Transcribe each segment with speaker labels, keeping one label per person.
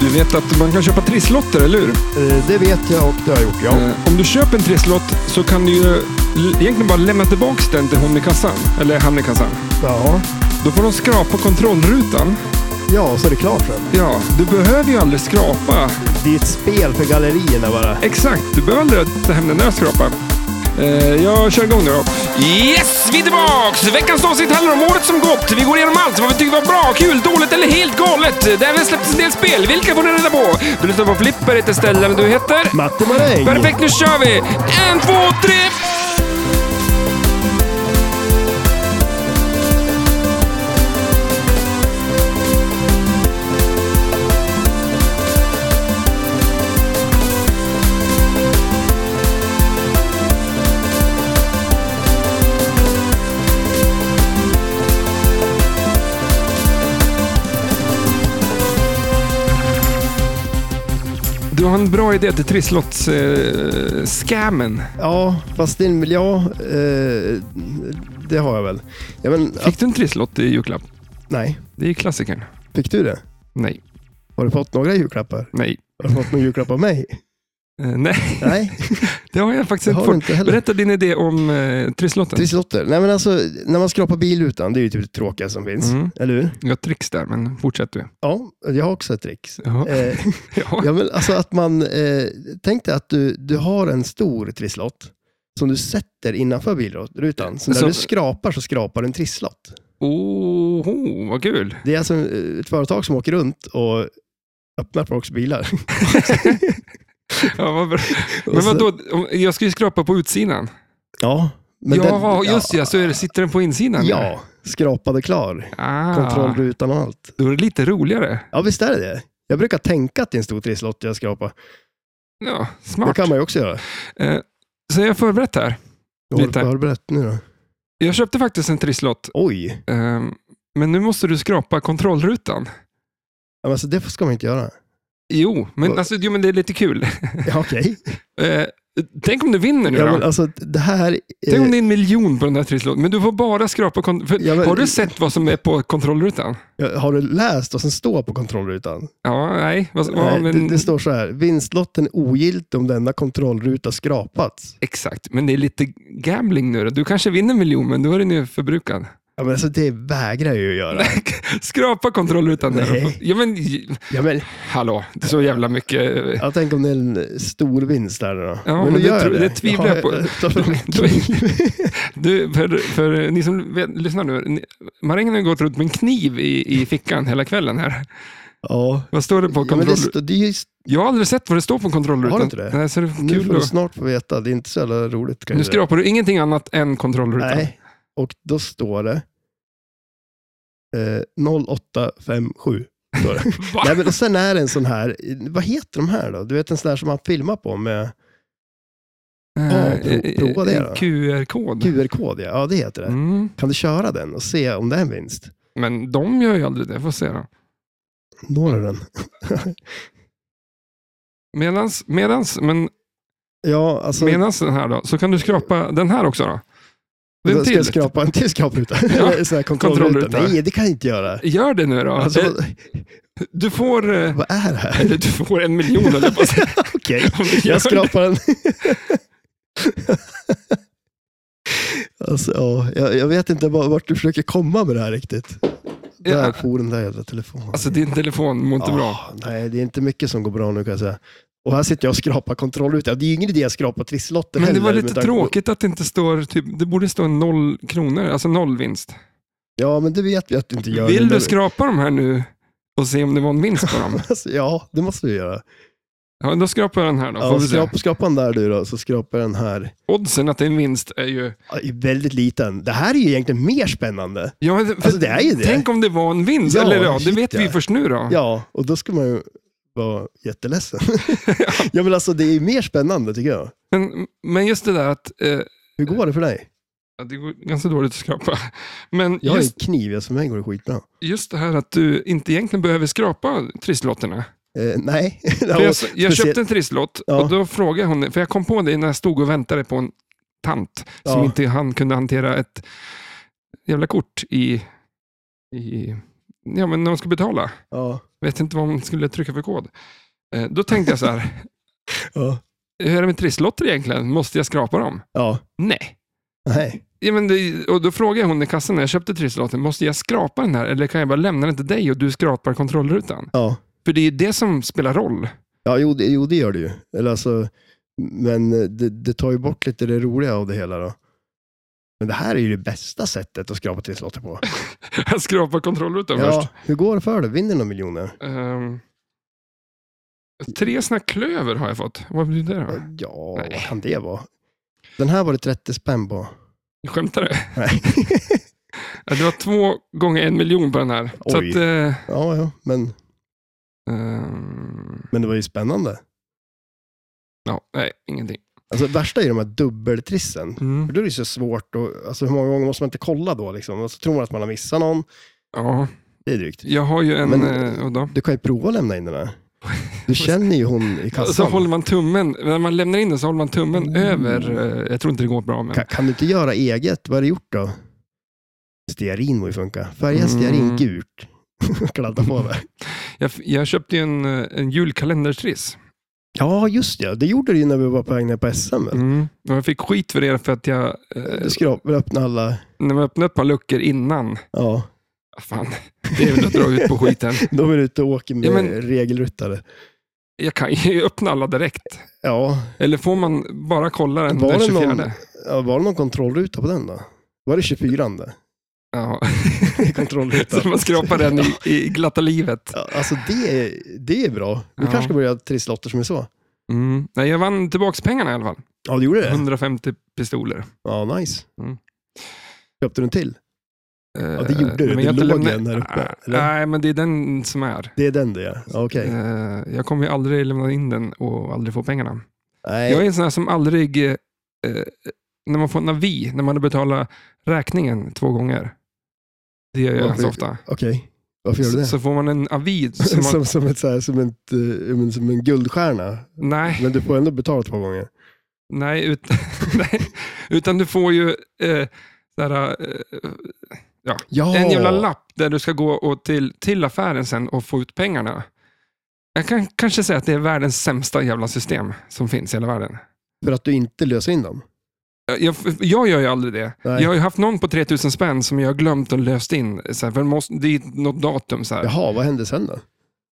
Speaker 1: Du vet att man kan köpa trisslotter, eller hur?
Speaker 2: Eh, Det vet jag och det har jag gjort, ja.
Speaker 1: Eh, Om du köper en trisslott så kan du ju l- egentligen bara lämna tillbaka den till hon i kassan. Eller han i kassan.
Speaker 2: Ja,
Speaker 1: Då får de skrapa kontrollrutan.
Speaker 2: ja så är det klart sen.
Speaker 1: Ja, du behöver ju aldrig skrapa.
Speaker 2: Det är ett spel för gallerierna bara.
Speaker 1: Exakt, du behöver aldrig ta hem den där skrapan. Eh, Jag kör igång nu då. Yes, vi är tillbaks! Veckans avsnitt handlar om året som gått. Vi går igenom allt, vad vi tyckte var bra, kul, dåligt eller helt galet. Där vi släpptes en del spel. Vilka får ni reda på? Du lyssnar på Flipper, heter ställen du heter.
Speaker 2: Matte Maräng!
Speaker 1: Perfekt, nu kör vi! En, två, tre! Du har en bra idé till eh, trisslotts-scammen.
Speaker 2: Ja, fast din miljö... Eh, det har jag väl. Ja, men, att,
Speaker 1: Fick du en trisslott i julklapp?
Speaker 2: nej,
Speaker 1: Det är ju klassikern.
Speaker 2: fick du det?
Speaker 1: Nej,
Speaker 2: Har du fått några julklappar?
Speaker 1: nej,
Speaker 2: Har du fått någon julklapp av mig?
Speaker 1: eh, nej.
Speaker 2: Nej,
Speaker 1: Det har jag faktiskt
Speaker 2: det
Speaker 1: inte
Speaker 2: har du
Speaker 1: fått.
Speaker 2: inte heller.
Speaker 1: Berätta din idé om eh, trisslotten.
Speaker 2: Trisslotter. Nej, men alltså, när man skrapar bilutan, det är ju typ det tråkiga som finns.
Speaker 1: Mm.
Speaker 2: Eller hur?
Speaker 1: Jag har tricks där, men fortsätt du.
Speaker 2: Ja, jag har också ett trick.
Speaker 1: Jaha.
Speaker 2: Eh,
Speaker 1: Ja.
Speaker 2: Ja, men alltså att man, eh, tänk dig att du, du har en stor trisslott som du sätter innanför bilrutan. Så när
Speaker 1: Så-
Speaker 2: du skrapar så skrapar du en trisslott.
Speaker 1: Oho, vad kul.
Speaker 2: Det är alltså eh, ett företag som åker runt och öppnar folks bilar.
Speaker 1: Ja, vad bra.
Speaker 2: Och
Speaker 1: Men
Speaker 2: så-
Speaker 1: vadå, om- jag ska ju skrapa på utsidan.
Speaker 2: Ja, men
Speaker 1: Ja,
Speaker 2: den-
Speaker 1: just ja, så är det, sitter den på insidan? där?
Speaker 2: Ja, skrapade klar.
Speaker 1: Ah,
Speaker 2: Kontrollrutan och allt.
Speaker 1: då är det lite roligare.
Speaker 2: Ja, visst är det det. Jag brukar tänka att det är en stor trisslott jag skrapar.
Speaker 1: Ja,
Speaker 2: Det
Speaker 1: smart.
Speaker 2: kan man ju också göra.
Speaker 1: Eh, så jag är förberett här.
Speaker 2: Vad har du
Speaker 1: Lite.
Speaker 2: förberett nu då?
Speaker 1: Jag köpte faktiskt en trisslott,
Speaker 2: Oj,
Speaker 1: eh, men nu måste du skrapa kontrollrutan.
Speaker 2: Ja, men alltså, det ska man inte göra.
Speaker 1: Jo, men,
Speaker 2: Vad-
Speaker 1: alltså, jo, men det är lite kul.
Speaker 2: Ja, Okej.
Speaker 1: Eh, tänk om du vinner nu
Speaker 2: Ja,
Speaker 1: då?
Speaker 2: men alltså, det här...
Speaker 1: Tänk
Speaker 2: eh,
Speaker 1: om det är en miljon på den här trisslotten, men du får bara skrapa kont- för,
Speaker 2: Ja, men-
Speaker 1: Har du sett vad som är på kontrollrutan?
Speaker 2: Ja, Har du läst vad som står på kontrollrutan?
Speaker 1: Ja, nej. Vad,
Speaker 2: Nej,
Speaker 1: vad, men,
Speaker 2: det, det står så här. Vinstlotten är ogiltig om denna kontrollruta skrapats.
Speaker 1: Exakt, men det är lite gambling nu då. Du kanske vinner en miljon, men då är den ju förbrukad.
Speaker 2: Ja, men alltså, det vägrar jag ju att göra.
Speaker 1: Skrapa kontrollrutan där.
Speaker 2: Nej.
Speaker 1: Ja, men,
Speaker 2: Ja, men,
Speaker 1: hallå, det är så jävla mycket... eh,
Speaker 2: jag tänker om det är en stor vinst där då.
Speaker 1: Ja, men det tro- det tvivlar jag på.
Speaker 2: tar fram en kniv.
Speaker 1: Alltså, Du, för, för ni som vet, lyssnar nu, ni- Marängen har ju gått runt med en kniv i, i fickan hela kvällen här.
Speaker 2: ja.
Speaker 1: Vad står det på
Speaker 2: ja, men det,
Speaker 1: kontrollrutan?
Speaker 2: står- det är just,
Speaker 1: Jag har aldrig sett vad det står på kontrollrutan.
Speaker 2: Har du inte det?
Speaker 1: Nej, så det är
Speaker 2: nu
Speaker 1: kul
Speaker 2: får du
Speaker 1: att...
Speaker 2: snart få veta. Det är inte så jävla roligt. kan
Speaker 1: Nu
Speaker 2: jag säga.
Speaker 1: skrapar du ingenting annat än kontrollrutan.
Speaker 2: Nej, och då står det eh, 0857. Står det.
Speaker 1: Va?
Speaker 2: Nej, men och sen är det en sån här, vad heter de här då? Du vet en sån där som man filmar på med
Speaker 1: Eh,
Speaker 2: prova-
Speaker 1: eh,
Speaker 2: prova det då.
Speaker 1: en QR-kod.
Speaker 2: QR-kod. Ja, ja det heter det.
Speaker 1: Mm.
Speaker 2: Kan du köra den och se om det är en vinst?
Speaker 1: Men de gör ju aldrig det, får se då.
Speaker 2: Når du den?
Speaker 1: Medans, medans, men,
Speaker 2: Ja, alltså.
Speaker 1: medans den här då, så kan du skrapa den här också då.
Speaker 2: då
Speaker 1: Den
Speaker 2: ska jag
Speaker 1: till.
Speaker 2: skrapa en till skrapruta.
Speaker 1: Ja,
Speaker 2: Sån här
Speaker 1: kontrollruta.
Speaker 2: kontrollruta. Nej, det kan jag inte göra.
Speaker 1: Gör det nu då.
Speaker 2: Alltså,
Speaker 1: Eh, Du får... eh,
Speaker 2: vad är det här?
Speaker 1: Eller du får en miljon, eller jag på att säga.
Speaker 2: Okej,
Speaker 1: Om du gör
Speaker 2: jag skrapar den. alltså, ja, jag, jag vet inte var- vart du försöker komma med det här riktigt.
Speaker 1: det.
Speaker 2: Där
Speaker 1: Ja,
Speaker 2: for den där jävla telefonen.
Speaker 1: alltså din telefon mår inte bra.
Speaker 2: Ah, Nej, det är inte mycket som går bra nu kan jag säga. Och här sitter jag och skrapar kontrollruta. Det är ju ingen idé att skrapa trisslotter
Speaker 1: Men det var
Speaker 2: heller,
Speaker 1: lite
Speaker 2: med tanke på-
Speaker 1: tråkigt att det inte står, typ, det borde stå noll kronor, alltså noll vinst.
Speaker 2: Ja, men det vet vi att du inte gör.
Speaker 1: Vill
Speaker 2: nu när
Speaker 1: du skrapa de här nu och se om det var en vinst på dem?
Speaker 2: Alltså, ja, det måste du göra.
Speaker 1: Ja, då skrapar jag den här då. Får
Speaker 2: Ja,
Speaker 1: vi se.
Speaker 2: skrapa, skrapa den där du då, så skrapar den här.
Speaker 1: Oddsen att det är en vinst är ju...
Speaker 2: Ja, är väldigt liten. Det här är ju egentligen mer spännande.
Speaker 1: Ja, men-
Speaker 2: Alltså, det är ju det.
Speaker 1: Tänk om det var en vinst,
Speaker 2: Ja,
Speaker 1: eller ja, det
Speaker 2: shit,
Speaker 1: vet vi
Speaker 2: ja.
Speaker 1: först nu då.
Speaker 2: Ja, och då ska man ju vara jätteledsen. ja, men alltså det är ju mer spännande tycker jag.
Speaker 1: Men, men just det där att eh,
Speaker 2: Hur går det för dig?
Speaker 1: ja, det går ganska dåligt att skrapa. Men
Speaker 2: Jag har ju
Speaker 1: just,
Speaker 2: kniv, ja, för mig går det skitbra.
Speaker 1: just det här att du inte egentligen behöver skrapa trisslotterna.
Speaker 2: Eh, nej.
Speaker 1: För jag, jag
Speaker 2: speciellt-
Speaker 1: köpte en trisslott
Speaker 2: Ja.
Speaker 1: och då frågade hon, för jag kom på det när jag stod och väntade på en tant som
Speaker 2: Ja.
Speaker 1: inte han kunde hantera ett jävla kort i, i ja, men när de ska betala.
Speaker 2: Ja.
Speaker 1: Vet inte vad man skulle trycka för kod. Eh, Då tänkte jag så här,
Speaker 2: Ja.
Speaker 1: hur är det med trisslotter egentligen? Måste jag skrapa dem?
Speaker 2: ja.
Speaker 1: Nej.
Speaker 2: Nej.
Speaker 1: Ja, men det, och då frågade hon i kassan när jag köpte trisslotten, måste jag skrapa den här eller kan jag bara lämna den till dig och du skrapar kontrollrutan?
Speaker 2: Ja.
Speaker 1: För det är ju det som spelar roll.
Speaker 2: Ja, jo, det, jo, det gör det ju. Eller alltså, men eh, det, det tar ju bort lite det roliga av det hela då. Men det här är ju det bästa sättet att skrapa till slottet på.
Speaker 1: Jag skrapar kontrollrutan först.
Speaker 2: Ja, hur går det för dig? Vinner du några miljoner?
Speaker 1: Ehm, tre såna klöver har jag fått. Vad betyder det? då?
Speaker 2: Ja,
Speaker 1: Nej.
Speaker 2: vad kan det vara? Den här var det 30 spänn på.
Speaker 1: Skämtar du?
Speaker 2: Nej.
Speaker 1: Ja, Det var två gånger en miljon på den här. Så
Speaker 2: Oj.
Speaker 1: att, eh,
Speaker 2: ja, ja, men,
Speaker 1: ehm,
Speaker 2: men det var ju spännande.
Speaker 1: ja, nej, ingenting.
Speaker 2: Alltså, det värsta är ju de här dubbeltrissen.
Speaker 1: Mm.
Speaker 2: För då är det ju så svårt. Och, alltså, hur många gånger måste man inte kolla då? Liksom? Och så tror man att man har missat någon.
Speaker 1: Ja,
Speaker 2: Det är drygt.
Speaker 1: jag har ju en...
Speaker 2: Men-
Speaker 1: eh, och då?
Speaker 2: Du kan ju prova att lämna in den här. Du känner ju hon i
Speaker 1: Så
Speaker 2: kassan.
Speaker 1: håller man tummen, när man lämnar in den så håller man tummen
Speaker 2: Mm.
Speaker 1: över, eh, jag tror inte det går bra men.
Speaker 2: Kan, kan du inte göra eget? Vad har du gjort då? Stearin må ju funka. Färga stearin
Speaker 1: Mm.
Speaker 2: gult. Kladda på det.
Speaker 1: Jag, jag köpte ju en, eh, en julkalendertriss.
Speaker 2: Ja, just det. Det gjorde du ju när vi var på väg ner på SM. väl?
Speaker 1: Mm. Och jag fick skit för det för att jag, eh,
Speaker 2: Du skrapade öppna alla.
Speaker 1: när man öppnade ett par luckor innan,
Speaker 2: Ja,
Speaker 1: Ah, fan, det är väl att dra ut på skiten.
Speaker 2: de är ute och åker med
Speaker 1: Ja, men-
Speaker 2: regelryttare.
Speaker 1: Jag kan ju öppna alla direkt.
Speaker 2: Ja.
Speaker 1: Eller får man bara kolla den
Speaker 2: Var
Speaker 1: den
Speaker 2: det
Speaker 1: 24?
Speaker 2: någon- ja, var det någon kontrollruta på den då? Var det 24 det?
Speaker 1: Ja.
Speaker 2: Kontrollruta.
Speaker 1: Så man skrapar den i, i glatta livet.
Speaker 2: Ja, Alltså det är, det är bra. Du
Speaker 1: Ja.
Speaker 2: kanske ska börja trisslotter som är så.
Speaker 1: Mm. Nej, jag vann tillbaka pengarna i alla fall.
Speaker 2: Ja, du gjorde det?
Speaker 1: 150 pistoler.
Speaker 2: Ja, nice.
Speaker 1: Mm. Eh,
Speaker 2: Köpte du en till?
Speaker 1: Ja,
Speaker 2: det gjorde du. Det låg en här
Speaker 1: Ah,
Speaker 2: uppe, eller?
Speaker 1: Nej, men det är den som är.
Speaker 2: Det är den det, ja. Ja, Okej.
Speaker 1: Eh, Jag kommer ju aldrig lämna in den och aldrig få pengarna.
Speaker 2: Nej.
Speaker 1: Jag är en sån här som aldrig... eh, eh, När man får navi, när man betalar räkningen två gånger. Det gör jag
Speaker 2: Varför-
Speaker 1: så ofta.
Speaker 2: Okej, varför gör du
Speaker 1: Så,
Speaker 2: det?
Speaker 1: så får man en avi. Som
Speaker 2: Som,
Speaker 1: man,
Speaker 2: som, ett, så här, som, ett, eh, men som en guldstjärna.
Speaker 1: nej,
Speaker 2: Men du får ändå betala två gånger.
Speaker 1: Nej, ut, nej, utan du får ju eh, såhär, eh,
Speaker 2: Ja,
Speaker 1: en jävla lapp där du ska gå och till, till affären sen och få ut pengarna. Jag kan kanske säga att det är världens sämsta jävla system som finns i hela världen.
Speaker 2: för att du inte löser in dem.
Speaker 1: Jag- Jag, jag gör ju aldrig det.
Speaker 2: Nej.
Speaker 1: Jag har ju haft någon på 3000 spänn som jag har glömt och löst in. Så här, för det måste, det är något datum. Så här.
Speaker 2: Jaha, vad hände sen då?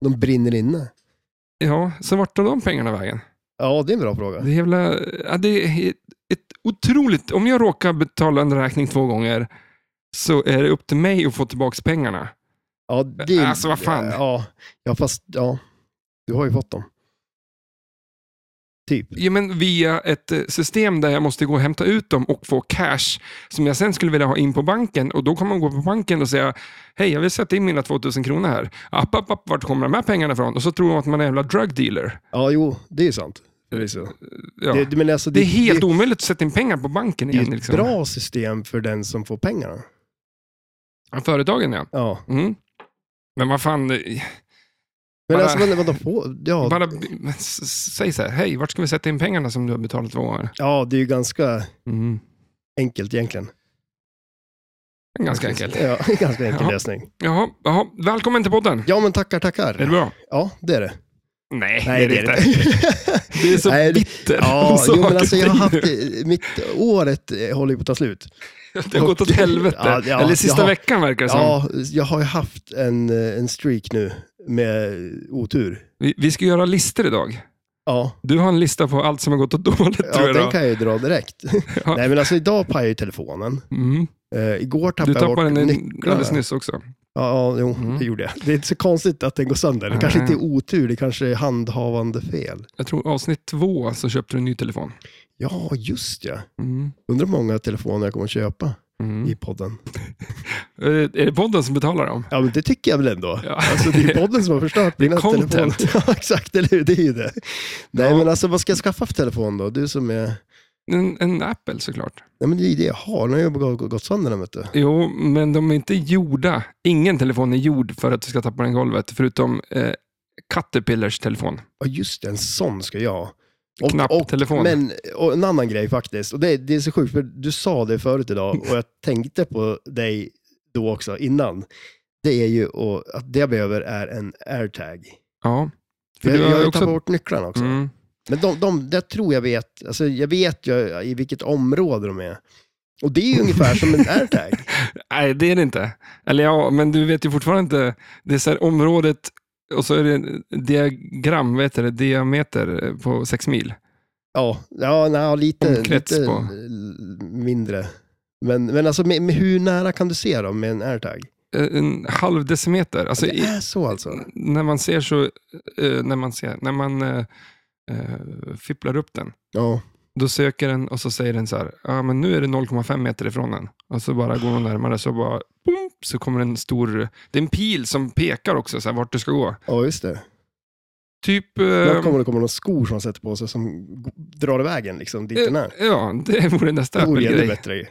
Speaker 2: De brinner inne.
Speaker 1: Ja, så vart tog de pengarna vägen?
Speaker 2: Ja, det är en bra fråga.
Speaker 1: Det är, jävla, ja, det är ett, ett otroligt... Om jag råkar betala en räkning två gånger så är det upp till mig att få tillbaka pengarna.
Speaker 2: Ja, det är,
Speaker 1: Alltså, vad fan.
Speaker 2: Ja, ja, fast ja. Du har ju fått dem. Typ.
Speaker 1: Ja, men via ett eh, system där jag måste gå och hämta ut dem och få cash som jag sen skulle vilja ha in på banken. Och Då kommer man gå på banken och säga hej, jag vill sätta in mina 2000 kronor här. App, app, app, vart kommer de här pengarna ifrån? Och så tror de att man är en jävla drug dealer.
Speaker 2: Ja, jo, det är ju sant. Det är, så.
Speaker 1: Ja. Det,
Speaker 2: Det, men alltså,
Speaker 1: är helt
Speaker 2: det,
Speaker 1: omöjligt att sätta in pengar på banken
Speaker 2: det är
Speaker 1: igen.
Speaker 2: ett
Speaker 1: liksom.
Speaker 2: bra system för den som får pengarna.
Speaker 1: Ja, Företagen, ja.
Speaker 2: Ja.
Speaker 1: Mm. Men vad fan, eh,
Speaker 2: Men
Speaker 1: Bara-
Speaker 2: alltså, men, vadå, få, ja,
Speaker 1: Bara b- men s- s- säg så här, hej, vart ska vi sätta in pengarna som du har betalat två år?
Speaker 2: ja, det är ju ganska
Speaker 1: Mm.
Speaker 2: enkelt egentligen.
Speaker 1: Ganska enkelt.
Speaker 2: Ja, ganska enkel
Speaker 1: Ja.
Speaker 2: lösning.
Speaker 1: Jaha, jaha, välkommen till podden.
Speaker 2: Ja, men tackar,
Speaker 1: Är det
Speaker 2: tackar.
Speaker 1: bra?
Speaker 2: Ja, det är det.
Speaker 1: Nej, det är det inte. Du är så
Speaker 2: Nej, det-
Speaker 1: bitter. om
Speaker 2: Ja,
Speaker 1: saker
Speaker 2: jo, men alltså jag har
Speaker 1: och
Speaker 2: haft,
Speaker 1: ting.
Speaker 2: eh, mitt året eh, håller ju på att ta slut.
Speaker 1: Det har gått åt helvete.
Speaker 2: Ja, ja,
Speaker 1: Eller sista
Speaker 2: jaha.
Speaker 1: veckan verkar det som.
Speaker 2: Ja, jag har ju haft en, eh, en streak nu med otur.
Speaker 1: Vi, vi ska göra listor idag.
Speaker 2: Ja,
Speaker 1: Du har en lista på allt som har gått åt dåligt tror
Speaker 2: ja
Speaker 1: jag.
Speaker 2: den
Speaker 1: då.
Speaker 2: kan jag ju dra direkt.
Speaker 1: Ja.
Speaker 2: Nej, men alltså idag pajade ju telefonen.
Speaker 1: Mm.
Speaker 2: Eh, igår
Speaker 1: Du
Speaker 2: tappade,
Speaker 1: tappade
Speaker 2: jag
Speaker 1: den
Speaker 2: bort
Speaker 1: i-
Speaker 2: nycklarna.
Speaker 1: alldeles nyss också.
Speaker 2: Ja, ja, jo,
Speaker 1: Mm.
Speaker 2: det gjorde jag. Det är inte så konstigt att den går sönder. Det kanske
Speaker 1: Nej.
Speaker 2: inte är otur, det kanske är handhavande fel.
Speaker 1: Jag tror avsnitt två så köpte du en ny telefon.
Speaker 2: Ja, just ja.
Speaker 1: Mm.
Speaker 2: Undrar hur många telefoner jag kommer att köpa
Speaker 1: Mm.
Speaker 2: i podden.
Speaker 1: Eh, Är det podden som betalar dem?
Speaker 2: Ja, men det tycker jag väl ändå.
Speaker 1: Ja.
Speaker 2: Alltså, det är ju podden som har förstört
Speaker 1: Det är
Speaker 2: mina
Speaker 1: content.
Speaker 2: telefoner. Ja, exakt, eller hur? Det är ju det. Nej,
Speaker 1: Ja.
Speaker 2: men alltså vad ska jag skaffa för telefon då? Du som är...
Speaker 1: En, en Apple såklart.
Speaker 2: Nej, men det är ju det jag har. Den har ju bara gått sönder den, vet du.
Speaker 1: Jo, men de är inte gjorda. Ingen telefon är gjord för att du ska tappa den i golvet, förutom eh, Caterpillars telefon.
Speaker 2: Ja, just det. En sån ska jag ha. Och-
Speaker 1: Knapptelefon.
Speaker 2: Och, men och en annan grej faktiskt. Och det, det är så sjukt, för du sa det förut idag och jag tänkte på dig då också innan. det är ju och, att det jag behöver är en airtag.
Speaker 1: Ja. För
Speaker 2: Jag,
Speaker 1: du
Speaker 2: jag
Speaker 1: har
Speaker 2: har
Speaker 1: ju
Speaker 2: ju tagit
Speaker 1: också...
Speaker 2: bort nycklarna också.
Speaker 1: Mm.
Speaker 2: Men de, de, det tror jag vet, alltså jag vet ju i vilket område de är. Och det är ju ungefär som en airtag.
Speaker 1: Nej, det är det inte. Eller ja, men du vet ju fortfarande inte. Det är så här området och så är det en diagram, vad heter det, diameter eh, på sex mil.
Speaker 2: Ja, ja nej, lite,
Speaker 1: Omkrets
Speaker 2: lite
Speaker 1: på.
Speaker 2: l- mindre. Men, men alltså, med, med hur nära kan du se dem med en airtag?
Speaker 1: Eh, En halv decimeter. Alltså,
Speaker 2: det
Speaker 1: i,
Speaker 2: är så alltså?
Speaker 1: när man ser så, eh, när man ser, när man eh, eh, fipplar upp den,
Speaker 2: Ja.
Speaker 1: då söker den och så säger den så här, ja men nu är det 0,5 meter ifrån den. Och så bara går hon närmare så bara, boom, så kommer en stor, det är en pil som pekar också så här, vart du ska gå.
Speaker 2: ja, just det.
Speaker 1: Typ... eh,
Speaker 2: Då kommer det komma några skor som sätter på sig som g- drar iväg en liksom,
Speaker 1: Eh,
Speaker 2: dit den är.
Speaker 1: Ja, det vore nästa
Speaker 2: Det vore ännu
Speaker 1: Apple-grej.
Speaker 2: bättre.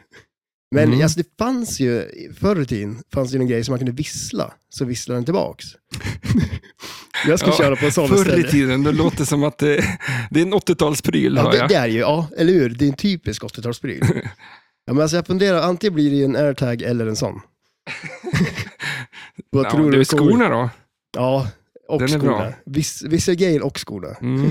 Speaker 2: Men
Speaker 1: Mm.
Speaker 2: alltså, det fanns ju, förr i tiden, fanns det ju en grej som man kunde vissla, så visslade den tillbaks. jag ska
Speaker 1: Ja,
Speaker 2: köra på en sån
Speaker 1: Förr i
Speaker 2: istället.
Speaker 1: tiden, då låter det som att det, det är en 80-talspryl.
Speaker 2: Ja,
Speaker 1: hör
Speaker 2: det,
Speaker 1: jag.
Speaker 2: det är ju, ja, eller hur? Det är en typisk 80-talspryl. ja, men alltså jag funderar, antingen blir det ju en airtag eller en sån. Vad
Speaker 1: ja,
Speaker 2: tror
Speaker 1: det
Speaker 2: du
Speaker 1: är
Speaker 2: kommer-
Speaker 1: skorna då.
Speaker 2: Ja, och
Speaker 1: Den är bra.
Speaker 2: skorna. Viss, vissa grejer och skorna.
Speaker 1: Mm.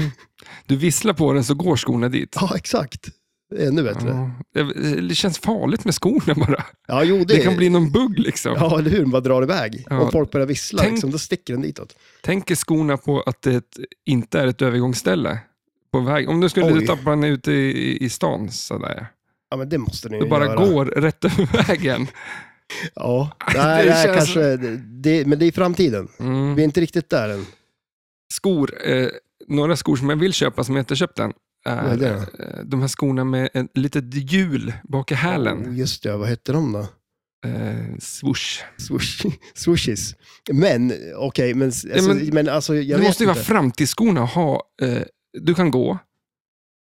Speaker 1: Du visslar på den så går skorna dit.
Speaker 2: Ja, exakt. Det är Ännu bättre. Ja,
Speaker 1: Ja. Det- Det känns farligt med skorna bara.
Speaker 2: jo, det,
Speaker 1: Det, kan bli någon bugg liksom.
Speaker 2: Ja, eller hur? Man drar iväg.
Speaker 1: Ja.
Speaker 2: Om folk börjar vissla,
Speaker 1: Tänk-
Speaker 2: liksom, då sticker den ditåt.
Speaker 1: Tänk er skorna på att det inte är ett övergångsställe. På väg. Om du skulle
Speaker 2: Oj.
Speaker 1: tappa den ute i, i stan, sådär.
Speaker 2: Ja, men det måste ni
Speaker 1: Du
Speaker 2: ju
Speaker 1: bara
Speaker 2: göra.
Speaker 1: går rätt över vägen.
Speaker 2: Ja, nej,
Speaker 1: Det
Speaker 2: det här
Speaker 1: känns-
Speaker 2: kanske, det, men det är framtiden.
Speaker 1: Mm.
Speaker 2: Vi är inte riktigt där än.
Speaker 1: skor, eh, några skor som jag vill köpa som jag inte köpt än, är
Speaker 2: Vad är det
Speaker 1: eh, de här skorna med ett litet hjul bak i hälen.
Speaker 2: Oh, Just det, vad hette de då?
Speaker 1: Eh, swoosh.
Speaker 2: Swoosh, swooshes. Men, okej, men, alltså,
Speaker 1: Ja, men-
Speaker 2: men, alltså, jag
Speaker 1: det
Speaker 2: vet
Speaker 1: måste ju vara
Speaker 2: inte.
Speaker 1: framtidsskorna. att Ha, eh, du kan gå,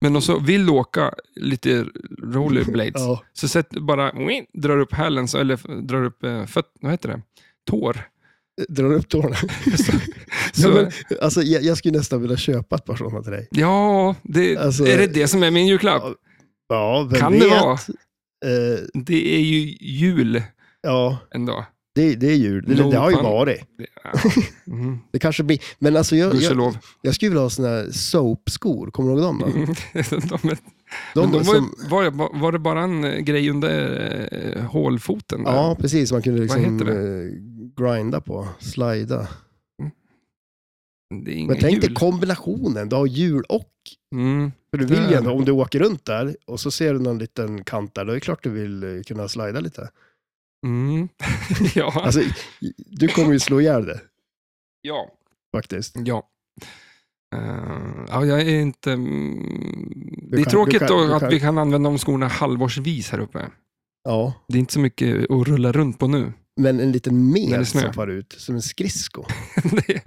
Speaker 1: men också vill du åka lite rollerblades,
Speaker 2: Ja,
Speaker 1: så sätt bara, wing, drar upp hälen, så, eller f- drar upp eh, föt, vad heter det? tår.
Speaker 2: drar upp tårna.
Speaker 1: Så,
Speaker 2: Ja,
Speaker 1: ja,
Speaker 2: men, alltså, jag, jag skulle nästan vilja köpa ett par sådana till dig.
Speaker 1: det,
Speaker 2: Alltså-
Speaker 1: är det det som är min julklapp?
Speaker 2: Ja, Ja, vem
Speaker 1: Kan det
Speaker 2: vet?
Speaker 1: vara?
Speaker 2: Eh,
Speaker 1: Det är ju jul
Speaker 2: ja,
Speaker 1: ändå.
Speaker 2: det, det är jul. Det,
Speaker 1: No
Speaker 2: det har ju
Speaker 1: pun.
Speaker 2: varit.
Speaker 1: Det- ja. Mm.
Speaker 2: Det kanske blir. Men alltså, jag, jag,
Speaker 1: Gudskelov.
Speaker 2: jag skulle vilja ha sådana här soapskor. Kommer du ihåg dem då?
Speaker 1: de är
Speaker 2: De,
Speaker 1: Men de var,
Speaker 2: som,
Speaker 1: ju, var, ju- var det bara en eh, grej under eh, hålfoten? Där?
Speaker 2: ja, precis. Man kunde liksom
Speaker 1: heter det?
Speaker 2: eh, grinda på, slida.
Speaker 1: det är
Speaker 2: Men
Speaker 1: inget
Speaker 2: tänk dig
Speaker 1: hjul.
Speaker 2: kombinationen. Du har jul och
Speaker 1: Mm.
Speaker 2: för du vill ju
Speaker 1: Där.
Speaker 2: ändå, om du åker runt där och så ser du någon liten kant där, då är det klart du vill eh, kunna slida lite.
Speaker 1: Mm. ja.
Speaker 2: Alltså, du kommer ju slå ihjäl det
Speaker 1: ja.
Speaker 2: faktiskt.
Speaker 1: Ja. Eh, ja, jag är inte... mm, Det är
Speaker 2: kan-
Speaker 1: tråkigt
Speaker 2: du kan-
Speaker 1: då
Speaker 2: du
Speaker 1: att
Speaker 2: kan-
Speaker 1: vi kan använda de skorna halvårsvis här uppe.
Speaker 2: Ja,
Speaker 1: Det är inte så mycket att rulla runt på nu.
Speaker 2: men en liten
Speaker 1: När det
Speaker 2: med
Speaker 1: snöar.
Speaker 2: som far ut, som en skridsko
Speaker 1: det, är,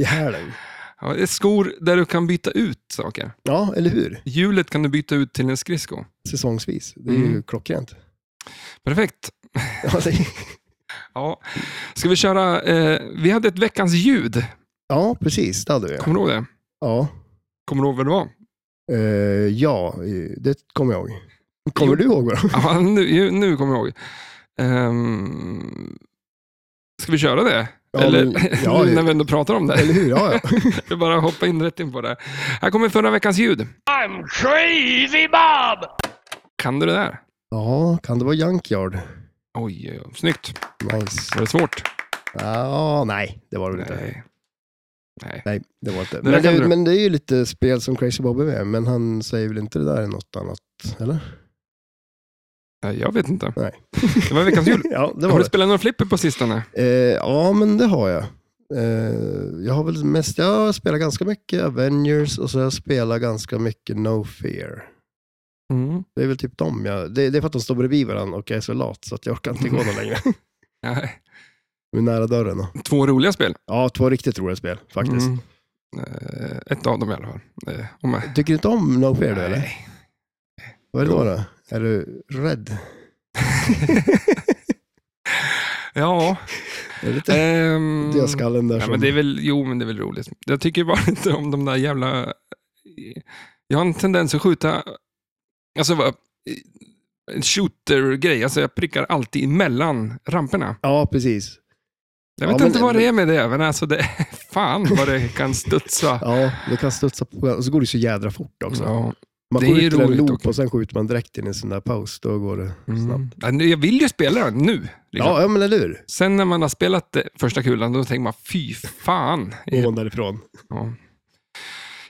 Speaker 2: i hälen.
Speaker 1: ja, det är skor där du kan byta ut saker.
Speaker 2: Ja, eller hur?
Speaker 1: Hjulet kan du byta ut till en skridsko.
Speaker 2: Säsongsvis. Det är
Speaker 1: Mm.
Speaker 2: ju klockrent.
Speaker 1: Perfekt.
Speaker 2: Ja, det-
Speaker 1: Ja. Ska vi köra... Eh, vi hade ett veckans ljud.
Speaker 2: ja precis. Det hade vi.
Speaker 1: Kommer du ihåg det?
Speaker 2: Ja.
Speaker 1: Kommer du ihåg vad det var?
Speaker 2: Eh, ja, eh, det kommer jag ihåg. Kommer du ihåg vad det var?
Speaker 1: Ja, nu, ju- nu kommer jag ihåg. Um, ska vi köra det?
Speaker 2: Ja,
Speaker 1: Eller
Speaker 2: men- ja,
Speaker 1: nu
Speaker 2: ja.
Speaker 1: när vi ändå pratar om det?
Speaker 2: Eller hur? Ja, ja.
Speaker 1: Jag bara hoppa in rätt in på det. Här kommer förra veckans ljud.
Speaker 3: I'm Crazy Bob!
Speaker 1: Kan du det där?
Speaker 2: ja, kan det vara Junkyard?
Speaker 1: Oj, oj, oj. snyggt.
Speaker 2: Nice.
Speaker 1: Var det svårt?
Speaker 2: Ja, nej, det var det väl inte.
Speaker 1: Nej. Nej.
Speaker 2: Nej, det var inte.
Speaker 1: där
Speaker 2: Men
Speaker 1: kan
Speaker 2: det,
Speaker 1: du.
Speaker 2: men det är ju lite spel som Crazy Bob är med, men han säger väl inte det där i något annat, eller?
Speaker 1: Nej, Jag vet inte.
Speaker 2: Nej.
Speaker 1: Det var veckans ljud.
Speaker 2: ja, det
Speaker 1: Har
Speaker 2: var
Speaker 1: du
Speaker 2: det.
Speaker 1: spelat några flipper på sistone?
Speaker 2: Eh, ja, men det har jag. Eh, jag har väl mest, jag har spelat ganska mycket Avengers och så har jag spelat ganska mycket No Fear.
Speaker 1: Mm.
Speaker 2: Det är väl typ dem jag, det, det är för att de står bredvid varandra och jag är så lat så att jag orkar inte gå någon längre.
Speaker 1: Nej.
Speaker 2: Vi är nära dörren. då.
Speaker 1: Två roliga spel.
Speaker 2: Ja, två riktigt roliga spel faktiskt.
Speaker 1: Mm. Eh, Ett av dem i alla fall. Eh, Om jag...
Speaker 2: Tycker du inte om No Fear då eller?
Speaker 1: Nej.
Speaker 2: Vad är det då? då? Är du rädd?
Speaker 1: Ja.
Speaker 2: Är det lite
Speaker 1: ehm,
Speaker 2: dödskallen där
Speaker 1: Ja,
Speaker 2: som...
Speaker 1: men det är väl, jo, men det är väl roligt. Jag tycker bara inte om de där jävla... Jag har en tendens att skjuta... Alltså, vad- en shooter-grej. Alltså, jag prickar alltid emellan ramperna.
Speaker 2: Ja, precis.
Speaker 1: Jag vet
Speaker 2: Ja,
Speaker 1: inte
Speaker 2: men-
Speaker 1: vad det är med det, men alltså det, fan vad det kan studsa.
Speaker 2: Ja, det kan studsa på och så går det så jädra fort också.
Speaker 1: Ja.
Speaker 2: man
Speaker 1: det
Speaker 2: går
Speaker 1: är ju
Speaker 2: ut till en
Speaker 1: roligt
Speaker 2: loop
Speaker 1: också.
Speaker 2: och sen skjuter man direkt in i en sån där paus. Då går det snabbt.
Speaker 1: Mm. Ja, nu- Jag vill ju spela den nu. Liksom.
Speaker 2: Ja, ja, men eller hur?
Speaker 1: Sen när man har spelat eh, första kulan, då tänker man fy fan.
Speaker 2: Går man därifrån.
Speaker 1: Ja.
Speaker 2: Men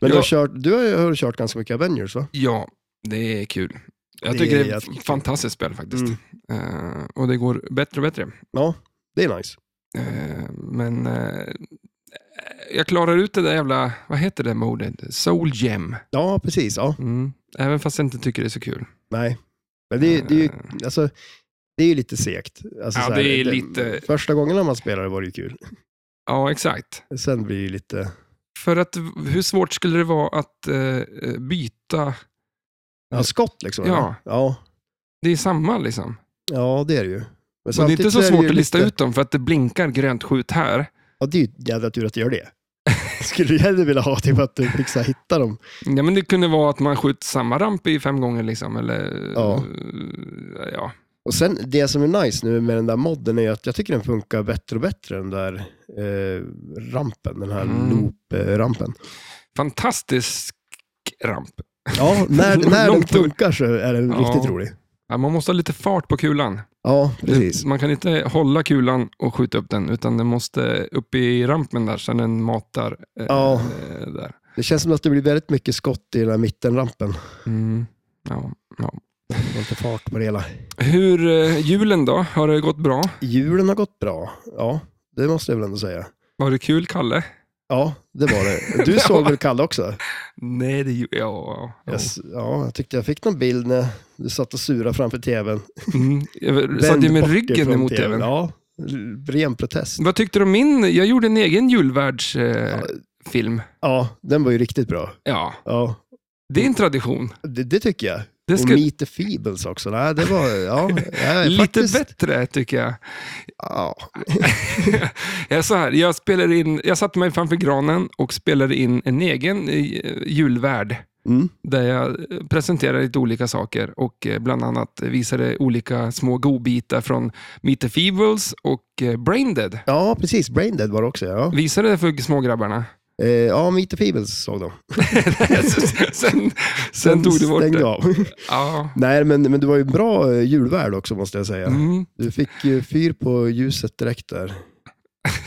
Speaker 2: du,
Speaker 1: Ja.
Speaker 2: har kört, du har ju har du kört ganska mycket Avengers va?
Speaker 1: Ja, det är kul. Jag
Speaker 2: Det
Speaker 1: tycker
Speaker 2: är
Speaker 1: det är ett
Speaker 2: jättekul.
Speaker 1: fantastiskt spel faktiskt.
Speaker 2: Mm.
Speaker 1: Eh, och det går bättre och bättre.
Speaker 2: Ja, det är nice.
Speaker 1: Eh, men eh, jag klarar ut det där jävla, vad heter det modet? Soul Gem.
Speaker 2: Ja, precis. Ja,
Speaker 1: Mm. Även fast jag inte tycker det är så kul.
Speaker 2: nej. Men det, är- det är ju alltså, det är ju lite segt. Alltså,
Speaker 1: Eh. Ja,
Speaker 2: så här,
Speaker 1: det är lite-
Speaker 2: Första gången man spelade var det ju kul.
Speaker 1: Ja, exakt.
Speaker 2: Sen blir det ju lite...
Speaker 1: För att v- hur svårt skulle det vara att eh, byta?
Speaker 2: Ja, skott liksom.
Speaker 1: Ja.
Speaker 2: eller? ja.
Speaker 1: Det är samma liksom.
Speaker 2: Ja, det är det ju. Men,
Speaker 1: Men det är
Speaker 2: samtidigt
Speaker 1: inte
Speaker 2: är
Speaker 1: så
Speaker 2: det
Speaker 1: svårt
Speaker 2: ju
Speaker 1: att lista
Speaker 2: lite-
Speaker 1: ut dem för att det blinkar grönt skjut här.
Speaker 2: Ja, det är ju jävla tur att du gör det. Skulle du hellre vilja ha typ att du fixar hitta dem?
Speaker 1: Ja, men det kunde vara att man skjuter samma ramp i fem gånger liksom. Eller,
Speaker 2: Ja.
Speaker 1: eh, ja.
Speaker 2: Och sen det som är nice nu med den där modden är att jag tycker den funkar bättre och bättre, den där eh, rampen, den här
Speaker 1: Mm.
Speaker 2: loop-rampen.
Speaker 1: Fantastisk ramp.
Speaker 2: Ja, när, när den
Speaker 1: Långt upp.
Speaker 2: funkar så är den
Speaker 1: Ja.
Speaker 2: riktigt rolig.
Speaker 1: Ja, man måste ha lite fart på kulan.
Speaker 2: Ja, precis.
Speaker 1: Man kan inte hålla kulan och skjuta upp den, utan den måste upp i rampen där, så den matar eh,
Speaker 2: Ja.
Speaker 1: eh, där.
Speaker 2: Det känns som att det blir väldigt mycket skott i den här mittenrampen.
Speaker 1: Mm. Ja, ja.
Speaker 2: Det var Inte fart på det hela.
Speaker 1: Hur, eh, julen då? Har det gått bra?
Speaker 2: Julen har gått bra. Ja, det måste jag väl ändå säga.
Speaker 1: Var det kul, Kalle?
Speaker 2: Ja, det var det. Du såg väl Kalle också?
Speaker 1: Nej, det gjorde ja, ja.
Speaker 2: Jag, s- ja, jag tyckte jag fick någon bild när du satt och sura framför tvn.
Speaker 1: Mm. Jag satt ju
Speaker 2: Vänd
Speaker 1: med
Speaker 2: bort
Speaker 1: ryggen
Speaker 2: ifrån
Speaker 1: emot tvn.
Speaker 2: Ja, l- ren protest.
Speaker 1: Vad tyckte du om min? Jag gjorde en egen julvärldsfilm.
Speaker 2: Ja, den var ju riktigt bra.
Speaker 1: ja,
Speaker 2: Ja,
Speaker 1: det är en tradition.
Speaker 2: det, det tycker jag.
Speaker 1: Det ska,
Speaker 2: Och Meet the Feebles också. Nej, det var, ja, nej,
Speaker 1: lite
Speaker 2: faktiskt,
Speaker 1: bättre, tycker jag.
Speaker 2: Ja,
Speaker 1: jag, är så här, jag, spelar in, jag satte mig framför granen och spelade in en egen eh, julvärld
Speaker 2: mm,
Speaker 1: där jag eh, presenterade lite olika saker och eh, bland annat visade olika små godbitar från Meet the Feebles och eh, Braindead.
Speaker 2: ja, precis. Braindead var det också. Ja,
Speaker 1: Visade det för smågrabbarna.
Speaker 2: eh, ja Meet the Feebles såg de.
Speaker 1: sen, sen, sen tog du bort
Speaker 2: Stängde
Speaker 1: det.
Speaker 2: Av.
Speaker 1: Ja.
Speaker 2: nej, men, men det var ju en bra eh, julvärld också, måste jag säga.
Speaker 1: Mm,
Speaker 2: Du fick ju fyr på ljuset direkt där.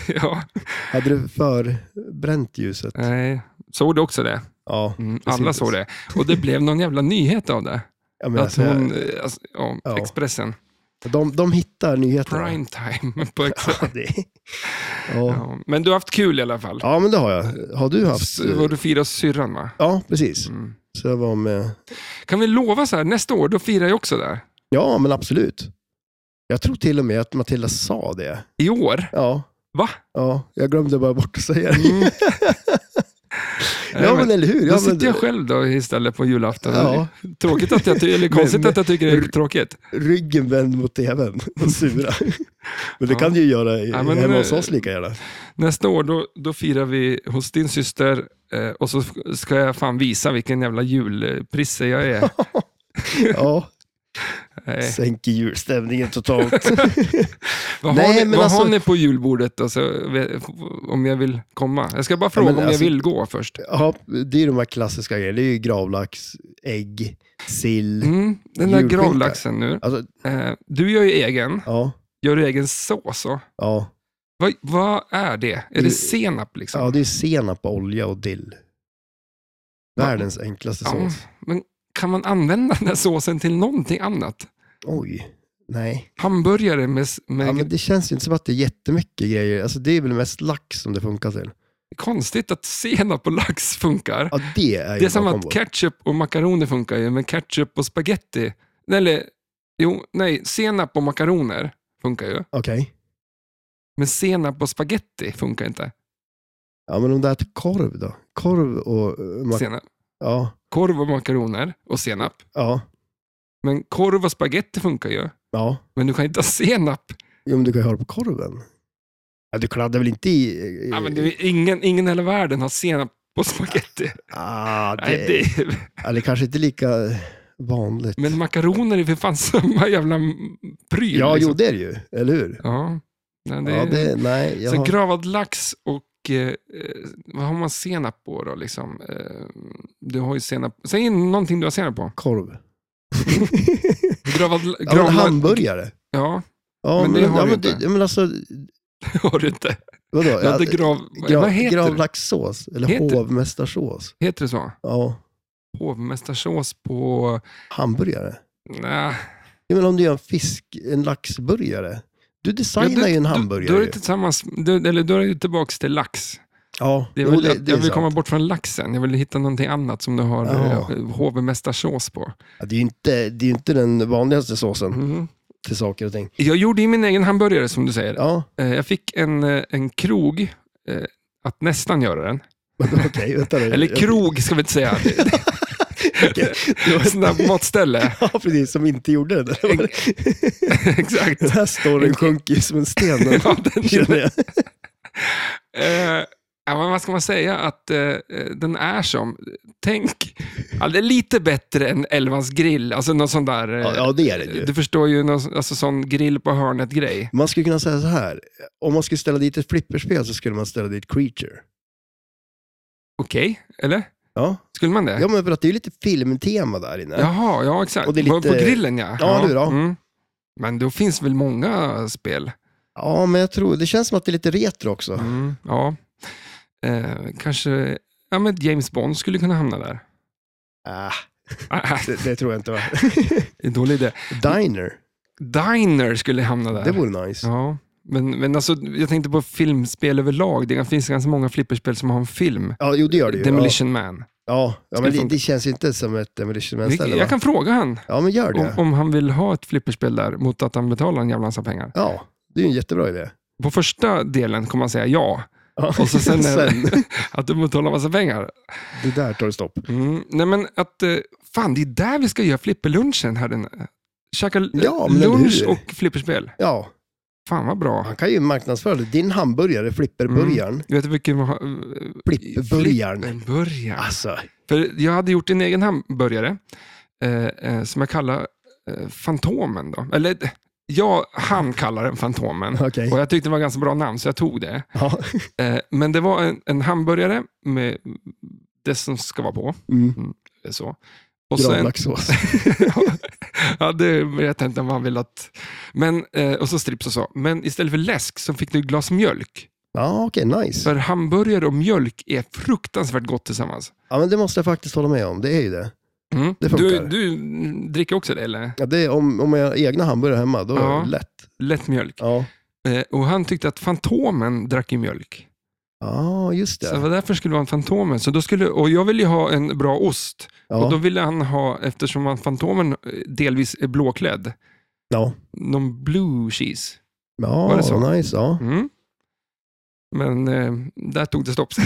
Speaker 1: ja.
Speaker 2: Hade du förbränt ljuset?
Speaker 1: Nej. Såg du också det?
Speaker 2: Ja.
Speaker 1: Mm,
Speaker 2: Det
Speaker 1: alla
Speaker 2: syntes.
Speaker 1: såg det. Och det blev någon jävla nyhet av det.
Speaker 2: ja men
Speaker 1: att
Speaker 2: alltså, jag-
Speaker 1: hon, eh, alltså, ja,
Speaker 2: Ja.
Speaker 1: Expressen.
Speaker 2: De, de hittar nyheterna.
Speaker 1: Prime time på Excel.
Speaker 2: Ja, det. Ja.
Speaker 1: Ja, men du har haft kul i alla fall.
Speaker 2: ja, men det har jag. Har du haft? eh,
Speaker 1: Så var du firade hos syrran va?
Speaker 2: Ja, precis.
Speaker 1: Mm.
Speaker 2: Så jag var med.
Speaker 1: Kan vi lova så här, nästa år då firar jag också där.
Speaker 2: Ja, men absolut. Jag tror till och med att Matilda sa det.
Speaker 1: I år?
Speaker 2: Ja,
Speaker 1: Va?
Speaker 2: ja jag glömde bara bort att säga det.
Speaker 1: Mm.
Speaker 2: Ja, men eller hur?
Speaker 1: då
Speaker 2: Ja, men,
Speaker 1: sitter jag själv då istället på julafton.
Speaker 2: Ja,
Speaker 1: Tråkigt att jag tycker, eller konstigt
Speaker 2: Men-
Speaker 1: att jag tycker det är tråkigt.
Speaker 2: ryggen vänd mot tvn och sura. Men det
Speaker 1: Ja.
Speaker 2: kan du ju göra i-
Speaker 1: Ja, men,
Speaker 2: hemma hos
Speaker 1: eh,
Speaker 2: oss lika gärna.
Speaker 1: Nästa år då, då firar vi hos din syster eh, och så ska jag fan visa vilken jävla julprisse jag är. Eh,
Speaker 2: Ja,
Speaker 1: Nej.
Speaker 2: sänker julstämningen totalt.
Speaker 1: Vad,
Speaker 2: Nej,
Speaker 1: har, ni,
Speaker 2: men
Speaker 1: vad
Speaker 2: alltså-
Speaker 1: har ni på julbordet då, så, vet- om jag vill komma? Jag ska bara fråga
Speaker 2: men
Speaker 1: om
Speaker 2: alltså-
Speaker 1: jag vill gå först.
Speaker 2: Ja, det är ju de här klassiska grejerna. Det är ju gravlax, ägg, sill.
Speaker 1: Mm, den där
Speaker 2: Julskinka.
Speaker 1: gravlaxen nu.
Speaker 2: Alltså,
Speaker 1: Eh, du gör ju egen.
Speaker 2: ja,
Speaker 1: Gör du egen sås? och-
Speaker 2: ja.
Speaker 1: Vad, vad är det? Är det
Speaker 2: Det-
Speaker 1: senap liksom?
Speaker 2: Ja, det är senap, olja och dill. Världens enklaste
Speaker 1: Ja.
Speaker 2: sås.
Speaker 1: Men kan man använda den här såsen till någonting annat?
Speaker 2: Oj, nej.
Speaker 1: Hamburgare med, s- med
Speaker 2: Ja, men det känns ju inte som att det är jättemycket grejer. Alltså, det är väl mest lax som det funkar till.
Speaker 1: Konstigt att senap och lax funkar.
Speaker 2: Ja, det är ju
Speaker 1: det är som
Speaker 2: bra
Speaker 1: att
Speaker 2: kombo.
Speaker 1: ketchup och makaroner funkar ju, men ketchup och spaghetti. Eller, jo, nej, senap och makaroner funkar ju.
Speaker 2: Okej.
Speaker 1: Men senap och spaghetti funkar inte.
Speaker 2: Ja, men om det är till korv då? Korv och... eh, mak-
Speaker 1: Senap.
Speaker 2: ja,
Speaker 1: Korv och makaroner och senap.
Speaker 2: ja,
Speaker 1: Men korv och spaghetti funkar ju.
Speaker 2: ja.
Speaker 1: Men du kan inte ha senap.
Speaker 2: Jo, men du kan ju ha det på korven. Ja, du kladdar väl inte i... i-
Speaker 1: Ja, men det är ingen, ingen i hela världen har senap på spaghetti.
Speaker 2: ah, det,
Speaker 1: Nej, det är...
Speaker 2: ja, det kanske inte är lika vanligt.
Speaker 1: Men makaroner är för fan samma jävla pryl.
Speaker 2: ja,
Speaker 1: liksom.
Speaker 2: jo, det är det ju. Eller hur?
Speaker 1: ja. Nej, det,
Speaker 2: Ja, det, nej, jag
Speaker 1: så
Speaker 2: har,
Speaker 1: gravad lax och eh, eh, vad har man senap på då? Liksom? Eh, du har ju senap. Säg någonting du har senap på.
Speaker 2: korv.
Speaker 1: Gravad, gravad,
Speaker 2: ja, men hamburgare.
Speaker 1: Ja,
Speaker 2: Ja,
Speaker 1: Men
Speaker 2: men,
Speaker 1: det har
Speaker 2: ja,
Speaker 1: du
Speaker 2: men,
Speaker 1: inte.
Speaker 2: det- ja, men alltså,
Speaker 1: det har du inte.
Speaker 2: vadå?
Speaker 1: Du hade grav,
Speaker 2: Gra-
Speaker 1: vad heter, det?
Speaker 2: Gravlaxsås, eller
Speaker 1: Heter-
Speaker 2: hovmästarsås.
Speaker 1: heter det så?
Speaker 2: Ja,
Speaker 1: Hovmästarsås på...
Speaker 2: hamburgare.
Speaker 1: Nej.
Speaker 2: Ja, men om du gör en fisk, en laxburgare. Du designar
Speaker 1: Ja, du-
Speaker 2: ju en
Speaker 1: du-
Speaker 2: hamburgare.
Speaker 1: Då är
Speaker 2: ju.
Speaker 1: det tillsammans, du, eller då är det tillbaka till lax.
Speaker 2: Ja,
Speaker 1: Det är
Speaker 2: jo,
Speaker 1: väl,
Speaker 2: det,
Speaker 1: att
Speaker 2: det,
Speaker 1: jag
Speaker 2: är
Speaker 1: vill
Speaker 2: sant.
Speaker 1: komma bort från laxen. Jag vill hitta någonting annat som du har
Speaker 2: Ja.
Speaker 1: oh. hovmästarsås på.
Speaker 2: ja, det är ju inte, det är ju inte den vanligaste såsen
Speaker 1: Mhm.
Speaker 2: till saker och ting.
Speaker 1: Jag gjorde ju min egen hamburgare som du säger.
Speaker 2: Mm. Ja,
Speaker 1: Eh, Jag fick en, eh, en krog eh, att nästan göra den.
Speaker 2: okej, vänta nu.
Speaker 1: Eller krog ska vi inte säga.
Speaker 2: Okej, det var-
Speaker 1: Snabbmatsställe.
Speaker 2: Ja, precis, som inte gjorde det.
Speaker 1: En- Exakt.
Speaker 2: Den här storyn sjönk ju som en sten. nu,
Speaker 1: Ja, den,
Speaker 2: känner jag.
Speaker 1: eh, ja, men vad ska man säga att eh, eh, den är som? Tänk, ja, det är lite bättre än Elvans grill. Alltså någon sån där... eh,
Speaker 2: Ja, ja, det är det ju.
Speaker 1: Du förstår ju, någon, sån- alltså sån grill på hörnet-grej.
Speaker 2: Man skulle kunna säga så här, om man skulle ställa dit ett flipperspel så skulle man ställa dit Creature.
Speaker 1: Okej, eller?
Speaker 2: Ja,
Speaker 1: Skulle man det?
Speaker 2: ja men för att det är ju lite filmtema där inne.
Speaker 1: Jaha, ja exakt.
Speaker 2: Och det är
Speaker 1: På- På
Speaker 2: lite-
Speaker 1: grillen ja.
Speaker 2: Ja, du då?
Speaker 1: Mm. Men då finns väl många spel?
Speaker 2: Ja, men jag tror, det känns som att det är lite retro också.
Speaker 1: Mm, ja. Eh, kanske ja, men James Bond skulle kunna hamna där.
Speaker 2: Ah,
Speaker 1: Ah, ah,
Speaker 2: det, det tror jag inte va?
Speaker 1: det är dålig idé.
Speaker 2: Diner,
Speaker 1: Diner skulle hamna där.
Speaker 2: det vore nice.
Speaker 1: Ja, men, men alltså, jag tänkte på filmspel överlag. Det finns ganska många flipperspel som har en film.
Speaker 2: Ja, jo det gör det ju.
Speaker 1: Demolition Man.
Speaker 2: Ja, ja, ja
Speaker 1: Skulle
Speaker 2: men det,
Speaker 1: funka.
Speaker 2: det känns inte som ett Demolition
Speaker 1: Vi-
Speaker 2: Man-ställe
Speaker 1: jag
Speaker 2: va?
Speaker 1: kan fråga han
Speaker 2: Ja, men gör
Speaker 1: om,
Speaker 2: det.
Speaker 1: om han vill ha ett flipperspel där mot att han betalar en jävla massa pengar.
Speaker 2: Ja, det är ju en jättebra idé.
Speaker 1: På första delen kommer han säga ja.
Speaker 2: Ja.
Speaker 1: Och så sen,
Speaker 2: Sen,
Speaker 1: att du betalar massa pengar.
Speaker 2: det där tar det stopp.
Speaker 1: Mm. Nej men att, eh, fan det är där vi ska göra flipperlunchen här inne. Käka l-
Speaker 2: Ja, men
Speaker 1: lunch
Speaker 2: hur?
Speaker 1: och flipperspel.
Speaker 2: Ja,
Speaker 1: Fan vad bra.
Speaker 2: han kan ju marknadsföra det. Din hamburgare,
Speaker 1: Mm.
Speaker 2: flipperburgaren.
Speaker 1: Du vet vilken... man har- eh,
Speaker 2: Flipperburgaren.
Speaker 1: Mm. Flipperburgaren.
Speaker 2: Alltså,
Speaker 1: För jag hade gjort en egen hamburgare eh, eh, som jag kallar eh, Fantomen. Då. Eller eh, jag, han kallar den Fantomen.
Speaker 2: okej.
Speaker 1: Och jag tyckte det var ganska bra namn så jag tog det.
Speaker 2: Ja.
Speaker 1: Eh, men det var en, en hamburgare med det som ska vara på.
Speaker 2: Mm.
Speaker 1: eh, Så. Och sen,
Speaker 2: Granlaxsås.
Speaker 1: ja, det vet jag inte om han vill att... Men, eh, och så strips och så. Men istället för läsk så fick du ett glas mjölk.
Speaker 2: Ja, okej, nice.
Speaker 1: För hamburgare och mjölk är fruktansvärt gott tillsammans.
Speaker 2: Ja, men det måste jag faktiskt hålla med om. Det är ju det.
Speaker 1: Mm.
Speaker 2: Det
Speaker 1: du,
Speaker 2: funkar.
Speaker 1: du mm, dricker också det eller?
Speaker 2: Ja, det är, om, om jag har egna hamburgare hemma, då är
Speaker 1: Ja.
Speaker 2: det lätt.
Speaker 1: lätt mjölk.
Speaker 2: Ja,
Speaker 1: Eh, och han tyckte att Fantomen drack ju mjölk.
Speaker 2: ja just
Speaker 1: Så det
Speaker 2: det.
Speaker 1: var därför skulle vara en Fantomen. Så då skulle, och jag ville ju ha en bra ost. Och då
Speaker 2: Ja,
Speaker 1: ville han ha, eftersom han Fantomen eh, delvis är blåklädd,
Speaker 2: ja.
Speaker 1: någon blue cheese. Var det så?
Speaker 2: ja nice. Ja.
Speaker 1: Mm. Men eh, där tog det stopp.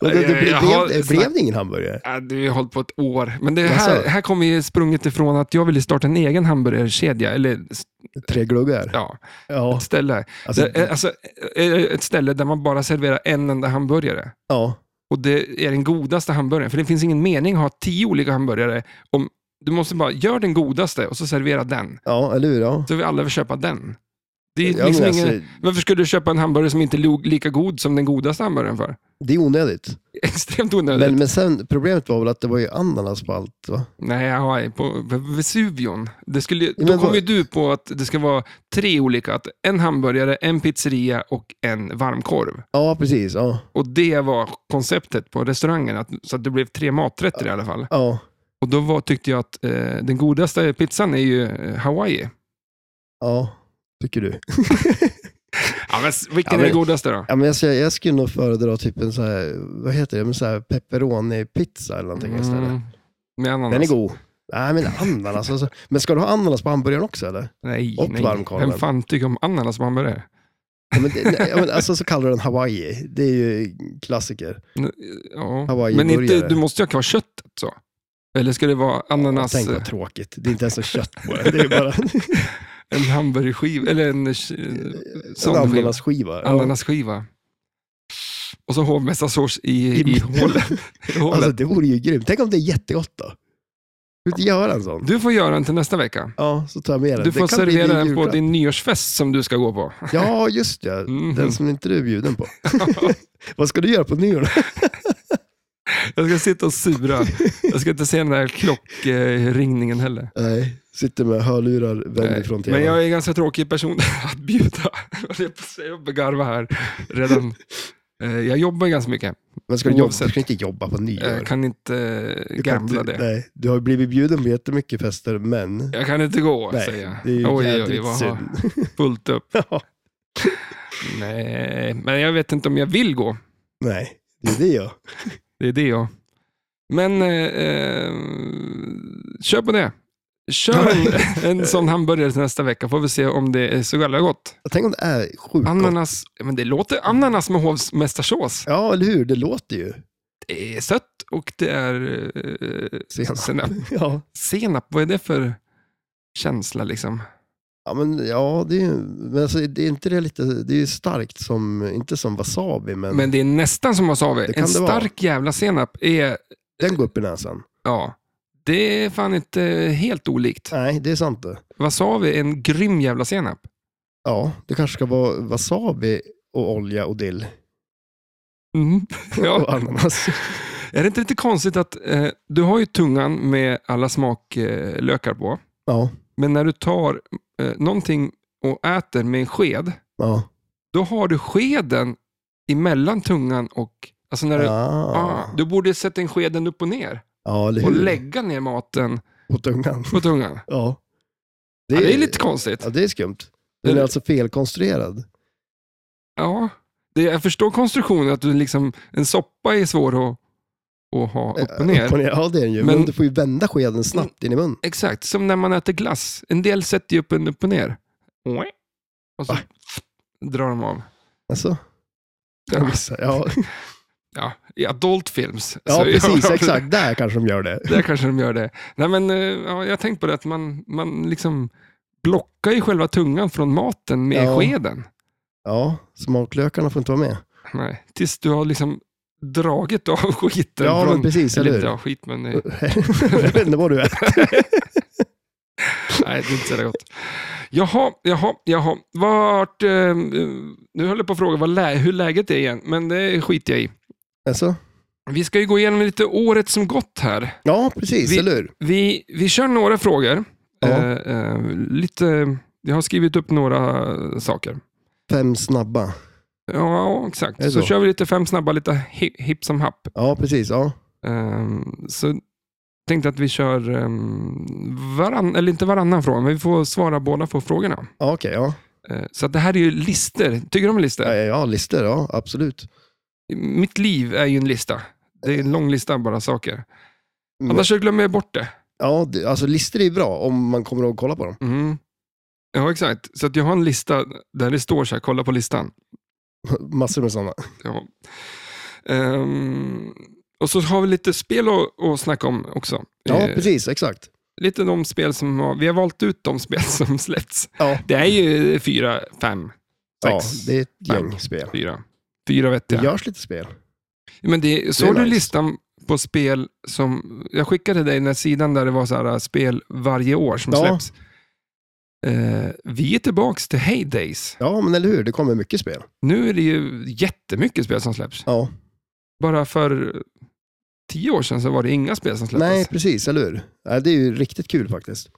Speaker 2: Och det, det,
Speaker 1: Jag-
Speaker 2: blev,
Speaker 1: jag har
Speaker 2: blev, det-
Speaker 1: snack-
Speaker 2: blev det ingen hamburgare?
Speaker 1: Ja, det har ju hållit på ett år. Men det här,
Speaker 2: Jaså?
Speaker 1: här kommer ju sprunget ifrån att jag ville starta en egen hamburgerkedja, eller s-
Speaker 2: Tre gluggar?
Speaker 1: ja,
Speaker 2: Ja,
Speaker 1: ett ställe.
Speaker 2: alltså,
Speaker 1: Det- eh, alltså, eh, eh, ett ställe där man bara serverar en enda hamburgare.
Speaker 2: ja.
Speaker 1: Och det är den godaste hamburgaren. För det finns ingen mening att ha tio olika hamburgare. Om, du måste bara, gör den godaste och så servera den.
Speaker 2: ja eller hur? Ja.
Speaker 1: Så vi alla vill köpa den. Det är
Speaker 2: Ja,
Speaker 1: liksom
Speaker 2: men
Speaker 1: ingen,
Speaker 2: alltså,
Speaker 1: Varför skulle du köpa en hamburgare som inte är lo- lika god som den godaste hamburgaren för?
Speaker 2: det är onödigt.
Speaker 1: Extremt onödigt.
Speaker 2: Men, men sen, problemet var väl att det var ju ananas på allt va?
Speaker 1: Nej, Hawaii, på Vesuvion. Det skulle,
Speaker 2: Men
Speaker 1: då
Speaker 2: vad-
Speaker 1: kom ju du på att det ska vara tre olika. Att en hamburgare, en pizzeria och en varmkorv.
Speaker 2: Ja, precis. Ja.
Speaker 1: Och det var konceptet på restaurangen. Att, så att det blev tre maträtter i alla fall.
Speaker 2: Ja.
Speaker 1: Och då var, tyckte jag att eh, den godaste pizzan är ju eh, Hawaii.
Speaker 2: ja, tycker du.
Speaker 1: Ja, men, s- vilken
Speaker 2: Ja, men-
Speaker 1: är godaste då?
Speaker 2: Ja, men jag, skulle- jag skulle nog föredra typ en så här, vad heter det, men så här pepperoni-pizza eller någonting istället.
Speaker 1: Mm, med ananas.
Speaker 2: Den är god. Nej, men ananas alltså. Men ska du ha ananas på hamburgaren också eller?
Speaker 1: Nej,
Speaker 2: Och
Speaker 1: nej.
Speaker 2: varmkorven.
Speaker 1: Vem fan tycker om ananas på hamburgare?
Speaker 2: Ja, men, det, nej, ja, men, alltså så kallar du den Hawaii. Det är ju klassiker.
Speaker 1: Ja. Men
Speaker 2: Hawaii-burgare.
Speaker 1: inte, du måste ju ha kvar köttet så. Eller ska det vara ananas?
Speaker 2: Tänk vad tråkigt. Det är inte ens så kött på den. Det är bara
Speaker 1: En hamburgerskiva, eller en eh,
Speaker 2: en
Speaker 1: sån skiva.
Speaker 2: ananasskiva. Ja.
Speaker 1: Ananasskiva. Och så hovmästarsås i,
Speaker 2: I
Speaker 1: i hålet. I hålet.
Speaker 2: Alltså det vore ju grymt. Tänk om det är jättegott då? Ska vi inte göra en sån?
Speaker 1: Du får göra den till nästa vecka.
Speaker 2: Ja, så tar jag med den.
Speaker 1: Du får
Speaker 2: kan bli
Speaker 1: servera
Speaker 2: din
Speaker 1: den på
Speaker 2: julklapp.
Speaker 1: din nyårsfest som du ska gå på.
Speaker 2: Ja, just det.
Speaker 1: Mm.
Speaker 2: Den som inte du är bjuden på. Vad ska du göra på nyår?
Speaker 1: Jag ska sitta och sura. Jag ska inte se den där klockringningen heller.
Speaker 2: Nej, sitter med hörlurar vänd
Speaker 1: Nej,
Speaker 2: ifrån tvn.
Speaker 1: Men jag är en ganska tråkig person att bjuda. Jag börjar garva här redan. Eh, Jag jobbar ganska mycket.
Speaker 2: Men ska du, jobba,
Speaker 1: Oavsett.
Speaker 2: du ska inte jobba på nyår.
Speaker 1: Jag kan inte eh,
Speaker 2: Du kan
Speaker 1: gambla
Speaker 2: inte-
Speaker 1: det.
Speaker 2: Nej, du har blivit bjuden på jättemycket fester, men...
Speaker 1: Jag kan inte gå,
Speaker 2: nej,
Speaker 1: säger jag.
Speaker 2: det är ju
Speaker 1: Oj, oj, oj,
Speaker 2: jädrigt
Speaker 1: vad har
Speaker 2: synd.
Speaker 1: fullt upp.
Speaker 2: Ja,
Speaker 1: Nej, men jag vet inte om jag vill gå.
Speaker 2: nej, det är det jag.
Speaker 1: Det är det jag. Men eh, eh, kör på det. Kör en, en sån hamburgare till nästa vecka, får vi se om det är så jävla gott.
Speaker 2: Tänk om det är sjukt gott.
Speaker 1: Ananas, men det låter ananas med hovmästarsås.
Speaker 2: Ja, eller hur? Det låter ju.
Speaker 1: Det är sött och det är eh,
Speaker 2: Senap.
Speaker 1: senap.
Speaker 2: Ja,
Speaker 1: Senap, vad är det för känsla liksom?
Speaker 2: ja men ja, det är, ju- men alltså, det är inte det lite... Det är ju starkt som... Inte som wasabi, men,
Speaker 1: Men det är nästan som wasabi.
Speaker 2: Mm. Det kan
Speaker 1: En
Speaker 2: det vara.
Speaker 1: stark jävla senap är,
Speaker 2: den går upp i näsan.
Speaker 1: ja, det är fan inte helt olikt.
Speaker 2: Nej, det är sant det.
Speaker 1: Wasabi är en grym jävla senap.
Speaker 2: Ja, det kanske ska vara wasabi och olja och dill
Speaker 1: Mm.
Speaker 2: och
Speaker 1: Ja.
Speaker 2: ananas.
Speaker 1: Är det inte lite konstigt att eh, du har ju tungan med alla smaklökar eh, lökar på,
Speaker 2: Ja,
Speaker 1: men när du tar eh, någonting och äter med en sked,
Speaker 2: ja.
Speaker 1: då har du skeden emellan tungan och... Alltså när du, ah,
Speaker 2: Ah.
Speaker 1: du borde sätta in skeden upp och ner
Speaker 2: Ja, eller
Speaker 1: och
Speaker 2: hur?
Speaker 1: lägga ner maten
Speaker 2: På tungan.
Speaker 1: på tungan.
Speaker 2: Ja.
Speaker 1: Det är, ja, det är lite konstigt.
Speaker 2: Ja, det är skumt. Den är alltså felkonstruerad.
Speaker 1: Ja, det, jag förstår konstruktionen, att du liksom, en soppa är svår att, att ha upp och ner.
Speaker 2: Eh, Upp och ner. Ja, det är den ju.
Speaker 1: Men-
Speaker 2: Men, du får ju vända skeden snabbt in i munnen.
Speaker 1: Exakt, som när man äter glass. En del sätter ju upp en upp och ner. Och så
Speaker 2: Va?
Speaker 1: drar de av.
Speaker 2: Alltså, jag
Speaker 1: Ja,
Speaker 2: missar. Ja,
Speaker 1: ja, i adult films.
Speaker 2: ja
Speaker 1: så-
Speaker 2: precis. Exakt. Där kanske de gör det.
Speaker 1: Där kanske de gör det. Nej, men, eh, ja, jag har tänkt på det, att man, man liksom blockar ju själva tungan från maten med
Speaker 2: Ja.
Speaker 1: skeden.
Speaker 2: Ja, smaklökarna får inte vara med.
Speaker 1: Nej, tills du har liksom dragit av skiten.
Speaker 2: Ja,
Speaker 1: från,
Speaker 2: men precis. Eller
Speaker 1: eller inte
Speaker 2: hur?
Speaker 1: av skit, men eh,
Speaker 2: jag vet inte vad du är.
Speaker 1: nej, det är inte så jävla gott. Jaha, jaha, jaha. Vart, eh, eh, nu höll jag på att fråga vad lä- hur läget är igen, men det skiter jag i.
Speaker 2: Alltså?
Speaker 1: Vi ska ju gå igenom lite året som gått här.
Speaker 2: Ja, precis.
Speaker 1: Vi-
Speaker 2: Eller hur?
Speaker 1: Vi, vi kör några frågor.
Speaker 2: Ja.
Speaker 1: Eh, eh, lite, jag har skrivit upp några eh, saker.
Speaker 2: Fem snabba.
Speaker 1: Ja,
Speaker 2: Är det
Speaker 1: exakt. Så
Speaker 2: så?
Speaker 1: kör vi lite fem snabba, lite hi- hipp som happ.
Speaker 2: Ja, precis. Ja.
Speaker 1: Eh, så tänkte att vi kör eh, varann, eller inte varannan fråga, men vi får svara båda på frågorna.
Speaker 2: Ja, Okej, ja.
Speaker 1: Eh, så att det här är ju lister. Tycker du om lister?
Speaker 2: ja. Ja, listor. Ja, absolut.
Speaker 1: Mitt liv är ju en lista. Det är en lång lista bara saker.
Speaker 2: Men-
Speaker 1: Annars så glömmer jag bort det.
Speaker 2: Ja, det- alltså listor är bra om man kommer ihåg att kolla på dem.
Speaker 1: Mm. Ja, exakt. Så att jag har en lista där det står så här, kolla på listan.
Speaker 2: Massor med sådana.
Speaker 1: Ja. Ehm, och så har vi lite spel att, att snacka om också.
Speaker 2: Ja,
Speaker 1: Eh,
Speaker 2: precis. Exakt.
Speaker 1: lite de spel som har, vi har valt ut de spel som släppts.
Speaker 2: Ja,
Speaker 1: Det är ju fyra, fem,
Speaker 2: ja
Speaker 1: sex,
Speaker 2: det är ett
Speaker 1: fem.
Speaker 2: gäng spel.
Speaker 1: fyra. Fyra
Speaker 2: Det
Speaker 1: vettiga.
Speaker 2: görs lite spel.
Speaker 1: Men det, såg
Speaker 2: Det
Speaker 1: du
Speaker 2: är nice.
Speaker 1: listan på spel som... Jag skickade dig den här sidan där det var så här, äh, spel varje år som
Speaker 2: Ja.
Speaker 1: släpps. Eh, vi är tillbaka till Heydays.
Speaker 2: Ja, men eller hur? Det kommer mycket spel.
Speaker 1: Nu är det ju jättemycket spel som släpps.
Speaker 2: Ja.
Speaker 1: Bara för tio år sedan så var det inga spel som släpptes.
Speaker 2: Nej, precis. Eller hur? Ja, det är ju riktigt kul faktiskt.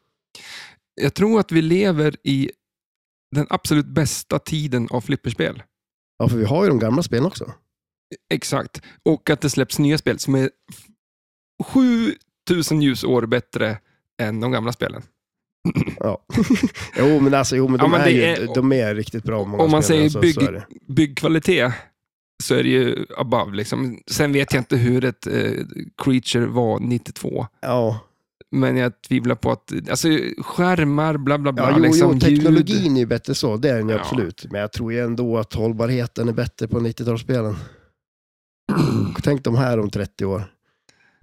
Speaker 1: Jag tror att vi lever i den absolut bästa tiden av flipperspel.
Speaker 2: Ja, för vi har ju de gamla spelen också.
Speaker 1: Exakt. Och att det släpps nya spel som är 7000 ljusår bättre än de gamla spelen.
Speaker 2: Ja. jo, men alltså, jo, men de,
Speaker 1: Ja, men
Speaker 2: är,
Speaker 1: det
Speaker 2: ju,
Speaker 1: är-
Speaker 2: de är riktigt bra. Många
Speaker 1: Om man
Speaker 2: spel,
Speaker 1: säger
Speaker 2: alltså,
Speaker 1: bygg-
Speaker 2: så är det.
Speaker 1: Byggkvalitet så är det ju above. Liksom. Sen vet jag inte hur ett eh, creature var 92.
Speaker 2: Ja,
Speaker 1: Men jag tvivlar på att, alltså skärmar, bla bla bla.
Speaker 2: ja jo,
Speaker 1: liksom,
Speaker 2: jo,
Speaker 1: ljud.
Speaker 2: teknologin är ju bättre så. Det är den ju
Speaker 1: Ja.
Speaker 2: absolut. Men jag tror ju ändå att hållbarheten är bättre på 90-talsspelen. Tänk de här om 30 år.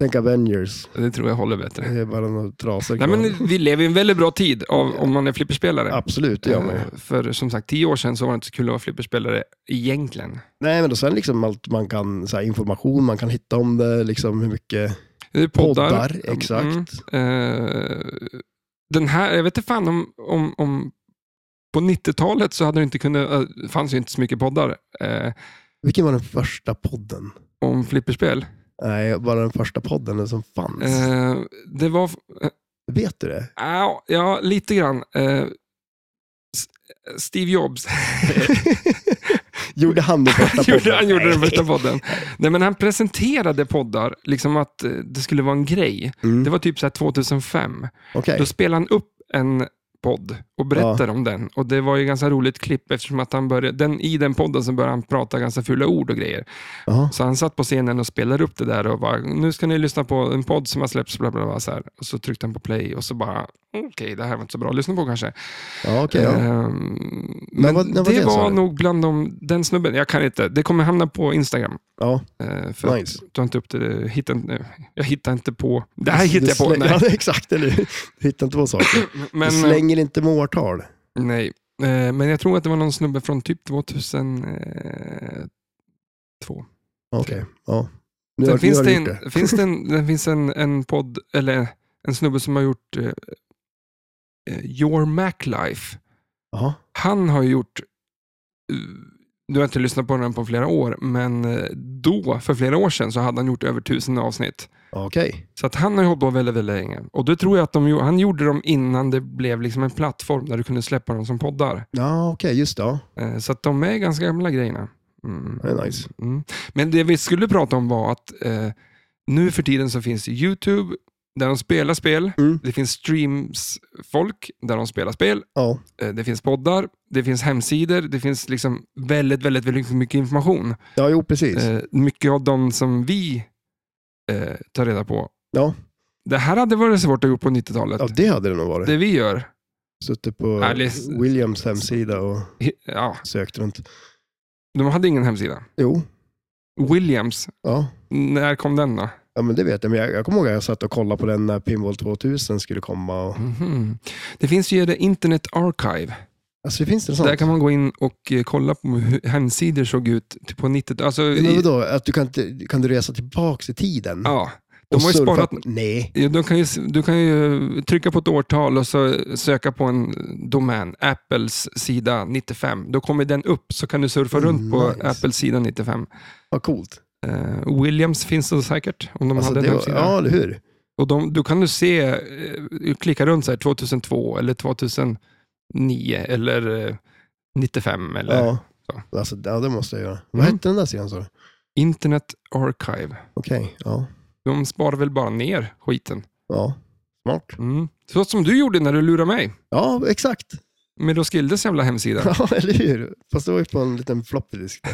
Speaker 2: Tänk Avengers.
Speaker 1: Det tror jag håller bättre.
Speaker 2: Det är bara några trasor
Speaker 1: Nej,
Speaker 2: kvar.
Speaker 1: men vi lever i en väldigt bra tid av, om man är flipperspelare.
Speaker 2: Absolut, det gör man ju.
Speaker 1: Eh, För som sagt, tio år sedan så var det inte så kul att vara flipperspelare egentligen.
Speaker 2: Nej, men och sen liksom allt man kan, så här, information man kan hitta om det, liksom hur mycket
Speaker 1: Det är poddar.
Speaker 2: Poddar, exakt.
Speaker 1: Mm. Eh, den här, jag vet inte fan om, om, om på 90-talet så hade det inte kunnat, eh, fanns ju inte så mycket poddar eh,
Speaker 2: Vilken var den första podden?
Speaker 1: om flipperspel.
Speaker 2: Nej, bara den första podden som fanns.
Speaker 1: Eh, det var, eh,
Speaker 2: Vet du det?
Speaker 1: au, ja lite grann. Eh, S- Steve Jobs.
Speaker 2: Gjorde han den första podden?
Speaker 1: gjorde, han gjorde den
Speaker 2: Nej.
Speaker 1: första podden. Nej, men han presenterade poddar, liksom att eh, det skulle vara en grej.
Speaker 2: Mm.
Speaker 1: Det var typ så här 2005.
Speaker 2: Okej.
Speaker 1: Då spelade han upp en podd och berättade om den. Och Det var ju ganska roligt klipp eftersom att han började, den, i den podden så började han prata ganska fula ord och grejer.
Speaker 2: Jaha.
Speaker 1: Så han satt på scenen och spelade upp det där och bara, nu ska ni lyssna på en podd som har släppts, bla bla bla. Så här. Och så tryckte han på play och så bara, okej, det här var inte så bra att lyssna på kanske.
Speaker 2: Ja, okej. ja.
Speaker 1: Ehm, men
Speaker 2: vad- när var
Speaker 1: det,
Speaker 2: det, sa
Speaker 1: var
Speaker 2: du?
Speaker 1: nog bland de, den snubben, jag kan inte, det kommer hamna på Instagram.
Speaker 2: ja.
Speaker 1: Eh, för
Speaker 2: Nice.
Speaker 1: att du har inte upp det, hittar, inte- jag hittar inte på, det här hittar jag på.
Speaker 2: Släng,
Speaker 1: Nej,
Speaker 2: ja, exakt, eller hur? Du hittar inte på saker.
Speaker 1: men, eh,
Speaker 2: du slänger inte med årtal.
Speaker 1: Nej, eh, men jag tror att det var någon snubbe från typ 2002.
Speaker 2: Okej, ja. Nu,
Speaker 1: Sen
Speaker 2: har- nu
Speaker 1: finns
Speaker 2: har
Speaker 1: det,
Speaker 2: du gjort det.
Speaker 1: en, finns det, en, det finns en, en podd, eller en snubbe som har gjort eh, eh, Your Mac Life.
Speaker 2: Jaha.
Speaker 1: Han har ju gjort, eh, du har inte lyssnat på den på flera år, men eh, då, för flera år sedan, så hade han gjort över tusen avsnitt.
Speaker 2: Okej.
Speaker 1: Så att han har ju hållit på väldigt, väldigt länge. Och då tror jag att de, gjo- han gjorde dem innan det blev liksom en plattform där du kunde släppa dem som poddar.
Speaker 2: Ja, okej, just det. Ja.
Speaker 1: Eh, Så att de är ganska gamla grejerna. Mm.
Speaker 2: Det är nice.
Speaker 1: Mm. Men det vi skulle prata om var att eh, nu för tiden så finns det YouTube där de spelar spel.
Speaker 2: Mm.
Speaker 1: Det finns streams-folk där de spelar spel.
Speaker 2: Ja.
Speaker 1: Eh, det finns poddar, det finns hemsidor, det finns liksom väldigt, väldigt, väldigt mycket information.
Speaker 2: ja, jo precis.
Speaker 1: Eh, mycket av de som vi eh, tar reda på.
Speaker 2: Ja.
Speaker 1: Det här hade varit svårt att göra på 90-talet.
Speaker 2: Ja, det hade det nog varit.
Speaker 1: Det vi gör,
Speaker 2: Suttit på
Speaker 1: Alice-
Speaker 2: Williams hemsida och
Speaker 1: ja,
Speaker 2: sökt runt.
Speaker 1: de hade ingen hemsida.
Speaker 2: Jo,
Speaker 1: Williams,
Speaker 2: ja.
Speaker 1: när kom den då?
Speaker 2: Ja, men det vet jag. Men jag, jag kommer ihåg att jag satt och kollade på den när Pinball 2000 skulle komma. Och...
Speaker 1: Mhm. Det finns ju det Internet Archive.
Speaker 2: Alltså, finns det sånt?
Speaker 1: Där kan man gå in och eh, kolla på hur hemsidor såg ut typ på 90-talet. Alltså,
Speaker 2: Men
Speaker 1: i-
Speaker 2: vadå, att du kan, inte- kan du resa tillbaka i tiden?
Speaker 1: ja, de
Speaker 2: och
Speaker 1: har ju
Speaker 2: surfa
Speaker 1: sparat...
Speaker 2: på- Nej.
Speaker 1: Ja, De kan ju, s- du kan ju eh, trycka på ett årtal och så söka på en domän, Apples sida 95. Då kommer den upp så kan du surfa
Speaker 2: Mm,
Speaker 1: runt på
Speaker 2: nice.
Speaker 1: Apples sida 95.
Speaker 2: Vad coolt.
Speaker 1: Eh, Williams finns det säkert om de
Speaker 2: Alltså,
Speaker 1: hade en
Speaker 2: det var,
Speaker 1: hemsida.
Speaker 2: ja, eller hur?
Speaker 1: Och de, då kan du se, eh, klicka runt så här 2002 eller 2009 eller eh, 95 eller
Speaker 2: Ja.
Speaker 1: så.
Speaker 2: Alltså, ja, det måste jag göra. Vad
Speaker 1: Mm.
Speaker 2: hette den där sidan? sa du?
Speaker 1: Internet Archive.
Speaker 2: Okej, ja.
Speaker 1: De sparar väl bara ner skiten.
Speaker 2: ja. Smart.
Speaker 1: Mm. Så som du gjorde när du lurade mig
Speaker 2: Ja, exakt.
Speaker 1: med Roskildes jävla hemsida.
Speaker 2: Ja, eller hur? Fast det var ju på en liten floppy disk.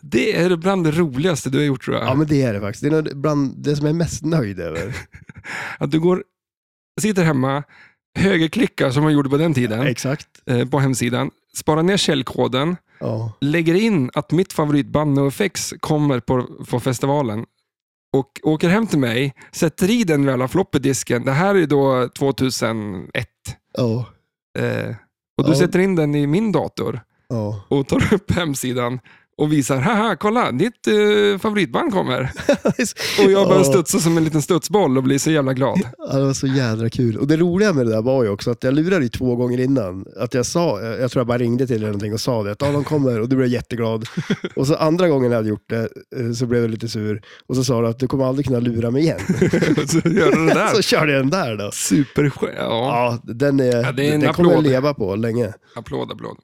Speaker 1: Det är bland det roligaste du har gjort tror jag.
Speaker 2: Ja, men det är det faktiskt. Det är nog bland det som jag är mest nöjd över.
Speaker 1: Att du går, sitter hemma, högerklickar som man gjorde på den tiden
Speaker 2: Exakt.
Speaker 1: eh, på hemsidan, sparar ner källkoden,
Speaker 2: Ja. lägger
Speaker 1: lägger in att mitt favoritband NoFX kommer på, på festivalen och åker hem till mig, sätter i den jävla floppedisken. Det här är då 2001.
Speaker 2: Ja.
Speaker 1: Eh, och du
Speaker 2: Ja.
Speaker 1: sätter in den i min dator.
Speaker 2: Ja.
Speaker 1: och tar upp hemsidan och visar, haha, kolla, ditt eh, favoritband kommer. Och jag börjar
Speaker 2: Ja.
Speaker 1: studsa som en liten studsboll och blir så jävla glad.
Speaker 2: Ja, det var så jädra kul. Och det roliga med det där var ju också att jag lurade ju två gånger innan. Att jag sa, jag tror jag bara ringde till dig någonting och sa det, att ah, de kommer och du blev jätteglad. Och så andra gången jag hade gjort det eh, så blev jag lite sur. Och så sa du att du kommer aldrig kunna lura mig igen.
Speaker 1: Och så gör du det
Speaker 2: Så
Speaker 1: där.
Speaker 2: körde jag den där då.
Speaker 1: Superskön. Ja,
Speaker 2: Ja, den, är,
Speaker 1: det är en
Speaker 2: den kommer jag
Speaker 1: applåd.
Speaker 2: leva på länge.
Speaker 1: applåd, applåd.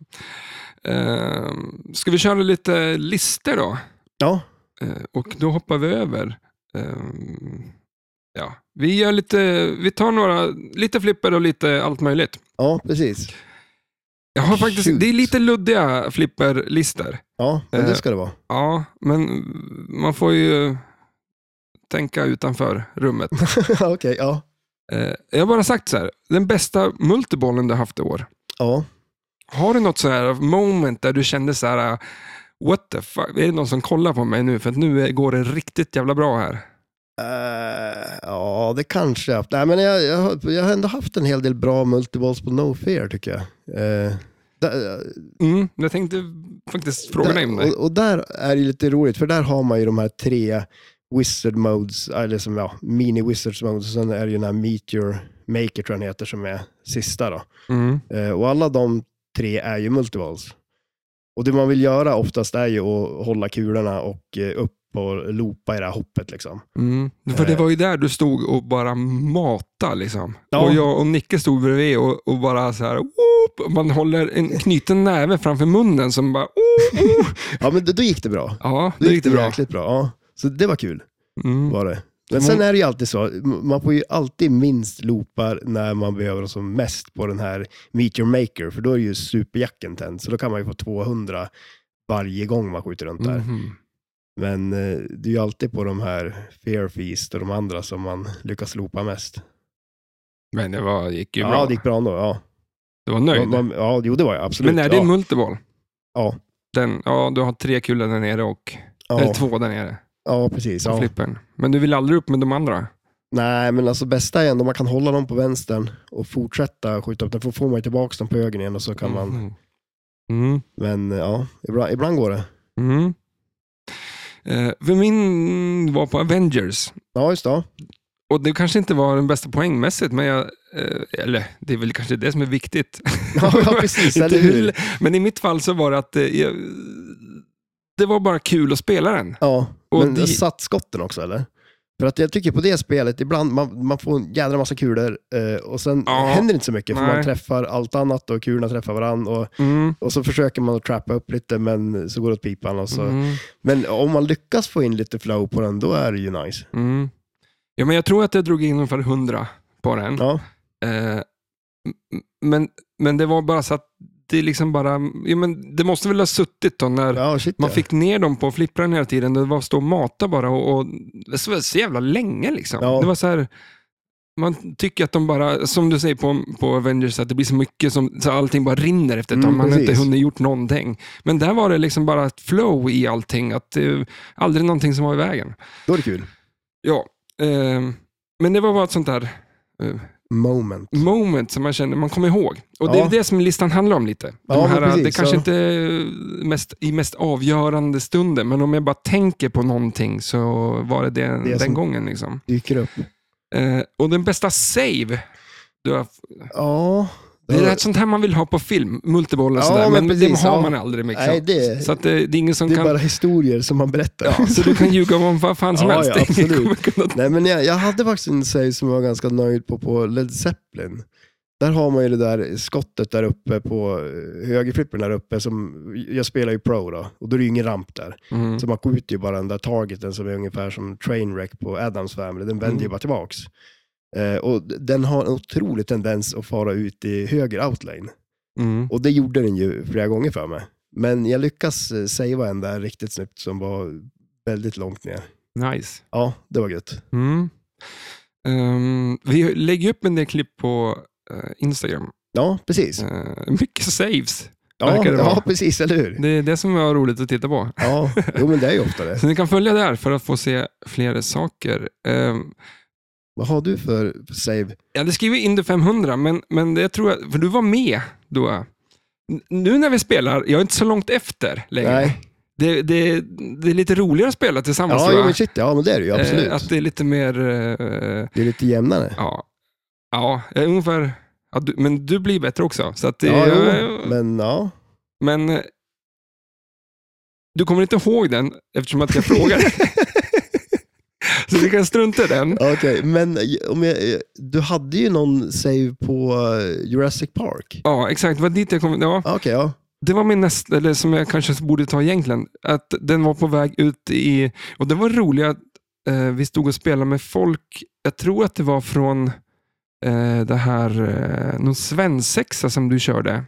Speaker 1: Ehm, ska vi köra lite lister då?
Speaker 2: Ja,
Speaker 1: Eh, och då hoppar vi över. Ehm, ja. Vi gör lite, vi tar några, lite flipper och lite allt möjligt.
Speaker 2: ja precis.
Speaker 1: Jag har faktiskt,
Speaker 2: Shoot.
Speaker 1: det är lite luddiga flipperlister.
Speaker 2: Ja, men
Speaker 1: Eh,
Speaker 2: det ska det vara.
Speaker 1: Ja, men man får ju tänka utanför rummet.
Speaker 2: Okej, ja.
Speaker 1: Eh, Jag har bara sagt så här, den bästa multibollen du haft i år.
Speaker 2: Ja.
Speaker 1: Har du något så här moment där du kände så här, "Ah, what the fuck, är det någon som kollar på mig nu? För att nu är- går det riktigt jävla bra här.
Speaker 2: Eh, ja, det kanske jag haft. Nej, men jag, jag, har- jag har ändå haft en hel del bra multiballs på No Fear tycker jag. Eh, där-
Speaker 1: Mm, jag tänkte faktiskt fråga dig om
Speaker 2: där,
Speaker 1: det.
Speaker 2: och, och där är det lite roligt, för där har man ju de här tre Wizard Modes, eller som, ja, Mini Wizards Modes. Och sen är det ju den här Meteor Maker, tror jag den heter, som är sista då.
Speaker 1: Mm.
Speaker 2: Eh, Och alla de tre är ju multivals. Och det man vill göra oftast är ju att hålla kulorna och eh, upp och loopa i det här hoppet. Liksom.
Speaker 1: Mm. För det var ju där du stod och bara mata liksom.
Speaker 2: Ja.
Speaker 1: Och jag och Nicke stod bredvid och, och bara så här, "Oop!" man håller en knuten näve framför munnen som bara, "Oop, oop."
Speaker 2: Ja, men då- då gick det bra.
Speaker 1: ja,
Speaker 2: Då
Speaker 1: det är riktigt bra.
Speaker 2: jäkligt bra. Ja. Så det var kul.
Speaker 1: Mm.
Speaker 2: Var det. Men sen är det ju alltid så, m- man får ju alltid minst loopar när man behöver dem som mest på den här Meet Your Maker, för då är ju superjacken tänd, så då kan man ju få 200 varje gång man skjuter runt där.
Speaker 1: Mhm.
Speaker 2: Men eh, det är ju alltid på de här Fair Feast och de andra som man lyckas loopa mest.
Speaker 1: Men det var, gick ju bra.
Speaker 2: Ja, det gick bra ändå. Ja.
Speaker 1: Du var nöjd.
Speaker 2: Man, man, ja, jo, det var jag absolut.
Speaker 1: Men är det
Speaker 2: ja.
Speaker 1: en multiball?
Speaker 2: Ja.
Speaker 1: Den, ja, du har tre kulor där nere och, eller
Speaker 2: ja.
Speaker 1: två där nere.
Speaker 2: ja, precis.
Speaker 1: Ja.
Speaker 2: Ja.
Speaker 1: Flippen. Men du vill aldrig upp med de andra?
Speaker 2: Nej, men alltså bästa är ändå man kan hålla dem på vänstern och fortsätta skjuta upp den, för då får man ju tillbaka dem på högern igen och så kan man
Speaker 1: Mm. Mm.
Speaker 2: Men eh, ja, ibland, ibland går det.
Speaker 1: Mm. Eh, för min var på Avengers.
Speaker 2: Ja, just det.
Speaker 1: Och det kanske inte var den bästa poängmässigt, men jag, eh, eller det är väl kanske det som är viktigt.
Speaker 2: Ja, ja, precis.
Speaker 1: Inte
Speaker 2: eller hur?
Speaker 1: hur- Men i mitt fall så var det att eh, jag, det var bara kul att spela den.
Speaker 2: Ja,
Speaker 1: Och
Speaker 2: men
Speaker 1: det-
Speaker 2: satt skotten också eller? För att jag tycker på det spelet, ibland man, man får en jädra massa kulor eh, och sen
Speaker 1: Ja.
Speaker 2: händer det inte så mycket för
Speaker 1: Nej.
Speaker 2: man träffar allt annat och kulorna träffar varandra och,
Speaker 1: Mm.
Speaker 2: och så försöker man att trappa upp lite men så går det åt pipan. Och så.
Speaker 1: Mm.
Speaker 2: Men om man lyckas få in lite flow på den, då är det ju nice.
Speaker 1: Mm. Ja, men jag tror att jag drog in ungefär 100 på den.
Speaker 2: Ja,
Speaker 1: Eh, m- m- men, men det var bara så att det liksom bara, ja, men det måste väl ha suttit då när
Speaker 2: ja shit
Speaker 1: man
Speaker 2: ja.
Speaker 1: fick ner dem på flippran hela tiden. Det var att stå och mata bara och, och det var så jävla länge liksom.
Speaker 2: Ja.
Speaker 1: Det var så här, man tycker att de bara, som du säger på, på Avengers, att det blir så mycket som så allting bara rinner efter ett tag.
Speaker 2: Mm,
Speaker 1: Man har inte
Speaker 2: precis.
Speaker 1: hunnit gjort någonting. Men där var det liksom bara ett flow i allting. Att, eh, aldrig någonting som var i vägen.
Speaker 2: Då är det kul.
Speaker 1: Ja, ehm, men det var bara ett sånt där eh,
Speaker 2: Moment.
Speaker 1: moment som man känner man kommer ihåg. Och det
Speaker 2: Ja.
Speaker 1: är det som listan handlar om lite. De
Speaker 2: Ja, men
Speaker 1: här,
Speaker 2: precis,
Speaker 1: det kanske
Speaker 2: ja.
Speaker 1: inte är mest, i mest avgörande stunden, men om jag bara tänker på någonting så var det, det den
Speaker 2: som-
Speaker 1: gången. Liksom.
Speaker 2: Dyker upp.
Speaker 1: Eh, och den bästa save, du har,
Speaker 2: Ja.
Speaker 1: det är ett sånt här man vill ha på film, multiboll och
Speaker 2: Ja,
Speaker 1: sådär, men,
Speaker 2: men precis,
Speaker 1: det har
Speaker 2: ja.
Speaker 1: man aldrig. Liksom.
Speaker 2: Nej, det,
Speaker 1: Så att det, det är ingen som
Speaker 2: det är
Speaker 1: kan...
Speaker 2: bara historier som man berättar.
Speaker 1: Ja, så du kan ljuga om vad fan som
Speaker 2: Ja,
Speaker 1: helst.
Speaker 2: ja, absolut.
Speaker 1: Ingen kommer kunna...
Speaker 2: Nej, men jag, jag hade faktiskt en save som jag var ganska nöjd på, på Led Zeppelin. Där har man ju det där skottet där uppe på eh, högerflippen där uppe. Som, jag spelar ju pro då, och då är det ju ingen ramp där.
Speaker 1: Mm.
Speaker 2: Så man skjuter ju bara den där targeten som är ungefär som Trainwreck på Adams Family. Den vänder ju
Speaker 1: Mm.
Speaker 2: bara tillbaks. Eh, och d- den har en otrolig tendens att fara ut i höger outlane.
Speaker 1: Mm.
Speaker 2: Och det gjorde den ju flera gånger för mig. Men jag lyckas eh, savea en där riktigt snyggt som var väldigt långt ner.
Speaker 1: Nice.
Speaker 2: Ja, det var gött.
Speaker 1: Mm. Ehm, vi lägger upp en del klipp på eh, Instagram.
Speaker 2: Ja, precis.
Speaker 1: Eh, mycket saves.
Speaker 2: Ja,
Speaker 1: verkar det vara.
Speaker 2: ja precis, eller hur?
Speaker 1: Det är det som är roligt att titta på.
Speaker 2: Ja, jo men det är ju ofta det.
Speaker 1: Så ni kan följa där för att få se fler saker. Ehm,
Speaker 2: Vad har du för för save?
Speaker 1: jag hade skrivit in det 500, men, men det tror jag, för du var med då. N- Nu när vi spelar, jag är inte så långt efter längre.
Speaker 2: Nej.
Speaker 1: Det, det, det är lite roligare att spela tillsammans.
Speaker 2: Ja,
Speaker 1: tror
Speaker 2: jo,
Speaker 1: jag.
Speaker 2: men shit, ja men det är det ju
Speaker 1: Eh,
Speaker 2: absolut.
Speaker 1: Att det är lite mer... eh,
Speaker 2: Det är lite jämnare.
Speaker 1: Ja, ja eh, ungefär. Ja, du, men du blir bättre också. Så att det,
Speaker 2: Ja, jo,
Speaker 1: eh,
Speaker 2: men ja.
Speaker 1: men eh, du kommer inte ihåg den eftersom att jag frågar. så vi kan strunta i den.
Speaker 2: Okej, men eh, om jag, du hade ju någon save på eh, Jurassic Park.
Speaker 1: Ja, exakt. Det var dit jag kom. Ja,
Speaker 2: Ja, Okej, ja.
Speaker 1: det var min nästa, eller som jag kanske borde ta egentligen. Att den var på väg ut i, och det var roliga, eh, vi stod och spelade med folk, jag tror att det var från eh, det här, eh, någon svensexa som du körde.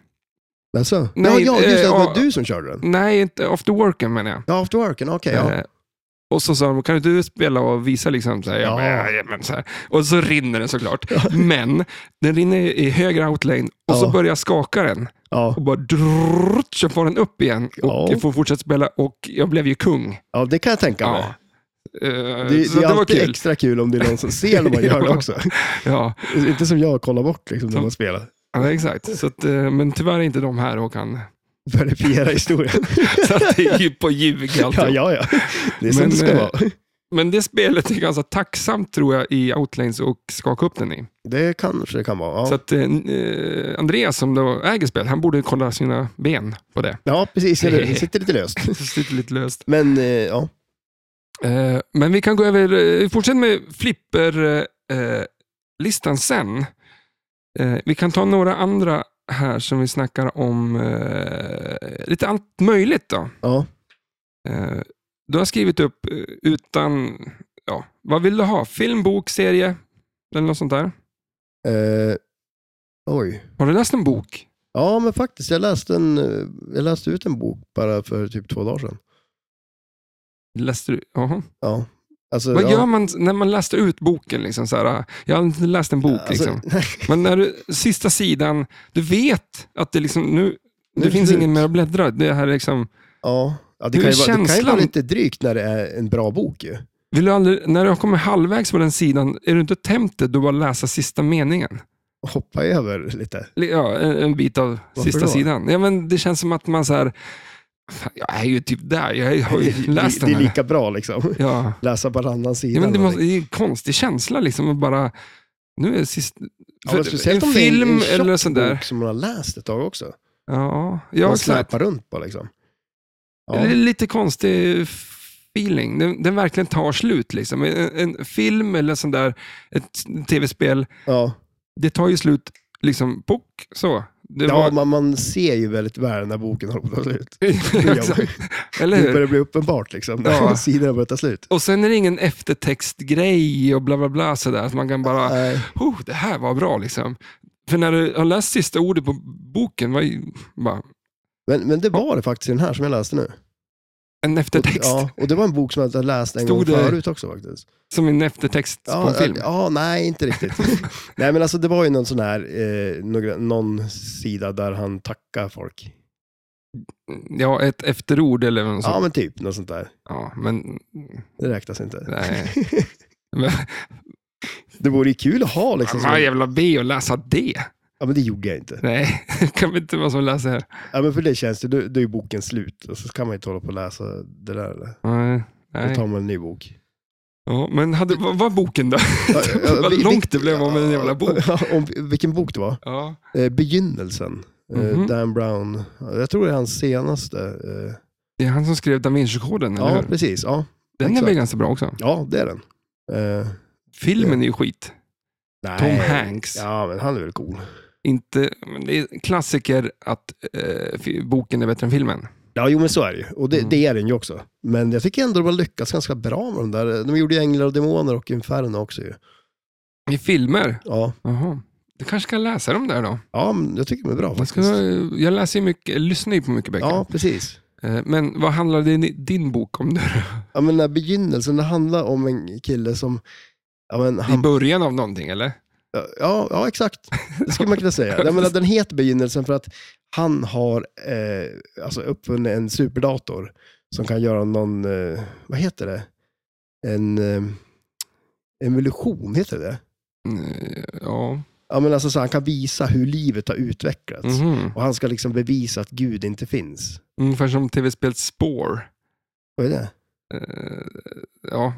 Speaker 2: Alltså,
Speaker 1: Nej,
Speaker 2: ja, ja, just det,
Speaker 1: eh,
Speaker 2: det var
Speaker 1: ja.
Speaker 2: du som körde den.
Speaker 1: Nej, inte after worken menar jag.
Speaker 2: Ja, After Worken, okej. ja.
Speaker 1: Eh, Och så sa de, kan inte du spela och visa? Liksom, så här, jag
Speaker 2: Ja.
Speaker 1: bara, "Ja, jajamän", så här. Och så rinner den såklart. Men den rinner i höger outlane och så
Speaker 2: Ja.
Speaker 1: börjar jag skaka den.
Speaker 2: ja.
Speaker 1: Och bara drrrt, så far den upp igen. Och
Speaker 2: Ja.
Speaker 1: jag får fortsätta spela och jag blev ju kung.
Speaker 2: ja, det kan jag tänka mig.
Speaker 1: Ja. Eh,
Speaker 2: Det,
Speaker 1: så
Speaker 2: det är
Speaker 1: det var
Speaker 2: alltid
Speaker 1: kul.
Speaker 2: extra kul om det är någon som ser när man gör det
Speaker 1: Ja.
Speaker 2: också.
Speaker 1: Ja,
Speaker 2: Inte som jag, kollar bort liksom, när man spelar.
Speaker 1: ja, exakt. Så att, eh, men tyvärr är inte de här och kan.
Speaker 2: Verifiera historien.
Speaker 1: Så att det är ju på ljug
Speaker 2: Ja,
Speaker 1: alltihop.
Speaker 2: ja, ja. Det är som
Speaker 1: Men,
Speaker 2: det ska
Speaker 1: eh,
Speaker 2: vara.
Speaker 1: Men det spelet är ganska tacksamt tror jag i Outlanes och skaka upp den i.
Speaker 2: Det kanske det kan vara. Ja,
Speaker 1: Så att eh, eh, Andreas som då äger spel, han borde kolla sina ben på det.
Speaker 2: ja precis. Det sitter lite löst.
Speaker 1: Det sitter lite löst.
Speaker 2: Men eh, ja,
Speaker 1: Eh, men vi kan gå över, eh, vi fortsätter med flipper-listan sen. Eh, vi kan ta några andra här som vi snackar om eh, lite allt möjligt. Då.
Speaker 2: ja.
Speaker 1: Eh, du har skrivit upp eh, utan, ja, vad vill du ha? Film, bok, serie? Eller något sånt där.
Speaker 2: Eh, oj.
Speaker 1: Har du läst en bok?
Speaker 2: Ja, men faktiskt. Jag läste, en, eh, jag läste ut en bok bara för typ två dagar sedan.
Speaker 1: Läste du? Jaha.
Speaker 2: Ja. Alltså,
Speaker 1: Vad
Speaker 2: ja,
Speaker 1: gör man när man läste ut boken? Liksom, så här, jag har inte läst en bok.
Speaker 2: Alltså,
Speaker 1: liksom. Men när du, sista sidan, du vet att det liksom, nu,
Speaker 2: Nu
Speaker 1: det
Speaker 2: är
Speaker 1: finns
Speaker 2: slut.
Speaker 1: ingen mer att bläddra. Det här är liksom,
Speaker 2: ja. ja det,
Speaker 1: Hur
Speaker 2: kan
Speaker 1: är
Speaker 2: ju vara, det kan ju
Speaker 1: känslan?
Speaker 2: vara lite drygt när det är en bra bok ju.
Speaker 1: vill du aldrig, när du kommer halvvägs på den sidan, är du inte tempted att bara läsa sista meningen?
Speaker 2: Hoppa över lite.
Speaker 1: Eller, Ja, en, en bit av
Speaker 2: Varför
Speaker 1: sista
Speaker 2: då?
Speaker 1: sidan. Ja, men det känns som att man så här, "Fan, jag är ju typ där, jag har ju läst
Speaker 2: det,
Speaker 1: den
Speaker 2: det är
Speaker 1: här.
Speaker 2: lika bra liksom.
Speaker 1: Ja.
Speaker 2: Läsa varannan sida. liksom.
Speaker 1: Ja, men det,
Speaker 2: eller
Speaker 1: måste, det är en konstig känsla liksom att bara, nu är det sist...
Speaker 2: Ja,
Speaker 1: för
Speaker 2: men speciellt
Speaker 1: en
Speaker 2: om det är
Speaker 1: film
Speaker 2: tjock
Speaker 1: eller sånt där.
Speaker 2: bok som man har läst ett tag också.
Speaker 1: Ja, ja
Speaker 2: man
Speaker 1: exakt.
Speaker 2: släpar runt på liksom. Ja.
Speaker 1: Det är lite konstig feeling. Den, den verkligen tar slut. Liksom. En, en film eller sån där, ett tv-spel,
Speaker 2: Ja.
Speaker 1: det tar ju slut liksom pock, så. Det
Speaker 2: Ja,
Speaker 1: var-
Speaker 2: man, man ser ju väldigt väl när boken håller på att ta slut.
Speaker 1: Exakt. eller
Speaker 2: Det
Speaker 1: hur?
Speaker 2: börjar bli uppenbart liksom, när
Speaker 1: Ja.
Speaker 2: sidorna börjar ta slut.
Speaker 1: Och sen är det ingen eftertextgrej och bla bla bla sådär. Så man kan bara,
Speaker 2: Nej.
Speaker 1: oh, det här var bra liksom. För när du har läst sista ordet på boken, var ju bara
Speaker 2: Men, men det var det faktiskt i den här som jag läste nu.
Speaker 1: en eftertext.
Speaker 2: Och, ja, och det var en bok som jag hade läst en
Speaker 1: Stod
Speaker 2: gång
Speaker 1: det-
Speaker 2: förut också faktiskt.
Speaker 1: Som en eftertext på
Speaker 2: Ja,
Speaker 1: en film.
Speaker 2: ja, ja, nej, inte riktigt. nej, men alltså det var ju någon sån här, eh, några, någon sida där han tackar folk.
Speaker 1: Ja, ett efterord eller något
Speaker 2: Ja,
Speaker 1: sånt.
Speaker 2: men typ något sånt där.
Speaker 1: Ja, men...
Speaker 2: Det räknas inte.
Speaker 1: Nej. Men-
Speaker 2: Det vore ju kul att ha liksom.
Speaker 1: Vad
Speaker 2: Som,
Speaker 1: jävla B att läsa det?
Speaker 2: ja, men det gjorde jag inte.
Speaker 1: Nej, det kan vi inte vara som läser här.
Speaker 2: Ja, men för det känns det, då, då är ju boken slut och så kan man ju inte hålla på och läsa det där. Eller?
Speaker 1: Nej.
Speaker 2: Då
Speaker 1: Nej.
Speaker 2: tar man en ny bok.
Speaker 1: Ja, men hade, vad var boken då?
Speaker 2: Ja, ja,
Speaker 1: Vad
Speaker 2: vi-
Speaker 1: långt det blev om en jävla bok.
Speaker 2: Ja, om, vilken bok det var.
Speaker 1: Ja.
Speaker 2: Eh, Begynnelsen. Eh,
Speaker 1: Mhm.
Speaker 2: Dan Brown. Ja, Jag tror det är hans senaste. Eh,
Speaker 1: Det är han som skrev Da Vinci-koden, eller
Speaker 2: ja,
Speaker 1: hur?
Speaker 2: precis. Ja.
Speaker 1: Den är
Speaker 2: exakt.
Speaker 1: väl ganska bra också?
Speaker 2: ja, det är den. Eh,
Speaker 1: Filmen är ju skit.
Speaker 2: nej.
Speaker 1: Tom Hanks.
Speaker 2: Ja, men han är väl cool.
Speaker 1: Inte, men det är en klassiker att eh, fi- boken är bättre än filmen.
Speaker 2: Ja, jo men så är det ju. Och det,
Speaker 1: Mm.
Speaker 2: det är den ju också. Men jag tycker ändå de har lyckats ganska bra med de där. De gjorde ju Änglar och Demoner och Inferno också ju.
Speaker 1: I filmer?
Speaker 2: Ja,
Speaker 1: Jaha. Du kanske ska läsa dem där då?
Speaker 2: ja men jag tycker de är bra
Speaker 1: Jag, ska,
Speaker 2: faktiskt.
Speaker 1: jag läser ju mycket, lyssnar ju på mycket böcker.
Speaker 2: Ja, precis.
Speaker 1: Eh, Men vad handlade din, din bok om då?
Speaker 2: Ja, men den här begynnelsen, det handlar om en kille som... Ja, men
Speaker 1: I
Speaker 2: han,
Speaker 1: början av någonting, eller?
Speaker 2: ja, ja, exakt. Det skulle man kunna säga. Jag menar, den heter begynnelsen för att han har eh, alltså uppfunnit en superdator som kan göra någon, eh, vad heter det? En eh, evolution, heter det
Speaker 1: Mm, Ja.
Speaker 2: ja, men alltså, så Han kan visa hur livet har utvecklats.
Speaker 1: Mhm.
Speaker 2: Och han ska liksom bevisa att Gud inte finns.
Speaker 1: Ungefär som tv-spelet Spore.
Speaker 2: Vad är det?
Speaker 1: Eh, Ja,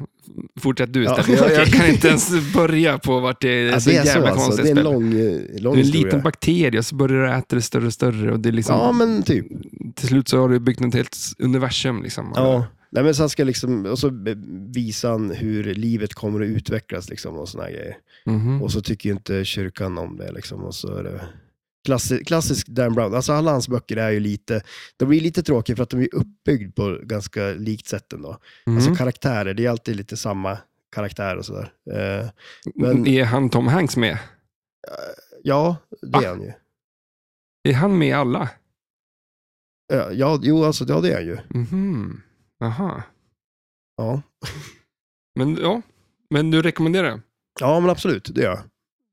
Speaker 1: fortsätt du
Speaker 2: Ja,
Speaker 1: istället.
Speaker 2: okej.
Speaker 1: jag, jag kan inte ens börja på vart det är. Det är
Speaker 2: Ja,
Speaker 1: så
Speaker 2: det är så
Speaker 1: jävla
Speaker 2: alltså.
Speaker 1: konstigt
Speaker 2: Det är en
Speaker 1: spel.
Speaker 2: lång, eh, lång
Speaker 1: du är en
Speaker 2: historia.
Speaker 1: liten bakterie och så börjar du äta det större och större. Och det är liksom,
Speaker 2: ja, men typ.
Speaker 1: Till slut så har du byggt ett helt s- universum. Liksom.
Speaker 2: Ja. Nej, men så han ska liksom, och så be- visar han hur livet kommer att utvecklas liksom, och såna här grejer.
Speaker 1: Mhm.
Speaker 2: Och så tycker ju inte kyrkan om det. Liksom, och så är det klassisk, klassisk Dan Brown. Alltså alla hans böcker är ju lite, de blir lite tråkiga för att de är uppbyggd på ganska likt sätt ändå.
Speaker 1: Mhm.
Speaker 2: Alltså karaktärer, det är alltid lite samma karaktär och sådär. Eh, men-
Speaker 1: Är han Tom Hanks med?
Speaker 2: ja, det
Speaker 1: Ah.
Speaker 2: är han ju.
Speaker 1: Är han med i alla?
Speaker 2: Eh, Ja, jo, alltså, ja, det är han ju.
Speaker 1: Mhm. Aha.
Speaker 2: Ja.
Speaker 1: Men, ja. men du rekommenderar den?
Speaker 2: ja, men absolut, det gör jag.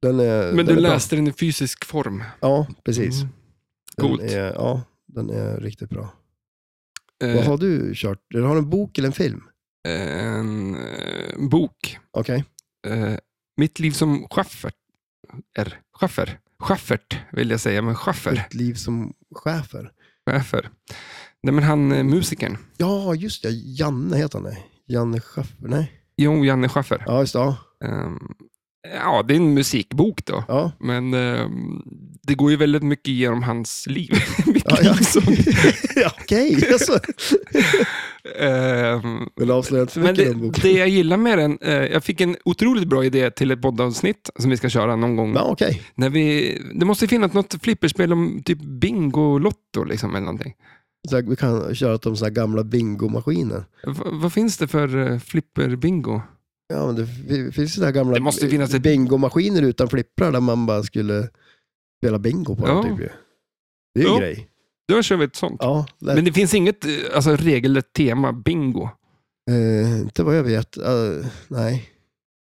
Speaker 2: Den är,
Speaker 1: Men
Speaker 2: den
Speaker 1: du
Speaker 2: Eh, är bra.
Speaker 1: läste den i fysisk form?
Speaker 2: Ja, precis.
Speaker 1: Mm. Coolt.
Speaker 2: Den är, ja, den är riktigt bra.
Speaker 1: Eh,
Speaker 2: Vad har du kört? Har du en bok eller en film?
Speaker 1: en eh, bok.
Speaker 2: Okej.
Speaker 1: Eh, mitt liv som Schaffert. R. Schaffer. Schaffert vill jag säga, men Schaffer.
Speaker 2: Ett liv som chefer.
Speaker 1: Schaffer. Nej, men han eh, musikern.
Speaker 2: Ja, just det. Janne heter han. Nej. Janne Schaffer. Nej.
Speaker 1: Jo, Janne Schaffer.
Speaker 2: Ja, just det. Ja.
Speaker 1: Ehm, ja, det är en musikbok då.
Speaker 2: Ja.
Speaker 1: Men ehm, det går ju väldigt mycket genom hans liv. Mitt
Speaker 2: Ja,
Speaker 1: liv
Speaker 2: ja.
Speaker 1: som,
Speaker 2: ja Okej, alltså.
Speaker 1: ehm,
Speaker 2: Vill avslöja inte för
Speaker 1: men
Speaker 2: mycket i den
Speaker 1: det,
Speaker 2: boken.
Speaker 1: det jag gillar med den, eh, jag fick en otroligt bra idé till ett poddavsnitt som vi ska köra någon gång.
Speaker 2: Ja, okej.
Speaker 1: När vi, det måste finnas något flipperspel om typ Bingolotto liksom, eller någonting.
Speaker 2: Så här, Vi kan köra de så här gamla bingomaskiner.
Speaker 1: V- vad finns det för eh, flipperbingo?
Speaker 2: Ja, men det fi- finns ju där gamla
Speaker 1: Det måste ju finnas ett-
Speaker 2: bingomaskiner utan flipprar där man bara skulle spela bingo på
Speaker 1: Ja.
Speaker 2: ja. typ. ju. Det är ju
Speaker 1: Ja.
Speaker 2: en grej.
Speaker 1: Då kör vi ett sånt.
Speaker 2: Ja, det,
Speaker 1: Men det finns inget eh, alltså, regelrätt tema bingo.
Speaker 2: eh, inte vad jag vet. Eh, nej.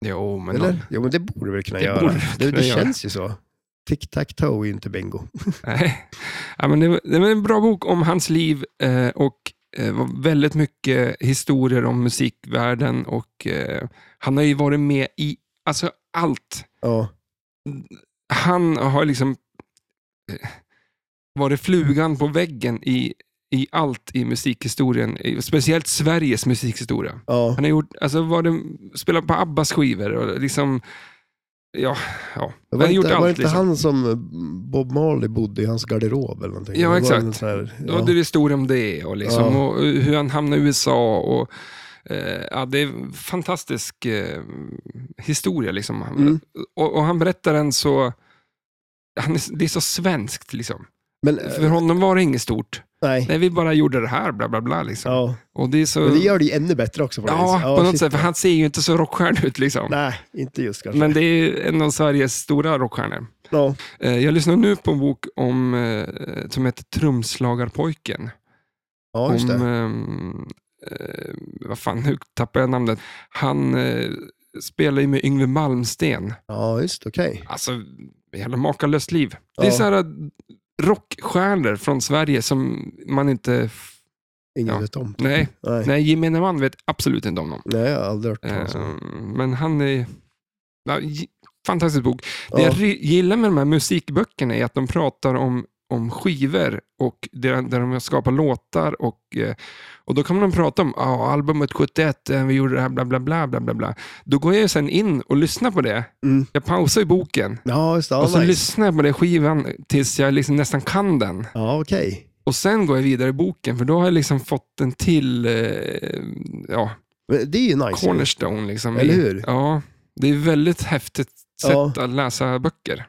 Speaker 1: Jo, men någon-
Speaker 2: Eller? Jo, men det borde vi väl kunna
Speaker 1: Det
Speaker 2: göra.
Speaker 1: borde vi
Speaker 2: det
Speaker 1: kunna
Speaker 2: det
Speaker 1: göra.
Speaker 2: känns ju så. Tic-tac-toe är ju inte bingo.
Speaker 1: Nej. Ja, men det, var- det var en bra bok om hans liv eh, och eh, var väldigt mycket historier om musikvärlden. Och, eh, han har ju varit med i alltså, allt.
Speaker 2: Ja,
Speaker 1: Han har liksom eh, varit flugan på väggen i, i allt i musikhistorien. i- Speciellt Sveriges musikhistoria.
Speaker 2: ja.
Speaker 1: Han har gjort, alltså, var det, spelat på Abbas skivor och liksom, ja, ja. Han
Speaker 2: Var
Speaker 1: har
Speaker 2: det
Speaker 1: gjort
Speaker 2: inte, var det
Speaker 1: allt.
Speaker 2: inte
Speaker 1: Liksom.
Speaker 2: han som eh, Bob Marley bodde i hans garderob eller någonting?
Speaker 1: Ja,
Speaker 2: Det var
Speaker 1: exakt.
Speaker 2: en sån här-
Speaker 1: Då hade
Speaker 2: ja.
Speaker 1: du historia om det och, liksom,
Speaker 2: Ja.
Speaker 1: och hur han hamnade i USA. Och, eh, ja, det är en fantastisk eh, historia. Liksom. Han-
Speaker 2: Mm.
Speaker 1: Och, och han berättar den så... Han är, det är så svenskt. Liksom.
Speaker 2: Men,
Speaker 1: För
Speaker 2: eh,
Speaker 1: honom var det inget stort.
Speaker 2: nej.
Speaker 1: Nej, vi bara gjorde det här, bla bla bla. Liksom.
Speaker 2: Ja.
Speaker 1: Och det är så...
Speaker 2: Men det gör det ju ännu bättre också. På det
Speaker 1: ja,
Speaker 2: viset.
Speaker 1: på något
Speaker 2: shit.
Speaker 1: sätt. För han ser ju inte så rockstjärna ut. Liksom.
Speaker 2: Nej, inte just kanske.
Speaker 1: Men det är en av Sveriges stora rockstjärnor.
Speaker 2: Ja.
Speaker 1: Eh, Jag lyssnar nu på en bok om, eh, som heter Trumslagarpojken.
Speaker 2: ja, just
Speaker 1: om,
Speaker 2: det.
Speaker 1: ehm, eh, vad fan, nu tappar jag namnet. Han eh, spelar ju med Yngwie Malmsteen.
Speaker 2: Ja, just okej.
Speaker 1: Alltså, jävla makalöst liv. Det är
Speaker 2: Ja.
Speaker 1: så här eh, rockstjärnor från Sverige som man inte... f-
Speaker 2: Ingen
Speaker 1: Ja.
Speaker 2: vet om.
Speaker 1: Nej,
Speaker 2: Nej. Nej.
Speaker 1: nej gemene man vet absolut inte om dem.
Speaker 2: jag har aldrig hört talas om.
Speaker 1: Ehm, men han är... Ja, j- fantastisk bok. Det
Speaker 2: Ja.
Speaker 1: jag ri- gillar med de här musikböckerna är att de pratar om, om skivor och där, där de skapar låtar. Och, eh, och Då kan de prata om ah, albumet 71, eh, vi gjorde det här, bla bla bla. bla, bla, bla. Då går jag ju sen in och lyssnar på det.
Speaker 2: Mm.
Speaker 1: Jag pausar i boken
Speaker 2: Ja, just det. Ja,
Speaker 1: och så
Speaker 2: nice.
Speaker 1: lyssnar jag på den skivan tills jag liksom nästan kan den.
Speaker 2: ja okej.
Speaker 1: Och Sen går jag vidare i boken, för då har jag liksom fått en till eh, ja,
Speaker 2: Men Det är ju nice.
Speaker 1: cornerstone. Liksom,
Speaker 2: Eller
Speaker 1: i-
Speaker 2: hur?
Speaker 1: Ja, det är väldigt häftigt sätt
Speaker 2: Ja.
Speaker 1: att läsa böcker.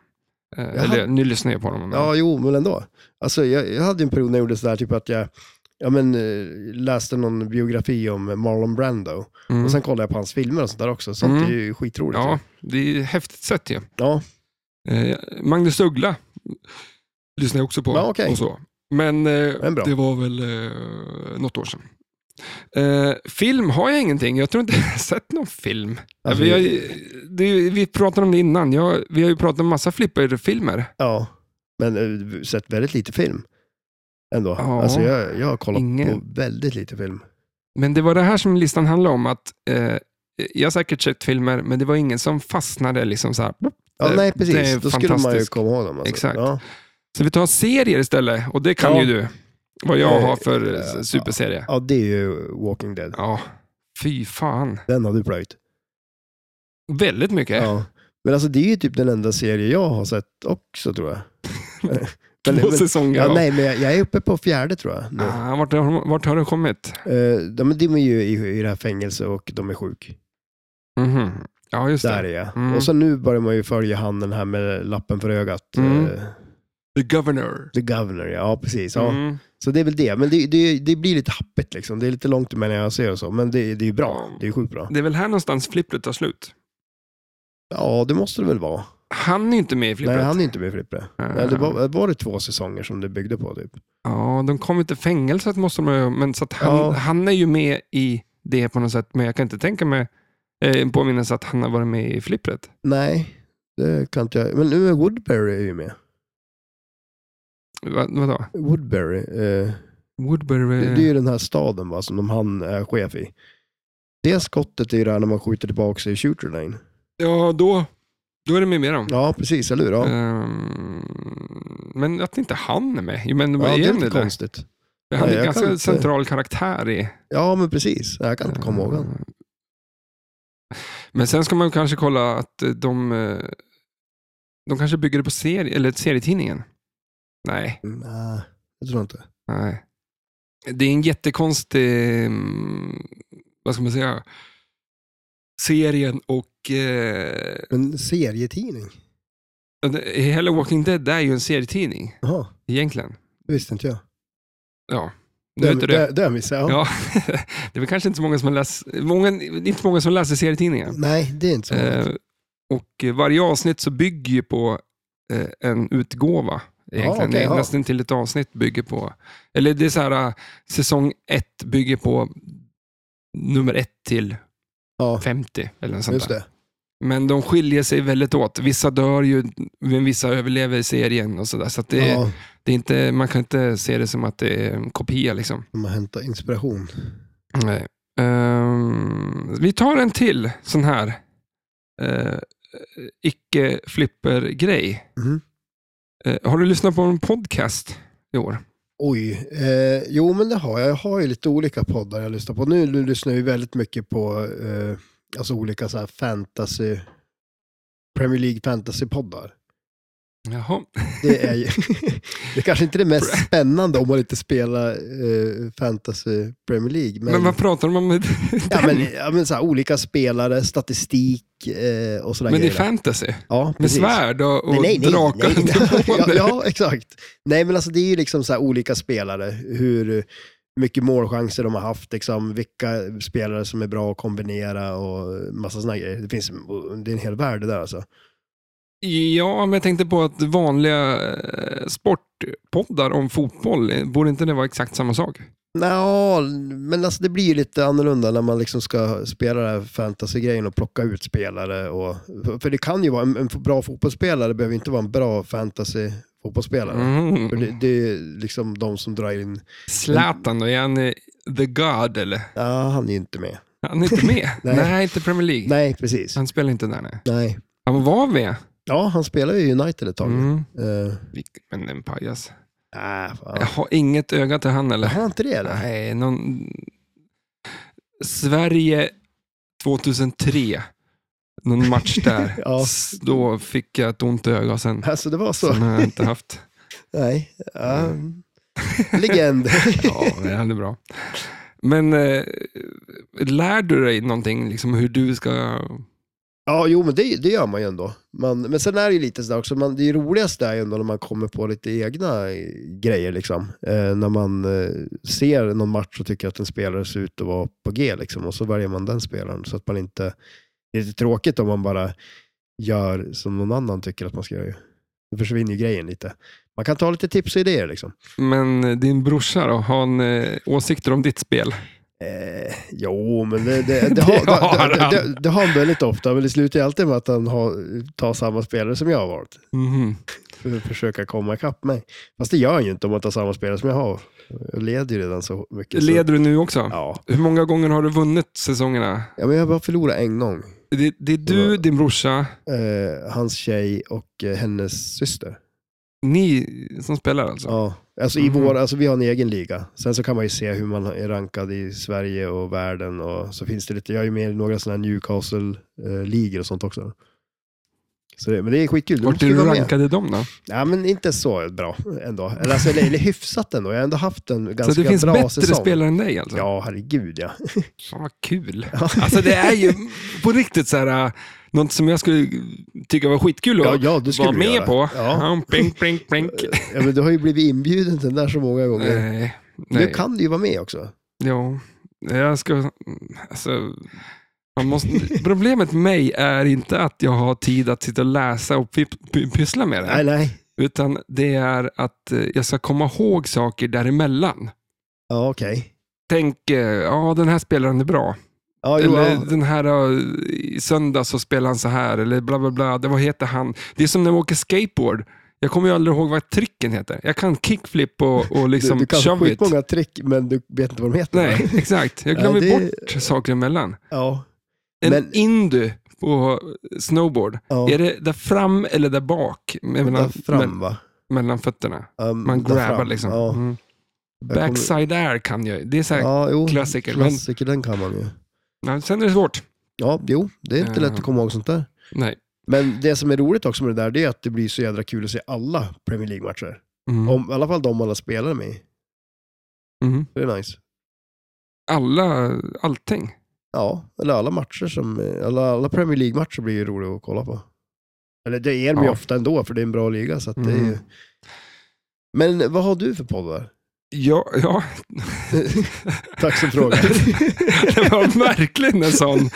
Speaker 1: Eh,
Speaker 2: Jag
Speaker 1: Eller, nu lyssnar jag på dem. men-
Speaker 2: Ja, jo, men ändå. Alltså, jag, jag hade en period när jag gjorde sådär, typ att jag ja, men, eh, läste någon biografi om Marlon Brando.
Speaker 1: Mm.
Speaker 2: Och sen kollade jag på hans filmer och sånt där också. Sånt
Speaker 1: Mm.
Speaker 2: är ju skitroligt.
Speaker 1: ja, det är häftigt sätt ju.
Speaker 2: Ja.
Speaker 1: Eh, Magnus Uggla lyssnar jag också på.
Speaker 2: Ja, okej.
Speaker 1: och så. Men eh,
Speaker 2: Men bra.
Speaker 1: det var väl eh, något år sedan. Eh, film har jag ingenting. Jag tror inte jag har sett någon film.
Speaker 2: Alltså,
Speaker 1: vi, har, ju- det, är ju- vi pratade om det innan. Jag, vi har ju pratat om massa flipperfilmer.
Speaker 2: Ja, men eh, sett väldigt lite film. Ändå.
Speaker 1: Ja.
Speaker 2: Alltså, jag, jag har kollat
Speaker 1: Ingen.
Speaker 2: på väldigt lite film.
Speaker 1: Men det var det här som listan handlade om. att eh, Jag har säkert sett filmer, men det var ingen som fastnade. Liksom så, här.
Speaker 2: Ja,
Speaker 1: Det-
Speaker 2: nej,
Speaker 1: det är
Speaker 2: precis. Då skulle man ju
Speaker 1: fantastiskt.
Speaker 2: komma ihåg dem. Alltså.
Speaker 1: Exakt.
Speaker 2: Ja.
Speaker 1: så vi tar serier istället, och det kan
Speaker 2: Ja.
Speaker 1: ju du. Vad jag
Speaker 2: Eh,
Speaker 1: har för
Speaker 2: eh,
Speaker 1: eh, superserie.
Speaker 2: ja, det är ju Walking Dead.
Speaker 1: Ja, fy fan.
Speaker 2: Den har du plöjt.
Speaker 1: Väldigt mycket.
Speaker 2: Ja. Men alltså det är ju typ den enda serie jag har sett också tror jag. Men-
Speaker 1: Två
Speaker 2: men-
Speaker 1: säsonger.
Speaker 2: Ja,
Speaker 1: Ja,
Speaker 2: nej, men jag, jag är uppe på fjärde tror jag. Nu.
Speaker 1: Ah, vart, har- vart har du kommit?
Speaker 2: Eh, de, de är ju i, i det här fängelset och de är sjuk.
Speaker 1: Mhm. Ja, just
Speaker 2: Där
Speaker 1: det.
Speaker 2: är jag.
Speaker 1: Mm.
Speaker 2: Och så nu börjar man ju följa han den här med lappen för ögat.
Speaker 1: Mm.
Speaker 2: Eh,
Speaker 1: The Governor.
Speaker 2: the governor, ja, ja precis. Ja.
Speaker 1: Mm.
Speaker 2: Så det är väl det. Men det, det, det blir lite happigt liksom. Det är lite långt emellan jag ser och så. Men det, det är ju bra.
Speaker 1: Ja.
Speaker 2: Det är ju sjukt bra.
Speaker 1: Det är väl här någonstans flippret tar slut.
Speaker 2: Ja, det måste det väl vara.
Speaker 1: Han är inte med i flippret.
Speaker 2: Nej, han är inte med i Flippre.
Speaker 1: Ah.
Speaker 2: Nej, det var, var det två säsonger som det byggde på typ?
Speaker 1: Ja, de kom inte till fängelset måste de ju, men så att han,
Speaker 2: Ja.
Speaker 1: han är ju med i det på något sätt, men jag kan inte tänka mig eh, påminnas att han har varit med i flippret.
Speaker 2: Nej, det kan inte jag. Men nu är Woodbury är ju med.
Speaker 1: Va, vadå?
Speaker 2: Woodbury. Eh,
Speaker 1: Woodbury?
Speaker 2: Det, det är ju den här staden va, som de han är chef i. Det skottet är ju där när man skjuter tillbaka i shooter lane.
Speaker 1: Ja, då, då är det med mer om.
Speaker 2: Ja, precis, eller hur?
Speaker 1: Mm.
Speaker 2: Ja.
Speaker 1: Ehm, men att inte han är med. Jo, Men vad
Speaker 2: Ja, det
Speaker 1: är
Speaker 2: är
Speaker 1: han
Speaker 2: inte
Speaker 1: i det?
Speaker 2: konstigt.
Speaker 1: Han är
Speaker 2: Nej, jag
Speaker 1: ganska
Speaker 2: kan inte-
Speaker 1: central karaktär i... Mm.
Speaker 2: Ja, men precis. Jag kan inte komma ihåg den.
Speaker 1: Men sen ska man kanske kolla att eh, de, eh, de kanske bygger det på serie, eller serietidningen. Nej,
Speaker 2: Nej, jag tror inte.
Speaker 1: nej. Det är en jättekonstig, mm, vad ska man säga, serien och eh,
Speaker 2: En serietidning?
Speaker 1: Hello Walking Dead är ju en serietidning
Speaker 2: Jaha,
Speaker 1: egentligen.
Speaker 2: det visste inte jag.
Speaker 1: Ja, nu
Speaker 2: Det,
Speaker 1: vet du det.
Speaker 2: det, det missade jag.
Speaker 1: Ja, det är väl kanske inte så många som läser, många, det är inte så många som läser serietidningar.
Speaker 2: Nej, det är inte så.
Speaker 1: Eh, och eh, varje avsnitt så bygger ju på eh, en utgåva. Egentligen.
Speaker 2: Ja, okej,
Speaker 1: det är
Speaker 2: ja.
Speaker 1: nästan till ett avsnitt bygger på, eller det är så här, eh, säsong ett bygger på nummer ett till
Speaker 2: ja,
Speaker 1: 50 eller något sånt
Speaker 2: just
Speaker 1: där.
Speaker 2: det.
Speaker 1: Men de skiljer sig väldigt åt. Vissa dör ju, men vissa överlever i serien och sådär. Så att det,
Speaker 2: Ja,
Speaker 1: det är inte, man kan inte se det som att det är en kopia liksom.
Speaker 2: man hämtar inspiration.
Speaker 1: Nej. Ehm, vi tar en till sån här eh, icke-flipper-grej.
Speaker 2: Mhm.
Speaker 1: Eh, har du lyssnat på en podcast i år?
Speaker 2: Oj, eh, jo men det har jag. Jag har ju lite olika poddar jag lyssnar på. Nu, nu lyssnar jag ju väldigt mycket på eh, alltså olika så här fantasy, Premier League fantasy-poddar.
Speaker 1: Jaha.
Speaker 2: Det är ju, det är kanske inte det mest spännande om man inte spelar eh, fantasy Premier League.
Speaker 1: Men, vad pratar de om? med den?
Speaker 2: Ja, men, ja, men så här, olika spelare, statistik eh, och sådana
Speaker 1: Men det är
Speaker 2: grejer.
Speaker 1: fantasy.
Speaker 2: ja,
Speaker 1: Med
Speaker 2: precis.
Speaker 1: svärd och, och
Speaker 2: Nej, nej, nej,
Speaker 1: drakar
Speaker 2: nej,
Speaker 1: och
Speaker 2: ja,
Speaker 1: demoner.
Speaker 2: ja, exakt. Nej, men alltså det är ju liksom så här olika spelare. Hur mycket målchanser de har haft, liksom, vilka spelare som är bra att kombinera och massa sådana grejer. Det, finns, det är en hel värld det där alltså.
Speaker 1: Ja, men jag tänkte på att vanliga eh, sportpoddar om fotboll, eh, borde inte det vara exakt samma sak?
Speaker 2: Nå, men alltså det blir ju lite annorlunda när man liksom ska spela den här fantasy-grejen och plocka ut spelare. Och, för det kan ju vara, en, en bra fotbollsspelare behöver inte vara en bra fantasy-fotbollsspelare. För
Speaker 1: Mm.
Speaker 2: det, det är liksom de som drar in,
Speaker 1: Zlatan då, är han eh, the God eller?
Speaker 2: ja han är ju inte med.
Speaker 1: Han är inte med. nej.
Speaker 2: Nej.
Speaker 1: inte Premier League.
Speaker 2: Nej, precis.
Speaker 1: Han spelar inte där nej.
Speaker 2: Nej.
Speaker 1: Han var med.
Speaker 2: Ja, han spelar ju i United ett tag.
Speaker 1: Mm.
Speaker 2: Eh,
Speaker 1: Vilk- Men en pajas.
Speaker 2: äh,
Speaker 1: Jag
Speaker 2: fan.
Speaker 1: har inget öga till han eller?
Speaker 2: Har han inte det eller?
Speaker 1: Nej, någon... Sverige 2003. Någon match där.
Speaker 2: Ja.
Speaker 1: S- Då fick jag ett ont öga sen.
Speaker 2: Alltså det var så?
Speaker 1: Sen har jag inte haft.
Speaker 2: Nej. Ja. Legend.
Speaker 1: Ja, men han är bra. Men eh, lär du dig någonting, liksom hur du ska...
Speaker 2: Ja, jo men det, det gör man ju ändå. Man, men sen är det ju lite sådär också, man, det roligaste är ju ändå när man kommer på lite egna eh, grejer liksom. Eh, när man eh, ser någon match och tycker att en spelare ser ut att vara på G liksom, och så väljer man den spelaren. Så att man inte, det är lite tråkigt om man bara gör som någon annan tycker att man ska göra. ju. Då försvinner ju grejen lite. Man kan ta lite tips och idéer liksom.
Speaker 1: Men eh, din brorsa då, har han eh, åsikter om ditt spel?
Speaker 2: Eh, jo, men det, det, det, har,
Speaker 1: Det har
Speaker 2: det,
Speaker 1: han.
Speaker 2: det, det, det har han väldigt ofta, men det slutar ju alltid med att han har, tar samma spelare som jag har valt.
Speaker 1: Mhm.
Speaker 2: För att försöka komma ikapp mig. Fast det gör han ju inte om man tar samma spelare som jag har. Jag leder ju redan så mycket. Så,
Speaker 1: Leder du nu också?
Speaker 2: ja.
Speaker 1: Hur många gånger har du vunnit säsongerna?
Speaker 2: ja, men jag har bara förlorat en gång.
Speaker 1: Det, det är du, din brorsa,
Speaker 2: Eh, hans tjej och eh, hennes syster.
Speaker 1: ni som spelar alltså?
Speaker 2: Ja. Alltså,
Speaker 1: Mhm.
Speaker 2: i vår, alltså vi har en egen liga. Sen så kan man ju se hur man är rankad i Sverige och världen. Och så finns det lite, jag är ju med i några sådana här Newcastle-ligor och sånt också. Så det, men det är skitkul.
Speaker 1: Vart
Speaker 2: måste
Speaker 1: är
Speaker 2: ju
Speaker 1: du
Speaker 2: vara med.
Speaker 1: rankade dem då?
Speaker 2: Ja, men inte så bra ändå. Eller, alltså, eller, eller hyfsat ändå. Jag har ändå haft en ganska bra
Speaker 1: Så
Speaker 2: säsong.
Speaker 1: det finns bättre spelare än dig alltså?
Speaker 2: Ja, herregud ja.
Speaker 1: Fan vad kul.
Speaker 2: Ja.
Speaker 1: Alltså det är ju på riktigt så här, äh, något som jag skulle tycka var skitkul att
Speaker 2: Ja, ja, det skulle
Speaker 1: vara
Speaker 2: du
Speaker 1: med
Speaker 2: göra.
Speaker 1: på.
Speaker 2: Ja. Eh,
Speaker 1: Ja, plink, plink, plink.
Speaker 2: ja men du har ju blivit inbjuden till den där så många gånger.
Speaker 1: Nej,
Speaker 2: Nu
Speaker 1: Eh, nej.
Speaker 2: kan du ju vara med också.
Speaker 1: Ja, jag ska... Alltså, man måste, problemet med mig är inte att jag har tid att sitta och läsa och py- py- pyssla med det.
Speaker 2: Nej, nej.
Speaker 1: Utan det är att eh, jag ska komma ihåg saker däremellan.
Speaker 2: Ja, okej.
Speaker 1: Tänk, eh, ja den här spelaren är bra.
Speaker 2: Ja, jo,
Speaker 1: eller
Speaker 2: ja.
Speaker 1: den här, eh, i söndags så spelade han så här. Eller bla bla bla. Det, vad heter han? Det är som när man åker skateboard. Jag kommer ju aldrig ihåg vad tricken heter. Jag kan kickflip och, och
Speaker 2: Du,
Speaker 1: liksom
Speaker 2: du kan
Speaker 1: shove it.
Speaker 2: skitmånga trick, men du vet inte vad de heter. va?
Speaker 1: Nej, exakt. Jag glömmer
Speaker 2: Ja, det-
Speaker 1: bort saker emellan.
Speaker 2: Ja.
Speaker 1: En
Speaker 2: Men-
Speaker 1: indu på snowboard.
Speaker 2: ja.
Speaker 1: Är det där fram eller där bak? Mellan,
Speaker 2: där
Speaker 1: me-
Speaker 2: fram va?
Speaker 1: mellan fötterna.
Speaker 2: Ja,
Speaker 1: Man
Speaker 2: där
Speaker 1: grabbar
Speaker 2: fram.
Speaker 1: liksom.
Speaker 2: Ja,
Speaker 1: Mm.
Speaker 2: Jag kommer-
Speaker 1: Backside air kan jag ju. Det är så här,
Speaker 2: ja jo.
Speaker 1: klassiker, men-
Speaker 2: Klassiker, den kan man ju.
Speaker 1: nej, sen är det svårt.
Speaker 2: Ja, jo, det är inte
Speaker 1: Ja.
Speaker 2: lätt att komma ihåg sånt där.
Speaker 1: Nej.
Speaker 2: Men det som är roligt också med det där, det är att det blir så jädra kul att se alla Premier League-matcher.
Speaker 1: Mm.
Speaker 2: Om, I alla fall de man har spelat med i.
Speaker 1: Mm.
Speaker 2: Det är nice.
Speaker 1: Alla, allting.
Speaker 2: Ja, eller alla matcher som, alla, alla Premier League-matcher blir ju roliga att kolla på. Eller det är de ju
Speaker 1: Ja.
Speaker 2: ofta ändå, för det är en bra liga. Så att det är ju...
Speaker 1: Mm.
Speaker 2: Men vad har du för poddar?
Speaker 1: Ja, ja,
Speaker 2: Tack som frågar.
Speaker 1: det var verkligen en sån.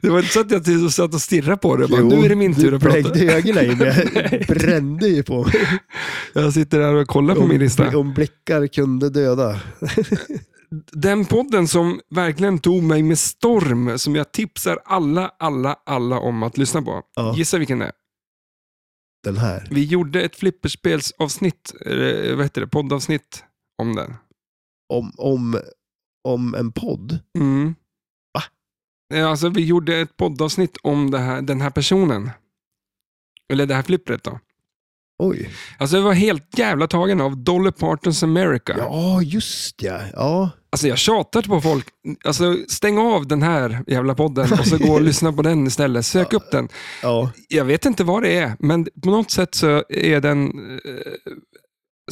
Speaker 1: Det var inte så att jag till- satt och stirrade på det. Jag Bara,
Speaker 2: Jo,
Speaker 1: nu är det min tur att
Speaker 2: Du
Speaker 1: prata.
Speaker 2: blängde ögonen i mig. brände ju på mig.
Speaker 1: Jag sitter där och kollar på min lista.
Speaker 2: Om blickar kunde döda.
Speaker 1: Den podden som verkligen tog mig med storm, som jag tipsar alla, alla, alla om att lyssna på.
Speaker 2: Ja.
Speaker 1: Gissa vilken det är.
Speaker 2: Den här.
Speaker 1: Vi gjorde ett flipperspelsavsnitt, eller vad heter det, poddavsnitt om den.
Speaker 2: Om, om, om en podd.
Speaker 1: Mm.
Speaker 2: Va?
Speaker 1: Eh, Alltså, vi gjorde ett poddavsnitt om det här, den här personen. Eller det här flippret då.
Speaker 2: Oj.
Speaker 1: Alltså jag var helt jävla tagen av Dolly Partons America.
Speaker 2: Ja, just ja. Ja,
Speaker 1: Alltså jag tjatar på folk, alltså stäng av den här jävla podden och så gå och lyssna på den istället. Sök upp den.
Speaker 2: ja.
Speaker 1: Jag vet inte vad det är, men på något sätt så är den eh,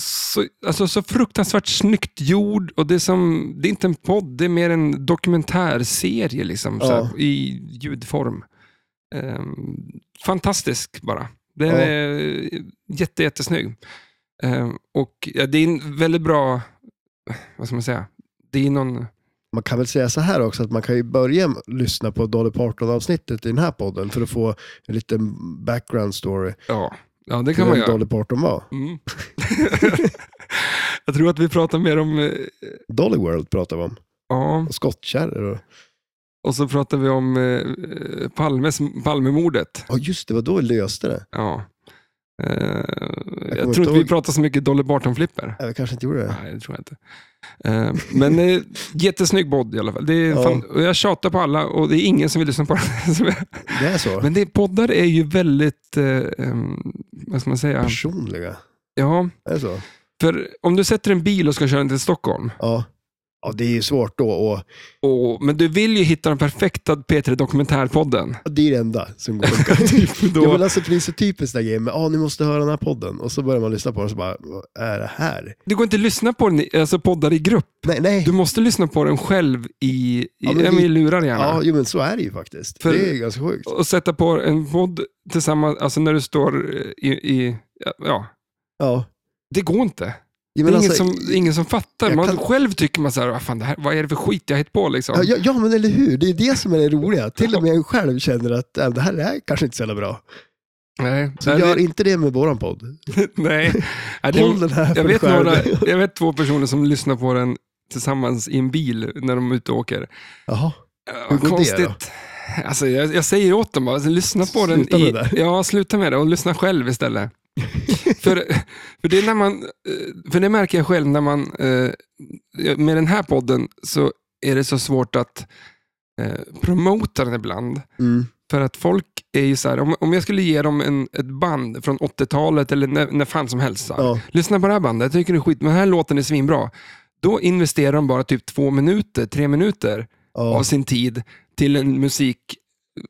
Speaker 1: så, alltså, så fruktansvärt snyggt gjord. Och det, är som, det är inte en podd, det är mer en dokumentärserie liksom, så
Speaker 2: Ja.
Speaker 1: här, i ljudform. Ehm, fantastisk bara. Den
Speaker 2: Ja.
Speaker 1: är eh, jätte, jättesnygg. Ehm, och ja, det är en väldigt bra, vad ska man säga, det är någon...
Speaker 2: Man kan väl säga så här också, att man kan ju börja med att lyssna på Dolly Parton-avsnittet i den här podden för att få en liten background story.
Speaker 1: Ja, ja det
Speaker 2: till
Speaker 1: kan man
Speaker 2: vem
Speaker 1: göra.
Speaker 2: Dolly Parton var.
Speaker 1: Mm. Jag tror att vi pratar mer om eh,
Speaker 2: Dolly World pratar vi om.
Speaker 1: ja,
Speaker 2: Och skottkärror. och-
Speaker 1: Och så pratade vi om eh, Palmes, Palmemordet.
Speaker 2: Ja, just det. var då vi löste det.
Speaker 1: Ja. Eh, jag
Speaker 2: kommer
Speaker 1: tror
Speaker 2: inte
Speaker 1: inte vi
Speaker 2: ihåg.
Speaker 1: pratade så mycket Dolly Barton-flipper.
Speaker 2: Nej, vi kanske inte gjorde det.
Speaker 1: Nej, det tror jag inte. Eh, men eh, jättesnygg podd i alla fall. Det är
Speaker 2: Ja.
Speaker 1: fan, och jag tjatar på alla och det är ingen som vill lyssna på den. Så-
Speaker 2: Det är så.
Speaker 1: men det, poddar är ju väldigt, eh, em, vad ska man säga?
Speaker 2: Personliga.
Speaker 1: Ja,
Speaker 2: Är det så?
Speaker 1: för om du sätter en bil och ska köra den till Stockholm,
Speaker 2: Ja. Ja, det är ju svårt då. Och
Speaker 1: och, men du vill ju hitta den perfekta P3 Dokumentärpodden.
Speaker 2: Ja, Det är det enda som går att funka.
Speaker 1: då-
Speaker 2: ja, men alltså, för det är så typiskt det här grejen med, ah, ni måste höra den här podden. Och så börjar man lyssna på den och så bara, vad är det här?
Speaker 1: Det går inte att lyssna på den, i- alltså poddar i grupp.
Speaker 2: Nej, nej.
Speaker 1: Du måste lyssna på den själv i, i,
Speaker 2: Ja, men
Speaker 1: ja, men i
Speaker 2: vi-
Speaker 1: lurar gärna.
Speaker 2: Ja, jo, men så är det ju faktiskt.
Speaker 1: För-
Speaker 2: Det är ganska sjukt.
Speaker 1: Och sätta på en podd tillsammans, alltså när du står eh, i... i ja,
Speaker 2: Ja.
Speaker 1: det går inte.
Speaker 2: Ja,
Speaker 1: Det är
Speaker 2: men
Speaker 1: ingen,
Speaker 2: alltså,
Speaker 1: som, det är ingen som fattar.
Speaker 2: jag
Speaker 1: Man,
Speaker 2: kan-
Speaker 1: Själv tycker man så här, "Vad fan, det här, vad är det för skit jag har hittat på? Liksom.
Speaker 2: ja, ja, ja, men eller hur? Det är det som är det roliga. Till och med jag själv känner att äh, det här är kanske inte så jävla bra.
Speaker 1: Nej,
Speaker 2: Så
Speaker 1: nej,
Speaker 2: gör
Speaker 1: det,
Speaker 2: inte det med våran podd.
Speaker 1: nej. Nej, det,
Speaker 2: Håll den här för
Speaker 1: jag,
Speaker 2: dig
Speaker 1: vet
Speaker 2: själv.
Speaker 1: några, jag vet två personer som lyssnar på den tillsammans i en bil när de är ute och åker.
Speaker 2: Jaha.
Speaker 1: Ja,
Speaker 2: Hur går det
Speaker 1: Konstigt. Alltså, jag, jag säger åt dem bara, alltså, lyssna på den.
Speaker 2: Sluta
Speaker 1: i,
Speaker 2: med det.
Speaker 1: Ja, sluta med det och lyssna själv istället. för, för, det är när man, eh, för det märker jag själv när man, eh, med den här podden så är det så svårt att eh, promota den ibland.
Speaker 2: Mm.
Speaker 1: För att folk är ju så här, om, om jag skulle ge dem en, ett band från 80-talet eller när, när fan som helst. Så här,
Speaker 2: Ja.
Speaker 1: Lyssna på det här bandet, jag tycker det är skit, men den här låten är svinbra. Då investerar de bara typ två minuter, tre minuter av
Speaker 2: Ja.
Speaker 1: sin tid till en musik,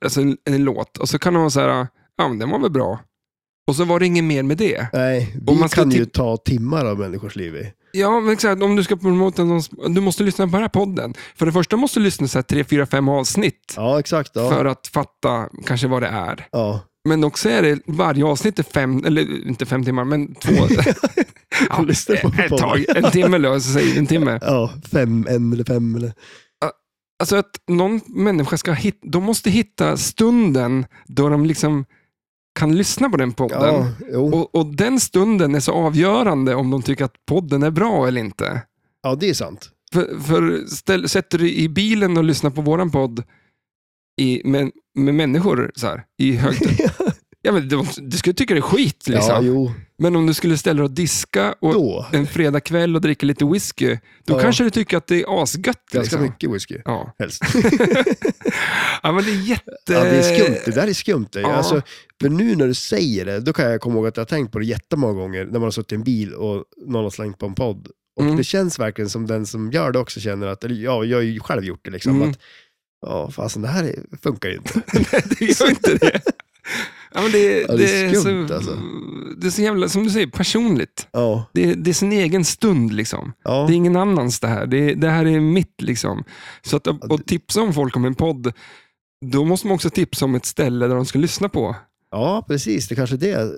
Speaker 1: alltså en, en låt. Och så kan de vara så här, ja men den var väl bra. Och så var det inget mer med det.
Speaker 2: Nej, vi
Speaker 1: Om man ska typ-
Speaker 2: kan ju
Speaker 1: ti-
Speaker 2: ta timmar av människors liv i.
Speaker 1: Ja, men exakt. Om du ska promota någon, du måste lyssna på den här podden. För det första måste du lyssna så här tre, fyra, fem avsnitt.
Speaker 2: Ja, exakt. Ja.
Speaker 1: För att fatta kanske vad det är.
Speaker 2: Ja.
Speaker 1: Men också är det varje avsnitt är fem, eller inte fem timmar, men två. ja,
Speaker 2: Lyssna på
Speaker 1: ett
Speaker 2: podden.
Speaker 1: tag, en timme löser sig, en timme.
Speaker 2: ja, fem, en eller fem. Eller...
Speaker 1: Alltså att någon människa ska hitta, de måste hitta stunden då de liksom kan lyssna på den podden.
Speaker 2: Ja, jo.
Speaker 1: Och, och den stunden är så avgörande om de tycker att podden är bra eller inte.
Speaker 2: Ja, det är sant.
Speaker 1: För, för ställ, sätter du i bilen och lyssnar på våran podd i, med, med människor så här, i högt... ja, men de, du skulle tycka det är skit.
Speaker 2: Ja,
Speaker 1: Liksom.
Speaker 2: jo,
Speaker 1: men om du skulle ställa dig och diska och
Speaker 2: då.
Speaker 1: en fredagkväll och dricka lite whisky, då
Speaker 2: Ja.
Speaker 1: kanske du tycker att det är asgött.
Speaker 2: Ganska
Speaker 1: Liksom.
Speaker 2: mycket whisky.
Speaker 1: Ja.
Speaker 2: Helst.
Speaker 1: ja, men det är jätte...
Speaker 2: Ja, det är skumt. Det där är skumt. det.
Speaker 1: eh, Ja.
Speaker 2: Alltså, för nu när du säger det, då kan jag komma ihåg att jag har tänkt på det jättemånga gånger när man har suttit i en bil och någon har slängt på en podd. Och
Speaker 1: Mm.
Speaker 2: det känns verkligen som den som gör det också känner att, eller ja, jag har ju själv gjort det liksom.
Speaker 1: Mm.
Speaker 2: Att, Ja, fasen det här är, funkar ju inte.
Speaker 1: Nej, det gör inte det. Ja, men det,
Speaker 2: Ja, det är skumt,
Speaker 1: så,
Speaker 2: alltså.
Speaker 1: det är så jävla, som du säger, personligt.
Speaker 2: Ja,
Speaker 1: Det, är- det är sin egen stund liksom.
Speaker 2: ja.
Speaker 1: Det är ingen annans det här. Det, det här är mitt liksom. Så att och tipsa om folk om en podd, då måste man också tipsa om ett ställe där de ska lyssna på.
Speaker 2: ja precis. Det kanske är det.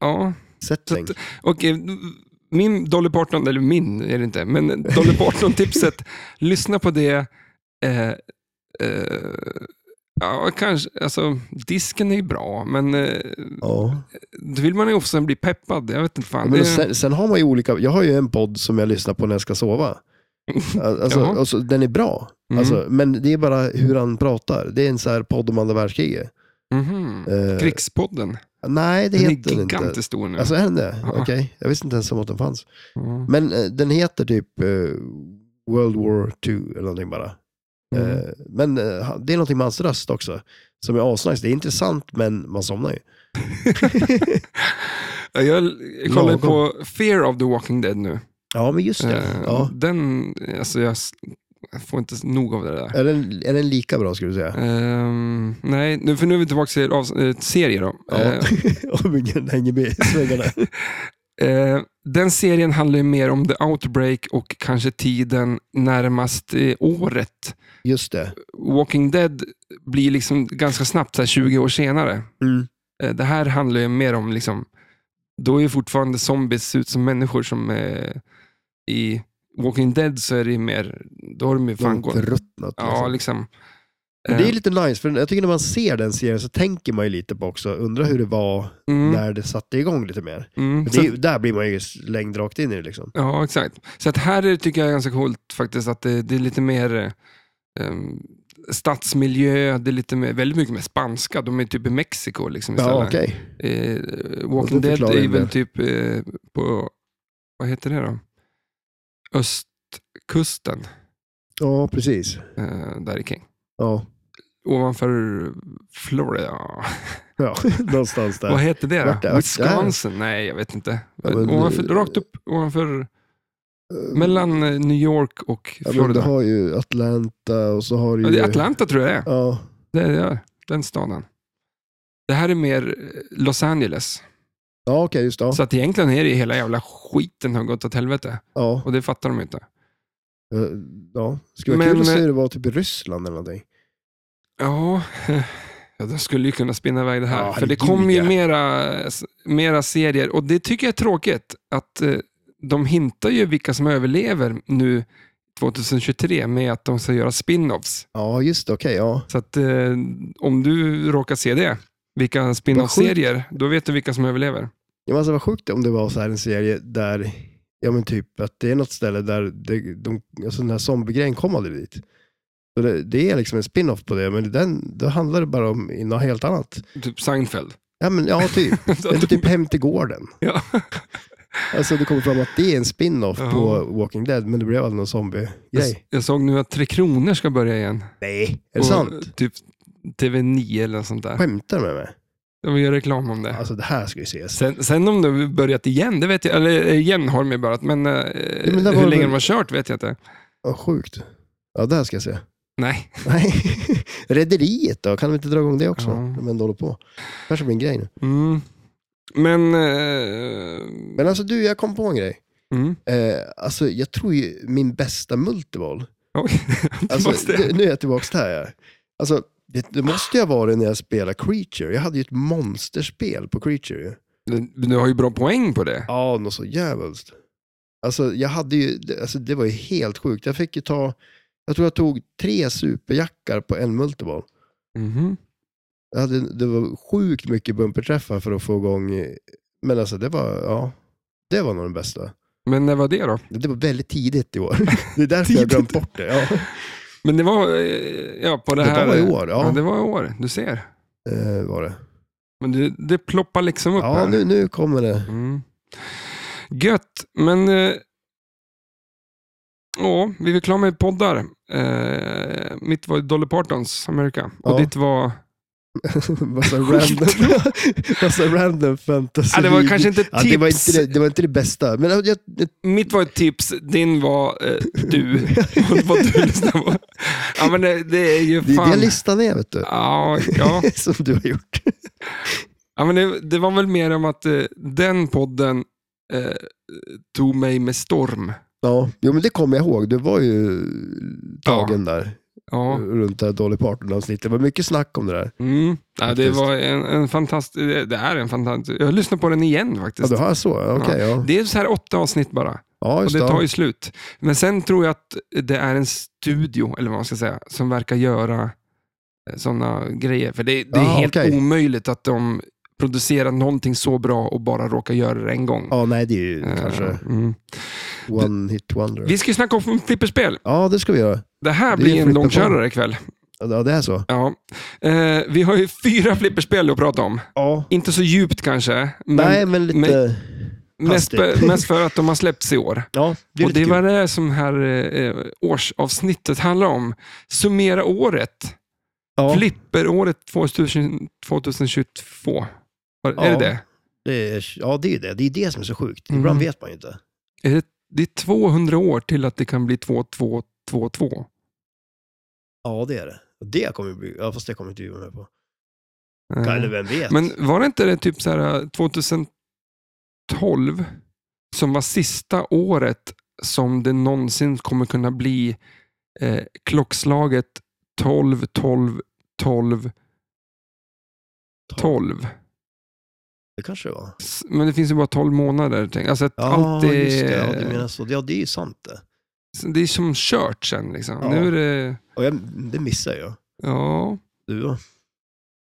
Speaker 1: Ja,
Speaker 2: Setting.
Speaker 1: Så och eh, min Dolly Parton, eller min är det inte, men Dolly Parton-tipset, lyssna på det. Eh, eh, ja, kanske, alltså, disken är ju bra, men eh,
Speaker 2: Ja.
Speaker 1: då vill man ju också bli peppad. Jag vet inte fan.
Speaker 2: Men
Speaker 1: det,
Speaker 2: och sen, sen har man ju olika, jag har ju en podd som jag lyssnar på när jag ska sova. Alltså,
Speaker 1: Jaha.
Speaker 2: alltså, den är bra,
Speaker 1: Mhm.
Speaker 2: alltså, men det är bara hur han pratar. Det är en så här podd om andra världskriget.
Speaker 1: Mhm.
Speaker 2: Eh,
Speaker 1: Krigspodden,
Speaker 2: nej, det
Speaker 1: den är
Speaker 2: heter den inte.
Speaker 1: gigantiskt stor nu. Mm.
Speaker 2: Alltså är den det?
Speaker 1: Ja.
Speaker 2: Okej, jag visste inte ens om att den fanns.
Speaker 1: Ja.
Speaker 2: Men eh, den heter typ eh, World War II eller någonting bara.
Speaker 1: Mm.
Speaker 2: Eh, men eh, han- det är någonting med hans röst också, som är asnice. Det är intressant, men man somnar ju.
Speaker 1: Ja, Jag jag kollar ju på Fear of the Walking Dead nu.
Speaker 2: Ja, men just det.
Speaker 1: Eh,
Speaker 2: Ja.
Speaker 1: Den, alltså jag s- jag får inte nog av det där.
Speaker 2: Är, den, är den lika bra skulle du säga?
Speaker 1: Ehm, nej, nu, för nu är vi tillbaka till avs- eh, serier då.
Speaker 2: Ja, om ingen hänger med i svängarna.
Speaker 1: Eh, eh, den serien handlar ju mer om the outbreak och kanske tiden närmast eh, året.
Speaker 2: Just det.
Speaker 1: Walking Dead blir liksom ganska snabbt så här 20 år senare.
Speaker 2: Mm.
Speaker 1: Eh, det här handlar ju mer om, liksom, då är ju fortfarande zombies ut som människor som eh, i Walking Dead så är det ju mer, då har de ju fan
Speaker 2: Fan,
Speaker 1: gått.
Speaker 2: förruttnat.
Speaker 1: Ja,
Speaker 2: Liksom.
Speaker 1: liksom.
Speaker 2: Men det
Speaker 1: Eh,
Speaker 2: är lite nice, för jag tycker när man ser den serien så tänker man ju lite på också, undra hur det var
Speaker 1: mm,
Speaker 2: när det satte igång lite mer.
Speaker 1: mm.
Speaker 2: För
Speaker 1: Så-
Speaker 2: Det, där blir man ju slängd rakt in i det liksom.
Speaker 1: Ja, exakt. Så att här är, tycker jag är ganska coolt faktiskt att det, det är lite mer um, stadsmiljö, det är lite mer, väldigt mycket mer spanska. De är typ i Mexiko liksom
Speaker 2: Ja,
Speaker 1: istället.
Speaker 2: okej.
Speaker 1: Eh, Walking
Speaker 2: Och det
Speaker 1: Dead
Speaker 2: förklarar
Speaker 1: är
Speaker 2: en
Speaker 1: väl
Speaker 2: del.
Speaker 1: typ eh, på, vad heter det då? Östkusten,
Speaker 2: Ja, precis.
Speaker 1: eh, där i King.
Speaker 2: Ja,
Speaker 1: Ovanför Florida.
Speaker 2: ja. någonstans
Speaker 1: Vad
Speaker 2: där.
Speaker 1: heter det
Speaker 2: Vart är-
Speaker 1: då?
Speaker 2: vart är-
Speaker 1: Wisconsin? Nej, jag vet inte.
Speaker 2: Ja, men-
Speaker 1: ovanför, rakt upp ovanför, mellan eh, New York och
Speaker 2: Ja, men du
Speaker 1: Florida.
Speaker 2: har ju Atlanta och så har du
Speaker 1: Ja,
Speaker 2: ju...
Speaker 1: det är Atlanta tror jag det är.
Speaker 2: Ja,
Speaker 1: Det är det, den staden. Det här är mer eh, Los Angeles.
Speaker 2: ja okej, just det. Ja.
Speaker 1: Så att egentligen är det hela jävla skiten har gått åt helvete.
Speaker 2: Ja.
Speaker 1: Och det fattar de inte.
Speaker 2: Eh, ja. Skulle vara
Speaker 1: Men- eh,
Speaker 2: kul att se hur det var typ i Ryssland eller någonting.
Speaker 1: Ja, ja de skulle ju kunna spinna iväg det här.
Speaker 2: Ja,
Speaker 1: För det
Speaker 2: herregud,
Speaker 1: kommer ju
Speaker 2: ja.
Speaker 1: mera, mera serier. Och det tycker jag är tråkigt. Att eh, de hintar ju vilka som överlever nu 2023 med att de ska göra spin-offs.
Speaker 2: Ja, just det. Okej, ja.
Speaker 1: Så att eh, om du råkar se det, vilka spin-off-serier, då vet du vilka som överlever.
Speaker 2: Ja, men alltså vad sjukt om det var så här en serie där, ja men typ att det är något ställe där det, de, alltså den här zombiegrejen kom aldrig dit. Så det, det är liksom en spin-off på det, men den, då handlar det bara om något helt annat.
Speaker 1: Typ Seinfeld.
Speaker 2: Ja, men ja, typ. Eller typ Hem till gården.
Speaker 1: Ja.
Speaker 2: Alltså det kommer fram att det är en spin-off
Speaker 1: Ja.
Speaker 2: på Walking Dead, men det blev aldrig någon
Speaker 1: Jag,
Speaker 2: zombie-grej.
Speaker 1: jag såg nu att Tre Kronor ska börja igen.
Speaker 2: Nej. Är det
Speaker 1: Och,
Speaker 2: sant?
Speaker 1: Typ TV9 eller något sånt där.
Speaker 2: Skämtar du med mig?
Speaker 1: De gör reklam om det.
Speaker 2: Alltså det här ska ju ses.
Speaker 1: Sen, sen om de börjat igen, det vet jag Eller eh, igen har de ju börjat, men, eh,
Speaker 2: men där var
Speaker 1: hur
Speaker 2: det
Speaker 1: länge
Speaker 2: väl-
Speaker 1: de har kört vet jag inte.
Speaker 2: Vad sjukt. Ja, det här ska jag se.
Speaker 1: Nej.
Speaker 2: Nej. Rederiet då? Kan vi inte dra igång det också?
Speaker 1: Ja.
Speaker 2: När vi ändå håller på. kanske blir en grej nu.
Speaker 1: Mm. Men... eh,
Speaker 2: Men alltså du, jag kom på en grej.
Speaker 1: mm.
Speaker 2: Eh, alltså jag tror ju min bästa multiboll.
Speaker 1: Oj,
Speaker 2: Alltså,
Speaker 1: måste-
Speaker 2: nu- nu är jag tillbaka där. Ja. Alltså, det, det måste jag vara när jag spelar Creature. Jag hade ju ett monsterspel på Creature. ju.
Speaker 1: du, du har ju bra poäng på det.
Speaker 2: Ja, något så jävligt. Alltså, jag hade ju, det- alltså, det var ju helt sjukt. Jag fick ju ta, jag tror jag tog tre superjackar på en multiboll.
Speaker 1: Mhm.
Speaker 2: Jag hade, det var sjukt mycket bumperträffar för att få igång, eh, men alltså det var, ja, det var nog den bästa.
Speaker 1: Men när var det då?
Speaker 2: Det var väldigt tidigt i år. Det är därför jag har glömt bort det. Ja.
Speaker 1: Men det var eh, ja, på det,
Speaker 2: Det
Speaker 1: här...
Speaker 2: var i år,
Speaker 1: Ja.
Speaker 2: ja.
Speaker 1: det var i år. Du ser.
Speaker 2: Eh, var det.
Speaker 1: Men det, det ploppar liksom upp
Speaker 2: Ja,
Speaker 1: här.
Speaker 2: nu, nu kommer det.
Speaker 1: Mm. Gött, men... eh, Ja, vi är klara med poddar. Eh, mitt var Dolly Partons America och
Speaker 2: Ja.
Speaker 1: ditt var...
Speaker 2: massa, random, massa random fantasy.
Speaker 1: Ah, det var kanske inte ett
Speaker 2: ja,
Speaker 1: tips.
Speaker 2: Alltså, det, var inte det, det var inte det bästa. Men jag, jag,
Speaker 1: Mitt var ett tips, din var eh, du. Och vad du lyssnar på. Ja, men det, det är ju
Speaker 2: Det är det
Speaker 1: fan...
Speaker 2: listan är, vet du.
Speaker 1: Ja, ja.
Speaker 2: Som du har gjort.
Speaker 1: ja men det, det var väl mer om att eh, den podden eh, tog mig med storm.
Speaker 2: Ja, jo, men det kommer jag ihåg. Du var ju tagen där,
Speaker 1: Ja.
Speaker 2: runt det här Dolly Parton-avsnittet. Det var mycket snack om det där.
Speaker 1: Mm. Ja, det
Speaker 2: Faktiskt.
Speaker 1: var en, en fantastisk... Det det är en fantastisk... Jag lyssnar på den igen
Speaker 2: Ja,
Speaker 1: faktiskt.
Speaker 2: du har så. Ja, Okej, ja.
Speaker 1: Det är så här åtta avsnitt bara.
Speaker 2: Ja,
Speaker 1: Och
Speaker 2: just
Speaker 1: det tar
Speaker 2: det.
Speaker 1: ju slut. Men sen tror jag att det är en studio, eller vad man ska säga, som verkar göra sådana grejer. För det, det är
Speaker 2: Ah,
Speaker 1: helt
Speaker 2: okej.
Speaker 1: omöjligt att de producerar någonting så bra och bara råkar göra det en gång.
Speaker 2: Ja, nej, det är ju
Speaker 1: Eh,
Speaker 2: kanske
Speaker 1: Mm.
Speaker 2: one hit wonder.
Speaker 1: Vi ska ju snacka om flipperspel.
Speaker 2: Ja, det ska vi göra.
Speaker 1: Det här
Speaker 2: Det är
Speaker 1: blir en
Speaker 2: flipperball.
Speaker 1: långkörare ikväll.
Speaker 2: Ja, det är så.
Speaker 1: Ja. Eh, vi har ju fyra flipperspel att prata om.
Speaker 2: Ja.
Speaker 1: Inte så djupt kanske, men
Speaker 2: nej, men lite...
Speaker 1: men- mest,
Speaker 2: hastigt.
Speaker 1: mest för att de har släppts i år.
Speaker 2: ja, det är
Speaker 1: och
Speaker 2: lite
Speaker 1: det
Speaker 2: kul.
Speaker 1: var det som här eh, årsavsnittet handlar om. Summera året.
Speaker 2: ja,
Speaker 1: Flipperåret 2000 2022. Var, Är
Speaker 2: Ja.
Speaker 1: det det?
Speaker 2: det är, ja, det är ju det. Det är det som är så sjukt.
Speaker 1: Mm.
Speaker 2: Ibland vet man ju inte.
Speaker 1: Är det? Det är 200 år till att det kan bli 2222.
Speaker 2: Ja, det är det. Och Det kommer bli... Ja, fast det kommer inte vi vara med på.
Speaker 1: Eh,
Speaker 2: Eller vem vet?
Speaker 1: Men var det inte det typ så här eh, 2012 som var sista året som det någonsin kommer kunna bli eh, klockslaget 12, 12, 12, 12?
Speaker 2: Det kanske det var.
Speaker 1: S- Men det finns ju bara 12 månader. tänk. Alltså att
Speaker 2: Ja,
Speaker 1: allt är,
Speaker 2: just det. Ja, du menar så. Ja, det är ju sant det.
Speaker 1: det är som kört sen. Liksom.
Speaker 2: Ja.
Speaker 1: Nu är det
Speaker 2: Och jag, det missar jag.
Speaker 1: ja,
Speaker 2: Du då?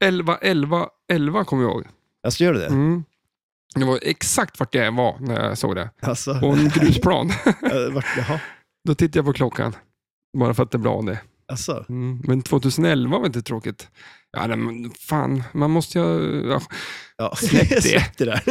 Speaker 1: 11, 11, 11 kommer jag ihåg.
Speaker 2: Alltså, gör du det?
Speaker 1: Mm. Det var exakt vart jag var när jag såg det.
Speaker 2: Alltså,
Speaker 1: På en grusplan.
Speaker 2: eh, vart, jaha.
Speaker 1: Då tittade jag på klockan. Bara för att det blev av det.
Speaker 2: Alltså,
Speaker 1: Mm. Men 2011 var inte tråkigt. Ja, nej, men fan, man måste ju... Ja.
Speaker 2: ja.
Speaker 1: Släpp det.
Speaker 2: Släpp det där.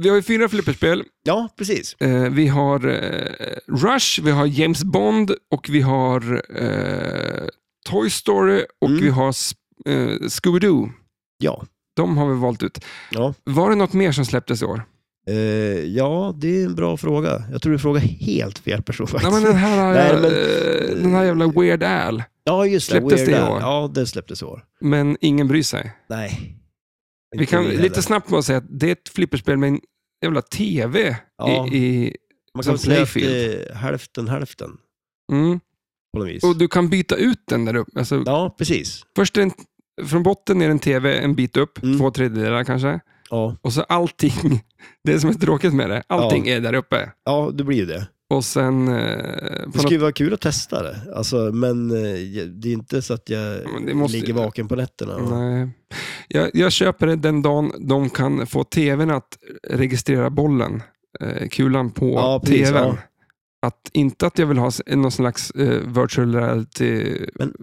Speaker 1: Vi har ju fyra flipperspel.
Speaker 2: ja, precis.
Speaker 1: Eh, vi har eh, Rush, vi har James Bond och vi har eh, Toy Story och
Speaker 2: Mm.
Speaker 1: vi har S- eh, Scooby-Doo.
Speaker 2: Ja.
Speaker 1: De har vi valt ut.
Speaker 2: Ja.
Speaker 1: Var det något mer som släpptes i år?
Speaker 2: Eh, ja, det är en bra fråga. Jag tror du frågar helt fel person
Speaker 1: Nej,
Speaker 2: faktiskt.
Speaker 1: men den, här,
Speaker 2: Nej, men-
Speaker 1: eh, den här jävla Weird Al.
Speaker 2: ja, just det.
Speaker 1: släpptes
Speaker 2: Weird
Speaker 1: det i
Speaker 2: Al.
Speaker 1: år?
Speaker 2: Ja, det släpptes i år.
Speaker 1: Men ingen bryr sig.
Speaker 2: Nej.
Speaker 1: Vi kan
Speaker 2: Inte heller.
Speaker 1: lite snabbt bara säga att det är ett flipperspel med en jävla TV.
Speaker 2: Ja.
Speaker 1: I, i,
Speaker 2: Man
Speaker 1: som
Speaker 2: kan säga att
Speaker 1: Playfield.
Speaker 2: det är hälften hälften
Speaker 1: mm.
Speaker 2: på något vis.
Speaker 1: Och du kan byta ut den där uppe. Alltså,
Speaker 2: Ja, precis.
Speaker 1: Först är en, från botten är det en TV en bit upp,
Speaker 2: Mm.
Speaker 1: två tredjedelar kanske.
Speaker 2: Ja,
Speaker 1: Och så allting, det som är tråkigt med det, allting är där uppe.
Speaker 2: ja det blir ju det.
Speaker 1: Och sen... Eh,
Speaker 2: Det
Speaker 1: på
Speaker 2: skulle ju
Speaker 1: något,
Speaker 2: vara kul att testa det, alltså, men eh, jag- det är inte så att jag
Speaker 1: Men det måste-
Speaker 2: ligger vaken på nätterna.
Speaker 1: nej. Jag, jag köper det den dagen de kan få TVn att registrera bollen, eh, kulan på
Speaker 2: Ja, precis,
Speaker 1: TVn.
Speaker 2: ja.
Speaker 1: Att, inte att jag vill ha s- någon slags eh, virtual
Speaker 2: Men-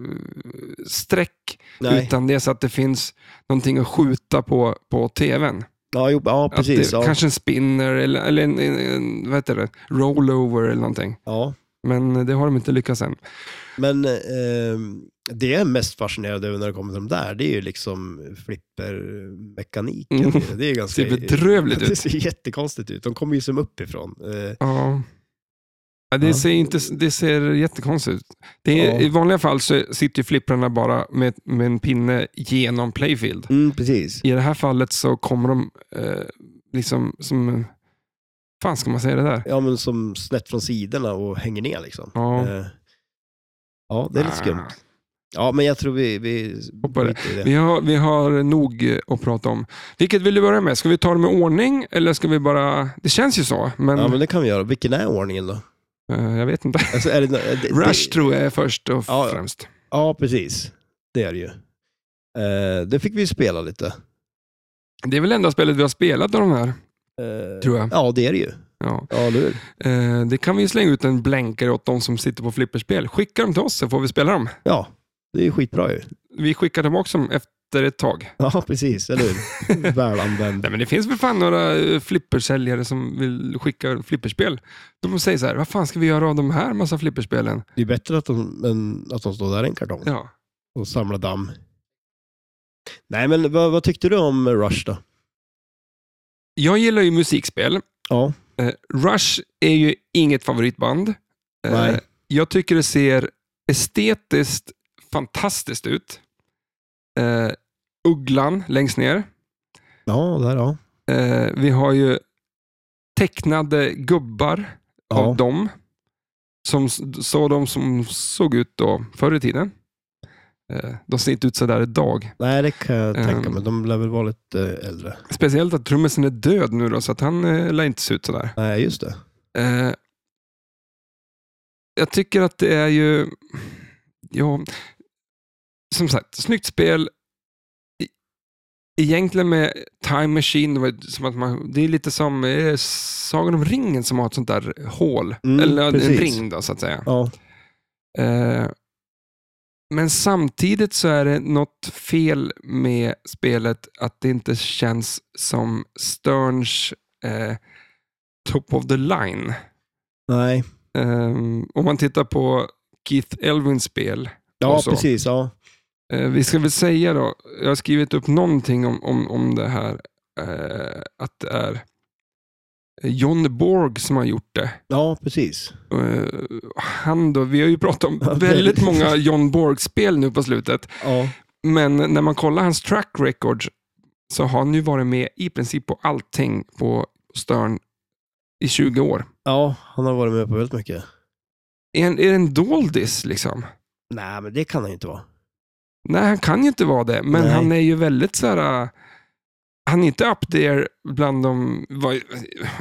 Speaker 1: reality-streck,
Speaker 2: Nej.
Speaker 1: utan det är så att det finns någonting att skjuta på, på TVn.
Speaker 2: Ja, jo, ja
Speaker 1: Att
Speaker 2: precis.
Speaker 1: det,
Speaker 2: Ja.
Speaker 1: Kanske en spinner eller, eller en, en, en vad heter det? rollover eller någonting.
Speaker 2: Ja.
Speaker 1: Men det har de inte lyckats än.
Speaker 2: Men ehm, det jag är mest fascinerad över när det kommer till de där, det är ju liksom flippermekaniken.
Speaker 1: Mm.
Speaker 2: Det är ju ganska...
Speaker 1: Ser bedrövligt
Speaker 2: Det
Speaker 1: ut.
Speaker 2: ser jättekonstigt ut. De kommer ju som uppifrån. Eh,
Speaker 1: Ja. Ja, det,
Speaker 2: Ja.
Speaker 1: Ser inte, det ser jättekonstigt ut. Det är,
Speaker 2: Ja.
Speaker 1: I vanliga fall så sitter ju flipprarna bara med, med en pinne genom playfield.
Speaker 2: mm, precis.
Speaker 1: I det här fallet så kommer de eh, liksom som... fan ska man säga det där?
Speaker 2: Ja, men som snett från sidorna och hänger ner liksom.
Speaker 1: Ja.
Speaker 2: Eh, ja, det är lite skumt.
Speaker 1: Ah.
Speaker 2: Ja, men jag tror vi... vi
Speaker 1: Hoppar det.
Speaker 2: skiter i
Speaker 1: Vi har, vi har nog eh, att prata om. Vilket vill du börja med? Ska vi ta det med ordning eller ska vi bara... Det känns ju så, men,
Speaker 2: Ja, men det kan vi göra. Vilken är ordningen då?
Speaker 1: eh, jag vet inte.
Speaker 2: Alltså, är det, nå- är det,
Speaker 1: Rush
Speaker 2: Det,
Speaker 1: tror jag är först och
Speaker 2: Ja.
Speaker 1: främst.
Speaker 2: ja, precis. Det är det ju. Eh, det fick vi ju spela lite.
Speaker 1: Det är väl enda spelet vi har spelat av de här,
Speaker 2: Eh,
Speaker 1: tror jag.
Speaker 2: Ja, det är det ju.
Speaker 1: Ja.
Speaker 2: Ja, nu är det.
Speaker 1: Eh, det kan vi ju slänga ut en blänkare åt de som sitter på flipperspel. Skicka dem till oss så får vi spela dem.
Speaker 2: Ja, det är ju skitbra ju.
Speaker 1: Vi skickar tillbaka dem efter ett tag.
Speaker 2: Ja, precis. Eller hur? Väl använd.
Speaker 1: Nej, men det finns väl fan några eh, flippersäljare som vill skicka flipperspel. De säger så här, vad fan ska vi göra av de här massa flipperspelen?
Speaker 2: Det är bättre att de, än att de står där i en kartong
Speaker 1: Ja.
Speaker 2: och samlar damm. Nej, men vad, vad tyckte du om Rush då?
Speaker 1: Jag gillar ju musikspel.
Speaker 2: Ja,
Speaker 1: Eh, Rush är ju inget favoritband. Eh,
Speaker 2: Nej.
Speaker 1: Jag tycker det ser estetiskt fantastiskt ut. Eh, ugglan längst ner.
Speaker 2: Ja, där ja.
Speaker 1: Eh, vi har ju tecknade gubbar
Speaker 2: Ja,
Speaker 1: av dem. Som så de som såg ut då förr i tiden. Eh, De ser inte ut sådär idag.
Speaker 2: Nej, det kan jag tänka
Speaker 1: Ehm.
Speaker 2: mig. De lär väl vara lite eh, äldre.
Speaker 1: Speciellt att trummisen är död nu då, så att han eh, lär inte se ut sådär.
Speaker 2: Nej, just det.
Speaker 1: Eh, jag tycker att det är ju... Ja, som sagt, snyggt spel. E- Egentligen med Time Machine, det, var ju som att man, det är lite som eh, Sagan om ringen som har ett sånt där hål.
Speaker 2: Mm,
Speaker 1: Eller
Speaker 2: precis.
Speaker 1: en ring då, så att säga.
Speaker 2: Ja,
Speaker 1: Eh, men samtidigt så är det något fel med spelet att det inte känns som Sterns eh, top of the line.
Speaker 2: nej.
Speaker 1: Ehm, om man tittar på Keith Elwins spel.
Speaker 2: Ja,
Speaker 1: Och så.
Speaker 2: precis. Ja.
Speaker 1: Eh, vi ska väl säga då, jag har skrivit upp någonting om, om, om det här, eh, att det är John Borg som har gjort det.
Speaker 2: ja, precis.
Speaker 1: Eh, han då, vi har ju pratat om
Speaker 2: Ja, det-
Speaker 1: väldigt många John Borg-spel nu på slutet,
Speaker 2: Ja,
Speaker 1: men när man kollar hans track record så har han ju varit med i princip på allting på Stern i 20 år.
Speaker 2: ja han har varit med på väldigt mycket.
Speaker 1: Är, en- är det en doldis liksom?
Speaker 2: Nej, men det kan han ju inte vara.
Speaker 1: Nej, han kan ju inte vara det, men
Speaker 2: Nej.
Speaker 1: han är ju väldigt så här... äh, Han är inte up there bland de... Vad,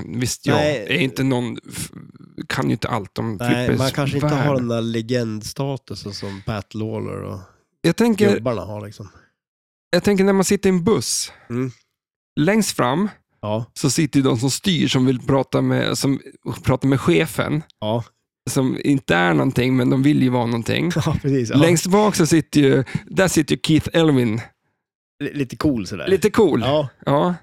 Speaker 1: visst, jag
Speaker 2: Nej.
Speaker 1: är inte någon... f- Kan ju inte allt om
Speaker 2: Nej,
Speaker 1: flippers
Speaker 2: man kanske inte
Speaker 1: värld.
Speaker 2: har den där legendstatusen som Pat Lawler och
Speaker 1: Jag tänker,
Speaker 2: gubbarna har liksom.
Speaker 1: jag tänker när man sitter i en buss,
Speaker 2: Mm.
Speaker 1: längst fram
Speaker 2: Ja,
Speaker 1: så sitter ju de som styr, som vill prata med, som, prata med chefen,
Speaker 2: ja,
Speaker 1: som inte är någonting, men de vill ju vara någonting.
Speaker 2: ja precis. Ja.
Speaker 1: Längst bak så sitter ju, där sitter ju Keith Elwin.
Speaker 2: L- Lite cool sådär.
Speaker 1: Lite cool.
Speaker 2: Ja,
Speaker 1: Ja.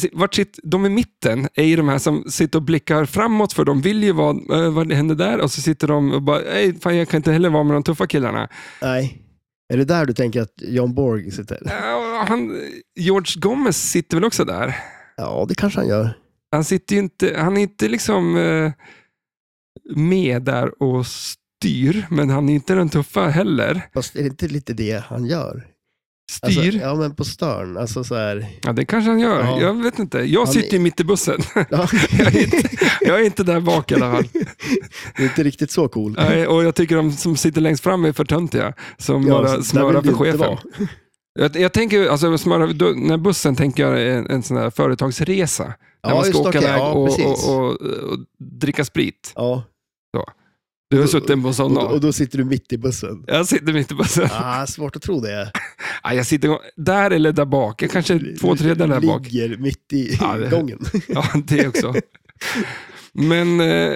Speaker 1: Se- Vart sitt, de i mitten är ju de här som sitter och blickar framåt för de vill ju vara, eh, vad händer där? Och så sitter de och bara, "Ey, fan jag kan inte heller vara med de tuffa killarna.
Speaker 2: nej. Är det där du tänker att John Borg sitter?
Speaker 1: Eh, Han, George Gomez sitter väl också där?
Speaker 2: Ja, det kanske han gör.
Speaker 1: Han sitter ju inte, han är inte liksom eh, med där och styr, men han är inte den tuffa heller.
Speaker 2: Fast är det inte lite det han gör?
Speaker 1: Styr?
Speaker 2: Alltså,
Speaker 1: ja.
Speaker 2: ja, men på Stern. Alltså så här.
Speaker 1: det kanske han gör.
Speaker 2: Ja.
Speaker 1: Jag vet inte. Jag
Speaker 2: Han
Speaker 1: sitter ju mitt i bussen.
Speaker 2: Ja.
Speaker 1: jag, är inte, jag är inte där bak i alla fall.
Speaker 2: det är inte riktigt så cool.
Speaker 1: Nej, och jag tycker de som sitter längst fram är för töntiga. Som
Speaker 2: Ja,
Speaker 1: bara
Speaker 2: där
Speaker 1: smörar
Speaker 2: vill
Speaker 1: för
Speaker 2: du inte
Speaker 1: chefen.
Speaker 2: vara.
Speaker 1: Jag, jag tänker, alltså, smöra, då, när bussen tänker jag en, en sån här företagsresa. när
Speaker 2: Ja,
Speaker 1: man ska
Speaker 2: just det,
Speaker 1: åka
Speaker 2: okej.
Speaker 1: iväg
Speaker 2: Ja,
Speaker 1: och,
Speaker 2: precis.
Speaker 1: och, och, och dricka sprit.
Speaker 2: Ja,
Speaker 1: Du har
Speaker 2: Och-
Speaker 1: suttit på en sån
Speaker 2: och, och
Speaker 1: dag.
Speaker 2: då sitter du mitt i bussen.
Speaker 1: Jag sitter mitt i bussen.
Speaker 2: Ah, svårt att tro det.
Speaker 1: Ja. Jag sitter där eller där bak. Jag kanske är två tredjedelar där bak.
Speaker 2: Ligger mitt i
Speaker 1: Ja, det-
Speaker 2: gången.
Speaker 1: Ja, det också. Men eh,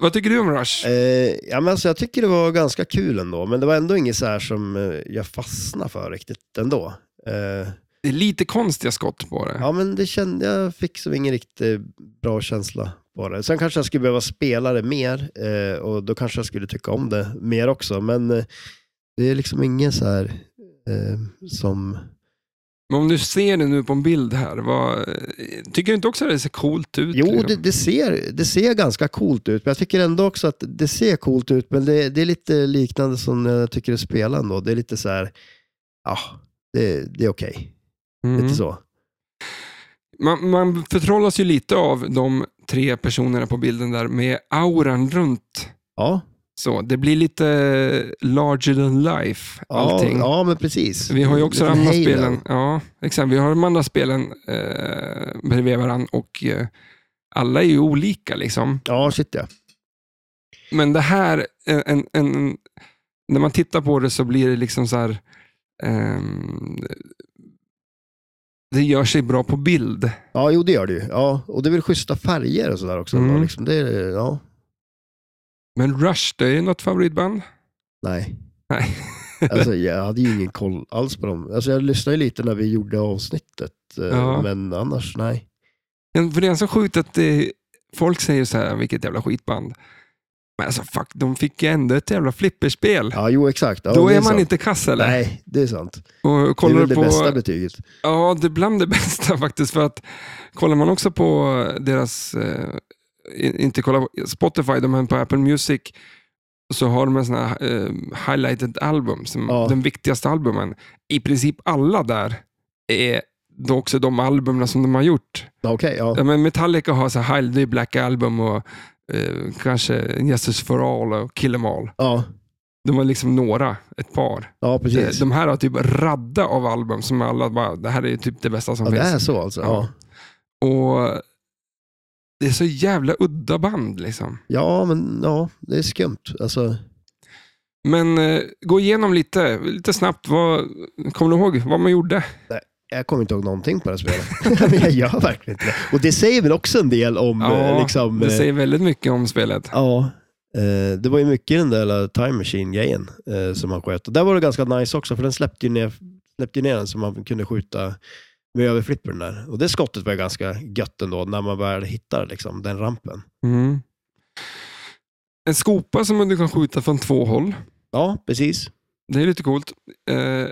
Speaker 1: vad tycker du om Rush?
Speaker 2: Eh, ja, men alltså, jag tycker det var ganska kul ändå, men det var ändå inget så här som eh, jag fastnade för riktigt ändå. Eh,
Speaker 1: Det är lite konstiga skott på det.
Speaker 2: ja, men det kände, jag fick så ingen riktigt eh, bra känsla på det. Sen kanske jag skulle behöva spela det mer eh, och då kanske jag skulle tycka om det mer också, men eh, det är liksom ingen så här eh, som...
Speaker 1: Men om du ser det nu på en bild här, vad, eh, tycker du inte också att det ser coolt ut?
Speaker 2: Jo,
Speaker 1: liksom?
Speaker 2: det, det, ser, det ser ganska coolt ut, men jag tycker ändå också att det ser coolt ut, men det, det är lite liknande som jag tycker det spelar ändå. Det är lite så här, ja, det, det är okej.
Speaker 1: Mm.
Speaker 2: Lite så.
Speaker 1: Man, man förtrollas ju lite av de tre personerna på bilden där med auran runt.
Speaker 2: Ja,
Speaker 1: Så, det blir lite larger than life,
Speaker 2: ja,
Speaker 1: allting.
Speaker 2: ja men precis.
Speaker 1: Vi har ju också de
Speaker 2: Lite
Speaker 1: andra
Speaker 2: Halo.
Speaker 1: spelen. Ja, exakt. Vi har de andra spelen eh, bredvid varandra och eh, alla är ju olika. liksom.
Speaker 2: Ja, shit ja.
Speaker 1: Men det här, en, en, en, när man tittar på det så blir det liksom så här... ehm, det gör sig bra på bild.
Speaker 2: Ja, jo det gör det ju. Ja, och det är väl schyssta färger och sådär också.
Speaker 1: Mm.
Speaker 2: ändå, Liksom. Det är, ja,
Speaker 1: Men Rush, det är något favoritband?
Speaker 2: nej.
Speaker 1: Nej.
Speaker 2: Alltså, jag hade ju ingen koll alls på dem. Alltså, jag lyssnade ju lite när vi gjorde avsnittet, eh,
Speaker 1: Ja.
Speaker 2: men annars nej.
Speaker 1: Men För det är så sjukt att det, folk säger så här, vilket jävla skitband. Men alltså fuck, de fick ju ändå ett jävla flipperspel.
Speaker 2: Ja, jo exakt. Ja,
Speaker 1: Då
Speaker 2: det
Speaker 1: är man
Speaker 2: sant.
Speaker 1: inte kass eller?
Speaker 2: Nej, det är sant.
Speaker 1: Och
Speaker 2: det är
Speaker 1: kollar
Speaker 2: väl det
Speaker 1: på,
Speaker 2: bästa betyget.
Speaker 1: Ja, det är bland det bästa faktiskt. För att kollar man också på deras, eh, i- inte kolla på Spotify, de är på Apple Music. så har de en sån här eh, highlighted album, som
Speaker 2: Ja.
Speaker 1: de viktigaste albumen. I princip alla där är då också de albumen som de har gjort.
Speaker 2: Ja, Okej,
Speaker 1: Ja,
Speaker 2: ja.
Speaker 1: men Metallica har så här, det är Black Album och eh, kanske Jesus for All och Kill 'em All.
Speaker 2: Ja,
Speaker 1: De var liksom några, ett par.
Speaker 2: ja precis.
Speaker 1: De här har typ radda av album som alla bara, det här är typ det bästa som
Speaker 2: Ja, det
Speaker 1: finns.
Speaker 2: är så alltså? Ja,
Speaker 1: Och det är så jävla udda band liksom.
Speaker 2: ja men ja, det är skumt. Alltså,
Speaker 1: Men eh, gå igenom lite, lite snabbt. Vad, kommer du ihåg vad man gjorde?
Speaker 2: jag kommer inte ihåg någonting på det här spelet. men jag gör verkligen inte det. Och det säger väl också en del om... eh, liksom,
Speaker 1: det
Speaker 2: eh,
Speaker 1: säger väldigt mycket om spelet.
Speaker 2: Ja, eh, det var ju mycket den där lilla Time Machine-grejen eh, som han sköt. Och där var det ganska nice också, för den släppte ju ner, släppte ju ner den så man kunde skjuta med överflippern där. Och det skottet var ju ganska gött ändå, när man väl hittar liksom, den rampen.
Speaker 1: Mm. En skopa som du kan skjuta från två håll.
Speaker 2: Ja, precis.
Speaker 1: Det är lite coolt. Eh,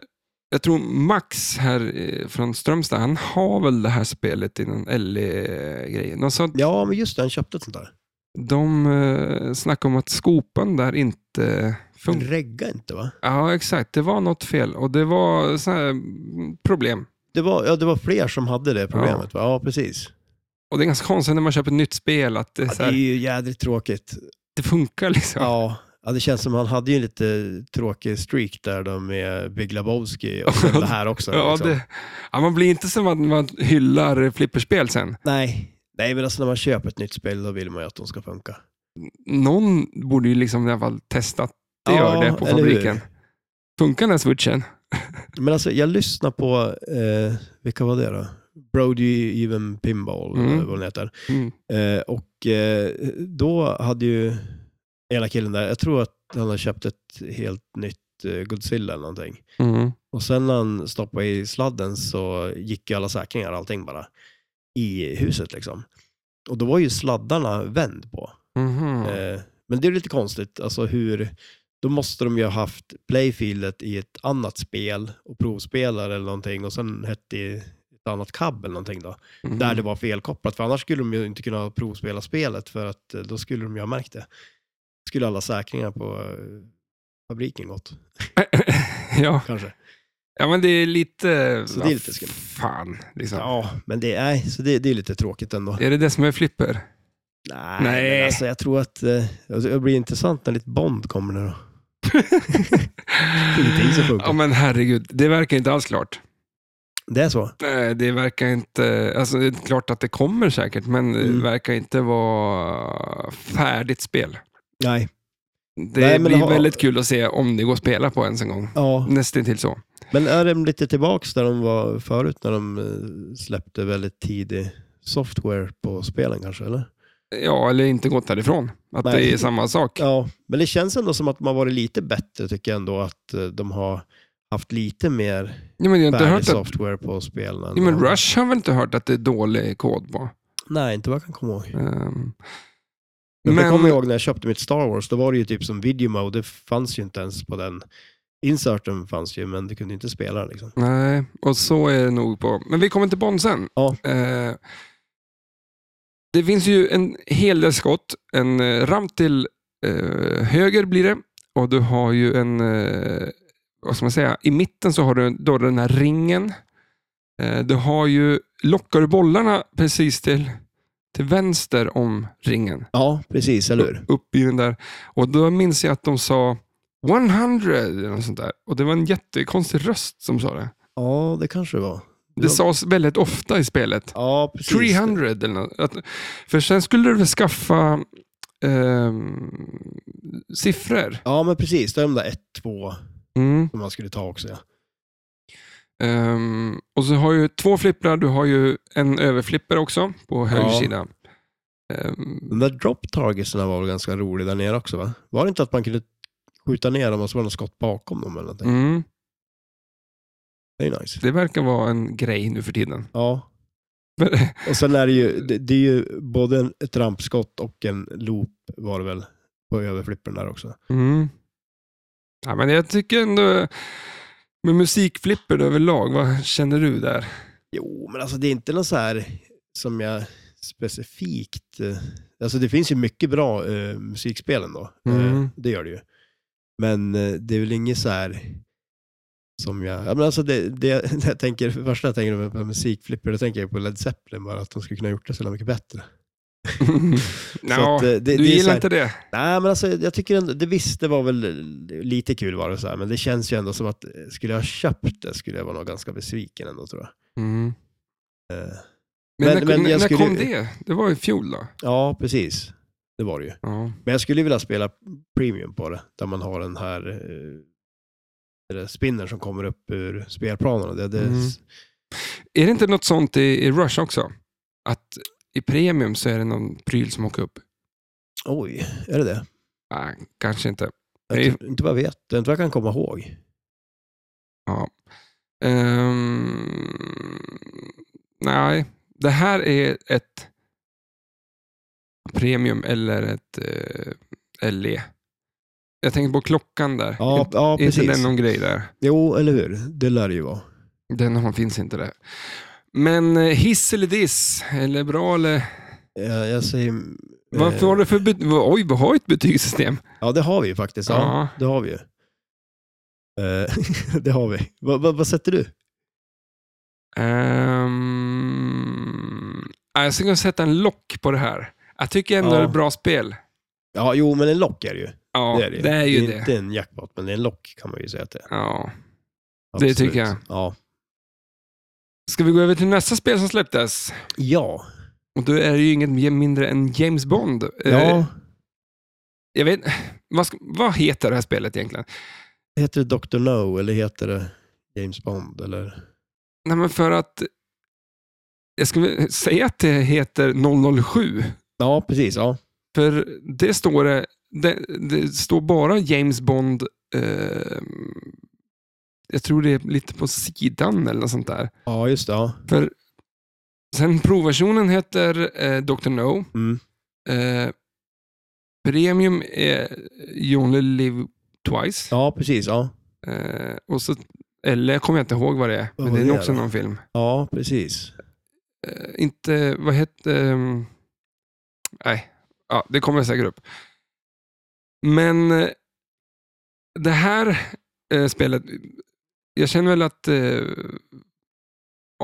Speaker 1: jag tror Max här eh, från Strömstad, han har väl det här spelet i någon LE-grej. De, sa-
Speaker 2: Ja, men just det, han köpte ett sånt där.
Speaker 1: de eh, snackade om att skopan där inte
Speaker 2: Den
Speaker 1: funkar.
Speaker 2: regga inte va?
Speaker 1: Ja, exakt. Det var något fel och det var så här mm, problem.
Speaker 2: Det var, ja, det var fler som hade det problemet va? Ja, precis.
Speaker 1: Och det är ganska konstigt när man köper ett nytt spel att det,
Speaker 2: Ja,
Speaker 1: så
Speaker 2: det är
Speaker 1: här,
Speaker 2: ju jädrigt tråkigt.
Speaker 1: det funkar. liksom.
Speaker 2: Ja. ja, det känns som han hade ju en lite tråkig streak där då med Big Lebowski och sen det här också.
Speaker 1: Ja,
Speaker 2: liksom.
Speaker 1: det, ja, man blir inte som att man hyllar flipperspel sen.
Speaker 2: Nej. Nej, men alltså när man köper ett nytt spel då vill man ju att de ska funka.
Speaker 1: Någon borde ju liksom i alla fall testat det,
Speaker 2: Ja,
Speaker 1: gör det på
Speaker 2: eller hur?
Speaker 1: fabriken. Funkar den här switchen?
Speaker 2: Men alltså jag lyssnar på, eh, vilka var det då? Brody Even Pinball,
Speaker 1: Mm.
Speaker 2: eller vad den heter.
Speaker 1: Mm.
Speaker 2: Eh, och eh, då hade ju ena killen där, jag tror att han har köpt ett helt nytt eh, Godzilla eller någonting.
Speaker 1: Mm.
Speaker 2: Och sen när han stoppade i sladden så gick ju alla säkringar och allting bara i huset liksom. Och då var ju sladdarna vänd på.
Speaker 1: Mhm.
Speaker 2: Eh, Men det är lite konstigt, alltså hur, då måste de ju ha haft playfieldet i ett annat spel och provspelare eller någonting och sen hette det ett annat cab eller någonting då,
Speaker 1: Mhm.
Speaker 2: där det var felkopplat, för annars skulle de ju inte kunna provspela spelet för att eh, då skulle de ju ha märkt det. Skulle alla säkringar på eh, fabriken gått,
Speaker 1: ja.
Speaker 2: kanske.
Speaker 1: ja, men det är lite...
Speaker 2: Så det är lite skumt.
Speaker 1: Fan, liksom.
Speaker 2: Ja, men det, nej, så det, det är lite tråkigt ändå.
Speaker 1: Är det det som är flipper?
Speaker 2: Nej,
Speaker 1: Nej.
Speaker 2: Men alltså jag tror att eh, alltså, det blir intressant när lite Bond kommer nu då. Ingenting som funkar.
Speaker 1: Ja, men herregud. Det verkar inte alls klart.
Speaker 2: Det är så?
Speaker 1: Nej, Eh, Det verkar inte... Alltså, det är klart att det kommer säkert, men
Speaker 2: Mm.
Speaker 1: det verkar inte vara färdigt spel.
Speaker 2: Nej.
Speaker 1: Det
Speaker 2: Nej, men
Speaker 1: blir
Speaker 2: ha-
Speaker 1: väldigt kul att se om det går att spela på ens en gång.
Speaker 2: Ja,
Speaker 1: Nästintill så.
Speaker 2: Men är de lite tillbaks där de var förut när de eh, släppte väldigt tidig software på spelen kanske, eller?
Speaker 1: Ja, eller inte gått härifrån. Att
Speaker 2: Nej.
Speaker 1: det är samma sak.
Speaker 2: Ja, men det känns ändå som att de har varit lite bättre tycker jag ändå att eh, de har haft lite mer
Speaker 1: Ja, men jag har inte
Speaker 2: färdig
Speaker 1: hört att...
Speaker 2: software på spelen.
Speaker 1: Ja, men Rush har väl inte hört att det är dålig kod på.
Speaker 2: Nej, inte vad jag kan komma ihåg.
Speaker 1: Ehm,
Speaker 2: Men,
Speaker 1: men-
Speaker 2: Jag kommer ihåg när jag köpte mitt Star Wars, då var det ju typ som video mode, det fanns ju inte ens på den. Inserten fanns ju, men du kunde inte spela den liksom.
Speaker 1: Nej, och så är det nog på. Men vi kommer till Bond sen.
Speaker 2: Ja.
Speaker 1: Eh, det finns ju en hel del skott. En eh, ramp till eh, höger blir det. Och du har ju en, eh, vad ska man säga, i mitten så har du då den här ringen. Eh, du har ju, lockar du bollarna precis till, till vänster om ringen,
Speaker 2: Ja, precis, eller hur?
Speaker 1: upp i den där. Och då minns jag att de sa 100 eller något sånt där. Och det var en jättekonstig röst som sa det.
Speaker 2: Ja, det kanske det var.
Speaker 1: Det sades väldigt ofta i spelet.
Speaker 2: Ja, precis.
Speaker 1: 300 eller något. Att- För sen skulle du väl skaffa ehm, siffror.
Speaker 2: Ja, men precis. Det är de där 1, 2
Speaker 1: Mm.
Speaker 2: som man skulle ta också. Ja.
Speaker 1: Ehm, och så har ju två flipprar. Du har ju en överflipper också på höger
Speaker 2: Ja.
Speaker 1: sida. Ehm,
Speaker 2: De där drop targetsen var väl ganska roliga där nere också? va? Var det inte att man kunde skjuta ner dem och så var det något skott bakom dem eller någonting?
Speaker 1: mm.
Speaker 2: Det är ju nice.
Speaker 1: Det verkar vara en grej nu för tiden.
Speaker 2: Ja,
Speaker 1: Men,
Speaker 2: och sen är det ju, det, det är ju både en, ett rampskott och en loop var det väl på överflippen där också.
Speaker 1: mm. ja, men jag tycker ändå, med musikflipper överlag, vad känner du där?
Speaker 2: Jo, men alltså det är inte något så här som jag specifikt. eh, Alltså det finns ju mycket bra eh, musikspel ändå. Eh,
Speaker 1: Mm.
Speaker 2: det gör det ju. Men eh, det är väl inget så här som jag... Ja, men alltså det, det, jag tänker, det första jag tänker på musikflipper, då tänker jag på Led Zeppelin bara, att de skulle kunna gjort det så jävla mycket bättre.
Speaker 1: Nå,
Speaker 2: att, eh, det- det är
Speaker 1: du
Speaker 2: så
Speaker 1: gillar
Speaker 2: här-
Speaker 1: inte det?
Speaker 2: Nej, men alltså jag tycker ändå, det visst, det var väl lite kul var det så här, men det känns ju ändå som att eh, skulle jag ha köpt det skulle jag vara nog ganska besviken ändå tror jag.
Speaker 1: Mm.
Speaker 2: Eh,
Speaker 1: Men,
Speaker 2: Men-
Speaker 1: när,
Speaker 2: men
Speaker 1: när,
Speaker 2: jag
Speaker 1: när
Speaker 2: skulle-
Speaker 1: kom det? Det var i fjol då?
Speaker 2: Ja, precis. Det var det ju.
Speaker 1: Ja.
Speaker 2: Men jag skulle ju vilja spela premium på det, där man har den här eh, eller spinnern som kommer upp ur spelplanen. Det, det,
Speaker 1: Mm. Är det inte något sånt i, i Rush också? Att i premium så är det någon pryl som åker upp?
Speaker 2: Oj, är det det?
Speaker 1: Nej, kanske inte.
Speaker 2: Jag
Speaker 1: Nej.
Speaker 2: tror- Inte vad jag vet, inte vad jag kan komma ihåg.
Speaker 1: Ehm, nej, det här är ett premium eller ett eh, LE. Jag tänker på klockan där.
Speaker 2: Ja, ja
Speaker 1: är inte den
Speaker 2: precis.
Speaker 1: någon grej där?
Speaker 2: Jo, eller hur? Det lär det ju vara.
Speaker 1: Den har- finns inte där. Men eh, hiss eller diss? Eller bra eller...
Speaker 2: Jag, jag säger... eh,
Speaker 1: Vad har du för bet- Oj, vi har ju ett betygssystem.
Speaker 2: Ja, det har vi ju faktiskt. Ja,
Speaker 1: Ja.
Speaker 2: det har vi ju. Eh, det har vi. Vad- vad- vad sätter du?
Speaker 1: Ehm, ja, jag ska sätta en lock på det här. Jag tycker ändå
Speaker 2: Ja.
Speaker 1: det är ett bra spel.
Speaker 2: Ja, jo, men en lock är det ju.
Speaker 1: Ja, det är,
Speaker 2: ju.
Speaker 1: ju det.
Speaker 2: inte en jackpot, men det är en lock kan man ju säga att det är.
Speaker 1: Ja. Det
Speaker 2: Absolut.
Speaker 1: tycker jag.
Speaker 2: Ja.
Speaker 1: Ska vi gå över till nästa spel som släpptes?
Speaker 2: Ja.
Speaker 1: Och då är det ju inget mindre än James Bond. Eh,
Speaker 2: ja.
Speaker 1: Jag vet, vad, ska, vad heter det här spelet egentligen?
Speaker 2: Heter det Dr. No eller heter det James Bond? Eller?
Speaker 1: Nej, men för att... Jag skulle säga att det heter 007.
Speaker 2: Ja, precis. Ja.
Speaker 1: För det står det, det, det står bara James Bond, eh, jag tror det är lite på sidan eller något sånt där.
Speaker 2: ja, just det. Ja.
Speaker 1: För sen provversionen heter eh, Dr. No.
Speaker 2: Mm.
Speaker 1: Eh, premium är eh, You Only Live Twice.
Speaker 2: ja, precis. Ja,
Speaker 1: Eh, och så, eller jag kommer inte ihåg vad det är,
Speaker 2: Vad
Speaker 1: men
Speaker 2: var
Speaker 1: det är
Speaker 2: det
Speaker 1: nog också
Speaker 2: då?
Speaker 1: någon film.
Speaker 2: ja precis.
Speaker 1: Eh, inte, vad hette... ehm, nej, ja, det kommer jag säkert upp. Men eh, det här eh, spelet, jag känner väl att eh,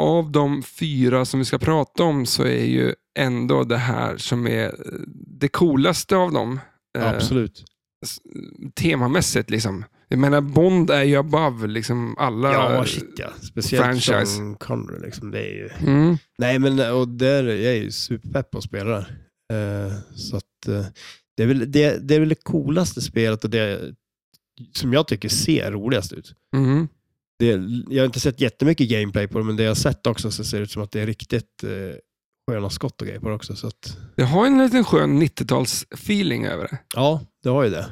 Speaker 1: av de fyra som vi ska prata om så är ju ändå det här som är eh, det coolaste av dem. eh,
Speaker 2: Absolut.
Speaker 1: s- temamässigt liksom. Jag menar, Bond är ju above liksom alla.
Speaker 2: Ja, shit ja. Speciellt
Speaker 1: franchise.
Speaker 2: som Connery. Liksom, det är ju...
Speaker 1: Mm.
Speaker 2: Nej, men och där, jag är ju superpepp på att spela det. Eh, så att, eh, det, är väl, det, det är väl det coolaste spelet och det som jag tycker ser roligast ut.
Speaker 1: Mm.
Speaker 2: Det, jag har inte sett jättemycket gameplay på det, men det jag har sett också så ser det ut som att det är riktigt eh, sköna skott och grejer på det också. Så att,
Speaker 1: Det har en liten skön 90-tals-feeling över det.
Speaker 2: ja, det har ju det.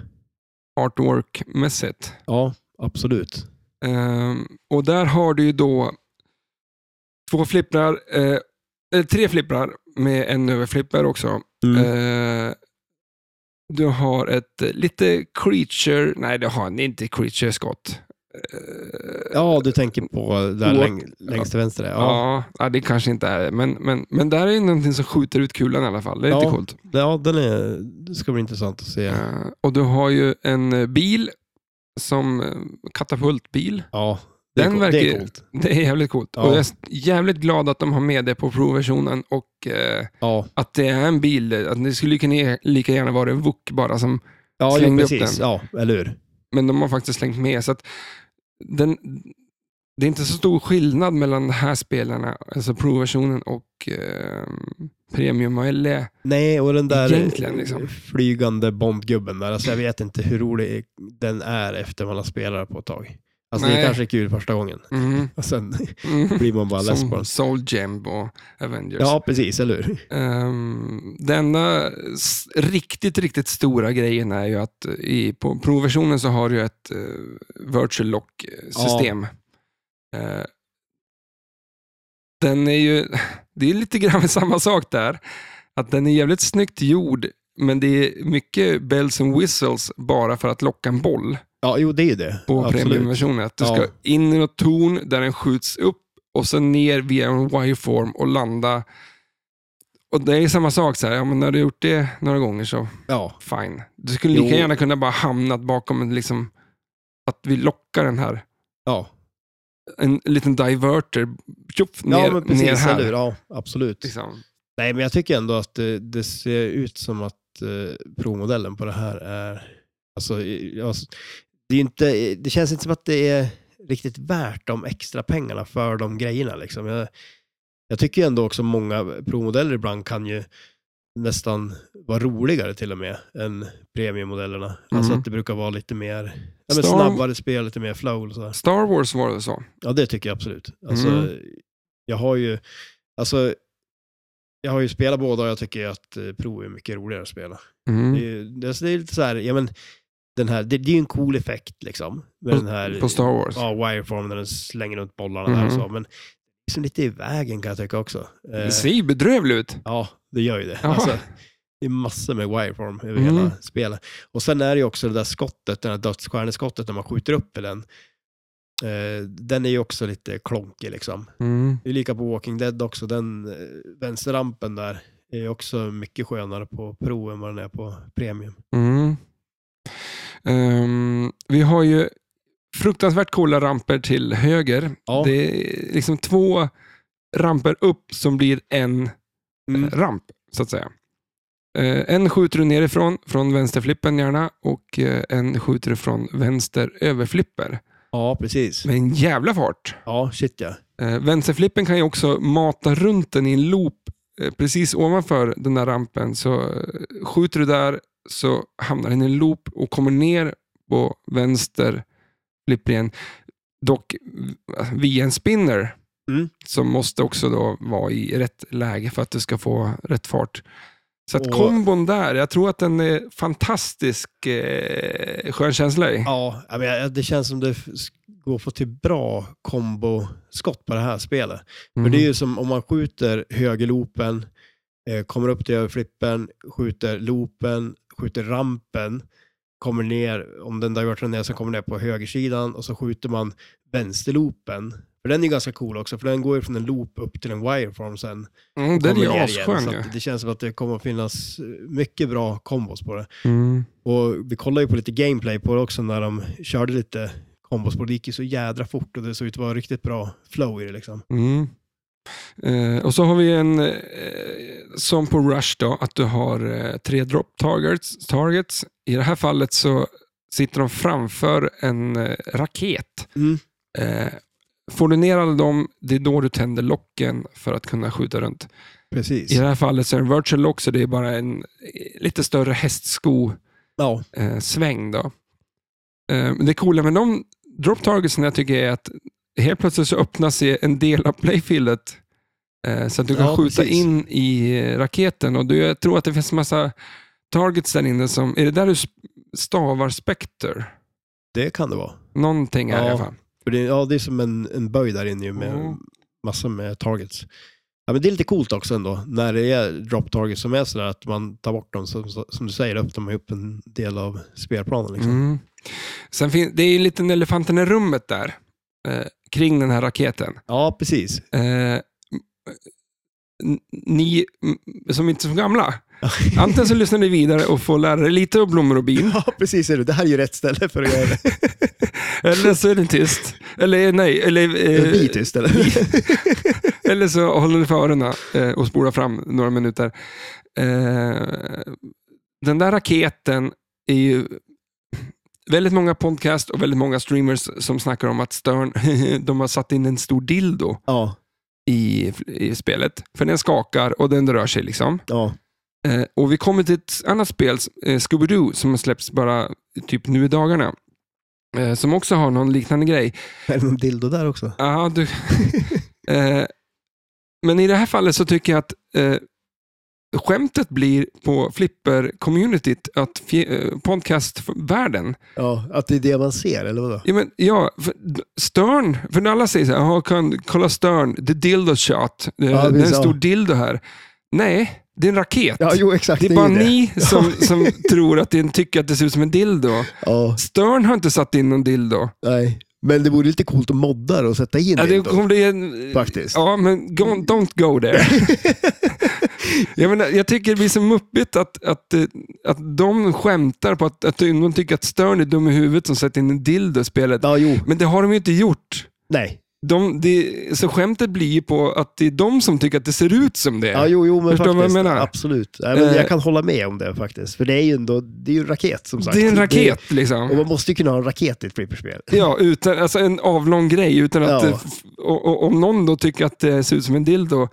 Speaker 1: artwork-mässigt.
Speaker 2: Ja, absolut.
Speaker 1: Ehm, och där har du ju då två flipprar, eh, eh, tre flipprar med en överflipper också.
Speaker 2: Mm.
Speaker 1: Eh, du har ett eh, lite creature, nej det har ni inte, creature-skott. Eh,
Speaker 2: ja, du tänker på där
Speaker 1: Oak-
Speaker 2: läng, längst till vänster. där. Ja,
Speaker 1: ja. ja, det kanske inte är det, men, men, men där är ju någonting som skjuter ut kulan i alla fall. Det är lite
Speaker 2: Ja.
Speaker 1: coolt.
Speaker 2: ja. den är, det ska bli intressant att se. Ja,
Speaker 1: Eh, och du har ju en eh, bil, som eh, katapultbil.
Speaker 2: det,
Speaker 1: Den
Speaker 2: är, co-
Speaker 1: verkar
Speaker 2: det
Speaker 1: ju-
Speaker 2: är coolt.
Speaker 1: Det är jävligt coolt.
Speaker 2: Ja.
Speaker 1: Och jag är jävligt glad att de har med det på provversionen och eh,
Speaker 2: Ja,
Speaker 1: att det är en bil. Att det skulle kunna e- lika gärna vara en VUK bara, som,
Speaker 2: ja jo,
Speaker 1: Slängde upp
Speaker 2: precis.
Speaker 1: den.
Speaker 2: Ja, eller hur?
Speaker 1: men de har faktiskt slängt med. Så att den, det är inte så stor skillnad mellan de här spelarna, alltså provversionen och eh, Premium E. och LE.
Speaker 2: Nej, och den där
Speaker 1: Egentligen, liksom.
Speaker 2: flygande Bondgubben där, alltså jag vet inte hur rolig den är efter man har spelat på ett tag. Alltså det
Speaker 1: Nej.
Speaker 2: är kanske kul första gången,
Speaker 1: Mm.
Speaker 2: och sen
Speaker 1: Mm.
Speaker 2: blir man bara less på
Speaker 1: Som
Speaker 2: den.
Speaker 1: Soul Gem och Avengers.
Speaker 2: Ja, precis, eller hur?
Speaker 1: Um, det enda s- riktigt, riktigt stora grejen är ju att i, på provversionen så har du ju ett eh, virtual lock-system. Eh, den är ju, det är lite grann samma sak där. Att den är jävligt snyggt gjord, men det är mycket bells and whistles bara för att locka en boll
Speaker 2: Ja, jo det är ju det.
Speaker 1: på
Speaker 2: Absolut.
Speaker 1: premiumversionen. Att du
Speaker 2: Ja.
Speaker 1: ska in i något torn där den skjuts upp och sen ner via en wireform och landa Och det är ju samma sak, så här, ja, men när du har gjort det några gånger så
Speaker 2: Ja.
Speaker 1: fine. Du skulle lika
Speaker 2: Jo.
Speaker 1: gärna kunna bara hamnat bakom en, liksom, att vi lockar den här,
Speaker 2: Ja,
Speaker 1: en liten diverter, tjoff, ner,
Speaker 2: ja men
Speaker 1: ner
Speaker 2: precis. Eller
Speaker 1: här.
Speaker 2: hur? Ja, absolut.
Speaker 1: Liksom.
Speaker 2: Nej, men jag tycker ändå att det, det ser ut som att eh, provmodellen på det här är... Alltså, i- ja, s- det, är ju inte, det känns inte som att det är riktigt värt de extra pengarna för de grejerna. Liksom. Jag, jag tycker ändå också många provmodeller ibland kan ju nästan vara roligare till och med än premiummodellerna. Alltså
Speaker 1: Mhm.
Speaker 2: att det brukar vara lite mer ja, men
Speaker 1: Star-
Speaker 2: snabbare spel, lite mer flow. Och så här.
Speaker 1: Star Wars var det så.
Speaker 2: Ja, det tycker jag absolut. Alltså,
Speaker 1: Mm.
Speaker 2: Jag har ju alltså, jag har ju spelat båda och jag tycker att eh, Pro är mycket roligare att spela.
Speaker 1: Mm.
Speaker 2: Det, är, ju- det, alltså, det är lite så här, ja, men, den här, det, det är ju en cool effekt liksom. Med den här
Speaker 1: På Star Wars.
Speaker 2: ja, wireformen när den slänger runt bollarna
Speaker 1: Mhm.
Speaker 2: där och så. Men liksom lite i vägen kan jag tycka också. Eh,
Speaker 1: Det ser ju bedrövligt ut.
Speaker 2: Ja, det gör ju det.
Speaker 1: Ja.
Speaker 2: Alltså, det är massor med wireform över
Speaker 1: Mm.
Speaker 2: hela spelet. Och sen är det ju också det där skottet, det där dödsstjärneskottet när man skjuter upp i den. Eh, den är ju också lite klonkig liksom.
Speaker 1: Mm.
Speaker 2: Det är lika på Walking Dead också, den eh, vänsterrampen där är ju också mycket skönare på Pro än vad den är på Premium.
Speaker 1: Mm. Ehm, vi har ju fruktansvärt coola ramper till höger.
Speaker 2: Ja.
Speaker 1: Det är liksom två ramper upp som blir en
Speaker 2: Mm.
Speaker 1: eh, ramp, så att säga. Eh, en skjuter du nerifrån, från vänsterflippen gärna, och eh, en skjuter du från vänster överflipper.
Speaker 2: Ja, precis.
Speaker 1: Med en jävla fart.
Speaker 2: Ja, shit ja.
Speaker 1: Eh, vänsterflippen kan ju också mata runt den i en loop eh, precis ovanför den där rampen. Så eh, skjuter du där så hamnar den i en loop och kommer ner på vänster flipp igen. Dock eh, via en spinner
Speaker 2: Mm.
Speaker 1: som måste också då vara i rätt läge för att du ska få rätt fart. Så att
Speaker 2: Och-
Speaker 1: kombon där, jag tror att den är fantastisk eh, skön känsla i.
Speaker 2: Ja, ja, men jag- det känns som det f- går att få till bra komboskott på det här spelet. För
Speaker 1: Mm.
Speaker 2: det är ju som om man skjuter högerloopen, eh, kommer upp till överflippen, skjuter loopen, skjuter rampen, kommer ner, om den där diverten är, så kommer ner på högersidan och så skjuter man vänsterloopen. För den är ju ganska cool också, för den går ju från en loop upp till en wireform sen.
Speaker 1: mm, mm, den är
Speaker 2: Kommer
Speaker 1: ju
Speaker 2: ner igen,
Speaker 1: asskön
Speaker 2: så
Speaker 1: ju.
Speaker 2: att Det känns som att det kommer att finnas eh, mycket bra kombos på det.
Speaker 1: Mm.
Speaker 2: Och vi kollade ju på lite gameplay på det också när de körde lite kombos på det. Det gick ju så jädra fort och det såg ut att vara riktigt bra flow i det liksom.
Speaker 1: Mm. Eh, och så har vi en, eh, som på Rush då, att du har eh, tre drop targets, targets. I det här fallet så sitter de framför en eh, raket.
Speaker 2: Mm.
Speaker 1: Eh, får du ner alla dem, det är då du tänder locken för att kunna skjuta runt.
Speaker 2: Precis.
Speaker 1: I det här fallet så är det en virtual lock, så det är bara en eh, lite större hästsko
Speaker 2: Ja.
Speaker 1: eh, sväng. Då. Eh, men det coola med de drop targetsen jag tycker är att helt plötsligt så öppnas ju en del av playfieldet eh, så att du kan
Speaker 2: Ja,
Speaker 1: skjuta
Speaker 2: precis.
Speaker 1: in i eh, raketen. Och du, jag tror att det finns massa targets där inne. Som, är det där du sp- stavar Spectre?
Speaker 2: Det kan det vara.
Speaker 1: Någonting här
Speaker 2: Ja.
Speaker 1: i alla fall.
Speaker 2: För det, ja, det är som en, en böj där inne ju med
Speaker 1: Ja.
Speaker 2: massor med targets. Ja, men det är lite coolt också ändå när det är drop targets som är sådär att man tar bort dem som, som du säger, öppnar man upp en del av spelplanen. Liksom.
Speaker 1: Mm. Sen fin- det är ju en liten elefanten i rummet där, eh, kring den här raketen.
Speaker 2: Ja, precis.
Speaker 1: Eh, n- ni m- som inte är så gamla, antingen så lyssnar ni vidare och får lära er lite om blommor och bin,
Speaker 2: Ja, precis. Är det. det här är ju rätt ställe för att göra det.
Speaker 1: eller så är ni tyst. Eller nej, eller,
Speaker 2: Eller Vi
Speaker 1: eh,
Speaker 2: är tyst, eller?
Speaker 1: eller så håller ni för öronen eh, och spolar fram några minuter. Eh, den där raketen är ju... Väldigt många podcast och väldigt många streamers som snackar om att Stern, de har satt in en stor dildo
Speaker 2: Ja,
Speaker 1: i, i spelet. För den skakar och den rör sig liksom.
Speaker 2: ja.
Speaker 1: Eh, och vi kommer till ett annat spel, eh, Scooby-Doo, som har släppts bara typ nu i dagarna. Eh, som också har någon liknande grej.
Speaker 2: Är det någon dildo där också?
Speaker 1: Ja, du... eh, men i det här fallet så tycker jag att eh, skämtet blir på flipper-communityt, att fje- eh, podcast-världen.
Speaker 2: Ja, att det är det man ser, eller vadå?
Speaker 1: Ja, men, ja, för, d- Stern, för när alla säger så här, "Jaha, kan, kolla Stern, the dildo shot, eh, det är en
Speaker 2: precis, ja.
Speaker 1: stor dildo här. Nej, det är en raket.
Speaker 2: Ja, jo, exakt.
Speaker 1: Det är bara
Speaker 2: ju
Speaker 1: ni som, som tror att den tycker att det ser ut som en dildo.
Speaker 2: Ja,
Speaker 1: Stern har inte satt in någon dildo.
Speaker 2: nej. Men det vore lite coolt att modda det och sätta in
Speaker 1: Ja, det
Speaker 2: Windows.
Speaker 1: kommer bli en...
Speaker 2: Faktiskt.
Speaker 1: Ja, men go, don't go there. jag, menar, jag tycker det blir så muppigt att, att, eh, att de skämtar på att, att de tycker att Stern är dum i huvudet som sätter in en dildo i spelet.
Speaker 2: Ja, jo.
Speaker 1: Men det har de ju inte gjort.
Speaker 2: Nej.
Speaker 1: De, det, så skämtet blir ju på att det är de som tycker att det ser ut som det.
Speaker 2: Ja, jo, jo, men
Speaker 1: Förstår du vad jag
Speaker 2: faktiskt.
Speaker 1: menar?
Speaker 2: Absolut. Nej, men
Speaker 1: Eh.
Speaker 2: jag kan hålla med om det faktiskt. För det är ju ändå, det är ju en raket som sagt.
Speaker 1: det är en raket
Speaker 2: och
Speaker 1: liksom.
Speaker 2: man måste ju kunna ha en raket i ett flipperspel.
Speaker 1: Ja, utan, alltså en avlång grej. Utan att,
Speaker 2: Ja.
Speaker 1: eh, f- och, och, om någon då tycker att det ser ut som en dildo,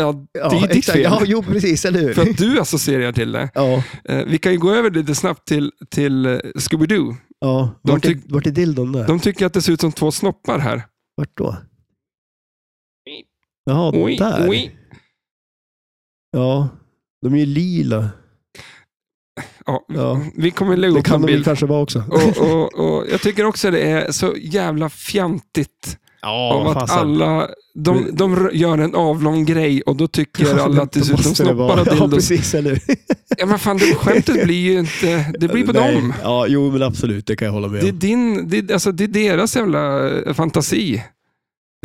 Speaker 1: ja, det
Speaker 2: Ja,
Speaker 1: är ju ditt
Speaker 2: exakt.
Speaker 1: fel.
Speaker 2: Ja, jo, precis, eller hur?
Speaker 1: För att du associerar till det.
Speaker 2: Ja,
Speaker 1: Eh, vi kan ju gå över lite snabbt till, till eh, Scooby-Doo.
Speaker 2: ja.
Speaker 1: De
Speaker 2: Vart,
Speaker 1: tyck-
Speaker 2: är, vart är dildon där?
Speaker 1: De tycker att det ser ut som två snoppar här.
Speaker 2: Vart då? Jaha,
Speaker 1: Oj,
Speaker 2: där.
Speaker 1: oj.
Speaker 2: Ja, de är ju lila.
Speaker 1: Ja,
Speaker 2: Ja.
Speaker 1: Vi kommer lägga
Speaker 2: Det
Speaker 1: upp en
Speaker 2: kan de ju
Speaker 1: bild.
Speaker 2: kanske vara också.
Speaker 1: Och, och, och jag tycker också det är så jävla fjantigt.
Speaker 2: Ja,
Speaker 1: om att alla, de, de r- gör en avlång grej och då tycker alla att det
Speaker 2: Då
Speaker 1: ser ut som
Speaker 2: måste det vara-
Speaker 1: snoppar och
Speaker 2: Ja,
Speaker 1: dildos.
Speaker 2: precis, eller hur?
Speaker 1: Ja, men fan, det skämtet blir ju inte... Det blir på
Speaker 2: Nej.
Speaker 1: dem.
Speaker 2: Ja, jo, men absolut, det kan jag hålla med
Speaker 1: Det är,
Speaker 2: om.
Speaker 1: din, det, är- alltså, det är deras jävla eh, fantasi.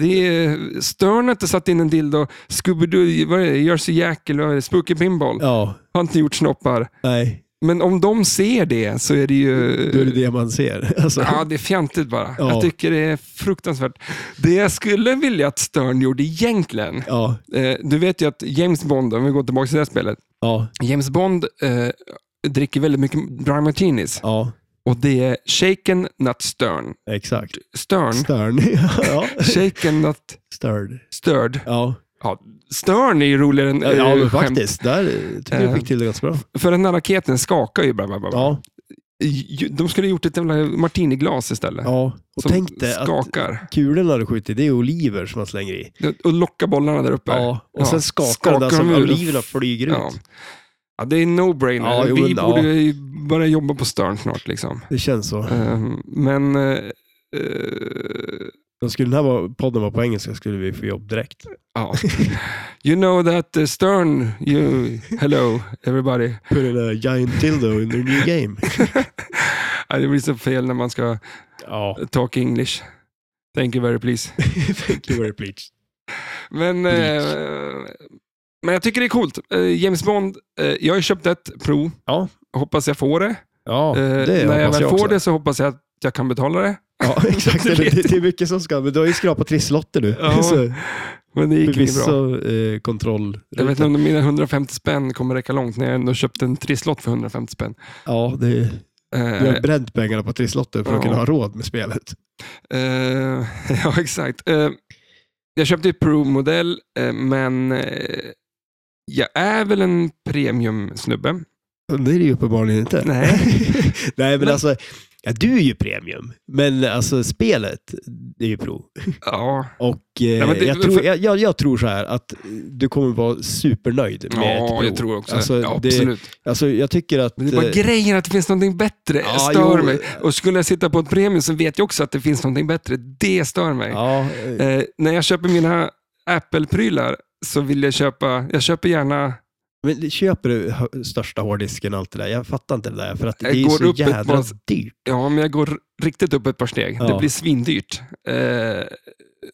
Speaker 1: Det är Stern har inte satt in en dildo. Scooby-Doo, vad är det? Jersey Jack eller vad är det? Spooky Pinball.
Speaker 2: Ja,
Speaker 1: Har inte gjort snoppar.
Speaker 2: nej,
Speaker 1: Men om de ser det så är det ju...
Speaker 2: då är det det man ser. Alltså,
Speaker 1: Ja, det är fjantigt bara.
Speaker 2: Ja.
Speaker 1: Jag tycker det är fruktansvärt. Det jag skulle vilja att Stern gjorde egentligen,
Speaker 2: ja,
Speaker 1: eh, du vet ju att James Bond, om vi går tillbaka till det här spelet,
Speaker 2: ja,
Speaker 1: James Bond eh, dricker väldigt mycket dry martinis
Speaker 2: ja,
Speaker 1: och det är shaken, not stern.
Speaker 2: exakt.
Speaker 1: Stern,
Speaker 2: Stern. ja,
Speaker 1: shaken, not
Speaker 2: störd.
Speaker 1: stirred.
Speaker 2: Ja,
Speaker 1: Ja, störn är ju roligare än
Speaker 2: ja, ja
Speaker 1: eh,
Speaker 2: men
Speaker 1: skämt.
Speaker 2: faktiskt. Där eh, tycker jag fick till det ganska bra.
Speaker 1: För den här raketen skakar ju. Bla bla bla.
Speaker 2: Ja,
Speaker 1: Ju- De skulle ha gjort ett jävla martiniglas istället.
Speaker 2: ja. Och
Speaker 1: Som
Speaker 2: tänk dig att
Speaker 1: skakar.
Speaker 2: kulorna du skjuter, det är oliver som man slänger i.
Speaker 1: Och lockar bollarna där uppe.
Speaker 2: Ja, och
Speaker 1: Ja.
Speaker 2: sen skakar, det där
Speaker 1: Skakar
Speaker 2: som
Speaker 1: de ur.
Speaker 2: oliverna flyger ut.
Speaker 1: Ja. Ja, det är en no-brainer.
Speaker 2: Ja, jo,
Speaker 1: Vi
Speaker 2: men, ja.
Speaker 1: borde ju börja jobba på Stern snart. Liksom.
Speaker 2: Det känns så.
Speaker 1: Ehm, Men... eh, eh,
Speaker 2: Då skulle den här vara- podden vara på engelska skulle vi få jobb direkt.
Speaker 1: ja. You know that eh, Stern, you, hello everybody.
Speaker 2: Put in a giant dildo in their new game.
Speaker 1: Ja, Det blir så fel när man ska
Speaker 2: Ja,
Speaker 1: talk English. Thank you very please.
Speaker 2: thank you very much.
Speaker 1: Men, eh, men jag tycker det är coolt. Eh, James Bond, eh, jag har ju köpt ett prov.
Speaker 2: Ja.
Speaker 1: Hoppas jag får det.
Speaker 2: Ja,
Speaker 1: Eh,
Speaker 2: det
Speaker 1: när jag
Speaker 2: hoppas
Speaker 1: väl
Speaker 2: jag
Speaker 1: får
Speaker 2: också.
Speaker 1: det så hoppas jag att jag kan betala det.
Speaker 2: Ja, exakt.
Speaker 1: Du
Speaker 2: det,
Speaker 1: vet.
Speaker 2: det, det är mycket som ska, men du har ju skrapat trisslotter nu.
Speaker 1: Ja,
Speaker 2: så
Speaker 1: Men det gick inte bra.
Speaker 2: förvisso eh, kontroll.
Speaker 1: Jag vet inte om mina 150 spänn kommer räcka långt när jag ändå köpte en trisslott för 150 spänn.
Speaker 2: Ja, det, du
Speaker 1: Eh,
Speaker 2: har bränt pengarna på trisslotter för
Speaker 1: Ja.
Speaker 2: att kunna ha råd med spelet.
Speaker 1: eh, ja, exakt. Eh, jag köpte ju Pro-modell, eh, men eh, jag är väl en premium-snubbe.
Speaker 2: Det är det ju uppenbarligen inte.
Speaker 1: Nej.
Speaker 2: Nej, men,
Speaker 1: Men-
Speaker 2: alltså, ja, du är ju premium, men alltså spelet det är ju pro.
Speaker 1: Ja,
Speaker 2: Och eh,
Speaker 1: men det-
Speaker 2: jag, tror,
Speaker 1: för-
Speaker 2: jag, jag, jag tror så här att du kommer vara supernöjd med ett
Speaker 1: ja
Speaker 2: prov.
Speaker 1: jag tror också
Speaker 2: Alltså,
Speaker 1: det. Ja,
Speaker 2: det-
Speaker 1: absolut.
Speaker 2: Alltså, jag tycker att...
Speaker 1: Men det är bara
Speaker 2: eh,
Speaker 1: grejen att det finns någonting bättre
Speaker 2: Ja,
Speaker 1: stör
Speaker 2: jo.
Speaker 1: mig. Och skulle jag sitta på ett premium så vet jag också att det finns någonting bättre. Det stör mig.
Speaker 2: Ja, eh,
Speaker 1: Eh, när jag köper mina Apple-prylar så vill jag köpa, jag köper gärna,
Speaker 2: men det- köper du hö- största hårddisken och allt det där? Jag fattar inte det där, för att det
Speaker 1: Jag
Speaker 2: är ju
Speaker 1: Äh, går
Speaker 2: så
Speaker 1: upp ett
Speaker 2: jädra
Speaker 1: bas-
Speaker 2: dyrt.
Speaker 1: ja men jag går riktigt upp ett par steg. Det
Speaker 2: Ja.
Speaker 1: blir svindyrt. Eh,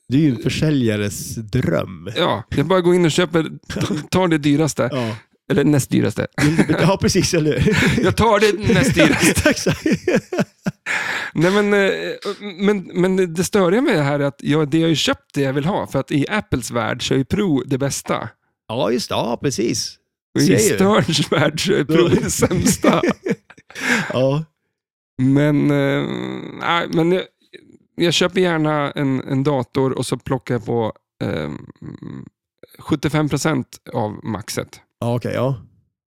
Speaker 2: Det är ju en försäljares dröm.
Speaker 1: ja, jag bara går in och köper, t- tar det dyraste,
Speaker 2: Ja,
Speaker 1: eller näst dyraste.
Speaker 2: vill du bet- ja precis, eller hur?
Speaker 1: Jag tar det näst dyraste.
Speaker 2: Exakt.
Speaker 1: Nej, men, eh, men, men det störiga med det här är att jag, det jag har ju köpt det jag vill ha, för att i Apples värld så är ju Pro det bästa.
Speaker 2: Ja, just det. Ja, precis.
Speaker 1: Och
Speaker 2: Ser
Speaker 1: i
Speaker 2: ju.
Speaker 1: Sterns värld så är Pro det sämsta.
Speaker 2: Ja.
Speaker 1: Men, eh, nej, men jag, jag köper gärna en, en dator och så plockar jag på eh, 75% av maxet.
Speaker 2: Ja, okej, ja.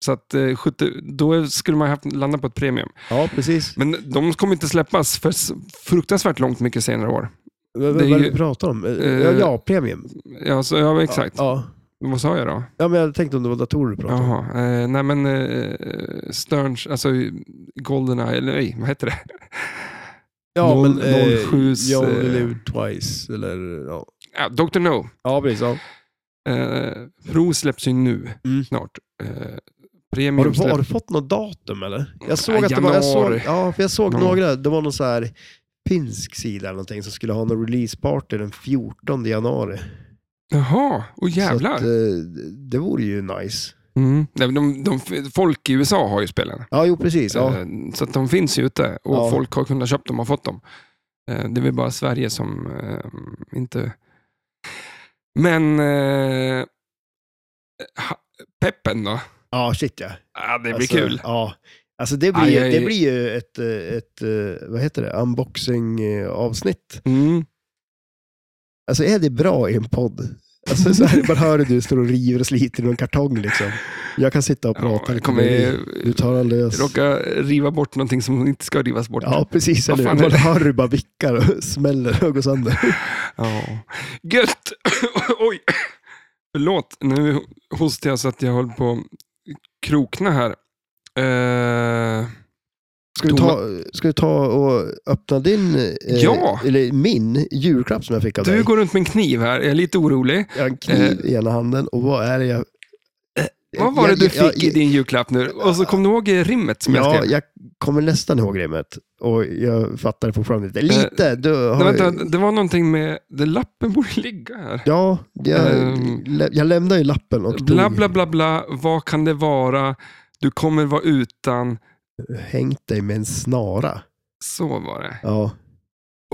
Speaker 1: Så att, eh, 70, då skulle man haft, landa på ett premium.
Speaker 2: Ja, precis.
Speaker 1: Men de kommer inte släppas för s- fruktansvärt långt mycket senare år.
Speaker 2: V- v-
Speaker 1: det är
Speaker 2: vad är
Speaker 1: ju-
Speaker 2: det vi pratar om? Eh, ja,
Speaker 1: Eh,
Speaker 2: ja, premium.
Speaker 1: Ja, så, ja exakt.
Speaker 2: Ja,
Speaker 1: Vad sa jag då?
Speaker 2: ja, men jag tänkte om det var datorer du pratade om.
Speaker 1: Jaha, eh, nej men eh, Sterns, alltså Goldeneye, eller nej, vad heter det?
Speaker 2: Ja,
Speaker 1: Noll-
Speaker 2: men... Eh,
Speaker 1: 07s,
Speaker 2: jag
Speaker 1: eh,
Speaker 2: live twice, eller... Ja,
Speaker 1: Ja, Dr. No.
Speaker 2: ja precis. Ja.
Speaker 1: Eh, Pro släpps ju nu,
Speaker 2: Mm.
Speaker 1: snart. Eh,
Speaker 2: Har,
Speaker 1: premium
Speaker 2: du, har
Speaker 1: släpps.
Speaker 2: du fått något datum, eller? Jag såg
Speaker 1: Ja,
Speaker 2: att det var... Jag såg,
Speaker 1: januari.
Speaker 2: ja, för jag såg
Speaker 1: Ja.
Speaker 2: några. Det var någon så här... finsk sida eller någonting som skulle ha någon releaseparty den 14 januari.
Speaker 1: Jaha, och jävlar.
Speaker 2: Så att, eh, det vore ju nice.
Speaker 1: Mm. Nej, men de, de, folk i USA har ju spelen.
Speaker 2: Ja, jo precis. Ja.
Speaker 1: Eh, Så att de finns ju ute och
Speaker 2: Ja.
Speaker 1: folk har kunnat köpa dem och fått dem. Eh, Det är väl bara Sverige som eh, inte... Men eh, ha- peppen då?
Speaker 2: ja, shit ja.
Speaker 1: Ah, det blir
Speaker 2: Alltså,
Speaker 1: kul.
Speaker 2: Ja. Alltså det blir,
Speaker 1: Aj,
Speaker 2: ju-
Speaker 1: aj,
Speaker 2: det
Speaker 1: aj.
Speaker 2: blir ju ett, eh, ett, eh, vad heter det, unboxing-avsnitt.
Speaker 1: Mm.
Speaker 2: Alltså är det bra i en podd? Alltså så här, man hör hur du står och river och sliter i någon kartong liksom. Jag kan sitta och prata.
Speaker 1: Ja,
Speaker 2: lite
Speaker 1: kommer
Speaker 2: med dig. du tar all lös.
Speaker 1: råka riva bort någonting som inte ska rivas bort.
Speaker 2: Ja, precis.
Speaker 1: Vad
Speaker 2: Eller
Speaker 1: fan
Speaker 2: hur?
Speaker 1: är
Speaker 2: Man
Speaker 1: det?
Speaker 2: hör hur det bara vickar och smäller och går sönder.
Speaker 1: Ja. Gött! Oj! Förlåt, nu hostar jag så att jag håller på att krokna här. Eh,
Speaker 2: Ska du ta, ska du ta och öppna din, eh,
Speaker 1: Ja.
Speaker 2: eller min, julklapp som jag fick av
Speaker 1: du
Speaker 2: dig?
Speaker 1: går runt med en kniv här, jag är lite orolig.
Speaker 2: Jag har en kniv i ena handen och vad är det jag...
Speaker 1: Eh, Vad var det du
Speaker 2: jag,
Speaker 1: fick i din julklapp nu? Och så kom du ihåg eh, rimmet som jag
Speaker 2: Ja,
Speaker 1: skrev?
Speaker 2: jag kommer nästan ihåg rimmet och jag fattar det fortfarande inte. Lite. Du har,
Speaker 1: Eh, Nej, vänta, det var någonting med, det lappen borde ligga här.
Speaker 2: Ja, jag,
Speaker 1: Ehm.
Speaker 2: lä- jag lämnade ju lappen och
Speaker 1: Bla,
Speaker 2: tog-
Speaker 1: bla, bla, bla, vad kan det vara? Du kommer vara utan.
Speaker 2: hängt dig med en snara.
Speaker 1: Så var det.
Speaker 2: Ja,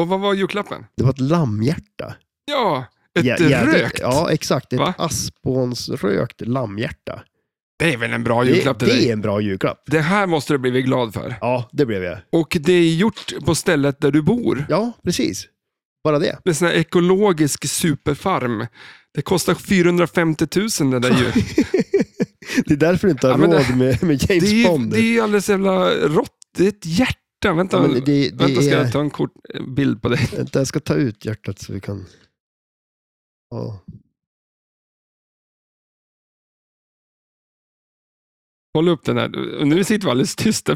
Speaker 1: Och vad var julklappen?
Speaker 2: det var ett lammhjärta.
Speaker 1: Ja, ett
Speaker 2: Ja, ja, det-
Speaker 1: rökt.
Speaker 2: Ja, exakt. Ett
Speaker 1: Va?
Speaker 2: aspånsrökt lammhjärta.
Speaker 1: Det är väl en bra julklapp
Speaker 2: det,
Speaker 1: till
Speaker 2: det
Speaker 1: dig?
Speaker 2: är en bra julklapp.
Speaker 1: Det här måste du bli glad för.
Speaker 2: Ja, det blev jag.
Speaker 1: Och det är gjort på stället där du bor.
Speaker 2: Ja, precis. Bara det.
Speaker 1: En sån här ekologisk superfarm. Det kostar 450 000 det där ju.
Speaker 2: det är därför du inte har
Speaker 1: Ja, men det-
Speaker 2: råd med, med
Speaker 1: Det
Speaker 2: James
Speaker 1: är ju
Speaker 2: Bond.
Speaker 1: det är ju alldeles jävla rått. Det är ett hjärta. Vänta,
Speaker 2: Ja, men det, det
Speaker 1: vänta ska
Speaker 2: är...
Speaker 1: jag ta en kort eh, bild på dig?
Speaker 2: Vänta, jag ska ta ut hjärtat så vi kan... Ja.
Speaker 1: Håll upp den här. Nu sitter vi alldeles tysta.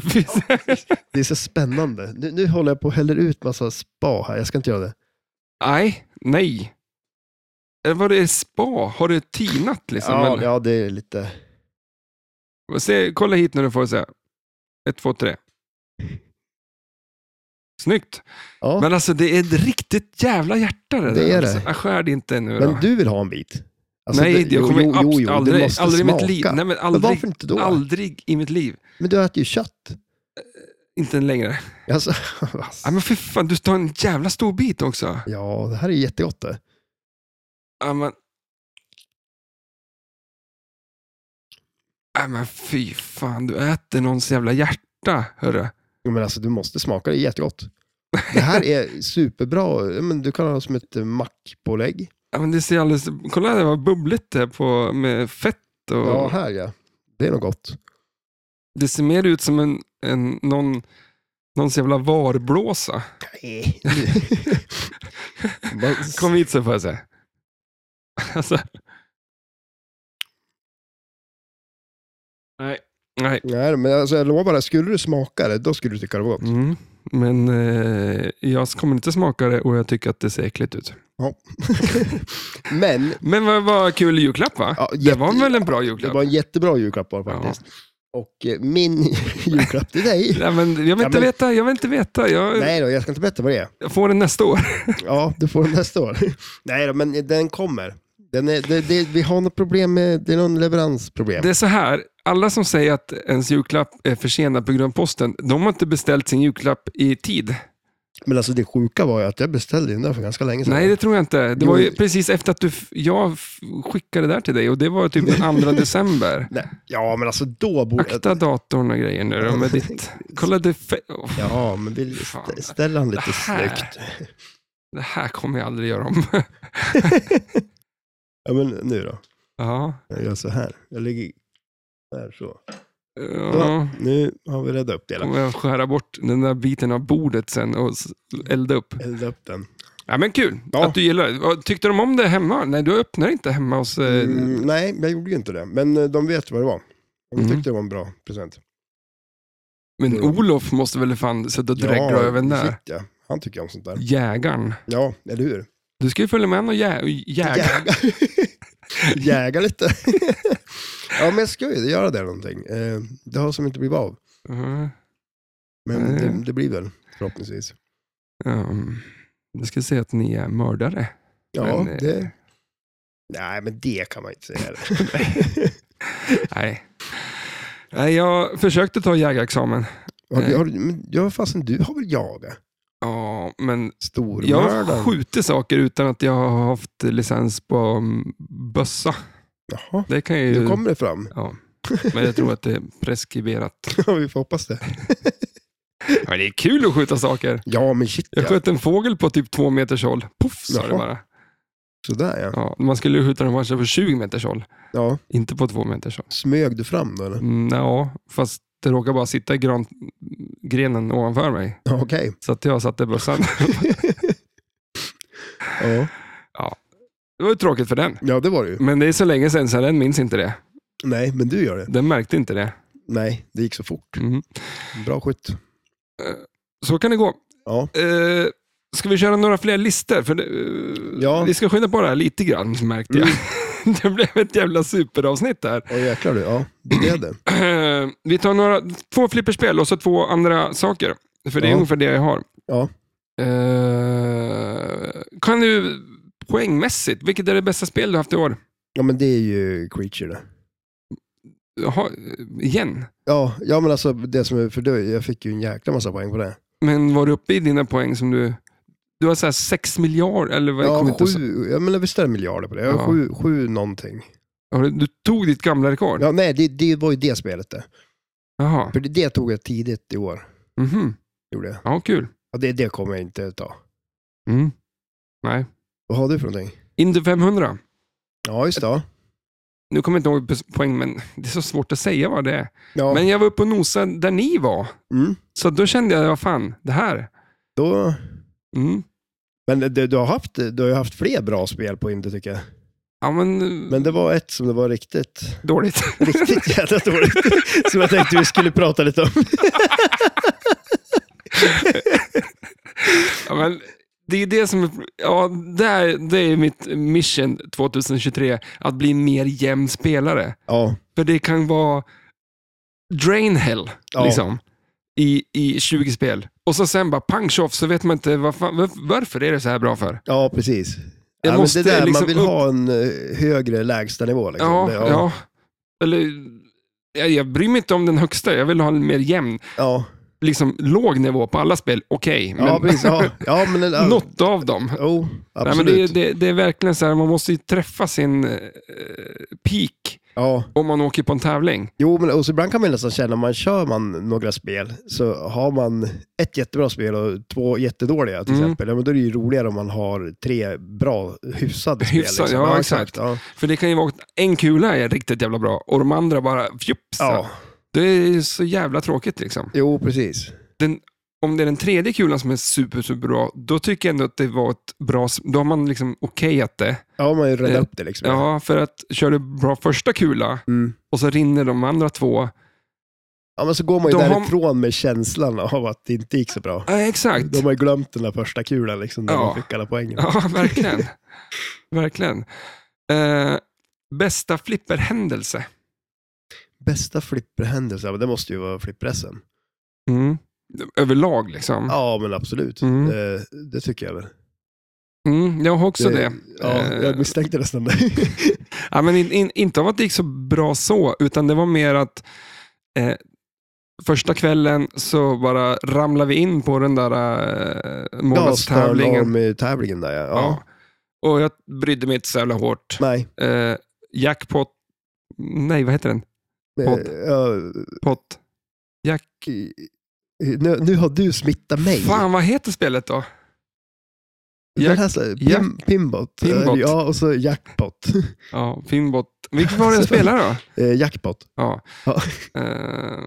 Speaker 2: Det är så spännande. Nu, nu håller jag på och häller ut massa spa här. Jag ska inte göra det.
Speaker 1: nej, nej. Eller Var det spa? Har det tinat liksom?
Speaker 2: ja,
Speaker 1: eller?
Speaker 2: ja, det är lite...
Speaker 1: Se, kolla hit nu du får se. Ett, två, tre. Snyggt.
Speaker 2: Ja. Men,
Speaker 1: Men alltså det är ett riktigt jävla hjärta det,
Speaker 2: Det
Speaker 1: där.
Speaker 2: är det.
Speaker 1: Alltså, jag skär det inte nu då.
Speaker 2: du vill ha en bit? Alltså,
Speaker 1: nej,
Speaker 2: det-
Speaker 1: jag kommer
Speaker 2: jo, jo,
Speaker 1: absolut
Speaker 2: jo, det
Speaker 1: aldrig,
Speaker 2: måste
Speaker 1: aldrig i mitt
Speaker 2: smaka.
Speaker 1: liv. Nej, men
Speaker 2: men
Speaker 1: aldrig,
Speaker 2: varför inte då?
Speaker 1: aldrig i mitt liv.
Speaker 2: Men du äter ju kött.
Speaker 1: Inte längre.
Speaker 2: Alltså,
Speaker 1: Ja, men för fan, du tar en jävla stor bit också.
Speaker 2: ja, det här är ju jättegott det.
Speaker 1: Ja, men... Ja, men fy fan, du äter någons jävla hjärta, hörru.
Speaker 2: Jo, Men alltså, du måste smaka, det är jättegott. Det här är superbra. Ja, Men du kan ha som ett eh, mackpålägg.
Speaker 1: Ja, men det ser alldeles... Kolla det var bubbligt det på med fett och...
Speaker 2: Ja, här ja. Det är något gott.
Speaker 1: Det ser mer ut som en, en någon, någons jävla varblåsa.
Speaker 2: Nej. Bara s-
Speaker 1: Kom hit så får jag se. Alltså. Nej. Nej.
Speaker 2: Nej, men alltså, jag lovar, skulle du smaka det, då skulle du tycka det var gott.
Speaker 1: Mm. Men eh, jag kommer inte smaka det och jag tycker att det ser äckligt ut.
Speaker 2: Men
Speaker 1: Men vad, vad kul julklapp va?
Speaker 2: Ja,
Speaker 1: det
Speaker 2: jätte-
Speaker 1: var väl en bra
Speaker 2: det
Speaker 1: julklapp?
Speaker 2: var en jättebra julklapp var det
Speaker 1: Ja.
Speaker 2: faktiskt. Och eh, min julklapp till dig.
Speaker 1: Nej, men jag vill inte
Speaker 2: Ja, men-
Speaker 1: veta. Jag vill inte veta. Jag,
Speaker 2: Nej då, jag ska inte berätta vad det är.
Speaker 1: jag får den nästa år.
Speaker 2: Ja, du får den nästa år. Nej då, men den kommer. Den är, det, det, vi har något problem med, det är någon leveransproblem.
Speaker 1: Det är så här. Alla som säger att ens julklapp är försenad på grund av posten, de har inte beställt sin julklapp i tid.
Speaker 2: Men alltså det sjuka var ju att jag beställde den där för ganska länge sedan.
Speaker 1: Nej, det tror jag inte. Det
Speaker 2: Jo.
Speaker 1: var ju precis efter att du, f- jag f- skickade det där till dig och det var typ den 2 december.
Speaker 2: Nej, Ja, men alltså då borde...
Speaker 1: Akta datorn och grejer nu då med ditt. Kolla, det, fe- Åh,
Speaker 2: Ja, men vi st-
Speaker 1: Fan.
Speaker 2: ställer han lite
Speaker 1: Det här.
Speaker 2: snyggt.
Speaker 1: det här kommer jag aldrig göra om.
Speaker 2: Ja, men nu då.
Speaker 1: Ja.
Speaker 2: Jag gör så här. Jag lägger där så.
Speaker 1: ja.
Speaker 2: Nu har vi räddat upp det. hela.
Speaker 1: Kommer jag skära bort den där biten av bordet sen och s- elda upp.
Speaker 2: Elda upp den.
Speaker 1: Ja, men kul
Speaker 2: Ja.
Speaker 1: att du gillar det. Vad- Tyckte de om det hemma? Nej, du öppnar inte hemma hos... eh,
Speaker 2: Mm, nej, jag gjorde ju inte det. Men eh, de vet vad det var. De
Speaker 1: Mm.
Speaker 2: tyckte det var en bra present.
Speaker 1: Men Olof måste väl fan sätta och dregla över
Speaker 2: det
Speaker 1: där.
Speaker 2: fick jag. Han tycker om sånt där.
Speaker 1: Jägaren.
Speaker 2: Ja, eller hur?
Speaker 1: Du ska ju följa med och jä- jäga.
Speaker 2: Jäga, Jäga lite. ja, men jag ska ju göra det någonting. Eh, Det har som inte blivit av.
Speaker 1: Mhm.
Speaker 2: Men
Speaker 1: Mm.
Speaker 2: det, det blir väl förhoppningsvis.
Speaker 1: Um, jag skulle säga att ni är mördare.
Speaker 2: Ja,
Speaker 1: Men, eh,
Speaker 2: det... Nej, men det kan man inte säga.
Speaker 1: Nej. Nej, jag försökte ta jägarexamen.
Speaker 2: har, du-
Speaker 1: eh.
Speaker 2: har, du- men, ja, fasen, du har väl jagat?
Speaker 1: Ja, men jag har
Speaker 2: Stormördaren?
Speaker 1: skjutit saker utan att jag har haft licens på mm, bössa.
Speaker 2: Jaha,
Speaker 1: Det kan jag ju...
Speaker 2: nu kommer det fram.
Speaker 1: Ja. Men jag tror att det är preskriberat.
Speaker 2: Ja, vi får hoppas det.
Speaker 1: Ja, det är kul att skjuta saker.
Speaker 2: Ja, men shit
Speaker 1: Jag
Speaker 2: ja.
Speaker 1: sköt en fågel på typ två meters håll. Poff sa det
Speaker 2: Jaha.
Speaker 1: bara.
Speaker 2: Sådär ja.
Speaker 1: Ja, man skulle ju skjuta den kanske på 20 meters håll,
Speaker 2: ja.
Speaker 1: inte på två meters håll.
Speaker 2: Smög du fram då eller?
Speaker 1: Mm, ja, fast det råkade bara sitta i gran, grenen ovanför mig.
Speaker 2: Ja, Okej.
Speaker 1: Så att jag satte bössan.
Speaker 2: Ja.
Speaker 1: Det var ju tråkigt för den.
Speaker 2: ja, det var det ju.
Speaker 1: Men det är så länge sedan så den minns inte det.
Speaker 2: Nej, men du gör det.
Speaker 1: Den märkte inte det.
Speaker 2: Nej, det gick så fort.
Speaker 1: Mhm.
Speaker 2: Bra skjut.
Speaker 1: Så kan det gå.
Speaker 2: Ja.
Speaker 1: Eh, ska vi köra några fler listor? För det, eh,
Speaker 2: Ja. Mm.
Speaker 1: Vi ska skynda på det här lite grann märkte jag. det blev ett jävla superavsnitt där.
Speaker 2: Åh jäklar du. Ja, det blev det.
Speaker 1: Eh, vi tar några, två flipperspel och så två andra saker. För det är
Speaker 2: Ja.
Speaker 1: ungefär det jag har.
Speaker 2: Ja.
Speaker 1: Eh, kan du poängmässigt, vilket är det bästa spel du haft i år?
Speaker 2: Ja, men det är ju Creature det.
Speaker 1: Jaha, igen?
Speaker 2: Ja, ja men alltså det som är för dig, jag fick ju en jäkla massa poäng på det.
Speaker 1: Men var du uppe i dina poäng som du... Du har så här 6 miljarder, eller vad jag kommer
Speaker 2: Ja,
Speaker 1: inte ihåg.
Speaker 2: sju, ja men visst är det miljarder på det? Ja.
Speaker 1: Ja.
Speaker 2: Sju, sju någonting.
Speaker 1: Har du- Du tog ditt gamla rekord?
Speaker 2: Ja, nej, det, det var ju det spelet det.
Speaker 1: Jaha.
Speaker 2: För det, det tog jag tidigt i år.
Speaker 1: Mhm.
Speaker 2: Gjorde jag.
Speaker 1: Ja, kul.
Speaker 2: Ja, det, det kommer jag inte ta.
Speaker 1: Mm. Nej.
Speaker 2: Vad har du för någonting?
Speaker 1: Indy 500.
Speaker 2: Ja, just det. ja.
Speaker 1: Nu kommer jag inte ihåg pos- poäng, men det är så svårt att säga vad det är.
Speaker 2: Ja.
Speaker 1: Men jag var uppe och nosade där ni var.
Speaker 2: Mm,
Speaker 1: Så då kände jag, vad fan, det här.
Speaker 2: då...
Speaker 1: Mm.
Speaker 2: Men du, du, har haft, du har ju haft fler bra spel på Indy tycker jag.
Speaker 1: Ja, men,
Speaker 2: Men det var ett som det var riktigt,
Speaker 1: dåligt.
Speaker 2: riktigt jävla dåligt. som jag tänkte vi skulle prata lite om.
Speaker 1: Ja, men, det är det som är, ja, det, här, det är mitt mission 2023, att bli en mer jämn spelare.
Speaker 2: Ja,
Speaker 1: För det kan vara drain hell
Speaker 2: Ja.
Speaker 1: liksom, i, i 20 spel. Och så sen bara pang tjoff, så vet man inte vad fan, var- varför är det så här bra för.
Speaker 2: ja precis.
Speaker 1: Det
Speaker 2: Ja, men
Speaker 1: måste
Speaker 2: det där,
Speaker 1: liksom
Speaker 2: man vill
Speaker 1: upp-
Speaker 2: ha en eh, högre lägstanivå. Liksom.
Speaker 1: Ja,
Speaker 2: Det-
Speaker 1: ja. Eller, jag, jag bryr mig inte om den högsta, jag vill ha en mer jämn,
Speaker 2: ja.
Speaker 1: liksom låg nivå på alla spel. Okej,
Speaker 2: Ja,
Speaker 1: men
Speaker 2: precis. Ja, ja men... eh, Ja.
Speaker 1: något av dem.
Speaker 2: Jo,
Speaker 1: Nej, men
Speaker 2: absolut.
Speaker 1: det, är- det, det är verkligen så här, man måste ju träffa sin eh, peak
Speaker 2: Ja.
Speaker 1: om man åker på en tävling.
Speaker 2: Jo, men och så ibland kan man nästan känna, man kör man några spel, så har man ett jättebra spel och två jättedåliga till
Speaker 1: Mm.
Speaker 2: exempel. Ja, men då är det ju roligare om man har tre bra, hyfsade spel. liksom.
Speaker 1: Hyfsade, ja, exakt.
Speaker 2: Ja,
Speaker 1: För det kan ju vara att en kula är riktigt jävla bra och de andra bara fjups.
Speaker 2: ja.
Speaker 1: Det är ju så jävla tråkigt liksom.
Speaker 2: jo precis.
Speaker 1: Om det är den tredje kulan som är super, super bra, då tycker jag ändå att det var ett bra... s- Då har man liksom okejat det.
Speaker 2: Ja, man har ju räddat
Speaker 1: Eh,
Speaker 2: upp det liksom.
Speaker 1: Ja, för att kör du bra första kula
Speaker 2: Mm.
Speaker 1: och så rinner de andra två.
Speaker 2: ja, men så går man ju
Speaker 1: De har-
Speaker 2: därifrån med känslan av att det inte gick så bra.
Speaker 1: Ja, exakt.
Speaker 2: De har ju glömt den där första kulan liksom, där
Speaker 1: Ja.
Speaker 2: man fick alla poängen.
Speaker 1: Ja, verkligen. verkligen. Eh, bästa flipperhändelse?
Speaker 2: Bästa flipperhändelse, ja, men det måste ju vara flipper-SM.
Speaker 1: Mm. Överlag liksom.
Speaker 2: Ja, men absolut.
Speaker 1: Mm.
Speaker 2: Eh, det tycker jag väl.
Speaker 1: Mm, jag har också det.
Speaker 2: Ja,
Speaker 1: Eh,
Speaker 2: jag misstänkte nästan det.
Speaker 1: Ja, men in, in, inte av att det gick så bra så, utan det var mer att eh, första kvällen så bara ramlade vi in på den där eh, månadstävlingen.
Speaker 2: i tävlingen där ja. ja.
Speaker 1: Ja. Och jag brydde mig inte så jävla hårt.
Speaker 2: Nej.
Speaker 1: Eh, jackpot... Nej, vad heter den? Podd.
Speaker 2: Eh, ja,
Speaker 1: Pott. Jack...
Speaker 2: i- i- nu, nu har du smittat mig.
Speaker 1: Fan, vad heter spelet då?
Speaker 2: Den här, så- pin, pinbot.
Speaker 1: Pinbot.
Speaker 2: Ja, och så jackpot.
Speaker 1: Ja, Finbot. Vilken var det jag spelade då?
Speaker 2: Eh, jackpot.
Speaker 1: Ja.
Speaker 2: Ja.
Speaker 1: Eh,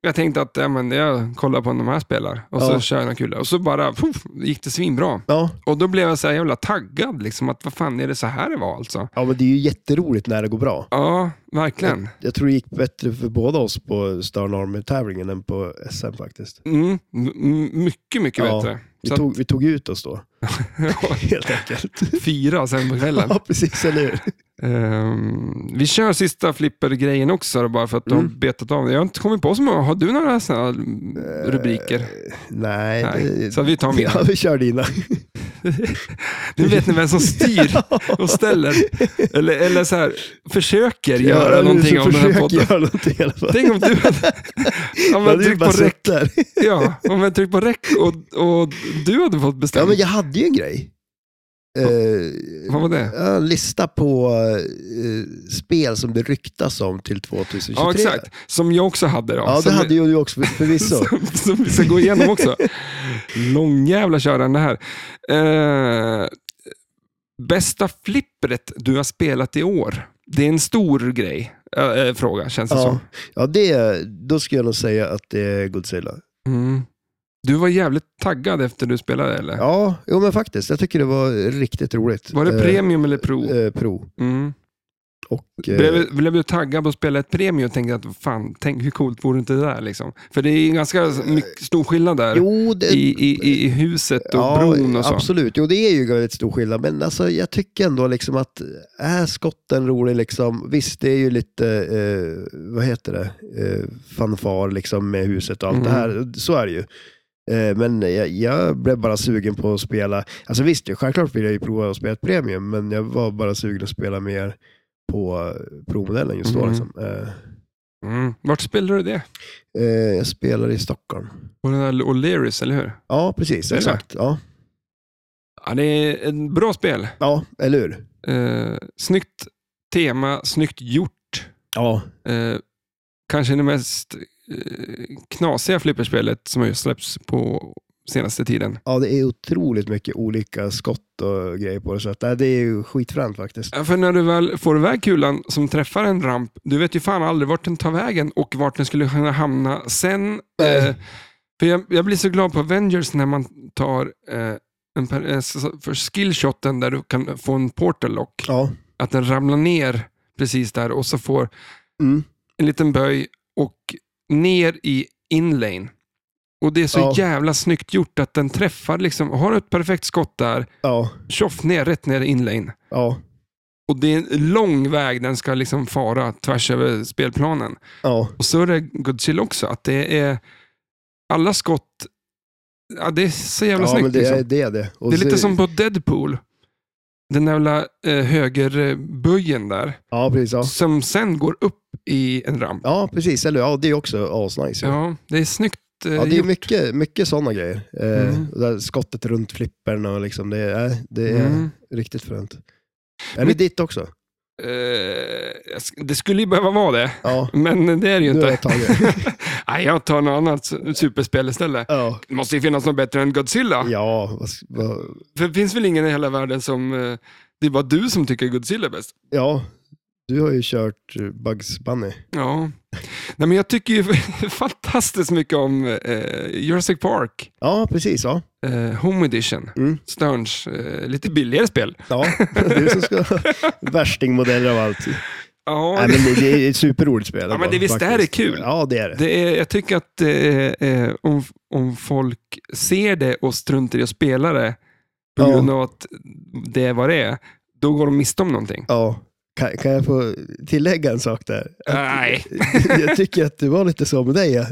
Speaker 1: jag tänkte att ja, men jag kollar på när de här spelar och så
Speaker 2: Ja.
Speaker 1: kör jag några kul. Och så bara puff, gick det svinbra.
Speaker 2: Ja.
Speaker 1: Och då blev jag så här jävla taggad. Liksom, att vad fan är det så här det var alltså?
Speaker 2: ja, men det är ju jätteroligt när det går bra.
Speaker 1: Ja, verkligen.
Speaker 2: Jag tror det gick bättre för båda oss på Stern Army-tävlingen än på SM faktiskt.
Speaker 1: Mm, m- m- mycket, mycket
Speaker 2: Ja,
Speaker 1: bättre.
Speaker 2: Vi
Speaker 1: Så att,
Speaker 2: tog, vi tog ut oss då, helt enkelt.
Speaker 1: fyra sen på kvällen.
Speaker 2: ja, precis, eller hur?
Speaker 1: Ehm, vi kör sista flipper-grejen också, då, bara för att de har
Speaker 2: Mm.
Speaker 1: betat av det. Jag har inte kommit på så många. Har du några såna här rubriker?
Speaker 2: Eh, Nej.
Speaker 1: Nej.
Speaker 2: det-
Speaker 1: Så vi tar mina.
Speaker 2: Ja, vi kör dina.
Speaker 1: Nu vet ni vem som styr och ställer. Eller, eller så här, försöker göra
Speaker 2: Ja,
Speaker 1: någonting
Speaker 2: så
Speaker 1: av den här
Speaker 2: försök
Speaker 1: podden.
Speaker 2: göra någonting i alla fall.
Speaker 1: Tänk om du hade... Om
Speaker 2: Jag
Speaker 1: jag
Speaker 2: hade ju
Speaker 1: tryckt på
Speaker 2: bara
Speaker 1: räck,
Speaker 2: suttit där.
Speaker 1: ja, om jag tryckt på räck och, och du hade fått
Speaker 2: Ja,
Speaker 1: bestämma.
Speaker 2: men jag hade ju en grej. Eh,
Speaker 1: Vad var det?
Speaker 2: Ja, en lista på eh, spel som det ryktas om till 2023.
Speaker 1: Ja, exakt. Som jag också hade. Då.
Speaker 2: Ja, det
Speaker 1: Som-
Speaker 2: hade ju du också för- förvisso.
Speaker 1: som, som vi ska gå igenom också. Lång jävla körande här. Eh, bästa flippret du har spelat i år? Det är en stor grej, eh, eh, fråga känns det
Speaker 2: Ja,
Speaker 1: som.
Speaker 2: ja det, då skulle jag nog säga att det är Godzilla.
Speaker 1: Mm. Du var jävligt taggad efter du spelade eller?
Speaker 2: Ja, jo, men faktiskt. Jag tycker det var riktigt roligt.
Speaker 1: Var det
Speaker 2: Eh,
Speaker 1: premium eller pro?
Speaker 2: eh, pro.
Speaker 1: Mm.
Speaker 2: Och, eh,
Speaker 1: Blev, blev du taggad på att spela ett premium och tänkte att fan, tänk hur coolt vore inte det där? Liksom? För det är ju ganska mycket, stor skillnad där.
Speaker 2: Eh, jo, det,
Speaker 1: I, i, i- I huset och
Speaker 2: ja,
Speaker 1: bron och så.
Speaker 2: Absolut, jo det är ju väldigt stor skillnad. Men alltså, jag tycker ändå liksom att är skotten rolig liksom. Visst, det är ju lite, eh, vad heter det, eh, fanfar liksom med huset och allt
Speaker 1: Mm.
Speaker 2: det här. Så är det ju. Eh, Men jag, jag blev bara sugen på att spela. Alltså visst, självklart vill jag ju prova att spela ett premium, men jag var bara sugen att spela mer på provmodellen just då.
Speaker 1: Mm.
Speaker 2: Liksom. Eh,
Speaker 1: Mm. Vart spelade du det?
Speaker 2: eh, Jag spelar i Stockholm.
Speaker 1: På den där O'Learys, eller hur?
Speaker 2: Ja, precis.
Speaker 1: Eller?
Speaker 2: Exakt. Ja,
Speaker 1: Ja, det är ett bra spel.
Speaker 2: ja eller hur?
Speaker 1: Eh, snyggt tema, snyggt gjort.
Speaker 2: Ja,
Speaker 1: Eh, kanske det mest eh, knasiga flipperspelet som har släppts på senaste tiden.
Speaker 2: Ja, det är otroligt mycket olika skott och grejer på det. Så att, nej, det är ju skitfränt faktiskt.
Speaker 1: Ja, För när du väl får iväg kulan som träffar en ramp, du vet ju fan aldrig vart den tar vägen och vart den skulle kunna hamna sen.
Speaker 2: Nej.
Speaker 1: Eh, för jag, jag blir så glad på Avengers när man tar eh, en, per- eh, s- s- för skillshoten där du kan få en portal lock,
Speaker 2: Ja.
Speaker 1: att den ramlar ner precis där och så får
Speaker 2: Mm.
Speaker 1: en liten böj och ner i inlane. Och det är så
Speaker 2: Ja.
Speaker 1: jävla snyggt gjort att den träffar, liksom, har du ett perfekt skott där,
Speaker 2: Ja,
Speaker 1: tjoff ner, rätt ner i inlane.
Speaker 2: ja,
Speaker 1: Och det är en lång väg den ska liksom fara tvärs över spelplanen.
Speaker 2: ja.
Speaker 1: Och så är det Godzilla också, att det är alla skott, ja, det är så jävla
Speaker 2: Ja,
Speaker 1: snyggt.
Speaker 2: men det
Speaker 1: liksom.
Speaker 2: är det. är det. Och
Speaker 1: det är lite
Speaker 2: så-
Speaker 1: som på Deadpool. Den jävla eh, högerböjen där,
Speaker 2: Ja, precis. Ja,
Speaker 1: som sen går upp i en ramp.
Speaker 2: ja precis. Eller ja, det är också asnice. Ja.
Speaker 1: Ja, det är snyggt eh,
Speaker 2: Ja, det är
Speaker 1: gjort.
Speaker 2: mycket, mycket sådana grejer. Eh,
Speaker 1: Mm.
Speaker 2: och där skottet runt flippern och liksom, det är, nej, det är
Speaker 1: Mm.
Speaker 2: riktigt fränt. Är det
Speaker 1: Men-
Speaker 2: ditt också?
Speaker 1: Eh, jag sk- det skulle ju behöva vara det,
Speaker 2: Ja,
Speaker 1: men det är det ju
Speaker 2: nu har
Speaker 1: inte.
Speaker 2: jag tagit.
Speaker 1: Nej, jag tar något annat su- superspel istället.
Speaker 2: Ja,
Speaker 1: Det måste ju finnas något bättre än Godzilla.
Speaker 2: ja vad, s- vad,
Speaker 1: För det finns väl ingen i hela världen som... eh, Det är bara du som tycker Godzilla är bäst.
Speaker 2: ja, du har ju kört eh, Bugs Bunny.
Speaker 1: Ja. Nej, men jag tycker ju fantastiskt mycket om eh, Jurassic Park.
Speaker 2: Ja, precis. Ja,
Speaker 1: Eh, Home Edition.
Speaker 2: Mm.
Speaker 1: Sterns. Eh, lite billigare spel.
Speaker 2: ja. du som ska värstingmodeller av allt.
Speaker 1: Ja,
Speaker 2: Nej, men det, det är ett superroligt spel.
Speaker 1: Ja, men det- visst, det här är kul.
Speaker 2: Ja, det är det.
Speaker 1: Det är, jag tycker att eh, eh, om, om folk ser det och struntar i att spela det på
Speaker 2: Ja.
Speaker 1: grund av att det är vad det är, då går de miste om någonting.
Speaker 2: Ja. Kan, kan jag få tillägga en sak där? Att-
Speaker 1: Nej.
Speaker 2: jag tycker att det var lite så med dig. Ja.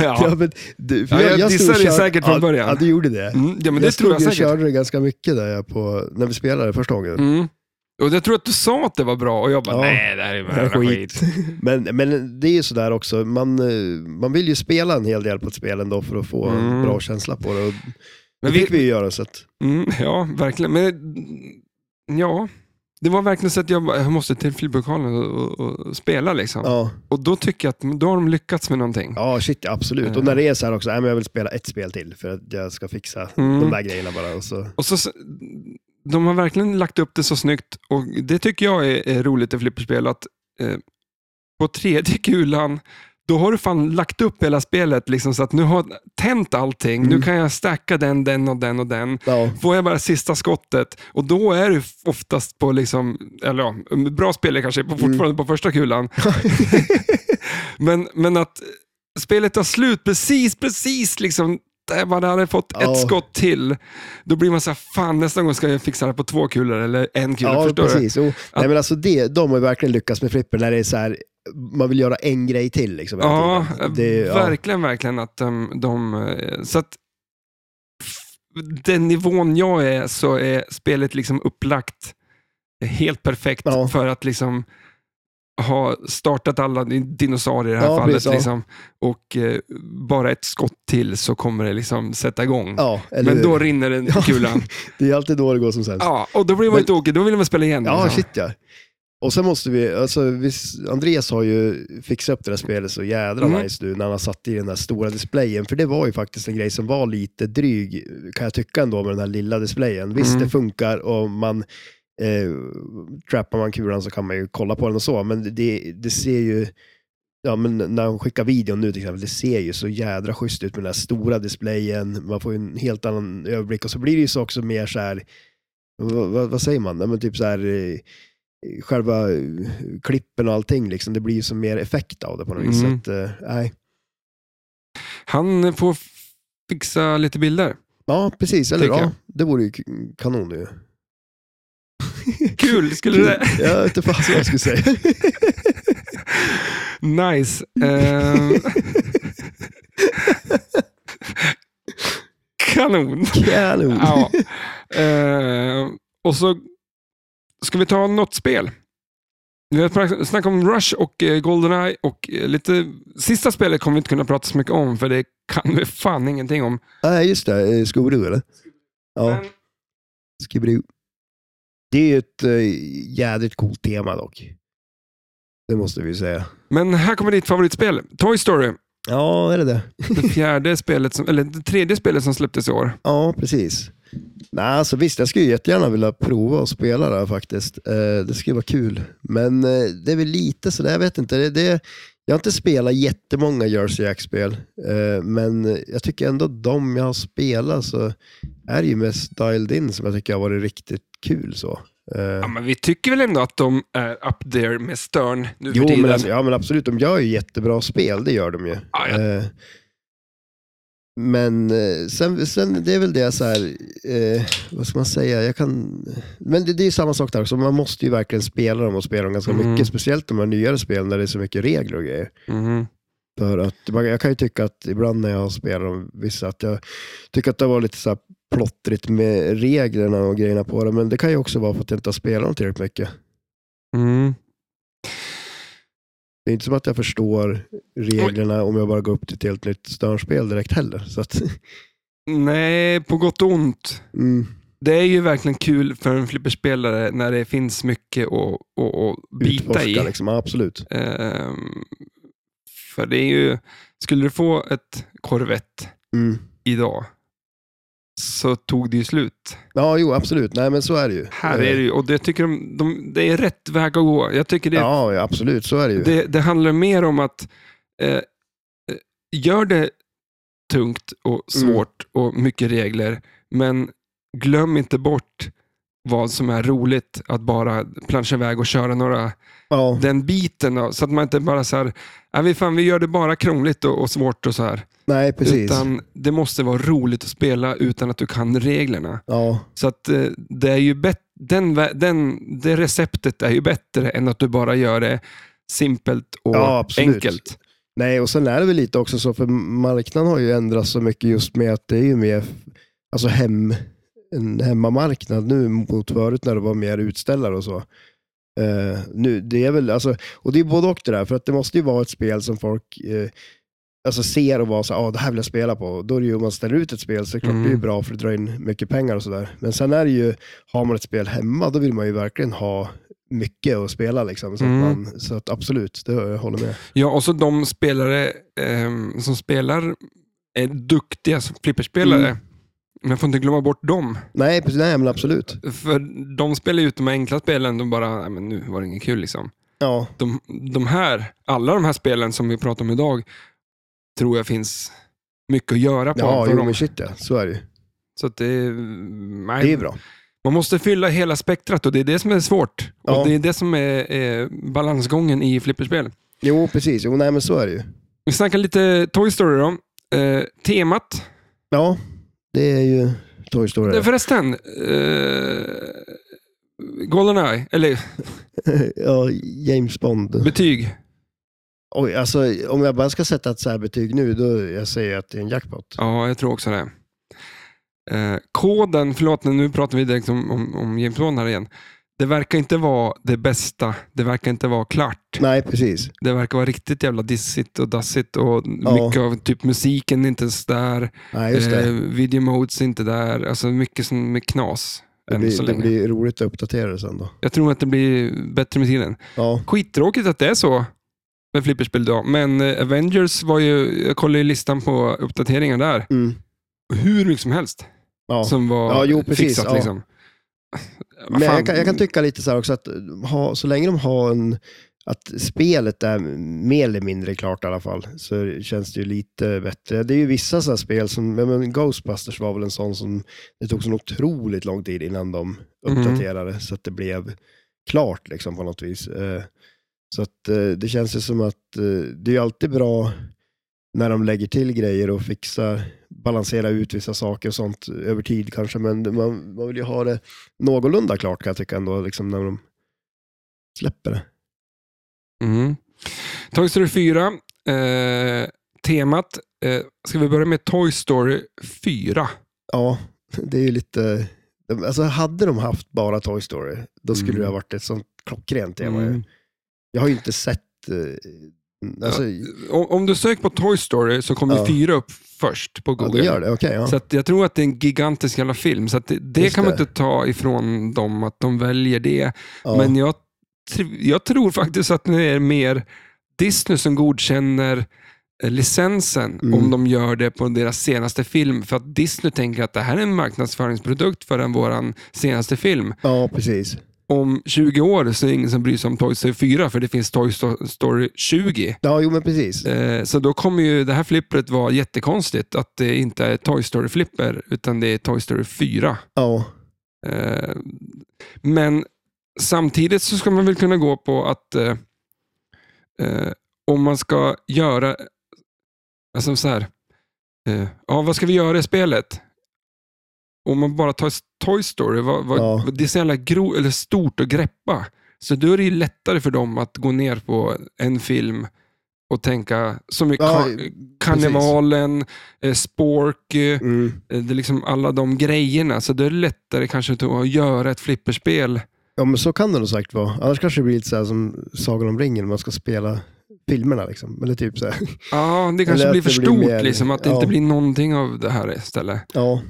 Speaker 1: Ja.
Speaker 2: men du,
Speaker 1: Ja, jag
Speaker 2: stod och
Speaker 1: dissade dig
Speaker 2: körde-
Speaker 1: säkert från
Speaker 2: ja,
Speaker 1: början.
Speaker 2: Ja, du gjorde det.
Speaker 1: Mm, ja, men det
Speaker 2: jag
Speaker 1: tror jag
Speaker 2: och
Speaker 1: säkert.
Speaker 2: körde det ganska mycket där jag på, när vi spelade första gången.
Speaker 1: Mm. Och jag tror att du sa att det var bra och jag bara,
Speaker 2: Ja.
Speaker 1: nej det här är
Speaker 2: Det
Speaker 1: bara
Speaker 2: här är
Speaker 1: skit.
Speaker 2: skit. Men, men det är ju sådär också, man, eh, man vill ju spela en hel del på ett spel ändå för att få
Speaker 1: Mm.
Speaker 2: en bra känsla på det. Och
Speaker 1: Men
Speaker 2: det
Speaker 1: vi-
Speaker 2: fick vi ju göra. Så att,
Speaker 1: Mm, ja, verkligen. Men eh, ja, det var verkligen så att jag, bara, jag måste till Filippokalen och, och, och spela liksom.
Speaker 2: ja.
Speaker 1: Och då tycker jag att då har de lyckats med någonting.
Speaker 2: Ja, shit ja, absolut. Och när det är så här också, nej, men jag vill spela ett spel till för att jag ska fixa
Speaker 1: Mm.
Speaker 2: de där grejerna bara. Och så,
Speaker 1: Och så, de har verkligen lagt upp det så snyggt och det tycker jag är, är roligt i flipperspel. Att, eh, på tredje kulan, då har du fan lagt upp hela spelet liksom, så att nu har jag tänt allting.
Speaker 2: Mm.
Speaker 1: Nu kan jag stacka den, den och den och den.
Speaker 2: ja,
Speaker 1: Får jag bara sista skottet och då är du oftast på, liksom, eller ja, bra spelare kanske, på,
Speaker 2: Mm.
Speaker 1: fortfarande på första kulan. men, men att spelet tar slut precis, precis liksom jag bara hade fått
Speaker 2: Ja.
Speaker 1: ett skott till, då blir man så här, fan nästa gång ska jag fixa det på två kulor eller en kula.
Speaker 2: Ja,
Speaker 1: förstår du?
Speaker 2: precis. Jo. Nej, men alltså det, de har ju verkligen lyckats med flipper när det är så här, man vill göra en grej till. Liksom, hela
Speaker 1: Ja,
Speaker 2: tiden. det, är- ja.
Speaker 1: verkligen, verkligen att de, de eh, så att f- den nivån jag är så är spelet liksom upplagt helt perfekt
Speaker 2: Ja.
Speaker 1: för att liksom ha startat alla din- dinosaurier i det här
Speaker 2: Ja,
Speaker 1: fallet.
Speaker 2: precis, ja.
Speaker 1: liksom, och eh, bara ett skott till så kommer det liksom sätta igång.
Speaker 2: Ja, eller
Speaker 1: Men
Speaker 2: hur?
Speaker 1: då rinner den
Speaker 2: Ja.
Speaker 1: kulan.
Speaker 2: Det är alltid då det går som sämst.
Speaker 1: Ja, och då blir man
Speaker 2: Men-
Speaker 1: ju tokig. Då vill man spela igen.
Speaker 2: Ja,
Speaker 1: liksom.
Speaker 2: shit ja. Och sen måste vi, alltså vi, Andreas har ju fixat upp det där spelet så jädra
Speaker 1: Mm.
Speaker 2: nice nu när han har satt i den där stora displayen. För det var ju faktiskt en grej som var lite dryg, kan jag tycka ändå, med den här lilla displayen. Visst,
Speaker 1: Mm.
Speaker 2: det funkar och man eh, trappar man kulan så kan man ju kolla på den och så, men det, det ser ju Ja, men när han skickar videon nu till exempel, det ser ju så jädra schysst ut med den här stora displayen. Man får ju en helt annan överblick och så blir det ju så också mer så här, vad, vad, vad säger man? Ja, men typ så här, eh, själva eh, klippen och allting, liksom, det blir ju som mer effekt av det på något vis. Så
Speaker 1: Mm.
Speaker 2: att, eh, nej.
Speaker 1: Han får f- fixa lite bilder.
Speaker 2: Ja, precis. Eller
Speaker 1: Tycker
Speaker 2: ja,
Speaker 1: jag.
Speaker 2: det vore ju k- kanon ju.
Speaker 1: Kul, skulle det...
Speaker 2: Jag vet inte fan vad jag skulle säga.
Speaker 1: Nice.
Speaker 2: Eh.
Speaker 1: Ehm. Kanon.
Speaker 2: Kanon.
Speaker 1: Ja. Ehm, och så ska vi ta något spel. Vi har pra- snackat om Rush och eh, Goldeneye och eh, lite sista spelet kommer vi inte kunna prata så mycket om för det kan vi fan ingenting om.
Speaker 2: Nej, just det. Eh, Skobru eller? Ja,
Speaker 1: Men
Speaker 2: Skobru. Det är ju ett eh, jädrigt coolt tema dock. Det måste vi ju säga.
Speaker 1: Men här kommer ditt favoritspel, Toy Story.
Speaker 2: Ja, är det det?
Speaker 1: Det fjärde spelet, som, eller det tredje spelet som släpptes i år.
Speaker 2: Ja, precis. Nej, alltså visst, jag skulle ju jättegärna vilja prova och spela det här faktiskt. Eh, det skulle vara kul. Men eh, det är väl lite sådär, jag vet inte. Det, det, jag har inte spelat jättemånga Jersey Jack-spel, eh, men jag tycker ändå att de jag har spelat så är det ju mest dialed in som jag tycker har varit riktigt kul. så. Eh,
Speaker 1: Ja, men vi tycker väl ändå att de är up there med Stern nu för
Speaker 2: jo,
Speaker 1: tiden.
Speaker 2: men alltså, ja, men absolut, de gör ju jättebra spel, det gör de ju.
Speaker 1: Ja, ja.
Speaker 2: Eh, Men eh, sen, sen det är väl det så här, eh, vad ska man säga, jag kan... Men det, det är ju samma sak där också, man måste ju verkligen spela dem och spela dem ganska
Speaker 1: Mm.
Speaker 2: mycket, speciellt de här nyare spelen där det är så mycket regler och grejer. Mm-hmm.
Speaker 1: Mhm.
Speaker 2: För att, man- jag kan ju tycka att ibland när jag spelar dem, vissa, att jag tycker att det var lite så här plottrigt med reglerna och grejerna på det, men det kan ju också vara för att jag inte har spelat dem tillräckligt mycket.
Speaker 1: Mm.
Speaker 2: Mm-hmm. Det är inte som att jag förstår reglerna om jag bara går upp till ett helt nytt störnspel direkt heller. Så att,
Speaker 1: Nej, på gott och ont.
Speaker 2: mm,
Speaker 1: Det är ju verkligen kul för en flipperspelare när det finns mycket att, att, att bita
Speaker 2: utforska
Speaker 1: i.
Speaker 2: liksom, ja, absolut.
Speaker 1: Ehm, för det är ju, skulle du få ett korvett
Speaker 2: Mm.
Speaker 1: idag så tog det ju slut.
Speaker 2: Ja, jo absolut. Nej men så är det ju. Eh,
Speaker 1: Här är det ju, och det tycker de, de, det är rätt väg att gå. Jag tycker det är
Speaker 2: Ja, ja, absolut. Så är det ju.
Speaker 1: Det, det handlar mer om att eh, eh, gör det tungt och
Speaker 2: Mm.
Speaker 1: svårt och mycket regler, men glöm inte bort vad som är roligt att bara planscha iväg och köra några,
Speaker 2: ja.
Speaker 1: den biten. Då, så att man inte bara så här, "Nej, vi, fan, vi gör det bara krångligt och, och svårt och så här.
Speaker 2: Nej, precis.
Speaker 1: Utan det måste vara roligt att spela utan att du kan reglerna.
Speaker 2: Ja.
Speaker 1: Så att eh, det är ju bet- den, vä- den, det receptet är ju bättre än att du bara gör det simpelt och
Speaker 2: Ja, absolut.
Speaker 1: enkelt.
Speaker 2: Nej, och sen är det väl lite också så, för marknaden har ju ändrats så mycket just med att det är ju mer alltså hem, en hemmamarknad nu mot förut när det var mer utställare och så. Eh, nu, det är väl, alltså, och det är både och det där, för att det måste ju vara ett spel som folk eh, alltså ser och var så här, ah, det här vill jag spela på. Då är det ju, om man ställer ut ett spel så är det klart
Speaker 1: Mm.
Speaker 2: det är ju bra för det drar in mycket pengar och sådär. Men sen är det ju, har man ett spel hemma, då vill man ju verkligen ha mycket att spela liksom. Så,
Speaker 1: Mm.
Speaker 2: att, man, så att absolut, det jag håller med.
Speaker 1: Ja, och så de spelare ehm, som spelar är duktiga som flipperspelare.
Speaker 2: Mm.
Speaker 1: Man får inte glömma bort dem.
Speaker 2: Nej, precis, nej men absolut.
Speaker 1: För de spelar ju ut de här enkla spelen, de bara, nej men nu var det inget kul liksom.
Speaker 2: Ja,
Speaker 1: De, de här, alla de här spelen som vi pratar om idag, tror jag finns mycket att göra på
Speaker 2: ja
Speaker 1: för
Speaker 2: jo
Speaker 1: dem.
Speaker 2: men shit ja, så är det ju.
Speaker 1: Så att det, nej,
Speaker 2: Det är bra.
Speaker 1: Man måste fylla hela spektrat och det är det som är svårt.
Speaker 2: Ja.
Speaker 1: Och Det är det som är eh, balansgången i flipperspel.
Speaker 2: Jo, precis, jo nej men så är det ju.
Speaker 1: Vi snackar lite Toy Story då. Eh, temat
Speaker 2: Ja, det är ju Toy Story.
Speaker 1: Eh, Förresten, eh, Goldeneye, eller
Speaker 2: ja, James Bond.
Speaker 1: betyg.
Speaker 2: Oj, alltså, om jag bara ska sätta ett särbetyg nu, då jag säger att det är en jackpot.
Speaker 1: Ja, jag tror också det. Eh, koden, förlåt nu pratar vi direkt om, om, om James Bond här igen. Det verkar inte vara det bästa, det verkar inte vara klart.
Speaker 2: Nej, precis.
Speaker 1: Det verkar vara riktigt jävla dissigt och dassigt och
Speaker 2: Ja.
Speaker 1: mycket av typ musiken är inte ens där.
Speaker 2: Nej, just det.
Speaker 1: Eh, video modes är inte där. Alltså mycket som med knas.
Speaker 2: Det
Speaker 1: än så
Speaker 2: blir, det
Speaker 1: länge.
Speaker 2: blir roligt att uppdatera det sen då.
Speaker 1: Jag tror att det blir bättre med tiden.
Speaker 2: Ja,
Speaker 1: Skittråkigt att det är så med flipperspel då. Men eh, Avengers var ju, jag kollade ju listan på uppdateringar där.
Speaker 2: mm.
Speaker 1: Hur mycket som helst
Speaker 2: ja.
Speaker 1: som var
Speaker 2: Ja, jo, precis,
Speaker 1: fixat.
Speaker 2: ja.
Speaker 1: Liksom. Vad
Speaker 2: Men
Speaker 1: fan.
Speaker 2: jag kan, jag kan tycka lite så här också att eh, ha, så länge de har en, att spelet är mer eller mindre klart i alla fall, så känns det ju lite bättre. Det är ju vissa sådana spel som, ja, men Ghostbusters var väl en sån som, det tog så otroligt lång tid innan de
Speaker 1: Mm.
Speaker 2: uppdaterade så att det blev klart liksom på något vis. Eh, Så att eh, det känns ju som att eh, det är ju alltid bra när de lägger till grejer och fixar, balanserar ut vissa saker och sånt över tid kanske, men man, man vill ju ha det någorlunda klart kan jag tycka ändå, liksom när de släpper det.
Speaker 1: Mm. Toy Story 4. Eh, temat. Eh, ska vi börja med Toy Story 4?
Speaker 2: Ja, det är ju lite... Alltså hade de haft bara Toy Story, då skulle
Speaker 1: Mm.
Speaker 2: det ha varit ett sånt klockrent tema. ju.
Speaker 1: Mm.
Speaker 2: Jag har ju inte sett... eh, Alltså, ja,
Speaker 1: Om, om du söker på Toy Story så kommer
Speaker 2: Ja.
Speaker 1: 4 upp först på
Speaker 2: det
Speaker 1: Google.
Speaker 2: gör det, okej.
Speaker 1: Så
Speaker 2: ja.
Speaker 1: att jag tror att det är en gigantisk jävla film. Så att det, det
Speaker 2: Just
Speaker 1: kan man
Speaker 2: det.
Speaker 1: inte ta ifrån dem, att de väljer det.
Speaker 2: ja.
Speaker 1: Men jag, tr- jag tror faktiskt att det är mer Disney som godkänner eh, licensen
Speaker 2: Mm.
Speaker 1: om de gör det på deras senaste film. För att Disney tänker att det här är en marknadsföringsprodukt för vår senaste film.
Speaker 2: ja, precis.
Speaker 1: Om 20 år så är det ingen som bryr sig om Toy Story 4 för det finns Toy Sto- Story 20.
Speaker 2: Ja, jo men precis.
Speaker 1: Eh, Så då kommer ju det här flippret vara jättekonstigt. Att det inte är Toy Story-flipper, utan det är Toy Story 4.
Speaker 2: Ja,
Speaker 1: Eh, Men samtidigt så ska man väl kunna gå på att eh, eh, om man ska göra... Alltså så här. eh, Ja, vad ska vi göra i spelet? Om man bara tar Toy Story, vad, vad,
Speaker 2: Ja.
Speaker 1: det är så jävla gro, eller stort att greppa. Så då är det ju lättare för dem att gå ner på en film och tänka, som i
Speaker 2: Ja,
Speaker 1: ka- karnevalen, eh, spork, eh,
Speaker 2: mm.
Speaker 1: Eh, det är liksom alla de grejerna. Så det är det lättare kanske att att göra ett flipperspel.
Speaker 2: ja men så kan det nog säkert vara. Annars kanske det blir lite så här som Sagan om ringen, man ska spela filmerna liksom. Eller typ så här.
Speaker 1: Ja, det
Speaker 2: Eller
Speaker 1: kanske
Speaker 2: att
Speaker 1: blir
Speaker 2: det
Speaker 1: för
Speaker 2: blir
Speaker 1: stort,
Speaker 2: mer-
Speaker 1: liksom, att det
Speaker 2: ja.
Speaker 1: inte blir någonting av det här istället.
Speaker 2: Ja.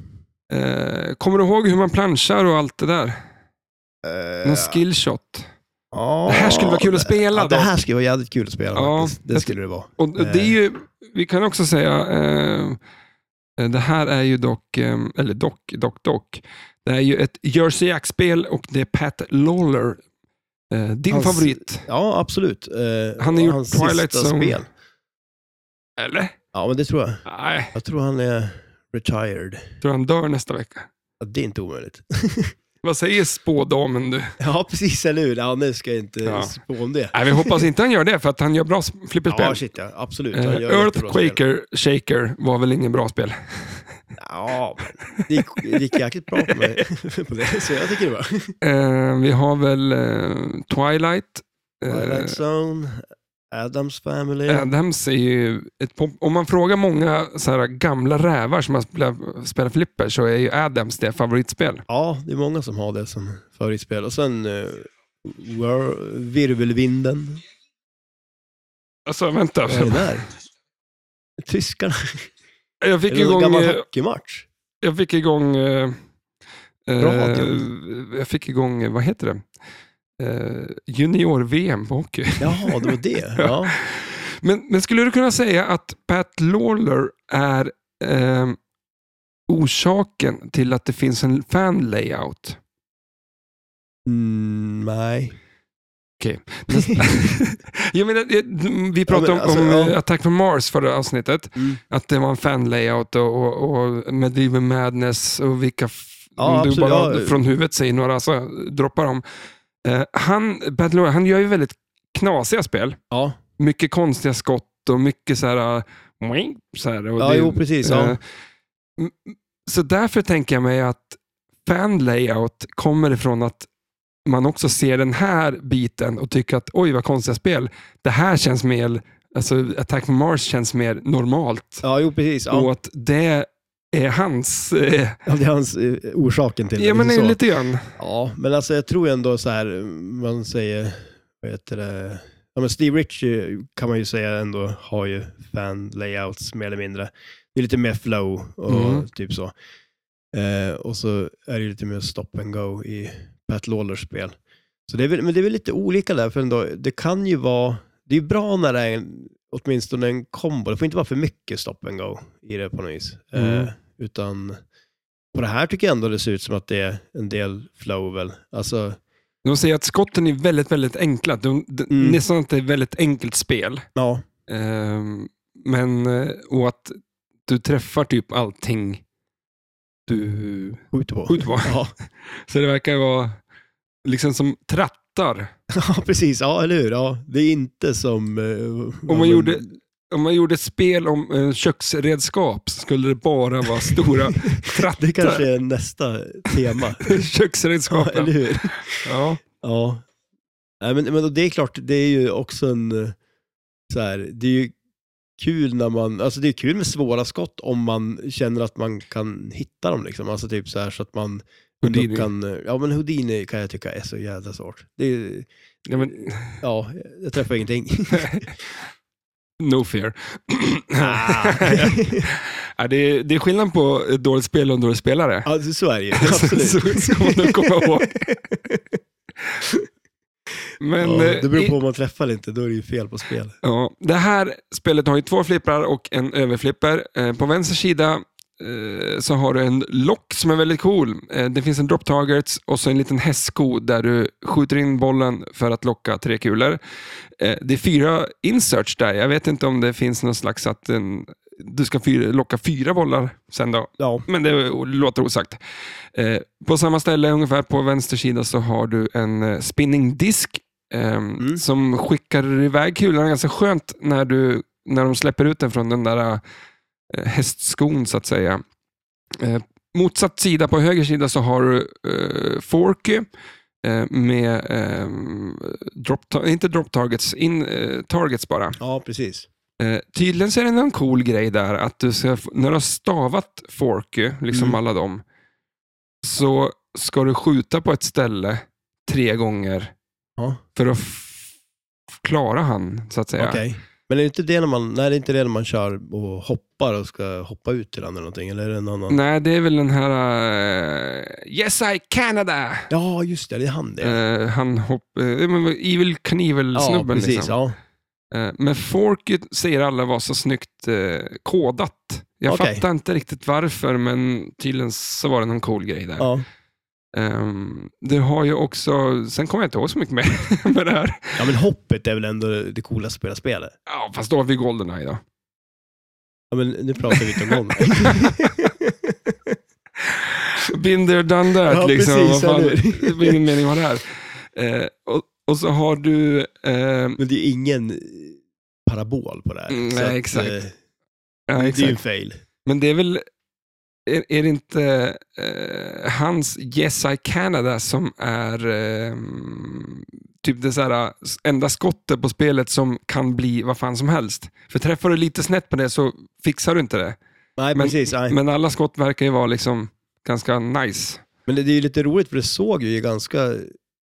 Speaker 1: Eh, kommer du ihåg hur man planchar och allt det där?
Speaker 2: Eh,
Speaker 1: Någon skillshot.
Speaker 2: ja.
Speaker 1: Det här skulle vara kul att spela
Speaker 2: Ja, det
Speaker 1: då.
Speaker 2: här eh. skulle vara jävligt kul att spela
Speaker 1: Ja,
Speaker 2: faktiskt. Det
Speaker 1: jag-
Speaker 2: skulle det vara.
Speaker 1: Och det är ju, vi kan också säga, eh, det här är ju dock, eh, eller dock, dock, dock. Det är ju ett Jersey Jack-spel och det är Pat Lawler. Eh, din
Speaker 2: Hans-
Speaker 1: favorit,
Speaker 2: Ja, absolut. Eh,
Speaker 1: Han har gjort
Speaker 2: hans
Speaker 1: Twilight
Speaker 2: sista
Speaker 1: Zone.
Speaker 2: spel.
Speaker 1: eller?
Speaker 2: Ja, men det tror jag.
Speaker 1: Nej,
Speaker 2: Jag tror han är retired.
Speaker 1: jag tror han dör nästa vecka.
Speaker 2: Ja, det är inte omöjligt.
Speaker 1: Vad säger spådamen du?
Speaker 2: ja, precis. Eller hur? Ja, nu ska jag inte
Speaker 1: Ja.
Speaker 2: spå om det.
Speaker 1: Nej, vi hoppas inte han gör det, för att han gör bra s- flipperspel.
Speaker 2: Ja, shit ja. Absolut.
Speaker 1: Eh,
Speaker 2: Han gör jättebra spel.
Speaker 1: Earthquaker Shaker var väl ingen bra spel?
Speaker 2: Ja, men det gick, det gick jäkligt bra på, mig, på det. Så jag tycker det var.
Speaker 1: Eh, vi har väl eh, Twilight. Eh,
Speaker 2: Twilight Zone, Adams Family.
Speaker 1: Adams är ju ett pop- Om man frågar många så här, gamla rävar som har spelat, spelat flipper så är ju Adams det favoritspel.
Speaker 2: Ja, det är många som har det som favoritspel. Och sen eh, Whir- Virvelvinden.
Speaker 1: Alltså vänta,
Speaker 2: Vad är det där? Tyskarna.
Speaker 1: jag
Speaker 2: Är
Speaker 1: fick
Speaker 2: det någon
Speaker 1: igång...
Speaker 2: gammal
Speaker 1: eh,
Speaker 2: hockeymatch?
Speaker 1: Jag fick igång... Eh, eh,
Speaker 2: Radion.
Speaker 1: jag fick igång, eh, vad heter det? Eh, Junior-VM på hockey.
Speaker 2: Jaha, det var det. Ja.
Speaker 1: Men, men skulle du kunna säga att Pat Lawler är eh, orsaken till att det finns en fan-layout?
Speaker 2: Mm, nej.
Speaker 1: Jag menar, eh, vi pratade
Speaker 2: men alltså,
Speaker 1: om, om
Speaker 2: ja.
Speaker 1: eh, Attack from Mars förra avsnittet,
Speaker 2: Mm.
Speaker 1: att det var en fan-layout och, och, och Medieval Madness och vilka, f-
Speaker 2: Ja,
Speaker 1: om du
Speaker 2: absolut,
Speaker 1: bara
Speaker 2: ja.
Speaker 1: från huvudet säger några, så droppar dem. Eh, han, Pat Lawler, han gör ju väldigt knasiga spel.
Speaker 2: Ja,
Speaker 1: Mycket konstiga skott och mycket så här, eh, så här och
Speaker 2: ja
Speaker 1: det-
Speaker 2: jo precis. Ja.
Speaker 1: Eh, Så därför tänker jag mig att fan layout kommer ifrån att man också ser den här biten och tycker att oj vad konstiga spel. Det här känns mer, alltså Attack on Mars känns mer normalt.
Speaker 2: Ja, jo precis.
Speaker 1: Och
Speaker 2: Ja.
Speaker 1: att det är hans... Eh,
Speaker 2: Ja, det är hans, eh, orsaken till det.
Speaker 1: ja, men
Speaker 2: liksom så.
Speaker 1: lite grann.
Speaker 2: Ja, men alltså jag tror ändå så här, man säger, vad heter det, ja men Steve Ritchie kan man ju säga ändå har ju fan layouts mer eller mindre. Det är lite mer flow och
Speaker 1: Mm.
Speaker 2: typ så. Eh, och så är det ju lite mer stop and go i Pat Lawlers spel. Så det är väl, men det är väl lite olika där, för ändå, det kan ju vara, det är ju bra när det är en, åtminstone en kombo, det får inte vara för mycket stop and go i det på något vis.
Speaker 1: Mm.
Speaker 2: Eh, utan på det här tycker jag ändå det ser ut som att det är en del flow väl. Alltså,
Speaker 1: De säger att skotten är väldigt, väldigt enkla. De, de,
Speaker 2: Mm.
Speaker 1: Nästan att det är ett väldigt enkelt spel.
Speaker 2: ja.
Speaker 1: Ehm, men, eh, och att du träffar typ allting du
Speaker 2: Skjuter på.
Speaker 1: skjuter på.
Speaker 2: Ja.
Speaker 1: Så det verkar vara liksom som trattar.
Speaker 2: ja, precis. Ja, eller hur? Ja, det är inte som... eh,
Speaker 1: Om man gjorde, om man gjorde ett spel om eh, köksredskap så skulle det bara vara stora trattar.
Speaker 2: Det kanske är nästa tema. Ja,
Speaker 1: Köksredskapen.
Speaker 2: eller hur?
Speaker 1: Ja.
Speaker 2: Ja. Nej, men, men det är klart, det är ju också en... eh, Så här, det är ju kul när man... Alltså det är kul med svåra skott om man känner att man kan hitta dem liksom. Alltså typ så här så att man...
Speaker 1: Houdini.
Speaker 2: Kan, eh, ja, men Houdini kan jag tycka är så jävla svårt. Det är,
Speaker 1: Ja, men,
Speaker 2: ja, jag träffar ingenting.
Speaker 1: no fear.
Speaker 2: Ah.
Speaker 1: ja, det, är, det är skillnad på ett dåligt spel och en dålig spelare.
Speaker 2: ja, så är det ju. Absolut.
Speaker 1: så ska man nog komma ihåg. Men,
Speaker 2: ja, det beror
Speaker 1: eh,
Speaker 2: på om man träffar eller inte, då är det ju fel på spel.
Speaker 1: Ja, det här spelet har ju två flipprar och en överflipper. Eh, På vänster sida eh, så har du en lock som är väldigt cool. Eh, Det finns en drop targets och så en liten hästsko där du skjuter in bollen för att locka tre kulor. Eh, Det är fyra inserts där. Jag vet inte om det finns någon slags att en, du ska fyra, locka fyra bollar sen då.
Speaker 2: Ja.
Speaker 1: Men det låter osagt. Eh, på samma ställe, ungefär på vänster sida, så har du en eh, spinning disk ehm,
Speaker 2: Mm.
Speaker 1: som skickar iväg kulan ganska skönt när, du, när de släpper ut den från den där eh, hästskon, så att säga. Eh, motsatt sida, på höger sida, så har du eh, Forky eh, med ehm, drop, ta- inte drop targets, in, eh, targets bara.
Speaker 2: ja, precis.
Speaker 1: Eh, tydligen så är det någon cool grej där, att du ska, f- när du har stavat Forky, liksom
Speaker 2: Mm.
Speaker 1: alla dem, så ska du skjuta på ett ställe tre gånger
Speaker 2: Ja,
Speaker 1: för att f- klara han, så att säga.
Speaker 2: okej. Men är det inte det när man, nej, det är inte det när man kör och hoppar och ska hoppa ut till den eller någonting? Eller är det en annan?
Speaker 1: Nej, det är väl den här eh, Yes I Canada!
Speaker 2: Ja, just det, det är han det.
Speaker 1: Eh, han hopp, eh, men Evil
Speaker 2: ja,
Speaker 1: Knievel-snubben.
Speaker 2: precis.
Speaker 1: liksom.
Speaker 2: Ja.
Speaker 1: Eh, men Forky säger alla var så snyggt eh, kodat. Jag
Speaker 2: Okej.
Speaker 1: fattar inte riktigt varför, men tydligen så var det någon cool grej där.
Speaker 2: Ja.
Speaker 1: Um, du har ju också, sen kommer jag inte ihåg så mycket mer med det här.
Speaker 2: ja, men hoppet är väl ändå det coolaste att spela spelet.
Speaker 1: Ja, fast då har vi Goldeneye då.
Speaker 2: Ja, men nu pratar vi inte om golv.
Speaker 1: Been there, done that.
Speaker 2: Ja,
Speaker 1: liksom. Vad
Speaker 2: precis,
Speaker 1: fan,
Speaker 2: eller
Speaker 1: det
Speaker 2: hur?
Speaker 1: var ingen mening med det här. Eh, och, och så har du, eh,
Speaker 2: men det är ingen eh, parabol på det här.
Speaker 1: Mm,
Speaker 2: Så
Speaker 1: nej,
Speaker 2: att,
Speaker 1: exakt.
Speaker 2: eh,
Speaker 1: ja,
Speaker 2: Det är ju en
Speaker 1: exakt.
Speaker 2: fail.
Speaker 1: men det är väl, är, är det inte eh, hans Yes I Canada som är eh, typ det så här, enda skottet på spelet som kan bli vad fan som helst. För träffar du lite snett på det så fixar du inte det.
Speaker 2: Nej,
Speaker 1: Men-
Speaker 2: precis. Nej.
Speaker 1: Men alla skott verkar ju vara liksom ganska nice.
Speaker 2: Men det, det är ju lite roligt för det såg ju ganska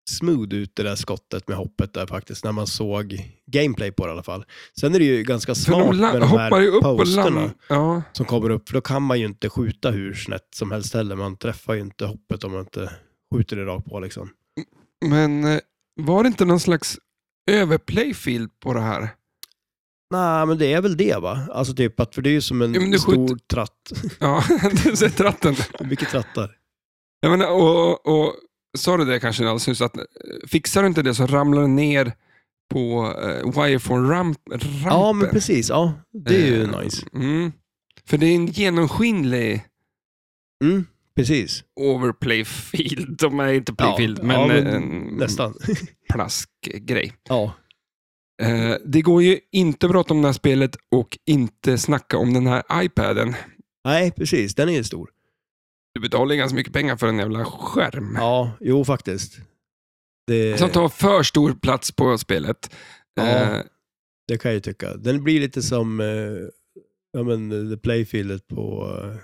Speaker 2: smooth ut det där skottet med hoppet där faktiskt, när man såg gameplay på det i alla fall. Sen är det ju ganska
Speaker 1: För
Speaker 2: smart
Speaker 1: de
Speaker 2: med
Speaker 1: la-
Speaker 2: de här
Speaker 1: hoppar ju upp och
Speaker 2: posterna
Speaker 1: landar. Ja.
Speaker 2: som kommer upp, för då kan man ju inte skjuta hur snett som helst heller. Man träffar ju inte hoppet om man inte skjuter det rakt på liksom.
Speaker 1: Men eh, var det inte någon slags överplayfield på det här?
Speaker 2: Nej, men det är väl det va? Alltså typ att, för det är ju som en
Speaker 1: Ja, men du
Speaker 2: stor tratt.
Speaker 1: Ja, du ser tratten.
Speaker 2: Mycket trattar.
Speaker 1: Jag menar, och, och, sa du det kanske alldeles nyss, att eh, fixar du inte det så ramlar du ner på eh, wireform-rampen.
Speaker 2: Ja, men precis. Ja, det är ju
Speaker 1: Eh,
Speaker 2: nice.
Speaker 1: Mm. För det är en genomskinlig
Speaker 2: Mm, precis.
Speaker 1: overplayfield. De är inte
Speaker 2: Ja,
Speaker 1: playfield, men,
Speaker 2: ja, men
Speaker 1: eh, en
Speaker 2: Nästan.
Speaker 1: plaskgrej.
Speaker 2: Ja.
Speaker 1: Eh, det går ju inte att prata om det här spelet och inte snacka om den här iPaden.
Speaker 2: Nej, precis. Den är ju stor.
Speaker 1: Du betalar ju ganska mycket pengar för en jävla skärm.
Speaker 2: Ja, jo faktiskt. Det,
Speaker 1: Som tar för stor plats på spelet.
Speaker 2: Ja.
Speaker 1: Eh,
Speaker 2: det kan jag ju tycka. Den blir lite som eh, ja, men, eh, the playfieldet på eh,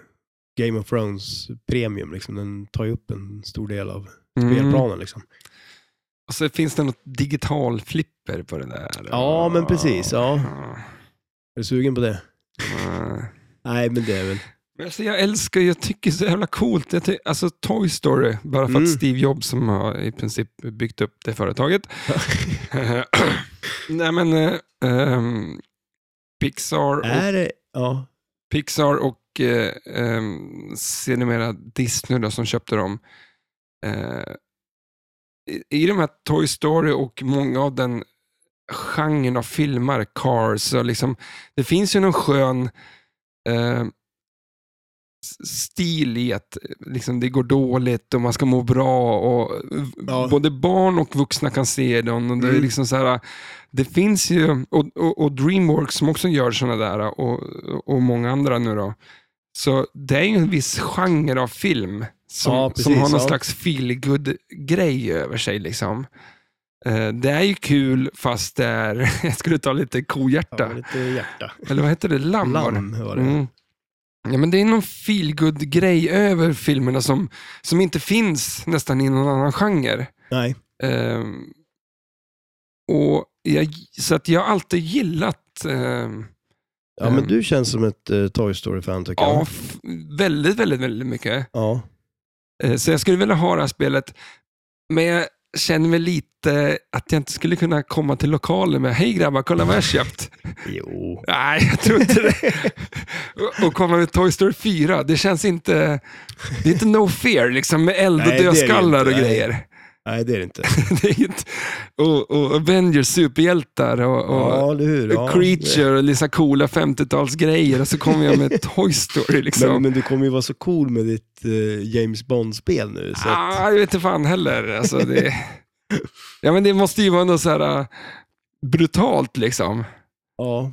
Speaker 2: Game of Thrones Premium. Liksom. Den tar ju upp en stor del av
Speaker 1: mm.
Speaker 2: spelplanen. Liksom.
Speaker 1: Och så finns det något digital flipper på det där.
Speaker 2: Ja, men precis, ja.
Speaker 1: Ja.
Speaker 2: Är du sugen på det?
Speaker 1: Eh.
Speaker 2: Nej, men det är väl...
Speaker 1: Men Alltså jag älskar, jag tycker det är så jävla coolt. Jag ty- alltså Toy Story, bara för
Speaker 2: Mm.
Speaker 1: att Steve Jobs som har i princip byggt upp det företaget. Nej men, eh, ehm, Pixar, och,
Speaker 2: Är det... Ja.
Speaker 1: Pixar och eh, ehm, sedermera Disney då, som köpte dem. Eh, i, I de här Toy Story och många av den genren av filmer, Cars, så liksom, det finns ju någon skön eh, s- stil i att eh, liksom, det går dåligt och man ska må bra. Och, eh,
Speaker 2: Ja.
Speaker 1: Både barn och vuxna kan se den. Och det, är
Speaker 2: Mm.
Speaker 1: liksom så här, det finns ju, och, och, och Dreamworks som också gör sådana där och, och många andra nu då. Så det är ju en viss genre av film som,
Speaker 2: Ja, precis,
Speaker 1: som har någon
Speaker 2: ja.
Speaker 1: slags feel-good-grej över sig. Liksom. Eh, det är ju kul fast det är, jag skulle ta lite kohjärta.
Speaker 2: ja lite hjärta.
Speaker 1: Eller vad heter det? Lamm var det.
Speaker 2: Lamm var det.
Speaker 1: Mm. Ja, men det är någon feelgood grej över filmerna som, som inte finns nästan i någon annan genre.
Speaker 2: Nej.
Speaker 1: Ehm, och jag, så att jag har alltid gillat ehm,
Speaker 2: Ja, men du känns som ett eh, Toy Story-fan tycker
Speaker 1: ja,
Speaker 2: jag.
Speaker 1: f- väldigt, väldigt, väldigt mycket.
Speaker 2: Ja.
Speaker 1: Eh, Så jag skulle vilja ha det här spelet, men jag känner mig lite att jag inte skulle kunna komma till lokalen med Hej grabbar, kolla vad jag har köpt.
Speaker 2: Jo.
Speaker 1: Nej, jag tror inte det. Och- Och komma med Toy Story 4, det känns inte... Det är inte no fear liksom med eld och
Speaker 2: Nej, det är det
Speaker 1: dödskallar och
Speaker 2: inte. Nej.
Speaker 1: grejer.
Speaker 2: Nej, det är det inte.
Speaker 1: Det är inte, och, och Avengers superhjältar och, och
Speaker 2: Ja, eller hur? Ja.
Speaker 1: Creature och liksom coola 50-talsgrejer och så kommer jag med Toy Story. Liksom.
Speaker 2: Men, men du kommer ju vara så cool med ditt eh, James Bond-spel nu. Så att,
Speaker 1: Ah, jag vet inte fan heller. Alltså, det... ja, men det måste ju vara något så här äh, brutalt liksom.
Speaker 2: ja.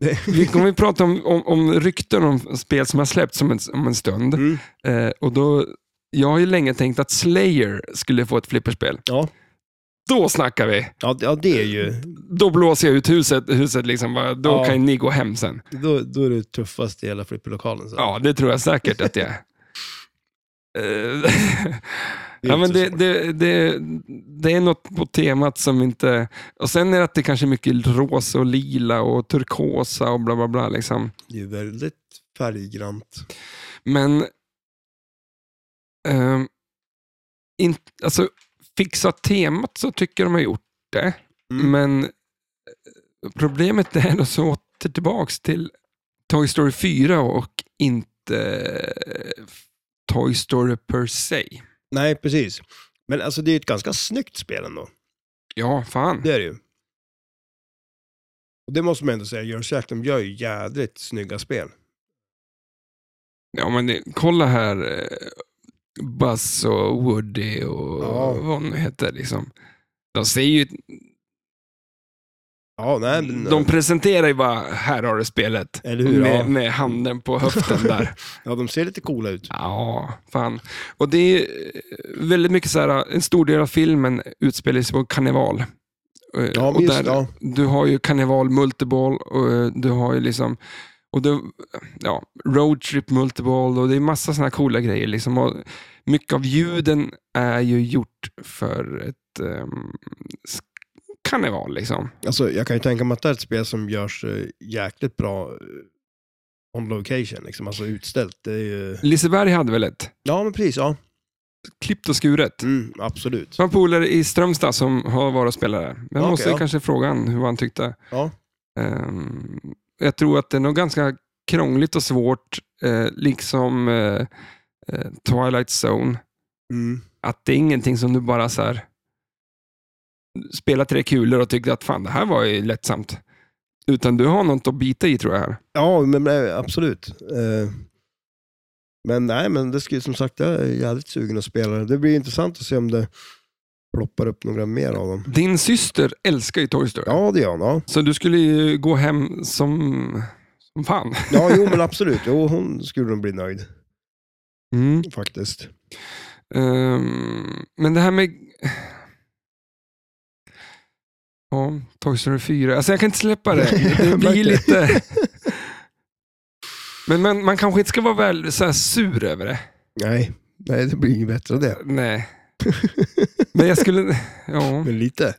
Speaker 1: Vi kommer ju prata om, om, om rykten om spel som har släppts om en, om en stund.
Speaker 2: Mm.
Speaker 1: Eh, och då, jag har ju länge tänkt att Slayer skulle få ett flipperspel.
Speaker 2: Ja.
Speaker 1: Då snackar vi.
Speaker 2: Ja, ja, det är ju...
Speaker 1: Då blåser jag ut huset. huset liksom. bara, Då
Speaker 2: Ja.
Speaker 1: kan ju ni gå hem sen.
Speaker 2: Då, då är du tuffast i hela flipperlokalen. Så.
Speaker 1: Ja, det tror jag säkert att jag är. Eh, ja, men
Speaker 2: inte
Speaker 1: det,
Speaker 2: svårt.
Speaker 1: det, det, det är något på temat som inte... Och Sen är det att det kanske är mycket rosa och lila och turkosa och bla bla bla. Liksom.
Speaker 2: Det är ju väldigt färggrant.
Speaker 1: Men... ehm, in, alltså, fixa temat så tycker de har gjort det.
Speaker 2: Mm.
Speaker 1: Men eh, problemet är då så åter tillbaks till Toy Story 4 och inte eh, Toy Story per se.
Speaker 2: Nej, precis. Men alltså det är ju ett ganska snyggt spel ändå.
Speaker 1: Ja, fan.
Speaker 2: Det är det ju. Och det måste man ändå säga, Jörn Schack, de gör ju jädrigt snygga spel.
Speaker 1: Ja, men det, kolla här. eh, Buzz och Woody och
Speaker 2: Ja.
Speaker 1: vad de nu heter. Liksom. De ser ju,
Speaker 2: Ja, nej, men,
Speaker 1: de presenterar ju bara, här har du spelet.
Speaker 2: Eller hur?
Speaker 1: Med,
Speaker 2: Ja.
Speaker 1: med handen på höften där.
Speaker 2: ja, de ser lite coola ut.
Speaker 1: Ja, fan. Och det är eh, väldigt mycket så här, eh, en stor del av filmen utspelar sig på karneval. Eh,
Speaker 2: Ja,
Speaker 1: och
Speaker 2: men just,
Speaker 1: där,
Speaker 2: ja.
Speaker 1: Du har ju karneval, multiball och eh, du har ju liksom och du, ja, roadtrip, multiball och det är massa sådana coola grejer. Liksom. Och mycket av ljuden är ju gjort för ett um, karneval. Liksom.
Speaker 2: Alltså, jag kan ju tänka mig att det är ett spel som görs eh, jäkligt bra eh, on location, liksom, alltså utställt. Det är ju...
Speaker 1: Liseberg hade väl ett?
Speaker 2: Ja, men precis. Ja,
Speaker 1: Klippt och skuret.
Speaker 2: mm, absolut.
Speaker 1: Jag har en polare i Strömstad som har varit och spelat där. Jag
Speaker 2: Okej,
Speaker 1: måste
Speaker 2: ja.
Speaker 1: kanske fråga han hur han tyckte.
Speaker 2: Ja.
Speaker 1: Ehm, jag tror att det är nog ganska krångligt och svårt, eh, liksom eh, eh, Twilight Zone.
Speaker 2: Mm.
Speaker 1: Att det är ingenting som du bara så här, spelar tre kulor och tyckte att fan, det här var ju lättsamt. Utan du har något att bita i tror jag. Här.
Speaker 2: Ja, men eh, absolut. Eh, Men nej, men det ska ju som sagt, jag är jävligt sugen att spela det. Det blir intressant att se om det ploppar upp några mer av dem.
Speaker 1: Din syster älskar ju Toy Story.
Speaker 2: Ja, det gör han. Ja.
Speaker 1: Så du skulle ju gå hem som, Som fan.
Speaker 2: Ja, jo men absolut. Jo, hon skulle nog bli nöjd
Speaker 1: Mm.
Speaker 2: faktiskt.
Speaker 1: Ehm, men det här med... Ja, Toy Story 4. Alltså jag kan inte släppa det. Det blir
Speaker 2: Verkligen.
Speaker 1: lite... Men man, man kanske inte ska vara väl så här sur över det.
Speaker 2: Nej, nej det blir inget bättre än det.
Speaker 1: Nej. Men jag skulle... Ja.
Speaker 2: Men lite.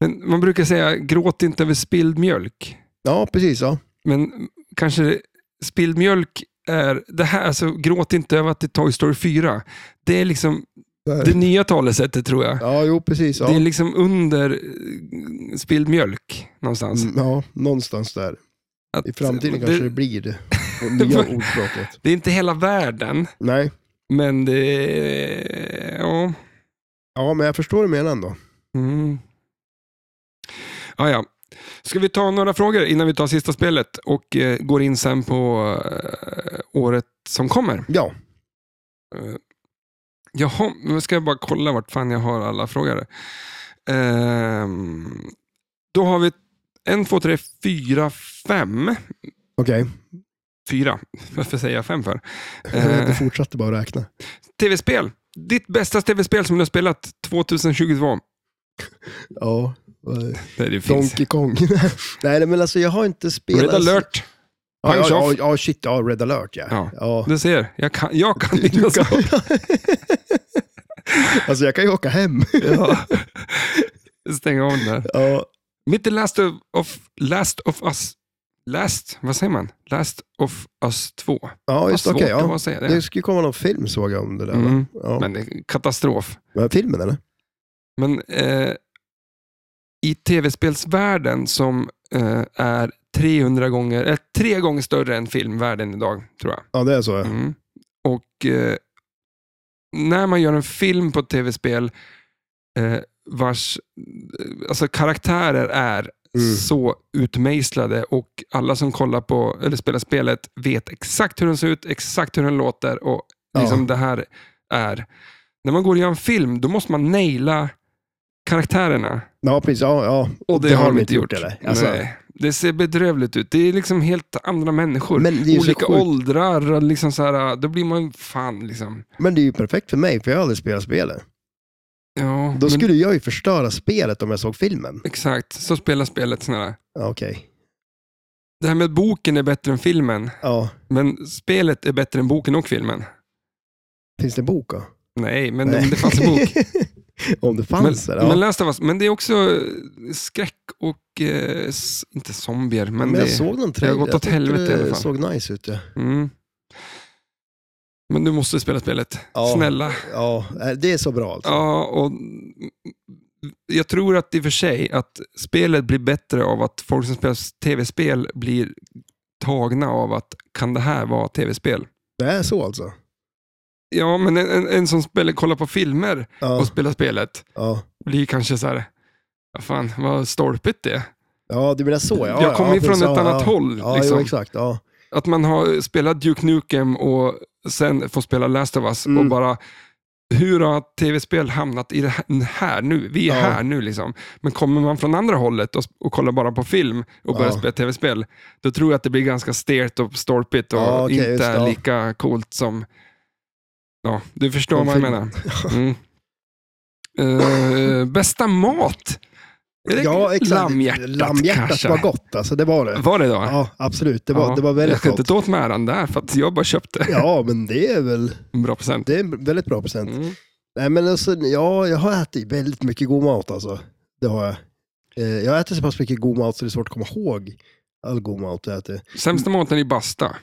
Speaker 1: Men man brukar säga, gråt inte över spilld mjölk.
Speaker 2: Ja, precis. Ja.
Speaker 1: Men kanske spilld mjölk är... Det här, alltså, gråt inte över att det är Toy Story 4. Det är liksom
Speaker 2: Där.
Speaker 1: det nya talesättet tror jag.
Speaker 2: Ja, jo precis. Ja.
Speaker 1: Det är liksom under eh, spilld mjölk någonstans.
Speaker 2: Mm, ja, någonstans där.
Speaker 1: Att
Speaker 2: I framtiden
Speaker 1: det,
Speaker 2: kanske det blir det. Och nya ordspråket.
Speaker 1: Det är inte hela världen,
Speaker 2: Nej,
Speaker 1: men det är... Ja.
Speaker 2: ja, men jag förstår vad du menar ändå.
Speaker 1: Mm. Ah, ja. Ska vi ta några frågor innan vi tar sista spelet och eh, går in sen på eh, året som kommer?
Speaker 2: Ja,
Speaker 1: Eh, jaha, nu ska jag bara kolla vart fan jag har alla frågor. Ehm, då har vi en, två, tre, fyra, fem.
Speaker 2: okej.
Speaker 1: Fyra. Varför säger jag fem för?
Speaker 2: Du
Speaker 1: Eh,
Speaker 2: fortsatte bara att räkna.
Speaker 1: tv-spel. Ditt bästa tv-spel som du har spelat 2022.
Speaker 2: Ja, eh,
Speaker 1: Nej, det finns.
Speaker 2: Donkey Kong. nej, nej, men alltså jag har inte spelat...
Speaker 1: Red alert.
Speaker 2: Ja, ja,
Speaker 1: Punch
Speaker 2: ja,
Speaker 1: off.
Speaker 2: ja, shit. Ja, Red alert ja.
Speaker 1: Ja.
Speaker 2: ja.
Speaker 1: Du ser, jag kan, jag kan dina saker.
Speaker 2: alltså jag kan ju åka hem.
Speaker 1: Ja. Stäng av den där.
Speaker 2: ja.
Speaker 1: Mitt i Last of, of, Last of Us... Last, vad säger man? Last of Us 2.
Speaker 2: ja, just
Speaker 1: Vad
Speaker 2: okej.
Speaker 1: svårt det var
Speaker 2: ja.
Speaker 1: att säga det.
Speaker 2: Det skulle komma någon film såg jag om det där. va?
Speaker 1: Mm.
Speaker 2: Ja.
Speaker 1: Men det är katastrof.
Speaker 2: Men filmen eller?
Speaker 1: Men eh, i tv-spelsvärlden som eh, är 300 gånger, eller tre gånger större än filmvärlden idag, tror jag.
Speaker 2: Ja, det är så. ja.
Speaker 1: Mm. Och eh, när man gör en film på ett tv-spel eh, vars eh, alltså karaktärer är
Speaker 2: Mm.
Speaker 1: så utmejslade och alla som kollar på eller spelar spelet vet exakt hur den ser ut, exakt hur den låter och
Speaker 2: Ja.
Speaker 1: liksom det här är. När man går och gör en film, då måste man naila karaktärerna.
Speaker 2: Ja, precis. Ja, ja.
Speaker 1: Och det, har de inte gjort.
Speaker 2: eller? Alltså-
Speaker 1: Nej, det ser bedrövligt ut. Det är liksom helt andra människor.
Speaker 2: Men det är ju så
Speaker 1: Olika
Speaker 2: sjukt.
Speaker 1: åldrar. och Liksom så här, då blir man fan liksom...
Speaker 2: Men det är ju perfekt för mig, för jag har aldrig spelat spelet.
Speaker 1: Ja,
Speaker 2: Då
Speaker 1: men,
Speaker 2: skulle jag ju förstöra spelet om jag såg filmen.
Speaker 1: Exakt, så spelar spelet såna där.
Speaker 2: Ja, Okej.
Speaker 1: Det här med att boken är bättre än filmen,
Speaker 2: Ja.
Speaker 1: men spelet är bättre än boken och filmen.
Speaker 2: Finns det en bok då?
Speaker 1: Nej, men
Speaker 2: Nej.
Speaker 1: om det fanns en bok.
Speaker 2: om det
Speaker 1: Men,
Speaker 2: fanns det, ja.
Speaker 1: men
Speaker 2: Men,
Speaker 1: Last of Us, men det är också eh, skräck och, eh, s- inte zombier, men,
Speaker 2: jag
Speaker 1: det,
Speaker 2: såg någon
Speaker 1: det har
Speaker 2: trailer.
Speaker 1: gått åt
Speaker 2: tyckte
Speaker 1: helvete i alla
Speaker 2: det
Speaker 1: fall.
Speaker 2: såg nice ut. Ja.
Speaker 1: Mm. Men du måste spela spelet.
Speaker 2: Ja.
Speaker 1: Snälla.
Speaker 2: ja, det är så bra alltså.
Speaker 1: Ja, och jag tror att i och för sig att spelet blir bättre av att folk som spelar tv-spel blir tagna av att kan det här vara tv-spel?
Speaker 2: Det är så alltså.
Speaker 1: Ja, men en, en, en som spelar, kollar på filmer
Speaker 2: Ja,
Speaker 1: och spelar spelet
Speaker 2: ja.
Speaker 1: blir kanske så här, ja, fan vad stolpigt det är.
Speaker 2: ja du menar så ja.
Speaker 1: jag kommer
Speaker 2: ja,
Speaker 1: ju från ett
Speaker 2: precis, ja,
Speaker 1: annat
Speaker 2: ja.
Speaker 1: håll.
Speaker 2: Ja,
Speaker 1: liksom.
Speaker 2: jo, exakt. Ja.
Speaker 1: Att man har spelat Duke Nukem och sen får spela Last of Us och
Speaker 2: Mm.
Speaker 1: bara, hur har tv-spel hamnat i det här- här nu? Vi är
Speaker 2: Ja.
Speaker 1: här nu liksom. Men kommer man från andra hållet och, och kollar bara på film och börjar
Speaker 2: Ja.
Speaker 1: spela tv-spel, då tror jag att det blir ganska stelt och stolpigt och
Speaker 2: Ja, okej, just
Speaker 1: inte
Speaker 2: det, ja.
Speaker 1: är lika coolt som... Ja, du förstår
Speaker 2: Som
Speaker 1: vad jag
Speaker 2: film.
Speaker 1: menar. Mm. Eh, bästa mat? Är det
Speaker 2: ja, exakt.
Speaker 1: Lammhjärtat,
Speaker 2: Lammhjärtat
Speaker 1: kanske?
Speaker 2: var gott alltså, det var det.
Speaker 1: Var det då?
Speaker 2: Ja, absolut. Det var, det var
Speaker 1: jag
Speaker 2: väldigt
Speaker 1: ska inte
Speaker 2: gott.
Speaker 1: ta åt mig äran där, för att jag bara köpte
Speaker 2: Ja, men det är väl
Speaker 1: en bra procent.
Speaker 2: det är en väldigt bra present.
Speaker 1: Mm.
Speaker 2: Nej, men alltså, ja, jag har ätit väldigt mycket god mat alltså. Det har jag. Eh, Jag har ätit så pass mycket god mat så det är svårt att komma ihåg all god mat jag ätit.
Speaker 1: Sämsta maten är basta.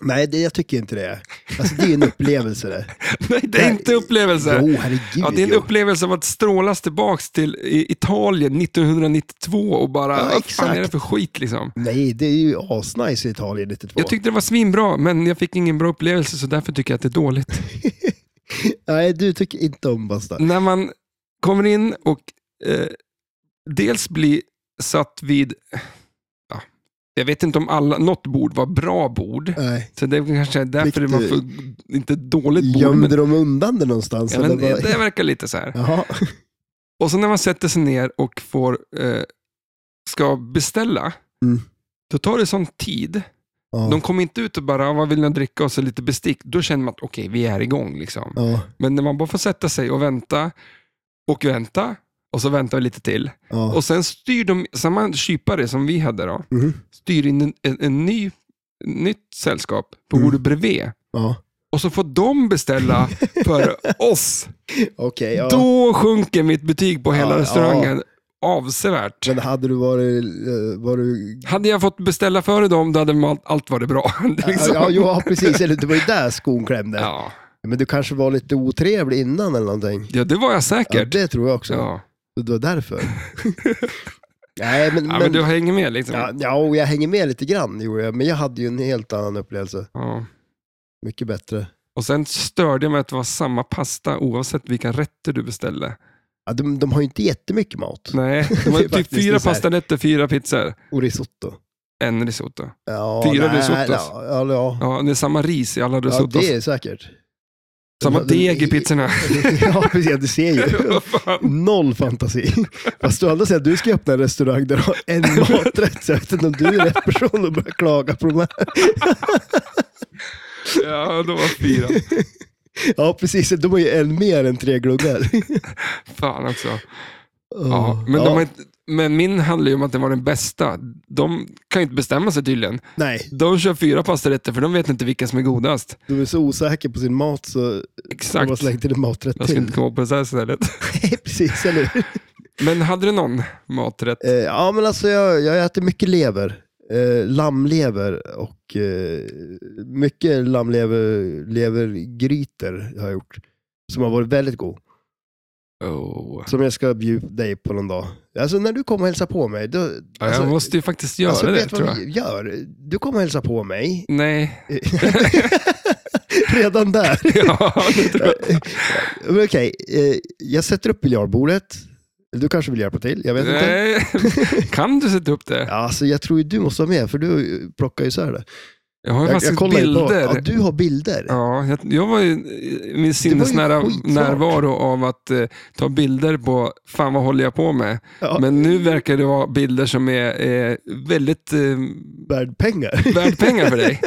Speaker 2: Nej, det, jag tycker inte det. Alltså, det är en upplevelse det.
Speaker 1: Nej, det är inte upplevelse.
Speaker 2: Jo, herregud.
Speaker 1: Alltså, Ja, det är en
Speaker 2: jo.
Speaker 1: upplevelse av att strålas tillbaks till i- Italien 1992 och bara,
Speaker 2: Ja,
Speaker 1: vad fan är det
Speaker 2: exakt.
Speaker 1: för skit liksom?
Speaker 2: Nej, det är ju asnice i Italien 92.
Speaker 1: Jag tyckte det var svinbra, men jag fick ingen bra upplevelse, så därför tycker jag att det är dåligt.
Speaker 2: Nej, du tycker inte om basta.
Speaker 1: När man kommer in och eh, dels blir satt vid, ja, jag vet inte om alla, något bord var bra bord,
Speaker 2: Nej.
Speaker 1: så det är kanske därför det var
Speaker 2: Fick du-
Speaker 1: för, inte dåligt bord. men-
Speaker 2: Gömde de undan det någonstans?
Speaker 1: Ja, men
Speaker 2: eller vad?
Speaker 1: det verkar lite så här.
Speaker 2: Jaha.
Speaker 1: Och så när man sätter sig ner och får, eh, ska beställa,
Speaker 2: Mm.
Speaker 1: då tar det sån tid.
Speaker 2: Ja.
Speaker 1: De kom inte ut och bara, "Ah, vad vill ni dricka? Och så lite bestick. Då känner man att okej, vi är igång. Liksom.
Speaker 2: Ja,
Speaker 1: Men när man bara får sätta sig och vänta och vänta och så väntar vi lite till.
Speaker 2: ja.
Speaker 1: Och sen styr de, samma kypare som vi hade då,
Speaker 2: Mhm.
Speaker 1: styr in en, en, en ny, nytt sällskap på
Speaker 2: Mm.
Speaker 1: bordet bredvid.
Speaker 2: ja.
Speaker 1: Och så får de beställa för oss.
Speaker 2: Okej, ja.
Speaker 1: Då sjunker mitt betyg på hela
Speaker 2: Ja,
Speaker 1: restaurangen avsevärt.
Speaker 2: Men hade du varit... eh, Var du...
Speaker 1: Hade jag fått beställa före dem, då hade de allt, allt varit bra. liksom.
Speaker 2: Ja, jo, ja, precis. Eller det var ju där skon klämde.
Speaker 1: ja.
Speaker 2: Men du kanske var lite otrevlig innan eller någonting.
Speaker 1: ja, det var jag
Speaker 2: Ja,
Speaker 1: säkert.
Speaker 2: det tror jag också.
Speaker 1: Ja.
Speaker 2: Det var därför. Nej, men...
Speaker 1: Ja, men du hänger med liksom.
Speaker 2: ja, ja, och jag hänger med lite grann, gjorde jag. Men jag hade ju en helt annan upplevelse.
Speaker 1: Ja.
Speaker 2: Mycket bättre.
Speaker 1: Och sen störde jag mig att det var samma pasta oavsett vilka rätter du beställde.
Speaker 2: Ja, de, de har ju inte jättemycket mat.
Speaker 1: Nej, det
Speaker 2: Det är
Speaker 1: var typ
Speaker 2: faktiskt
Speaker 1: fyra
Speaker 2: dessert.
Speaker 1: pastarätter, fyra pizzor,
Speaker 2: Och risotto.
Speaker 1: en risotto.
Speaker 2: Ja,
Speaker 1: Fyra
Speaker 2: nej,
Speaker 1: risottos.
Speaker 2: Ja, ja, ja.
Speaker 1: Ja, det är samma ris i alla
Speaker 2: ja,
Speaker 1: risottos.
Speaker 2: det är säkert.
Speaker 1: Samma
Speaker 2: Den-
Speaker 1: deg i pizzorna.
Speaker 2: ja, precis. Ja, Du ser ju.
Speaker 1: Vad fan?
Speaker 2: Noll fantasi. Fast du andra säger att du ska öppna en restaurang där du har en maträtt. Så jag vet inte om du är rätt person att börja klaga på de här.
Speaker 1: Ja, det var fyra.
Speaker 2: Ja, precis. De har ju en mer än tre gluggar.
Speaker 1: Fan också. Ja, men, de
Speaker 2: Mm. Ja,
Speaker 1: har inte, men min handlar ju om att det var den bästa. De kan ju inte bestämma sig tydligen.
Speaker 2: Nej,
Speaker 1: De kör fyra pastarätter för de vet inte vilka som är godast.
Speaker 2: de är så osäkra på sin mat så de har
Speaker 1: Exakt.
Speaker 2: slängt till en maträtt
Speaker 1: Jag ska
Speaker 2: till.
Speaker 1: inte komma på det här stället.
Speaker 2: Nej, precis. Eller hur?
Speaker 1: Men hade du någon maträtt?
Speaker 2: Eh, Ja, men alltså jag, jag äter mycket lever. Eh, lammlever och eh, mycket lammlever levergrytor har jag gjort. Som har varit väldigt god.
Speaker 1: Oh.
Speaker 2: Som jag ska bjuda dig på någon dag. Alltså när du kommer och hälsar på mig. Då,
Speaker 1: Ja,
Speaker 2: alltså,
Speaker 1: jag måste ju faktiskt göra
Speaker 2: alltså,
Speaker 1: det,
Speaker 2: vet du
Speaker 1: tror
Speaker 2: vad
Speaker 1: jag.
Speaker 2: vi gör? Du kommer och hälsar på mig.
Speaker 1: Nej.
Speaker 2: Redan där.
Speaker 1: Ja, det tror jag.
Speaker 2: Eh, Men Okej, eh, jag sätter upp biljardbordet. Du kanske vill hjälpa till? Jag vet inte.
Speaker 1: Nej. Kan du sätta upp det?
Speaker 2: Ja, Alltså, jag tror ju du måste vara med, för du eh, plockar ju isär det.
Speaker 1: Jag har ju
Speaker 2: Jag, jag
Speaker 1: faktiskt
Speaker 2: kollar ju på,
Speaker 1: bilder.
Speaker 2: ja, du har bilder.
Speaker 1: Ja, jag, jag var ju i min sinnesnära
Speaker 2: skitsmart.
Speaker 1: närvaro av att eh, ta bilder på, fan vad håller jag på med?
Speaker 2: Ja.
Speaker 1: Men nu verkar det vara bilder som är eh, väldigt eh,
Speaker 2: Värd pengar.
Speaker 1: värd pengar för dig.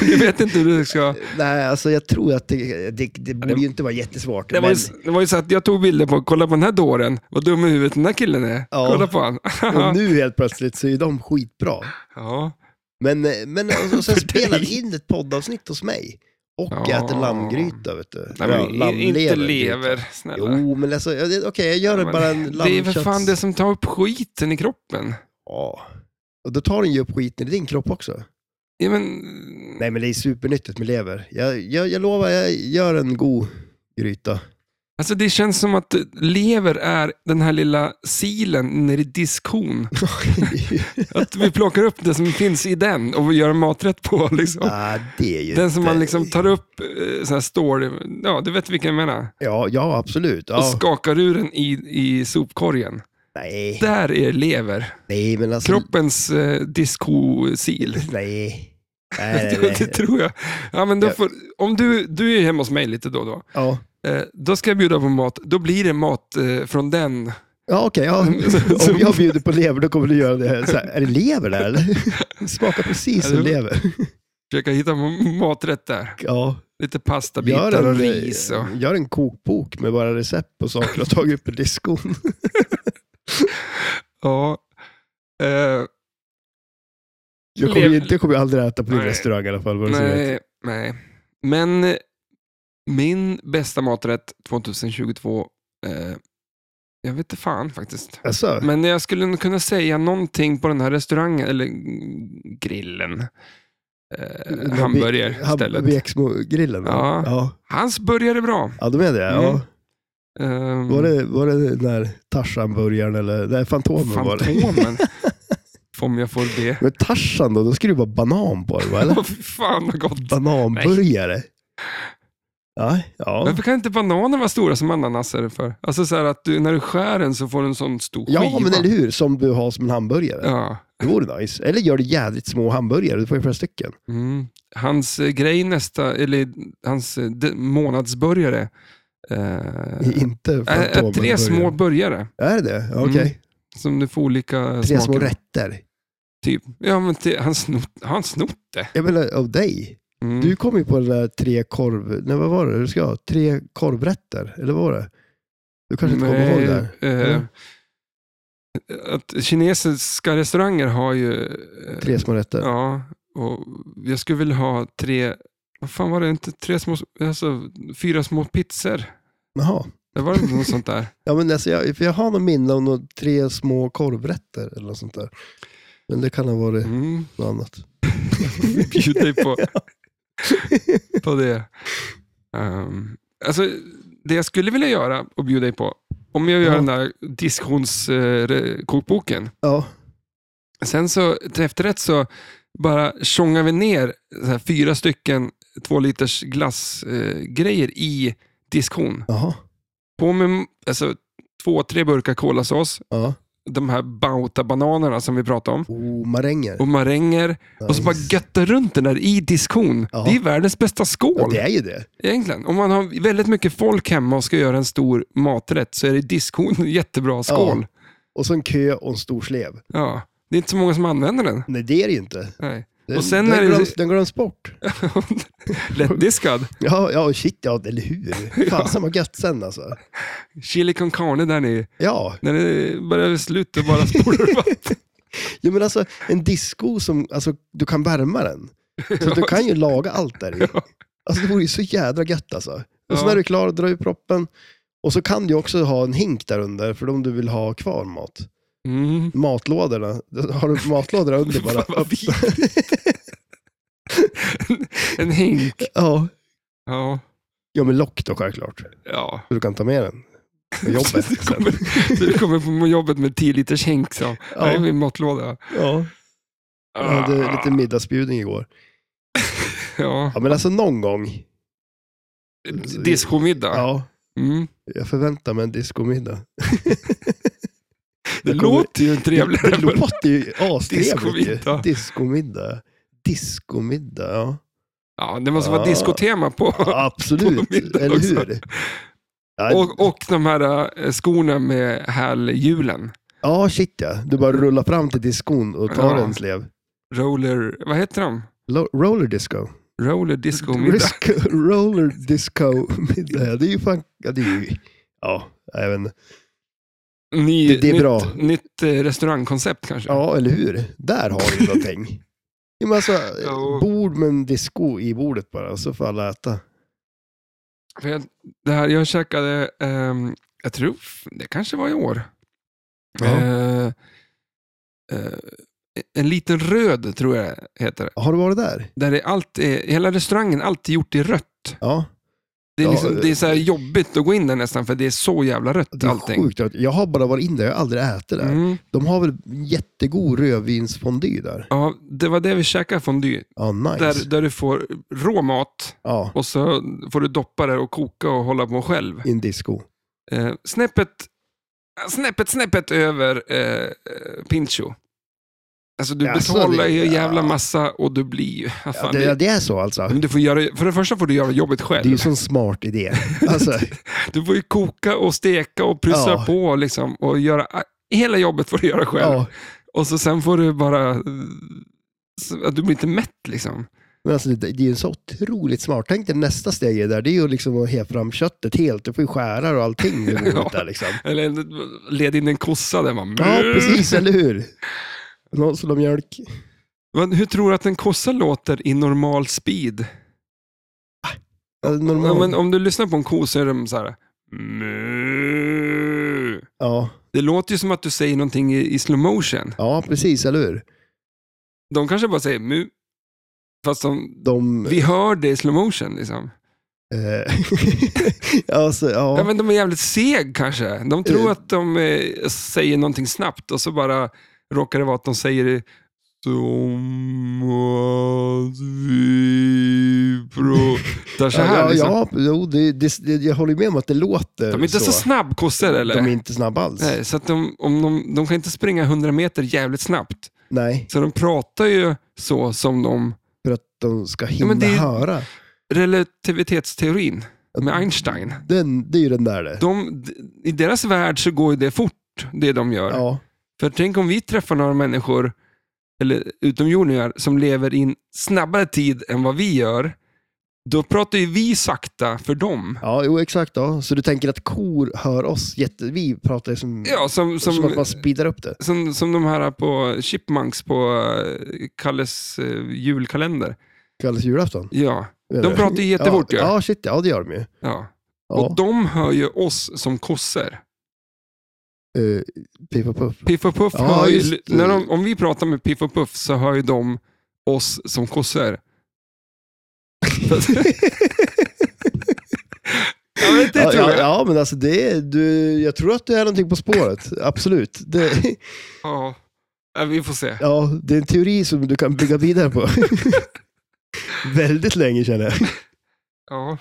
Speaker 1: du vet inte hur du ska...
Speaker 2: Nej, alltså jag tror att det, det, det borde ju inte vara jättesvårt.
Speaker 1: Det var,
Speaker 2: men,
Speaker 1: ju, det var ju så att jag tog bilder på, kolla på den här dåren, vad dum i huvudet den här killen är.
Speaker 2: Ja.
Speaker 1: Kolla på han.
Speaker 2: och nu helt plötsligt så är de skitbra.
Speaker 1: ja.
Speaker 2: Men, eh, men och, och sen
Speaker 1: För
Speaker 2: spelar
Speaker 1: dig.
Speaker 2: vi in ett poddavsnitt hos mig. Och
Speaker 1: Ja.
Speaker 2: jag äter lammgryta, vet du.
Speaker 1: Nej, men,
Speaker 2: Ja,
Speaker 1: inte
Speaker 2: lammlevergryta.
Speaker 1: lever, snälla.
Speaker 2: Jo, men alltså, jag- okej, jag gör
Speaker 1: Men
Speaker 2: bara en lammkötts...
Speaker 1: det är för fan det som tar upp skiten i kroppen.
Speaker 2: Ja. Och då tar den ju upp skiten i din kropp också.
Speaker 1: Ja, men,
Speaker 2: Nej, men det är supernyttigt med lever. Jag, jag, jag lovar, jag gör en god gryta.
Speaker 1: Alltså det känns som att lever är den här lilla silen nere i diskhon. Att vi plockar upp det som finns i den och vi gör en maträtt på. Liksom.
Speaker 2: ah, det är ju
Speaker 1: Den som
Speaker 2: inte-
Speaker 1: man liksom tar upp, eh, så här står, ja du vet vilken jag menar,
Speaker 2: Ja, ja absolut. Ja.
Speaker 1: och skakar ur den i, i sopkorgen.
Speaker 2: Nej,
Speaker 1: Där är lever,
Speaker 2: nej, men alltså...
Speaker 1: kroppens eh, diskosil.
Speaker 2: Nej. Nej, nej,
Speaker 1: Det, det
Speaker 2: nej.
Speaker 1: tror jag. Ja, men då
Speaker 2: Ja.
Speaker 1: får, om du, du är ju hemma hos mig lite då och då.
Speaker 2: Ja,
Speaker 1: Eh, då ska jag bjuda på mat. Då blir det mat eh, från den.
Speaker 2: ja okej. Ja. Om jag bjuder på lever, då kommer du göra det. här. Så här, är det lever där eller? Smakar precis som
Speaker 1: Ja, det-
Speaker 2: lever.
Speaker 1: Försöka hitta en maträtt där.
Speaker 2: Ja,
Speaker 1: Lite pastabitar och ris. Och.
Speaker 2: gör en kokbok med bara recept på saker du har tagit upp i diskon.
Speaker 1: Ja. Eh,
Speaker 2: Jag kommer, ju
Speaker 1: Lever-
Speaker 2: inte, jag kommer ju aldrig äta på din
Speaker 1: Nej.
Speaker 2: restaurang i alla fall. Vad du säger.
Speaker 1: nej, nej. Men eh, min bästa maträtt 2022, eh, jag vet inte fan faktiskt.
Speaker 2: Alltså,
Speaker 1: Men jag skulle nog kunna säga någonting på den här restaurangen, eller mm, grillen.
Speaker 2: den
Speaker 1: Eh,
Speaker 2: där
Speaker 1: hamburgerstället.
Speaker 2: Ham- Veksmo-grillen? va?
Speaker 1: Ja.
Speaker 2: ja.
Speaker 1: Hans burgare är bra.
Speaker 2: Ja, de är det. Ja.
Speaker 1: Mm. Ehm,
Speaker 2: Var, det var det den där Tarzan-burgaren eller nej, Fantomen? Var det.
Speaker 1: Fantomen. Om jag får det.
Speaker 2: Men Tarzan då, då skulle det vara banan på det, va? eller?
Speaker 1: Åh, fy fan vad gott.
Speaker 2: Bananburgare? Ja, ja.
Speaker 1: Varför kan inte bananer vara stora som ananaser för? Alltså så här att du, när du skär den så får du en sån stor skiva.
Speaker 2: ja men eller hur? Som du har som en hamburgare.
Speaker 1: Ja.
Speaker 2: Det vore nice. Eller gör du jädrigt små hamburgare, du får ju flera stycken.
Speaker 1: Mm. Hans eh, grej nästa, eller hans eh, de, månadsbörjare. Eh,
Speaker 2: I- Inte
Speaker 1: äh, äh, tre
Speaker 2: Fantomen-burgare.
Speaker 1: små burgare
Speaker 2: Är det det? Ja, Okej.
Speaker 1: Mm. som du får olika
Speaker 2: Tre
Speaker 1: smaker.
Speaker 2: små rätter.
Speaker 1: Typ. Ja, men till, han, snott, han snott det.
Speaker 2: Jag menar, av dig.
Speaker 1: Mm.
Speaker 2: Du kom ju på den där tre korv... Nej, vad var det du ska ha? Tre korvrätter, eller vad var det? Du kanske inte kommer ihåg det? här.
Speaker 1: eh, att kinesiska restauranger har ju... eh,
Speaker 2: Tre små rätter.
Speaker 1: Ja, och jag skulle vilja ha tre... Vad fan var det? Inte tre små... Alltså, fyra små pizzor.
Speaker 2: Jaha.
Speaker 1: Det var det något sånt där.
Speaker 2: Ja, men alltså, jag, för jag har någon minne om någon, tre små korvrätter eller något sånt där. Men det kan ha varit
Speaker 1: Mm.
Speaker 2: något annat.
Speaker 1: Bjud dig på, på det. Ehm, alltså, det jag skulle vilja göra och bjuda dig på, om jag gör
Speaker 2: Ja.
Speaker 1: den där disktionskokboken,
Speaker 2: Ja,
Speaker 1: Sen så till efterrätt så bara tjongar vi ner så här, fyra stycken två liters glassgrejer eh, grejer i diskhon.
Speaker 2: jaha.
Speaker 1: På med alltså, två, tre burkar kolasås,
Speaker 2: Ja.
Speaker 1: de här bauta-bananerna som vi pratade om
Speaker 2: Oh, maränger.
Speaker 1: och maränger och så bara
Speaker 2: Nice.
Speaker 1: götta runt den där i diskhon.
Speaker 2: Ja.
Speaker 1: Det är ju världens bästa
Speaker 2: ja,
Speaker 1: skål
Speaker 2: det är ju det.
Speaker 1: egentligen. Om man har väldigt mycket folk hemma och ska göra en stor maträtt så är det diskhon en jättebra skål.
Speaker 2: Och så en kö och en stor slev.
Speaker 1: Ja. Det är inte så många som använder den.
Speaker 2: Nej, det är det ju inte.
Speaker 1: Nej.
Speaker 2: Den,
Speaker 1: Och sen
Speaker 2: den,
Speaker 1: är det-
Speaker 2: glöms, den glöms bort.
Speaker 1: Lättdiskad.
Speaker 2: Ja, ja, och shit, ja, eller hur? Fasen vad gött sen alltså.
Speaker 1: Chili con carne där nere.
Speaker 2: Ja,
Speaker 1: När det börjar sluta bara spolar det upp.
Speaker 2: ja men alltså en disco som, alltså du kan värma den. Så du kan ju laga allt där i. Alltså det vore ju så jädra gött alltså. Och så
Speaker 1: Ja.
Speaker 2: när du är klar, dra ur proppen. Och så kan du också ha en hink där under, för om du vill ha kvar mat.
Speaker 1: Mm.
Speaker 2: Matlådorna, har du matlådorna under bara?
Speaker 1: Fan, vad En hink.
Speaker 2: ja.
Speaker 1: Ja.
Speaker 2: ja, men lock då självklart.
Speaker 1: ja.
Speaker 2: Så du kan ta med den på jobbet.
Speaker 1: Du kommer, du kommer på jobbet med 10 liters hink. Så. Ja. Det är min matlåda.
Speaker 2: ja. Jag hade
Speaker 1: Ah.
Speaker 2: lite middagsbjudning igår.
Speaker 1: Ja.
Speaker 2: Ja, men alltså någon gång.
Speaker 1: Diskomiddag.
Speaker 2: Ja,
Speaker 1: Mm.
Speaker 2: jag förväntar mig en discomiddag.
Speaker 1: Det
Speaker 2: Jag kommer-
Speaker 1: låter ju trevligt.
Speaker 2: Det, det låter ju astrevligt. ju.
Speaker 1: Discomiddag.
Speaker 2: Discomiddag. Discomiddag, ja.
Speaker 1: Ja, det måste vara
Speaker 2: Ja.
Speaker 1: diskotema på. På
Speaker 2: Absolut,
Speaker 1: middag
Speaker 2: eller
Speaker 1: också.
Speaker 2: hur? Ja,
Speaker 1: Och, och de här äh, skorna med hälhjulen.
Speaker 2: ja, shit ja. Du bara rullar fram till diskon och tar
Speaker 1: Ja.
Speaker 2: en slev.
Speaker 1: Roller, vad heter de?
Speaker 2: Lo- Roller disco.
Speaker 1: Roller disco-middag.
Speaker 2: Risk- roller disco middag. Ja, Det är ju fan... Ja, det är ju... Ja, även...
Speaker 1: Ny,
Speaker 2: Det- det är
Speaker 1: nytt,
Speaker 2: bra.
Speaker 1: Nytt eh, restaurangkoncept kanske.
Speaker 2: Ja, eller hur? Där har du någonting. Ja, men alltså,
Speaker 1: Ja.
Speaker 2: bord med en disco i bordet bara, så får alla äta.
Speaker 1: För jag, det här, jag käkade, ehm, jag tror f- det kanske var i år.
Speaker 2: Ja.
Speaker 1: Eh, eh, en liten röd tror jag heter det.
Speaker 2: Har du varit där?
Speaker 1: Där det är allt, är- hela restaurangen är alltid gjort i rött.
Speaker 2: Ja.
Speaker 1: Det är,
Speaker 2: Ja,
Speaker 1: liksom,
Speaker 2: eh.
Speaker 1: det är så här jobbigt att gå in där nästan för det är så jävla rött
Speaker 2: Det är
Speaker 1: allting.
Speaker 2: sjukt. Jag har bara varit in där, jag har aldrig ätit där.
Speaker 1: Mm.
Speaker 2: De har väl jättegod rödvinsfondy där?
Speaker 1: Ja, det var det vi käkade fondue.
Speaker 2: Ja, nice.
Speaker 1: Där, där du får rå mat
Speaker 2: Ja,
Speaker 1: och så får du doppa det och koka och hålla på själv.
Speaker 2: i en disco.
Speaker 1: Eh, snäppet, snäppet, snäppet över eh, eh, Pincho. Alltså du
Speaker 2: Jaså,
Speaker 1: betalar
Speaker 2: det-
Speaker 1: ju en jävla
Speaker 2: ja.
Speaker 1: massa och du blir ju... Ja,
Speaker 2: Ja,
Speaker 1: fan,
Speaker 2: det,
Speaker 1: det, Mm.
Speaker 2: det är så alltså.
Speaker 1: men du får göra, för det första får du göra jobbet
Speaker 2: Det är
Speaker 1: själv.
Speaker 2: ju en sån smart idé. Alltså,
Speaker 1: Du får ju koka och steka och pyssla
Speaker 2: Ja.
Speaker 1: på liksom, och göra... Hela jobbet får du göra själv.
Speaker 2: ja.
Speaker 1: Och så sen får du bara... eh, så att Du blir inte mätt liksom.
Speaker 2: Men alltså, det, det är ju så otroligt smart. Tänk dig nästa steg är där, det är ju liksom att hela fram köttet helt. Du får ju skära och allting. i bordet
Speaker 1: Ja.
Speaker 2: där, liksom.
Speaker 1: Eller eh, led in en kossa där man...
Speaker 2: Ja, precis, eller hur? Någon som har mjölk.
Speaker 1: Men hur tror du att en kossa låter i normal speed?
Speaker 2: Ja,
Speaker 1: Ja, men
Speaker 2: Normal.
Speaker 1: om du lyssnar på en ko så är de så här... "Mu."
Speaker 2: Ja,
Speaker 1: Det låter ju som att du säger någonting i, i slow motion.
Speaker 2: ja, precis, eller hur?
Speaker 1: De kanske bara säger mu. Fast de,
Speaker 2: De...
Speaker 1: vi hör det i slow motion. Liksom.
Speaker 2: eh, alltså, ja.
Speaker 1: Ja. men de är jävligt seg kanske. De tror att de eh, säger någonting snabbt och så bara råkar det vara att de säger som att vi pratar så här.
Speaker 2: ja,
Speaker 1: Liksom.
Speaker 2: ja, jo, det, det, det, jag håller med om att det låter
Speaker 1: De är inte så, snabb kossor eller?
Speaker 2: De är inte snabba alls.
Speaker 1: Nej, så att de, om de, de kan inte springa 100 meter jävligt snabbt.
Speaker 2: Nej,
Speaker 1: Så de pratar ju så som de
Speaker 2: för att de ska
Speaker 1: Ja,
Speaker 2: hinna
Speaker 1: men det är-
Speaker 2: höra.
Speaker 1: relativitetsteorin med Einstein.
Speaker 2: Den, det är ju den där det.
Speaker 1: De, I deras värld så går ju det fort, det de gör.
Speaker 2: Ja,
Speaker 1: För tänk om vi träffar några människor eller utomjordingar, som lever i en snabbare tid än vad vi gör, då pratar ju vi sakta för dem.
Speaker 2: Ja, jo exakt. Ja. Så du tänker att kor hör oss? Jätte... Vi pratar ju som,
Speaker 1: Ja, som,
Speaker 2: som... att
Speaker 1: som,
Speaker 2: man speedar upp det.
Speaker 1: som, som de här på Chipmunks på eh, Kalles eh, julkalender.
Speaker 2: Kallas julafton.
Speaker 1: Ja,
Speaker 2: menar
Speaker 1: De
Speaker 2: du?
Speaker 1: pratar ju jättefort,
Speaker 2: ja.
Speaker 1: ja.
Speaker 2: Ja, shit ja, det gör de ju.
Speaker 1: ja. Och
Speaker 2: Ja.
Speaker 1: de hör ju oss som kossor.
Speaker 2: Eh, Piff och Puff.
Speaker 1: Piff och Puff,
Speaker 2: Ja,
Speaker 1: hör ju,
Speaker 2: just det.
Speaker 1: när de, om vi pratar med Piff och Puff så hör ju de oss som kossor. ja, men det
Speaker 2: Ja,
Speaker 1: tror
Speaker 2: ja,
Speaker 1: jag.
Speaker 2: ja, men alltså det är, du, jag tror att du är någonting på spåret. Absolut. Det,
Speaker 1: Ja. Ja, vi får se.
Speaker 2: ja, det är en teori som du kan bygga vidare på. Väldigt länge känner jag.
Speaker 1: Ja.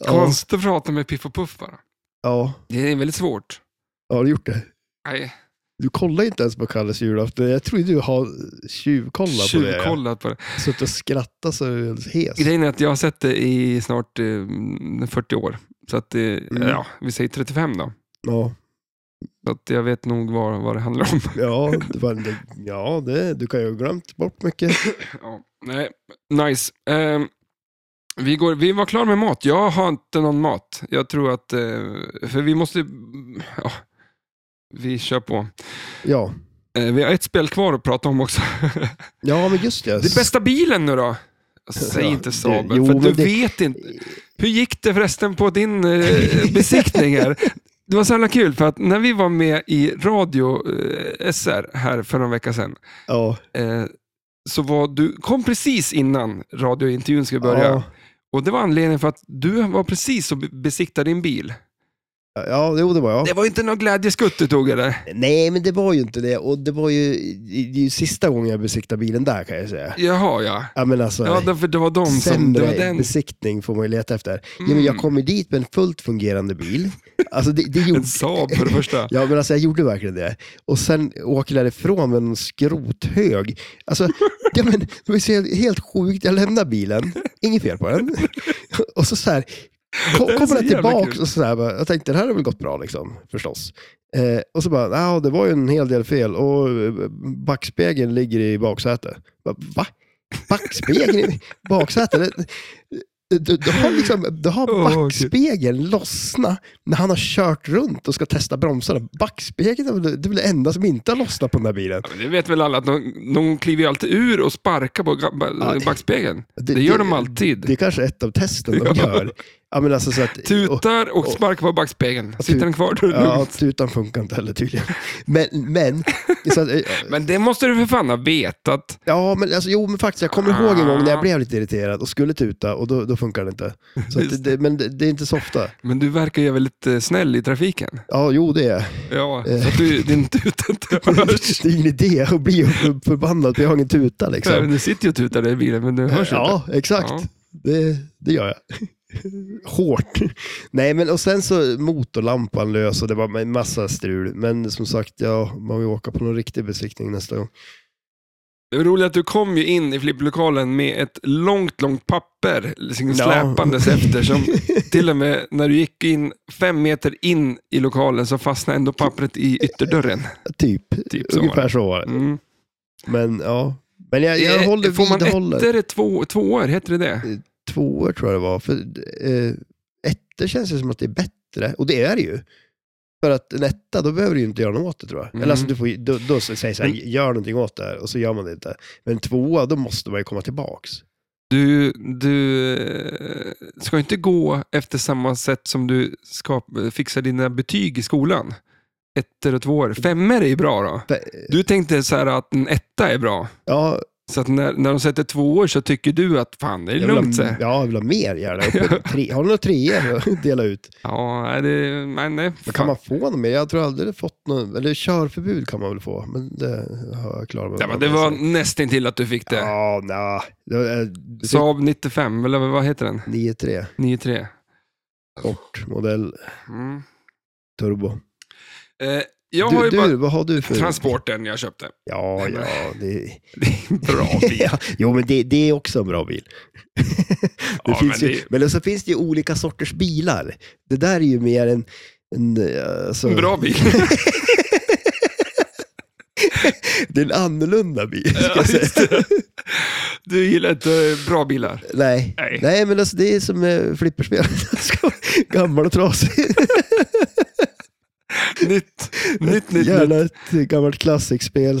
Speaker 2: Ja,
Speaker 1: Konstigt att prata med Piff och Puff bara.
Speaker 2: ja,
Speaker 1: Det är väldigt svårt.
Speaker 2: ja, har du gjort det?
Speaker 1: Nej,
Speaker 2: Du kollar inte ens på Kalles julafton. Jag tror du har tjuvkollat på det.
Speaker 1: tjuvkollat på det.
Speaker 2: Suttit och skrattat så är du alldeles hes.
Speaker 1: Grejen är att jag har sett det i snart eh, 40 år. Så att, eh,
Speaker 2: Mm.
Speaker 1: ja, vi säger 35 då.
Speaker 2: Ja,
Speaker 1: Så att jag vet nog vad, vad det handlar om.
Speaker 2: ja, det var, det, ja det, du kan ju ha glömt bort mycket.
Speaker 1: Ja, nej, nice. Ehm, vi, går, vi var klara med mat. Jag har inte någon mat. Jag tror att... eh, för vi måste... Ja, vi kör på.
Speaker 2: Ja,
Speaker 1: Eh, vi har ett spel kvar att prata om också.
Speaker 2: ja men just det.
Speaker 1: Det bästa bilen nu då? Säg
Speaker 2: Ja,
Speaker 1: inte
Speaker 2: det-
Speaker 1: Saab,
Speaker 2: jo,
Speaker 1: för du
Speaker 2: men det-
Speaker 1: vet inte. Hur gick det förresten på din eh, besiktning här? Det var så jävla kul, för att när vi var med i radio eh, SR här för någon vecka sedan,
Speaker 2: Ja,
Speaker 1: eh, så var du, kom precis innan radiointervjun skulle börja.
Speaker 2: ja,
Speaker 1: Och det var anledningen för att du var precis och be- besiktade din bil.
Speaker 2: ja, jo, det var jag.
Speaker 1: Det var inte någon glädjeskutt du tog eller?
Speaker 2: Nej, men det var ju inte det. Och det var ju, det är ju sista gången jag besiktade bilen där kan jag säga.
Speaker 1: Jaha ja.
Speaker 2: Ja, men alltså,
Speaker 1: Ja, därför det var de som... Det
Speaker 2: sämre
Speaker 1: var den. Mm.
Speaker 2: besiktning får man ju leta efter. Ja, men jag kom ju dit med en fullt fungerande bil. Alltså, det, det gjorde...
Speaker 1: En Saab för det första.
Speaker 2: Ja, men alltså jag gjorde verkligen det. Och sen åker jag därifrån med en skrothög. Alltså, ja, men, det var ju så helt- helt sjukt. Jag lämnar bilen, inget fel på den. Och så, så här, ko-
Speaker 1: är så
Speaker 2: kommer
Speaker 1: jävla
Speaker 2: den tillbaka
Speaker 1: kul.
Speaker 2: och så här, bara, jag tänkte det här har väl gått bra liksom, förstås. Eh, och så bara, ja det var ju en hel del fel och eh, backspegeln ligger i baksätet. Bara, Va? Backspegeln i baksätet? Det- Du, du har, liksom, du har
Speaker 1: Åh, Gud.
Speaker 2: backspegeln lossna när han har kört runt och ska testa bromsarna. Backspegeln är väl det, det, är väl det enda som inte har lossnat på den här bilen.
Speaker 1: Ja, men det vet väl alla att de, de kliver ju alltid ur och sparkar på ga- ba-
Speaker 2: Ja.
Speaker 1: backspegeln. Det gör de alltid.
Speaker 2: Det är kanske ett av testen de gör. Ja, men alltså, så att, och-
Speaker 1: Tutar och sparkar på backspegeln. Sitter den kvar då är det
Speaker 2: Ja,
Speaker 1: lugnt.
Speaker 2: tutan funkar inte heller tydligen. Men, men, så att, eh,
Speaker 1: Men det måste du för fan ha vetat.
Speaker 2: ja, men alltså, jo men faktiskt, jag kommer ihåg en gång
Speaker 1: Ah.
Speaker 2: när jag blev lite irriterad och skulle tuta och då, då funkar det inte. Så att,
Speaker 1: Just
Speaker 2: det, men det, det är inte så ofta.
Speaker 1: Men du verkar ju väldigt eh, snäll i trafiken.
Speaker 2: Ja, jo det är
Speaker 1: Ja,
Speaker 2: Eh.
Speaker 1: så att du, din tuta inte hörs.
Speaker 2: Det liksom. är ingen idé att bli upp- förbannad för jag har ingen tuta
Speaker 1: Ja,
Speaker 2: liksom.
Speaker 1: men Du sitter ju och tutar där i bilen, men du hörs inte.
Speaker 2: Ja, exakt.
Speaker 1: Ja.
Speaker 2: Det, det gör jag. Hårt. Nej, men och sen så motorlampan lös och det var en massa strul. Men som sagt, ja, man vill åka på någon riktig besiktning nästa gång.
Speaker 1: Det var roligt att du kom ju in i flipplokalen med ett långt, långt papper liksom
Speaker 2: Ja.
Speaker 1: släpandes efter. Som till och med när du gick in fem meter in i lokalen så fastnade ändå pappret i ytterdörren.
Speaker 2: Typ,
Speaker 1: Typ så var
Speaker 2: ungefär så var det.
Speaker 1: Mm. Eh,
Speaker 2: Men ja. Men jag, jag håller
Speaker 1: Får man
Speaker 2: vidhåller.
Speaker 1: ettor är två, tvåor, heter det det?
Speaker 2: Tvåor tror jag det var. För eh, ettor känns ju som att det är bättre. Och det är det ju. För att en etta, då behöver du ju inte göra något åt det tror jag.
Speaker 1: Mm.
Speaker 2: Eller alltså, du får, ju- då, då säger jag så här,
Speaker 1: Men-
Speaker 2: gör någonting åt det här och så gör man det inte. Men en tvåa, då måste man ju komma tillbaks.
Speaker 1: Du, du eh, ska inte gå efter samma sätt som du ska fixa dina betyg i skolan. Ettor och tvåor. Femmor är ju bra då.
Speaker 2: Fe-
Speaker 1: Du tänkte så här att en etta är bra.
Speaker 2: Ja,
Speaker 1: Så att när, när de sätter två år så tycker du att fan, det är
Speaker 2: jag vill,
Speaker 1: lugnt. så
Speaker 2: ha,
Speaker 1: här.
Speaker 2: ja, jag vill ha mer gärna. Uppe- Tre, har du några treor att dela ut?
Speaker 1: Ja, nej, det, nej, nej.
Speaker 2: Men
Speaker 1: fan.
Speaker 2: kan man få någon mer? Jag tror aldrig fått någon, eller körförbud kan man väl få, men det har jag klarat mig Alltså,
Speaker 1: ja, men det var nästintill att du fick det.
Speaker 2: Ja, nja. Det var, eh, typ
Speaker 1: Saab 95, eller vad heter den?
Speaker 2: 9-3,
Speaker 1: 93.
Speaker 2: kort modell,
Speaker 1: Mm.
Speaker 2: turbo.
Speaker 1: Eh, jag
Speaker 2: du,
Speaker 1: har ju
Speaker 2: du
Speaker 1: bara
Speaker 2: vad har du för...
Speaker 1: transporten jag köpte. Alltså.
Speaker 2: Ja, ja. Det...
Speaker 1: Det är en bra bil.
Speaker 2: ja, jo, men det, det är också en bra bil. det
Speaker 1: Ja,
Speaker 2: finns
Speaker 1: men
Speaker 2: men,
Speaker 1: det-
Speaker 2: ju, men så finns det ju olika sorters bilar. Det där är ju mer en... en eh, alltså,
Speaker 1: En bra bil.
Speaker 2: det är en annorlunda bil. Ska jag säga.
Speaker 1: Du gillar inte eh, bra bilar.
Speaker 2: Nej.
Speaker 1: Nej.
Speaker 2: Nej. men alltså, det är som eh, flipperspel. Gammal och trasig.
Speaker 1: Nytt, nytt, nytt, nytt.
Speaker 2: Gärna ett eh, gammalt klassikspel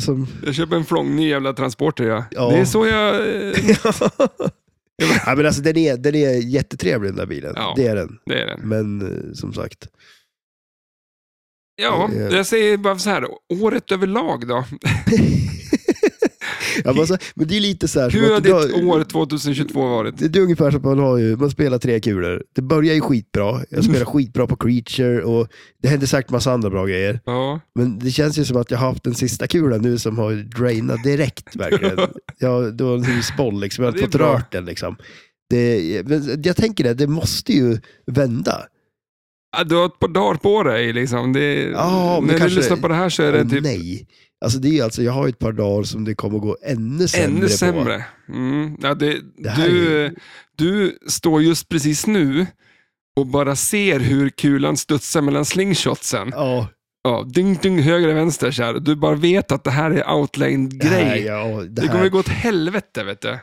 Speaker 2: som...
Speaker 1: Jag köper en flångny jävla transporter. Ja.
Speaker 2: Ja.
Speaker 1: Det är så jag... eh,
Speaker 2: ja, men alltså, den, är, den är jättetrevlig den där bilen.
Speaker 1: Ja.
Speaker 2: Det är den.
Speaker 1: Det är den.
Speaker 2: Men eh, som sagt.
Speaker 1: Ja,
Speaker 2: Eh,
Speaker 1: jag säger bara så här. Året överlag då?
Speaker 2: Ja, men, alltså, men det är lite så här... som
Speaker 1: Hur har
Speaker 2: att
Speaker 1: ditt
Speaker 2: idag-
Speaker 1: år 2022 varit?
Speaker 2: Det är ungefär som att man, har ju, man spelar tre kulor. Det börjar ju skitbra. Jag spelar skitbra på Creature och det händer säkert massa andra bra grejer.
Speaker 1: Ja,
Speaker 2: Men det känns ju som att jag har haft den sista kulan nu som har drainat direkt verkligen. ja, det var en husboll liksom, jag
Speaker 1: Ja,
Speaker 2: har
Speaker 1: det är
Speaker 2: fått
Speaker 1: bra.
Speaker 2: rört den liksom. Det, men jag tänker det, det måste ju vända.
Speaker 1: Ja, du har ett par dagar på dig. Liksom. Det,
Speaker 2: Ja, men
Speaker 1: när du
Speaker 2: kanske-
Speaker 1: lyssnar på det här så är det
Speaker 2: Åh,
Speaker 1: typ
Speaker 2: Nej, alltså det är ju alltså, jag har ju ett par dagar som det kommer gå ännu sämre
Speaker 1: ännu
Speaker 2: på.
Speaker 1: sämre. Mm. Ja, det,
Speaker 2: Det här
Speaker 1: du,
Speaker 2: är-
Speaker 1: eh, du står just precis nu och bara ser hur kulan studsar mellan slingshotsen.
Speaker 2: Ja,
Speaker 1: Ja, ding, ding, höger och vänster. Så här. Du bara vet att det här är
Speaker 2: det
Speaker 1: outlined-grej.
Speaker 2: här,
Speaker 1: Det,
Speaker 2: ja, det
Speaker 1: kommer
Speaker 2: här,
Speaker 1: gå åt helvete, vet du.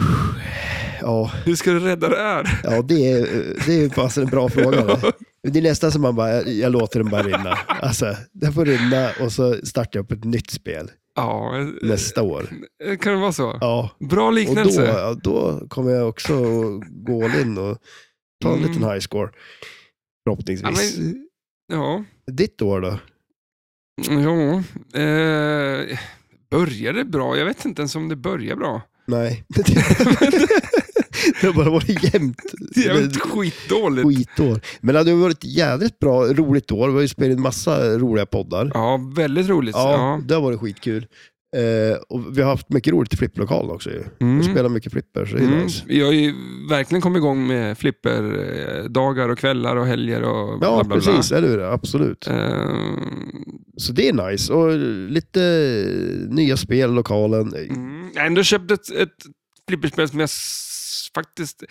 Speaker 2: ja,
Speaker 1: Hur ska du rädda det här?
Speaker 2: ja, det är, det är ju fasen en bra fråga. va? Men Det är nästan som man bara, jag- jag låter den bara rinna. Alltså, den får rinna och så startar jag upp ett nytt spel
Speaker 1: Ja, eh,
Speaker 2: nästa år.
Speaker 1: kan det vara så?
Speaker 2: Ja,
Speaker 1: Bra
Speaker 2: Och då,
Speaker 1: liknelse.
Speaker 2: ja, då kommer jag också att gå all in och ta en
Speaker 1: Mm.
Speaker 2: liten high score. Förhoppningsvis.
Speaker 1: Ja, ja.
Speaker 2: Ditt år då?
Speaker 1: Ja, eh, börjar det bra? Jag vet inte ens om det börjar bra.
Speaker 2: Nej. det har bara varit jämnt.
Speaker 1: Det är
Speaker 2: Eller
Speaker 1: ett skitdåligt.
Speaker 2: Skitår. Men det har varit ett jädrigt bra, roligt år. Vi har ju spelat in massa roliga poddar.
Speaker 1: Ja, väldigt roligt. Ja.
Speaker 2: det har varit skitkul. Eh, och vi har haft mycket roligt i flipplokalen också ju.
Speaker 1: Mm.
Speaker 2: Vi spelar mycket flipper, så det är
Speaker 1: Mm.
Speaker 2: nice.
Speaker 1: Jag har ju verkligen kommit igång med flipperdagar och kvällar och helger och
Speaker 2: Ja,
Speaker 1: bla bla bla.
Speaker 2: precis. Eller hur? Absolut.
Speaker 1: Eh,
Speaker 2: Så det är nice. Och lite nya spel i lokalen.
Speaker 1: mm. Jag har ändå köpt ett, ett flipperspel som jag s- faktiskt...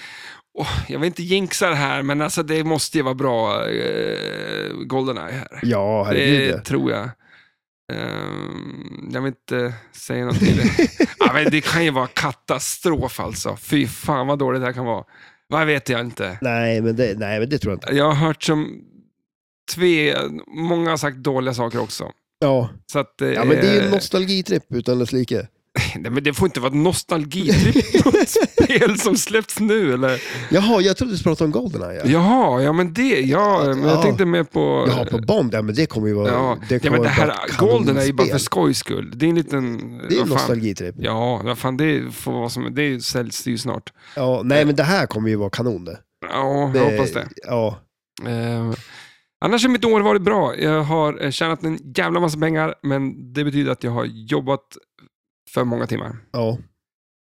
Speaker 1: Åh, jag vill inte jinxa det här, men alltså det måste ju vara bra eh, Goldeneye här.
Speaker 2: Ja, herregud.
Speaker 1: Det
Speaker 2: ja.
Speaker 1: tror jag. Ehm, jag vill inte säga något till det. ja, men det kan ju vara katastrof alltså. Fy fan vad dåligt det här kan vara. Vad vet jag inte.
Speaker 2: Nej men, det, nej, men det tror jag inte.
Speaker 1: Jag har hört som tve, många har sagt dåliga saker också.
Speaker 2: Ja,
Speaker 1: Så att, eh,
Speaker 2: ja men det är ju en nostalgitripp utan dess like.
Speaker 1: nej, men det får inte vara ett nostalgitripp på ett spel som släppts nu. Eller?
Speaker 2: Jaha, jag trodde du pratade om Goldeneye. Ja.
Speaker 1: Jaha, ja men det, ja, men jag
Speaker 2: Ja.
Speaker 1: tänkte mer på...
Speaker 2: Jaha, på Bond. Ja, men det kommer ju vara...
Speaker 1: ja,
Speaker 2: det,
Speaker 1: det, ja,
Speaker 2: kommer
Speaker 1: men det
Speaker 2: vara ett
Speaker 1: här Golden är ju bara för
Speaker 2: kanonspel.
Speaker 1: skojs skull. Det är en liten...
Speaker 2: Det är
Speaker 1: vad
Speaker 2: en
Speaker 1: fan.
Speaker 2: nostalgitripp.
Speaker 1: Ja, vad fan, det, får vara som, det säljs ju snart.
Speaker 2: Ja, nej, men det här kommer ju vara kanon det.
Speaker 1: Ja,
Speaker 2: det
Speaker 1: jag hoppas det.
Speaker 2: Ja,
Speaker 1: Eh, annars har mitt år varit bra. Jag har eh, tjänat en jävla massa pengar, men det betyder att jag har jobbat för många timmar.
Speaker 2: ja.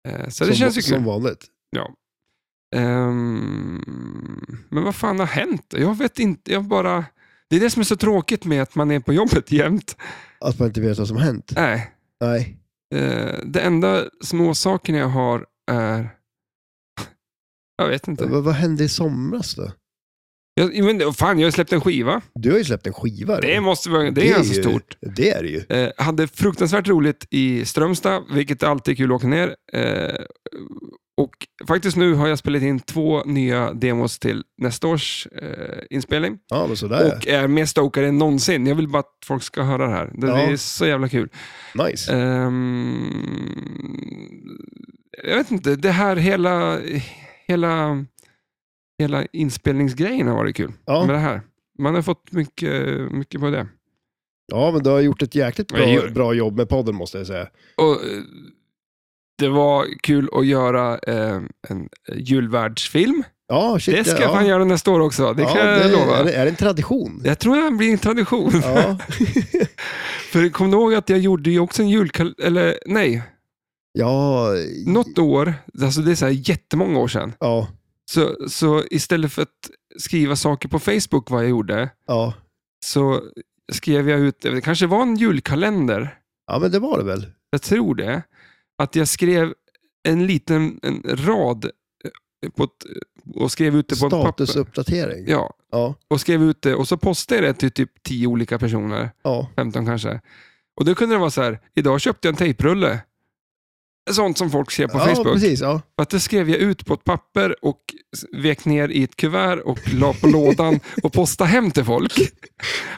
Speaker 1: Eh, så det känns ju
Speaker 2: Som
Speaker 1: kul.
Speaker 2: vanligt.
Speaker 1: Ehm, men vad fan har hänt? Jag vet inte, jag bara... Det är det som är så tråkigt med att man är på jobbet jämt.
Speaker 2: Att man inte vet vad som har hänt.
Speaker 1: Nej.
Speaker 2: Nej.
Speaker 1: Eh, det enda småsaken jag har är... Jag vet inte.
Speaker 2: Vad, vad hände i somras då?
Speaker 1: Jag, men, fan, jag har släppt en skiva.
Speaker 2: Du har ju släppt en skiva.
Speaker 1: Det
Speaker 2: då.
Speaker 1: måste vara, det är ganska
Speaker 2: ju-
Speaker 1: stort.
Speaker 2: Det är det ju.
Speaker 1: Eh, hade fruktansvärt roligt i Strömstad, vilket alltid är kul att åka ner. Eh, och faktiskt nu har jag spelat in två nya demos till nästa års eh, inspelning.
Speaker 2: Ah, Ja, men sådär
Speaker 1: Och är mer stokad än någonsin. Jag vill bara att folk ska höra det här. Det, det
Speaker 2: Ja.
Speaker 1: är så jävla kul.
Speaker 2: ja. Nice.
Speaker 1: Ehm, jag vet inte, det här hela, hela, hela inspelningsgrejen har varit kul. Med
Speaker 2: Ja.
Speaker 1: det här. Man har fått mycket, mycket på det.
Speaker 2: ja, men du har gjort ett jäkligt
Speaker 1: Jag gör
Speaker 2: bra,
Speaker 1: det.
Speaker 2: bra jobb med podden måste jag säga.
Speaker 1: Och, eh, det var kul att göra eh, en julvärldsfilm.
Speaker 2: Ja, shit.
Speaker 1: Det ska jag
Speaker 2: ja.
Speaker 1: fan göra nästa år också, det kan jag
Speaker 2: Är
Speaker 1: lova.
Speaker 2: det, är det en tradition?
Speaker 1: Jag tror det blir en tradition.
Speaker 2: Ja.
Speaker 1: För kom du ihåg att jag gjorde ju också en julkalender, eller nej,
Speaker 2: ja.
Speaker 1: något år, alltså det är så här jättemånga år sedan,
Speaker 2: Ja.
Speaker 1: Så, så istället för att skriva saker på Facebook vad jag gjorde,
Speaker 2: Ja.
Speaker 1: så skrev jag ut, det kanske var en julkalender,
Speaker 2: Ja, men det var det väl?
Speaker 1: jag tror det, att jag skrev en liten en rad eh, på ett, och skrev ut det på ett papper.
Speaker 2: Statusuppdatering.
Speaker 1: Ja,
Speaker 2: Ja.
Speaker 1: och skrev ut det och så postade jag det till typ 10 olika personer,
Speaker 2: Ja.
Speaker 1: 15 kanske. Och då kunde det vara så här, idag köpte jag en tejprulle. Sånt som folk ser på
Speaker 2: ja,
Speaker 1: Facebook.
Speaker 2: precis. Ja.
Speaker 1: För att det skrev jag ut på ett papper och s- vek ner i ett kuvert och la på lådan och postade hem till folk.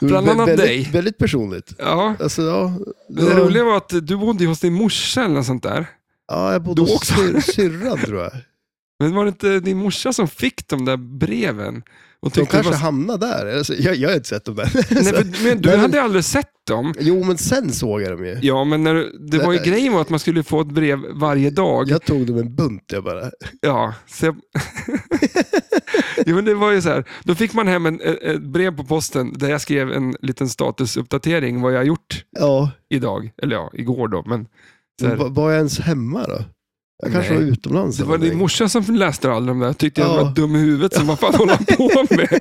Speaker 1: Bland
Speaker 2: Vä-
Speaker 1: annat
Speaker 2: väldigt,
Speaker 1: dig.
Speaker 2: Väldigt personligt.
Speaker 1: Ja.
Speaker 2: Alltså, ja,
Speaker 1: Men Det roliga var att du bodde ju hos din morsa eller något sånt där.
Speaker 2: Ja, jag bodde
Speaker 1: Då
Speaker 2: hos
Speaker 1: också.
Speaker 2: syr, syrran tror jag.
Speaker 1: Men var det inte din morsa som fick de där breven? Och
Speaker 2: De
Speaker 1: tyckte det
Speaker 2: kanske
Speaker 1: var...
Speaker 2: hamnade där. Alltså, jag, jag har inte sett dem där.
Speaker 1: Nej, för, men du
Speaker 2: Nej, men-
Speaker 1: hade aldrig sett dem.
Speaker 2: Jo, men sen såg jag dem ju.
Speaker 1: Ja, men när, du- det var ju
Speaker 2: Nej.
Speaker 1: grejen var att man skulle få ett brev varje dag.
Speaker 2: Jag tog dem en bunt jag bara.
Speaker 1: Ja, så jag... jo, men det var ju så här. Då fick man hem en, ett ett brev på posten där jag skrev en liten statusuppdatering vad jag har gjort
Speaker 2: Ja,
Speaker 1: idag. Eller ja, igår då. Men så
Speaker 2: men
Speaker 1: här,
Speaker 2: var, var jag ens hemma då? Jag kanske
Speaker 1: Nej.
Speaker 2: var utomlands.
Speaker 1: det
Speaker 2: eller
Speaker 1: var din
Speaker 2: någonting.
Speaker 1: morsa som läste alla de där. Tyckte jag
Speaker 2: Ja.
Speaker 1: var dum i huvudet som vad fan håller han på med?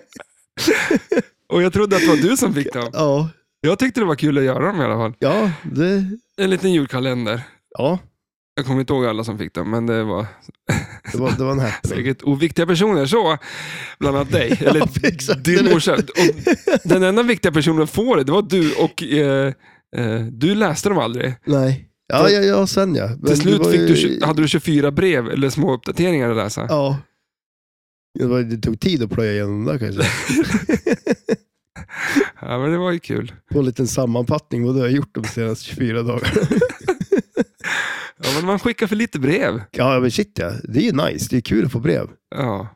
Speaker 1: Och jag trodde att det var du som fick dem.
Speaker 2: Ja,
Speaker 1: Jag tyckte det var kul att göra dem i alla fall.
Speaker 2: ja, det,
Speaker 1: En liten julkalender.
Speaker 2: ja
Speaker 1: Jag kommer inte ihåg alla som fick dem, men det var
Speaker 2: det, var, det var en happening.
Speaker 1: säkert oviktiga personer. Så, bland annat dig, eller
Speaker 2: exakt.
Speaker 1: din morsa. Och den enda viktiga personen som får det, det var du och eh, eh, du läste dem aldrig.
Speaker 2: Nej. Ja, ja, ja, sen ja. Men det
Speaker 1: Till slut
Speaker 2: var
Speaker 1: fick
Speaker 2: ju-
Speaker 1: du, tju- hade du 24 brev eller små uppdateringar att läsa.
Speaker 2: Ja. Det, var, det tog tid att plöja igenom det där kan jag säga.
Speaker 1: Ja, men det var ju kul.
Speaker 2: På en liten sammanfattning vad du har gjort de senaste 24 dagarna.
Speaker 1: Ja, men man skickar för lite brev.
Speaker 2: Ja, men shit ja. Det är ju nice. Det är kul att få brev.
Speaker 1: Ja.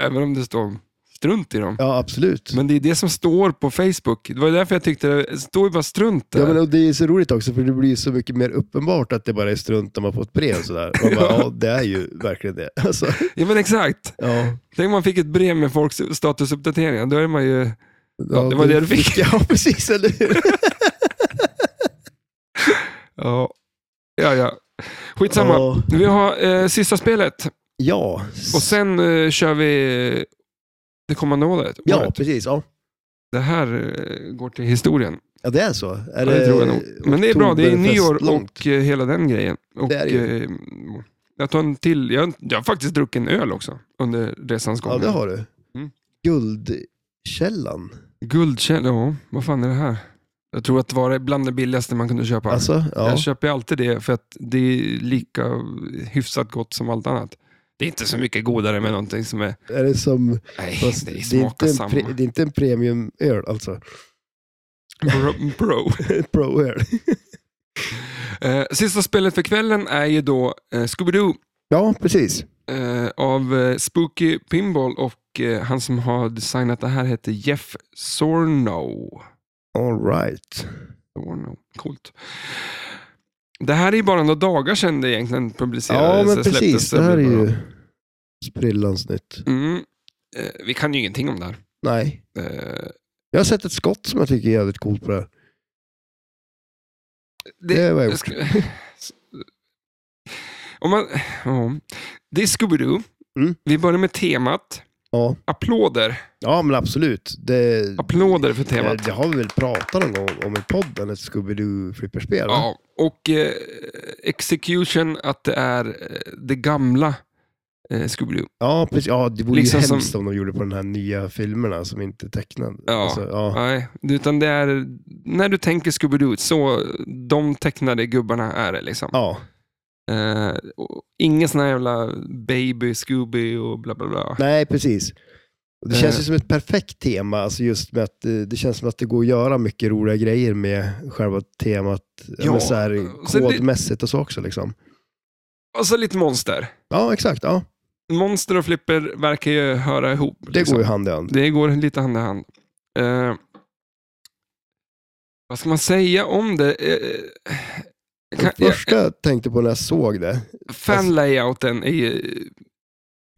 Speaker 1: Även om det står strunt i dem.
Speaker 2: Ja, absolut.
Speaker 1: Men det är det som står på Facebook. Det var därför jag tyckte det står ju bara strunt där.
Speaker 2: Ja, men och det är så roligt också för det blir så mycket mer uppenbart att det bara är strunt när man får ett brev sådär. Man bara, ja, det är ju verkligen det. Alltså,
Speaker 1: ja, men exakt.
Speaker 2: ja,
Speaker 1: Tänk om man fick ett brev med folks statusuppdateringar. Då är man ju... Ja, det var det du fick.
Speaker 2: Ja, precis. Eller hur?
Speaker 1: Ja, ja. ja. Skitsamma.
Speaker 2: Ja.
Speaker 1: Vi har eh, sista spelet
Speaker 2: Ja.
Speaker 1: och sen eh, kör vi eh, det kommande året.
Speaker 2: ja,
Speaker 1: året.
Speaker 2: precis. Ja.
Speaker 1: Det här eh, går till historien.
Speaker 2: ja, det är så. Är
Speaker 1: Ja, det tror jag nog. Men det är bra. Det är nyår
Speaker 2: oktoberfestlångt?
Speaker 1: och eh, hela den grejen. Och,
Speaker 2: Det är det ju.
Speaker 1: eh, jag tar en till. Jag, jag har faktiskt druckit en öl också under resans gång.
Speaker 2: Ja, det har du.
Speaker 1: Mm.
Speaker 2: Guldkällan.
Speaker 1: Guldkälla, ja. Vad fan är det här? Jag tror att det var bland det billigaste man kunde köpa.
Speaker 2: Alltså, ja.
Speaker 1: Jag köper ju alltid det för att det är lika hyfsat gott som allt annat. Det är inte så mycket godare med någonting som är...
Speaker 2: Är det som...
Speaker 1: Nej,
Speaker 2: Fast
Speaker 1: det
Speaker 2: det, är inte
Speaker 1: smakar
Speaker 2: en
Speaker 1: samma.
Speaker 2: pre, det är inte en premiumöl alltså.
Speaker 1: Bro. bro.
Speaker 2: Pro-öl.
Speaker 1: Eh, sista spelet för kvällen är ju då eh, Scooby-Doo
Speaker 2: Ja, precis.
Speaker 1: eh, av eh, Spooky Pinball och eh, han som har designat det här heter Jeff Sorno.
Speaker 2: All right.
Speaker 1: Sorno. Coolt. Det här är ju bara några dagar sedan det egentligen publicerades.
Speaker 2: Ja, men
Speaker 1: eller släpptes.
Speaker 2: precis. Det här är
Speaker 1: blir bra.
Speaker 2: ju sprillans nytt.
Speaker 1: Mm. Eh, vi kan ju ingenting om det här.
Speaker 2: Nej.
Speaker 1: Eh,
Speaker 2: Jag har sett ett skott som jag tycker är jävligt coolt på det här.
Speaker 1: det,
Speaker 2: Det, det var jag
Speaker 1: Jag
Speaker 2: gjort.
Speaker 1: skulle- Om man, ja. Det är Scooby-Doo.
Speaker 2: Mm.
Speaker 1: Vi börjar med temat.
Speaker 2: Ja.
Speaker 1: Applåder.
Speaker 2: ja, men absolut. Det,
Speaker 1: Applåder för
Speaker 2: det,
Speaker 1: temat.
Speaker 2: Eh, det har vi väl pratat någon gång om i podden, ett Scooby-Doo flipperspel? va?
Speaker 1: Ja, och eh, execution att det är eh, det gamla eh, Scooby-Doo.
Speaker 2: ja, precis. Ja, det vore
Speaker 1: Liksom
Speaker 2: ju
Speaker 1: som-
Speaker 2: hemskt om de gjorde på de här nya filmerna som inte är tecknade.
Speaker 1: Ja.
Speaker 2: Alltså, ja.
Speaker 1: Nej, utan det är när du tänker Scooby-Doo, så de tecknade gubbarna är det liksom.
Speaker 2: ja.
Speaker 1: Eh, och ingen sån här jävla baby Scooby och bla bla bla.
Speaker 2: Nej, precis. Och Det
Speaker 1: Eh.
Speaker 2: känns ju som ett perfekt tema, alltså just med att eh, det känns som att det går att göra mycket roliga grejer med själva temat,
Speaker 1: Ja.
Speaker 2: ja. så här,
Speaker 1: Och sen det-
Speaker 2: kodmässigt och så också. Liksom.
Speaker 1: Och så Alltså, lite monster.
Speaker 2: Ja, exakt. Ja.
Speaker 1: Monster och flipper verkar ju höra ihop. liksom.
Speaker 2: Det går ju hand i hand.
Speaker 1: Det går lite hand i hand. Eh, vad ska man säga om det? Eh, kan,
Speaker 2: Det första jag tänkte på när jag såg det,
Speaker 1: eh, Fan-layouten är ju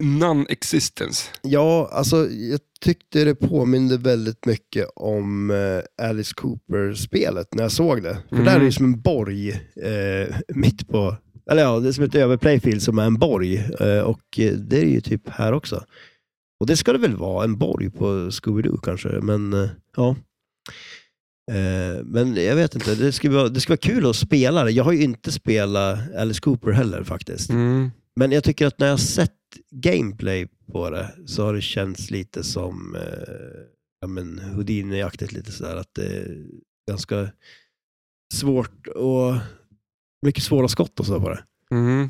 Speaker 1: non-existence.
Speaker 2: ja, alltså jag tyckte det påminde väldigt mycket om eh, Alice Cooper-spelet när jag såg det. För
Speaker 1: Mm.
Speaker 2: där är det ju som en borg eh, mitt på, eller ja, det är som ett överplayfield som är en borg. Eh, och eh, det är ju typ här också. Och det ska det väl vara, en borg på Scooby-Doo kanske, men eh, ja. Eh, Men jag vet inte, det skulle, vara, det skulle vara kul att spela det. Jag har ju inte spelat Alice Cooper heller faktiskt. Men jag tycker att när jag sett gameplay på det så har det känts lite som eh, ja, men Houdini-aktigt lite sådär att det är ganska svårt och mycket svåra skott och så på det.
Speaker 1: Mm.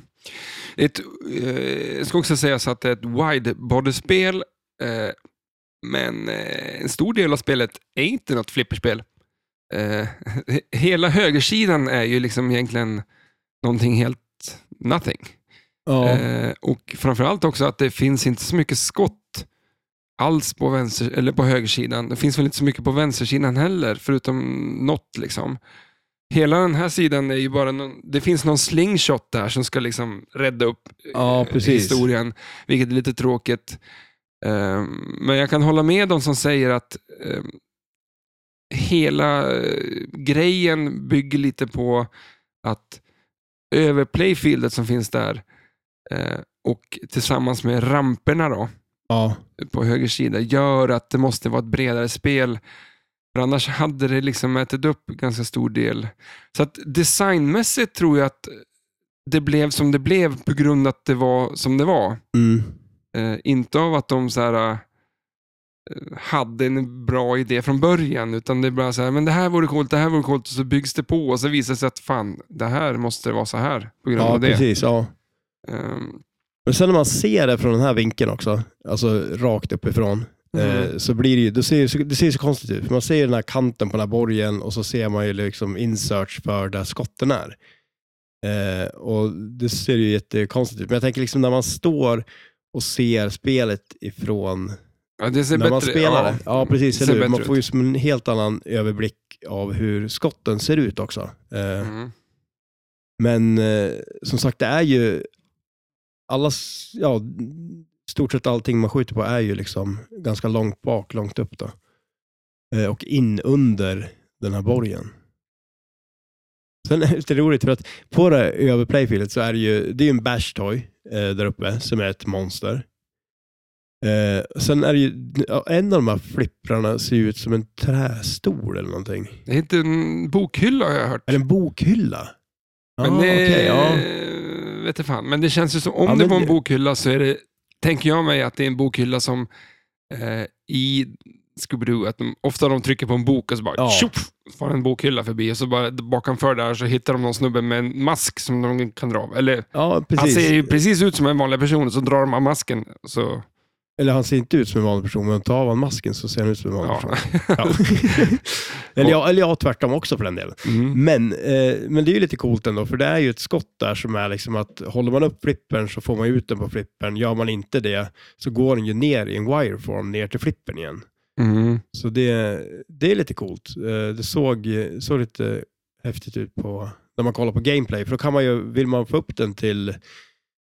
Speaker 1: Ett, eh, ska också sägas att det är ett widebody-spel, eh, men eh, en stor del av spelet är inte något flipperspel. Eh, hela högersidan är ju liksom egentligen någonting helt nothing.
Speaker 2: Ja.
Speaker 1: Eh, och framförallt också att det finns inte så mycket skott alls på, vänster, eller på högersidan. Det finns väl inte så mycket på vänstersidan heller, förutom något. Liksom. Hela den här sidan är ju bara någon, Det finns någon slingshot där som ska liksom rädda upp eh,
Speaker 2: Ja, precis.
Speaker 1: historien, vilket är lite tråkigt. Eh, men jag kan hålla med de som säger att eh, hela eh, grejen bygger lite på att över playfieldet som finns där eh, och tillsammans med ramperna då,
Speaker 2: ja.
Speaker 1: på höger sida gör att det måste vara ett bredare spel. För annars hade det liksom ätit upp ganska stor del. Så att designmässigt tror jag att det blev som det blev på grund av att det var som det var.
Speaker 2: Mm.
Speaker 1: Eh, inte av att de så här, eh, hade en bra idé från början, utan det är bara så här, men det här vore coolt, det här vore coolt, och så byggs det på och så visar det sig att fan, det här måste vara så här på grund
Speaker 2: ja
Speaker 1: av det.
Speaker 2: precis. Ja.
Speaker 1: Ehm,
Speaker 2: Men sen när man ser det från den här vinkeln också, alltså rakt uppifrån,
Speaker 1: Mm.
Speaker 2: eh, så blir det ju, det ser ju så, det ser ju så konstigt ut. För Man ser ju den här kanten på den här borgen och så ser man ju liksom insearch för där skotten är. Eh, och det ser ju jättekonstigt ut. Men jag tänker liksom när man står och ser spelet ifrån
Speaker 1: ja, det ser
Speaker 2: när
Speaker 1: bättre
Speaker 2: man spelar det. Ja, precis.
Speaker 1: Ser
Speaker 2: Eller hur?
Speaker 1: bättre
Speaker 2: Man får ju
Speaker 1: ut.
Speaker 2: som en helt annan överblick av hur skotten ser ut också. Eh,
Speaker 1: Ja. Mm.
Speaker 2: Men eh, som sagt, det är ju alla, s- ja, stort sett allting man skjuter på är ju liksom ganska långt bak, långt upp då. Eh, och in under den här borgen. Sen är det lite roligt för att på det här över playfieldet så är det ju, det är ju en bashtoy eh, där uppe som är ett monster. Eh, sen är det ju, ja, en av de här flipprarna ser ju ut som en trästol eller någonting.
Speaker 1: Det är inte en bokhylla har jag hört.
Speaker 2: Är det en bokhylla?
Speaker 1: Men
Speaker 2: Ah,
Speaker 1: det,
Speaker 2: okej, ja.
Speaker 1: vet jag fan. Men det känns ju som, om
Speaker 2: Ja,
Speaker 1: det
Speaker 2: men
Speaker 1: var en
Speaker 2: det-
Speaker 1: bokhylla så är det, tänker jag mig att det är en bokhylla som eh, i Scooby-Doo, att de, ofta de trycker på en bok och så bara
Speaker 2: Ja.
Speaker 1: tjoff, far en bokhylla förbi och så bara bakanför där så hittar de någon snubbe med en mask som de kan dra av. Eller,
Speaker 2: Ja,
Speaker 1: han
Speaker 2: precis.
Speaker 1: ser ju precis ut som en vanlig person, så drar de av masken. Så,
Speaker 2: Eller han ser inte ut som en vanlig person, men tar av han masken så ser han ut som en vanlig person.
Speaker 1: ja.
Speaker 2: Ja. eller, ja, eller ja, tvärtom också för den delen.
Speaker 1: Mm.
Speaker 2: Men, eh, men det är ju lite coolt ändå, för det är ju ett skott där som är liksom att håller man upp flippern så får man ut den på flippern. Gör man inte det så går den ju ner i en wireform ner till flippern igen.
Speaker 1: Mm.
Speaker 2: Så det, det är lite coolt. Eh, Det såg, såg lite häftigt ut på, när man kollar på gameplay. För då kan man ju, vill man få upp den till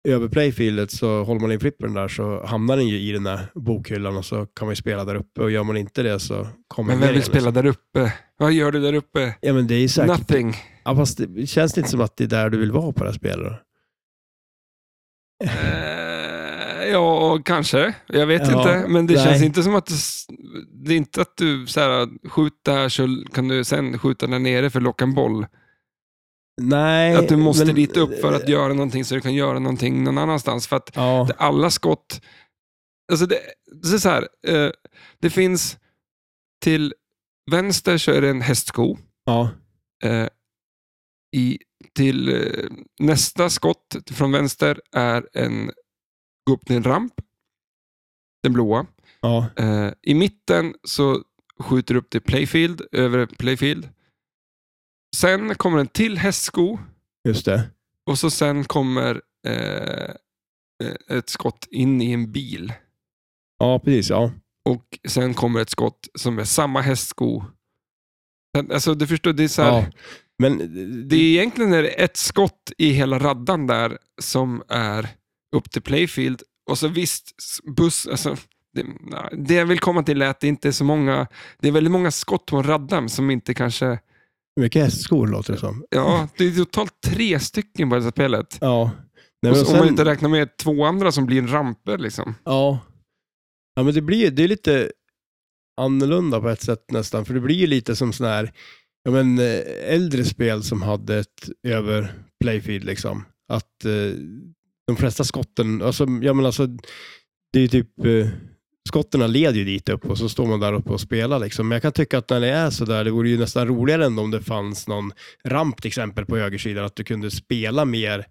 Speaker 2: över playfieldet så håller man in flippern där så hamnar den ju i den där bokhyllan och så kan man ju spela där uppe och gör man inte det så kommer
Speaker 1: Men vem
Speaker 2: den ner
Speaker 1: vill
Speaker 2: igen,
Speaker 1: spela
Speaker 2: liksom.
Speaker 1: där uppe? Vad gör du där uppe?
Speaker 2: Ja men det är ju säkert.
Speaker 1: Nothing.
Speaker 2: Ja, fast det känns det inte som att det är där du vill vara på det här spelet? då?
Speaker 1: Eh, ja, kanske. Jag vet
Speaker 2: Ja,
Speaker 1: inte. Men det
Speaker 2: nej.
Speaker 1: känns inte som att du, s- det är inte att du så här, skjuter här så kan du sen skjuta där nere för att locka en boll.
Speaker 2: Nej.
Speaker 1: att du måste
Speaker 2: men-
Speaker 1: dit upp för att göra någonting så du kan göra någonting någon annanstans. För att
Speaker 2: Ja,
Speaker 1: det- alla skott... Alltså det, det är så här, eh, det finns till vänster så är det en hästsko.
Speaker 2: ja,
Speaker 1: Eh, i, till eh, nästa skott från vänster är en gå upp till en ramp. Den blåa.
Speaker 2: ja,
Speaker 1: Eh, I mitten så skjuter du upp till playfield, över playfield. Sen kommer en till hästsko
Speaker 2: just det.
Speaker 1: och så sen kommer eh, eh, ett skott in i en bil.
Speaker 2: Ja, precis. Ja.
Speaker 1: Och sen kommer ett skott som är samma hästsko. Sen- Alltså du förstår, det är så här,
Speaker 2: ja. Men
Speaker 1: Det är egentligen är det ett skott i hela raddan där som är upp till playfield. Och så visst, s- buss, alltså, det, nej, det jag vill komma till är att det inte är så många, det är väldigt många skott på en raddan som inte kanske,
Speaker 2: mycket hästskor låter det som.
Speaker 1: ja, det är totalt tre stycken på det här spelet.
Speaker 2: Ja. Nej,
Speaker 1: Och så,
Speaker 2: men sen-
Speaker 1: Om man inte räknar med två andra som blir en ramper liksom.
Speaker 2: Ja. Ja, men det blir det är lite annorlunda på ett sätt nästan, för det blir ju lite som sån här, ja men eh, äldre spel som hade ett över playfield liksom. Att eh, de flesta skotten, alltså, ja men alltså, det är ju typ eh, skotterna leder ju dit upp och så står man där uppe och spelar. Liksom. Men jag kan tycka att när det är så där, det vore ju nästan roligare än om det fanns någon ramp till exempel på högersidan, att du kunde spela mer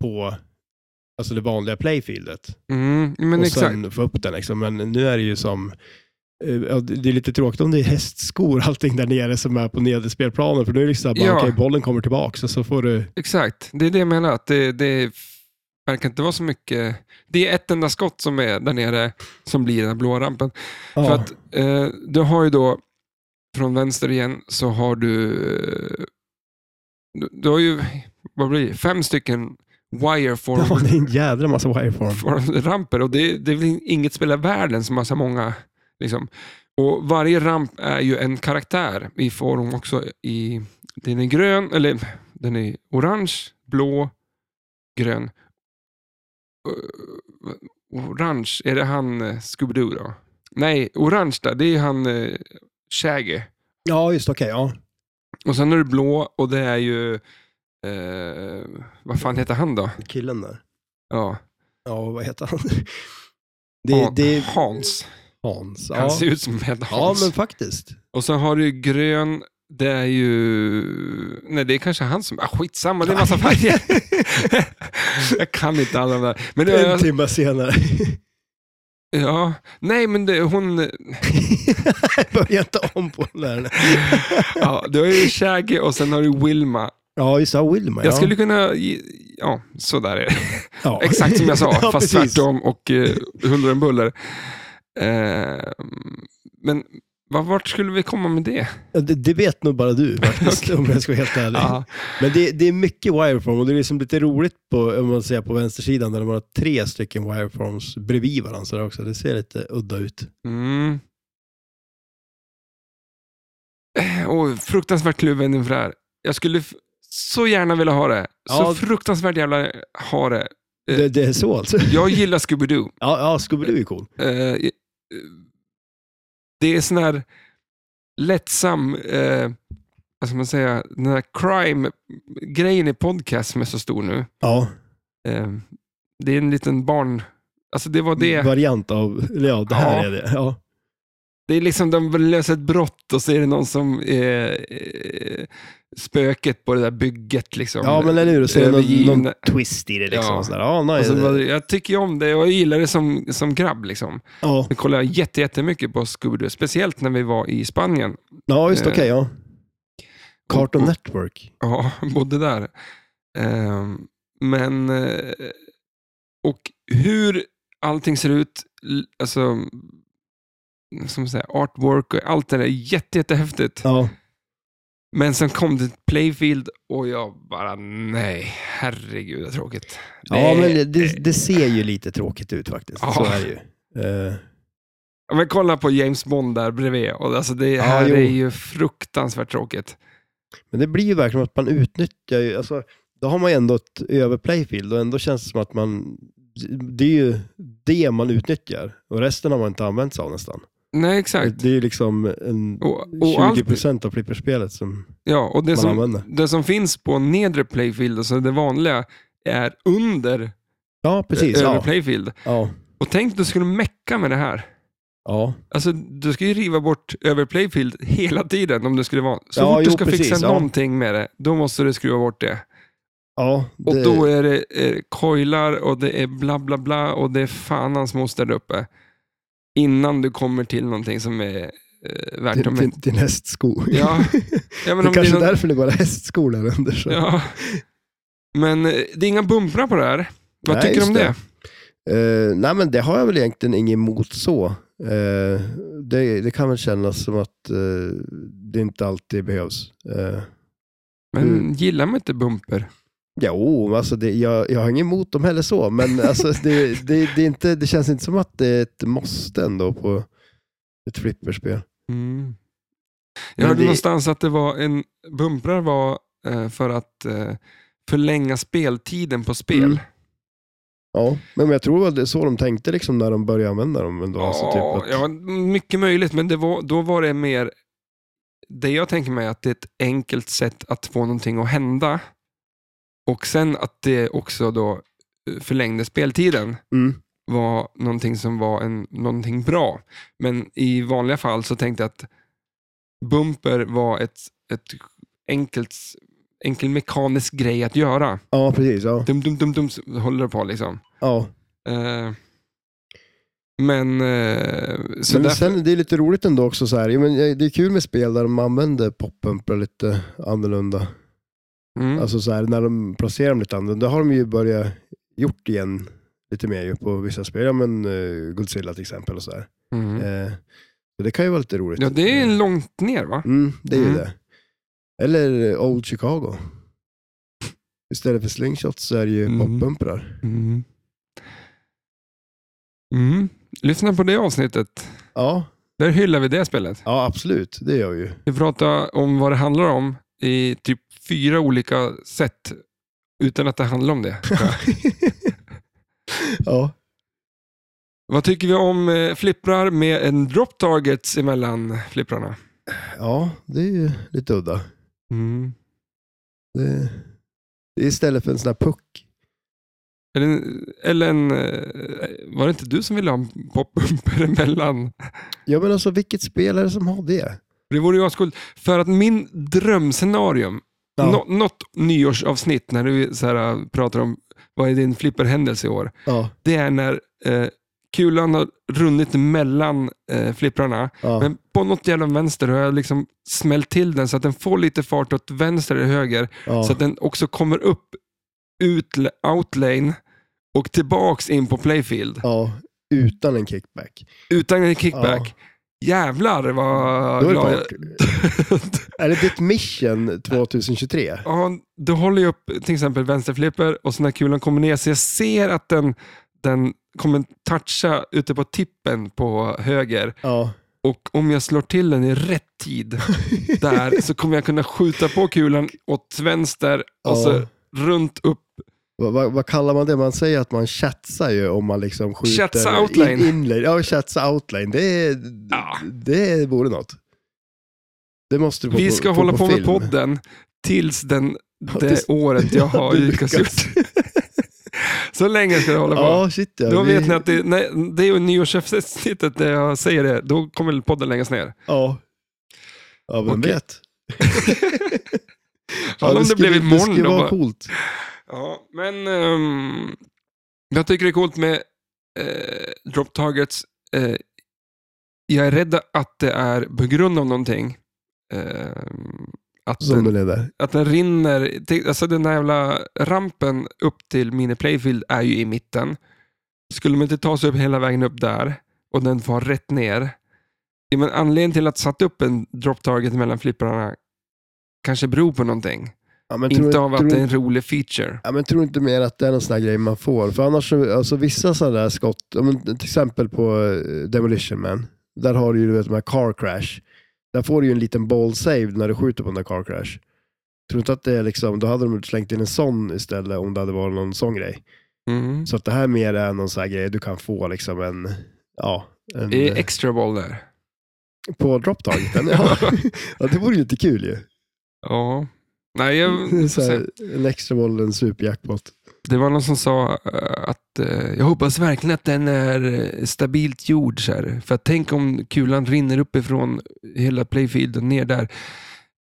Speaker 2: på alltså det vanliga playfieldet
Speaker 1: Mm, men
Speaker 2: och
Speaker 1: exakt.
Speaker 2: sen få upp den. Liksom. Men nu är det ju som, eh, ja, det det är lite tråkigt om det är hästskor allting där nere som är på nedre spelplanen, för nu är det liksom bara,
Speaker 1: Ja.
Speaker 2: okej, bollen kommer tillbaka så, så får du
Speaker 1: Exakt, det är det jag menar. Att det, det verkar inte vara så mycket. Det är ett enda skott som är där nere som blir den här blåa rampen.
Speaker 2: ja,
Speaker 1: För att eh, du har ju då, från vänster igen, så har du, eh, du, du har ju, vad blir det, fem stycken wire
Speaker 2: ja,
Speaker 1: forward
Speaker 2: det är en jädra massa wireform.
Speaker 1: forward ramper och det, det är väl inget spel i världen som har så många. Liksom. Och Varje ramp är ju en karaktär. Vi får dem också i, den är grön, eller den är orange, blå, grön. Eh, orange, är det han eh, Scooby-Doo då? Nej, orange där, det är ju han eh, Shaggy.
Speaker 2: Ja, just okej. ja.
Speaker 1: Och sen är det blå och det är ju, eh, vad fan heter han då?
Speaker 2: Killen där.
Speaker 1: Ja,
Speaker 2: Ja, vad heter han? Det,
Speaker 1: Han-
Speaker 2: det är
Speaker 1: Hans.
Speaker 2: Hans.
Speaker 1: Han
Speaker 2: Ja.
Speaker 1: ser ut som en Hans.
Speaker 2: ja, men faktiskt.
Speaker 1: Och sen har du ju grön, det är ju... Nej, det är kanske han som... Ah, skitsamma, det är en massa färger. jag kan inte alla de där. Men det,
Speaker 2: En
Speaker 1: jag,
Speaker 2: timme senare.
Speaker 1: ja, nej, men det, hon...
Speaker 2: Börja inte om på den där.
Speaker 1: Ja, du har ju Shaggy och sen har du Wilma.
Speaker 2: Ja, just det. Wilma.
Speaker 1: Jag
Speaker 2: ja.
Speaker 1: skulle kunna... ge- Ja, sådär är det.
Speaker 2: ja.
Speaker 1: Exakt som jag sa, fast
Speaker 2: Ja, precis.
Speaker 1: tvärtom och eh, huller om buller. Eh, men vad- vart skulle vi komma med det?
Speaker 2: Ja, Det, det vet nog bara du faktiskt, om jag ska vara helt ärlig.
Speaker 1: Ja,
Speaker 2: Men det, det är mycket wireform och det är liksom lite roligt på, om man säger på vänstersidan där de har tre stycken wireforms bredvid varandra så där också. Det ser lite udda ut.
Speaker 1: Mm. Eh, Och fruktansvärt kluven inför det här. Jag skulle f- så gärna vilja ha det. Så
Speaker 2: Ja.
Speaker 1: fruktansvärt jävla ha det. Eh.
Speaker 2: Det, det är så alltså.
Speaker 1: Jag gillar Scooby-Doo.
Speaker 2: Ja, ja Scooby-Doo är cool.
Speaker 1: Eh, eh, det är sån här lättsam, eh, vad ska man säga, den här crime-grejen i podcast som är så stor nu.
Speaker 2: Ja,
Speaker 1: Eh, det är en liten barn... Alltså det var det.
Speaker 2: variant av, eller ja, det här
Speaker 1: Ja.
Speaker 2: är det. Ja.
Speaker 1: Det är liksom, de löser ett brott och så är det någon som är eh, spöket på det där bygget. Liksom.
Speaker 2: ja, men eller hur? Så är det någon,
Speaker 1: Övergivna.
Speaker 2: någon twist i det liksom.
Speaker 1: Ja.
Speaker 2: Ja, sådär. ja
Speaker 1: och
Speaker 2: nej,
Speaker 1: så,
Speaker 2: det-
Speaker 1: var det- jag tycker ju om det och jag gillar det som, som grabb. Liksom.
Speaker 2: ja.
Speaker 1: Jag kollade jätte- jättemycket på Scooby-Doo, speciellt när vi var i Spanien.
Speaker 2: ja just
Speaker 1: eh,
Speaker 2: okej. ja. Cartoon
Speaker 1: och-
Speaker 2: Network.
Speaker 1: Ja, bodde där. Ehm, men, eh, och hur allting ser ut, l- alltså, som säga, artwork och allt det där, jätte, jättehäftigt.
Speaker 2: Ja.
Speaker 1: Men sen kom det Playfield och jag bara, nej, herregud vad tråkigt.
Speaker 2: Ja, men det, det, det ser ju lite tråkigt ut faktiskt.
Speaker 1: Ja.
Speaker 2: Så är det ju. Eh,
Speaker 1: men kolla på James Bond där bredvid. Och alltså det
Speaker 2: Ja,
Speaker 1: här
Speaker 2: jo.
Speaker 1: är ju fruktansvärt tråkigt.
Speaker 2: Men det blir ju verkligen att man utnyttjar ju, alltså, då har man ju ändå ett överplayfield och ändå känns det som att man, det är ju det man utnyttjar och resten har man inte använt sig av nästan.
Speaker 1: Nej, exakt.
Speaker 2: Det är ju liksom en
Speaker 1: Och, och, allt,
Speaker 2: 20% av flipperspelet som
Speaker 1: ja, och det,
Speaker 2: man
Speaker 1: som,
Speaker 2: använder.
Speaker 1: det som finns på nedre Playfield, alltså det vanliga, är under eh,
Speaker 2: Ja, precis.
Speaker 1: över
Speaker 2: Ja,
Speaker 1: Playfield.
Speaker 2: ja,
Speaker 1: Och tänk att du skulle mecka med det här.
Speaker 2: ja.
Speaker 1: Alltså, du ska ju riva bort över Playfield hela tiden om det skulle vara. Så
Speaker 2: Ja,
Speaker 1: fort du
Speaker 2: jo,
Speaker 1: ska fixa
Speaker 2: precis, ja.
Speaker 1: någonting med det, då måste du skruva bort det.
Speaker 2: ja
Speaker 1: Och
Speaker 2: det-
Speaker 1: då är det eh, coilar och det är bla bla bla och det är fan hans moster där uppe. Innan du kommer till någonting som är eh, värt
Speaker 2: till,
Speaker 1: att
Speaker 2: till, till hästsko.
Speaker 1: Ja, ja, men
Speaker 2: det
Speaker 1: om
Speaker 2: kanske är
Speaker 1: någon-
Speaker 2: därför det bara är hästskor där under. Så.
Speaker 1: ja. Men eh, det är inga bumprar på det här. Vad
Speaker 2: Nej,
Speaker 1: tycker du om
Speaker 2: just
Speaker 1: det?
Speaker 2: det. Eh, nej men det har jag väl egentligen inget emot så. Eh, det, det kan väl kännas som att eh, det inte alltid behövs. Eh,
Speaker 1: Men
Speaker 2: Mm.
Speaker 1: gillar man inte bumper?
Speaker 2: jo, alltså det, jag, jag har inget emot dem heller så, men alltså det, det, det, är inte, det känns inte som att det är ett måste ändå på ett flipperspel.
Speaker 1: Mm. Jag
Speaker 2: Men
Speaker 1: hörde
Speaker 2: det-
Speaker 1: någonstans att det var en bumprar var eh, för att eh, förlänga speltiden på spel.
Speaker 2: Mm. Ja, men jag tror att det är så de tänkte liksom när de började använda dem. Ändå,
Speaker 1: Ja,
Speaker 2: alltså typ att,
Speaker 1: ja, mycket möjligt, men det var, då var det mer... Det jag tänker mig är att det är ett enkelt sätt att få någonting att hända. Och sen att det också då eh, förlängde speltiden.
Speaker 2: mm,
Speaker 1: var någonting som var en, någonting bra. Men i vanliga fall så tänkte jag att bumper var ett, ett enkelt, enkel mekanisk grej att göra.
Speaker 2: Ja, precis. Ja.
Speaker 1: Dum, dum, dum, dum, så håller det på liksom.
Speaker 2: Ja.
Speaker 1: Eh, men, eh, så
Speaker 2: Men
Speaker 1: därför,
Speaker 2: sen, det är lite roligt ändå också. Så här. Ja, men, eh, det är kul med spel där de använder poppumprar lite annorlunda.
Speaker 1: mm,
Speaker 2: Alltså så här, när de placerar dem lite annorlunda. Det har de ju börjat gjort igen lite mer ju på vissa spel. Ja, men eh, Godzilla till exempel och så här.
Speaker 1: mm.
Speaker 2: Eh, så det kan ju vara lite roligt.
Speaker 1: Ja, det är långt ner va?
Speaker 2: Mm, det är ju
Speaker 1: Mm.
Speaker 2: det. Eller eh, Old Chicago. Istället för slingshots så är det ju
Speaker 1: Mm.
Speaker 2: poppumprar.
Speaker 1: Mm. Mm. Lyssna på det avsnittet.
Speaker 2: Ja,
Speaker 1: Där hyllar vi det spelet.
Speaker 2: ja, absolut. Det gör vi ju.
Speaker 1: Vi pratar om vad det handlar om i typ fyra olika sätt utan att det handlar om det.
Speaker 2: ja.
Speaker 1: vad tycker vi om eh, flipprar med en drop targets emellan flipprarna?
Speaker 2: ja, det är ju lite udda.
Speaker 1: Mm.
Speaker 2: Det, det är istället för en sån här puck.
Speaker 1: Eller, en- eller en... eh, Var det inte du som ville ha en pop-bumper emellan?
Speaker 2: Ja, men alltså vilket spel är det som har det?
Speaker 1: Det vore ju ascoolt. För att min drömscenarium,
Speaker 2: Ja.
Speaker 1: nå, något nyårsavsnitt när du så här, äh, pratar om vad är din flipperhändelse i år,
Speaker 2: Ja,
Speaker 1: det är när eh, kulan har runnit mellan eh, flipprarna,
Speaker 2: ja.
Speaker 1: men på något jävla vänster har jag liksom smält till den så att den får lite fart åt vänster eller höger,
Speaker 2: ja.
Speaker 1: så att den också kommer upp ut, outlane och tillbaks in på playfield
Speaker 2: ja. Utan en kickback.
Speaker 1: utan en kickback. Jävlar vad
Speaker 2: Då är, det
Speaker 1: glad jag
Speaker 2: fart. är det ditt mission 2023?
Speaker 1: Ja, då håller jag upp till exempel vänsterflipper och så när kulan kommer ner så jag ser att den, den kommer toucha ute på tippen på höger.
Speaker 2: Ja.
Speaker 1: Och om jag slår till den i rätt tid där så kommer jag kunna skjuta på kulan åt vänster och så
Speaker 2: Ja.
Speaker 1: runt upp.
Speaker 2: Vad, vad, vad kallar man det? Man säger att man chatsar ju om man liksom skjuter...
Speaker 1: Chatsa outline.
Speaker 2: In, inlane. Ja, chatsa outline. Det, är,
Speaker 1: Ja.
Speaker 2: det vore något. Det måste du få
Speaker 1: Vi
Speaker 2: på-
Speaker 1: ska
Speaker 2: få
Speaker 1: hålla
Speaker 2: på
Speaker 1: på med
Speaker 2: film.
Speaker 1: podden tills den, det
Speaker 2: tills-
Speaker 1: året jag har
Speaker 2: Du
Speaker 1: lyckats
Speaker 2: lyckas.
Speaker 1: ut. Så länge ska jag hålla på.
Speaker 2: Ja, shit ja.
Speaker 1: Då
Speaker 2: Vi-
Speaker 1: vet ni att det, nej, det är ju nyårsavsnittet där jag säger det. Då kommer podden läggas ner.
Speaker 2: Ja, ja vem
Speaker 1: Okej.
Speaker 2: vet.
Speaker 1: Fan om det
Speaker 2: skulle-
Speaker 1: blev imorgon
Speaker 2: Det skulle
Speaker 1: då
Speaker 2: vara
Speaker 1: bara.
Speaker 2: coolt.
Speaker 1: Ja, men ehm, jag tycker det är coolt med eh, drop targets. Eh, jag är rädd att det är på grund av någonting. Ehm, att,
Speaker 2: Som
Speaker 1: den,
Speaker 2: den är där.
Speaker 1: att den rinner. Tänk- Alltså den där jävla rampen upp till mini playfield är ju i mitten. Skulle man inte ta sig upp hela vägen upp där och den var rätt ner. Ja, men anledningen till att satt upp en drop target mellan flipprarna kanske beror på någonting.
Speaker 2: Ja, men
Speaker 1: inte
Speaker 2: tror,
Speaker 1: av
Speaker 2: tror,
Speaker 1: att det är en rolig feature.
Speaker 2: ja, men tror inte mer att det är någon sån här grej man får. För annars, så- alltså vissa sådana där skott, ja, men, till exempel på eh, Demolition Man, där har du ju du vet, de här car crash. Där får du ju en liten ball save när du skjuter på den där car crash. Tror inte att det är liksom, då hade de slängt in en sån istället om det hade varit någon sån grej.
Speaker 1: Mm.
Speaker 2: Så att det här mer är någon sån här grej du kan få liksom en, ja, en,
Speaker 1: Det är
Speaker 2: eh,
Speaker 1: extra boll där.
Speaker 2: på dropptaget. Ja. ja, det vore ju lite kul ju.
Speaker 1: Ja. Nej, jag,
Speaker 2: Så här, en extra boll, en superjackpot.
Speaker 1: det var någon som sa eh, att eh, jag hoppas verkligen att den är eh, stabilt gjord. Så här. För att tänk om kulan rinner uppifrån hela playfielden ner där.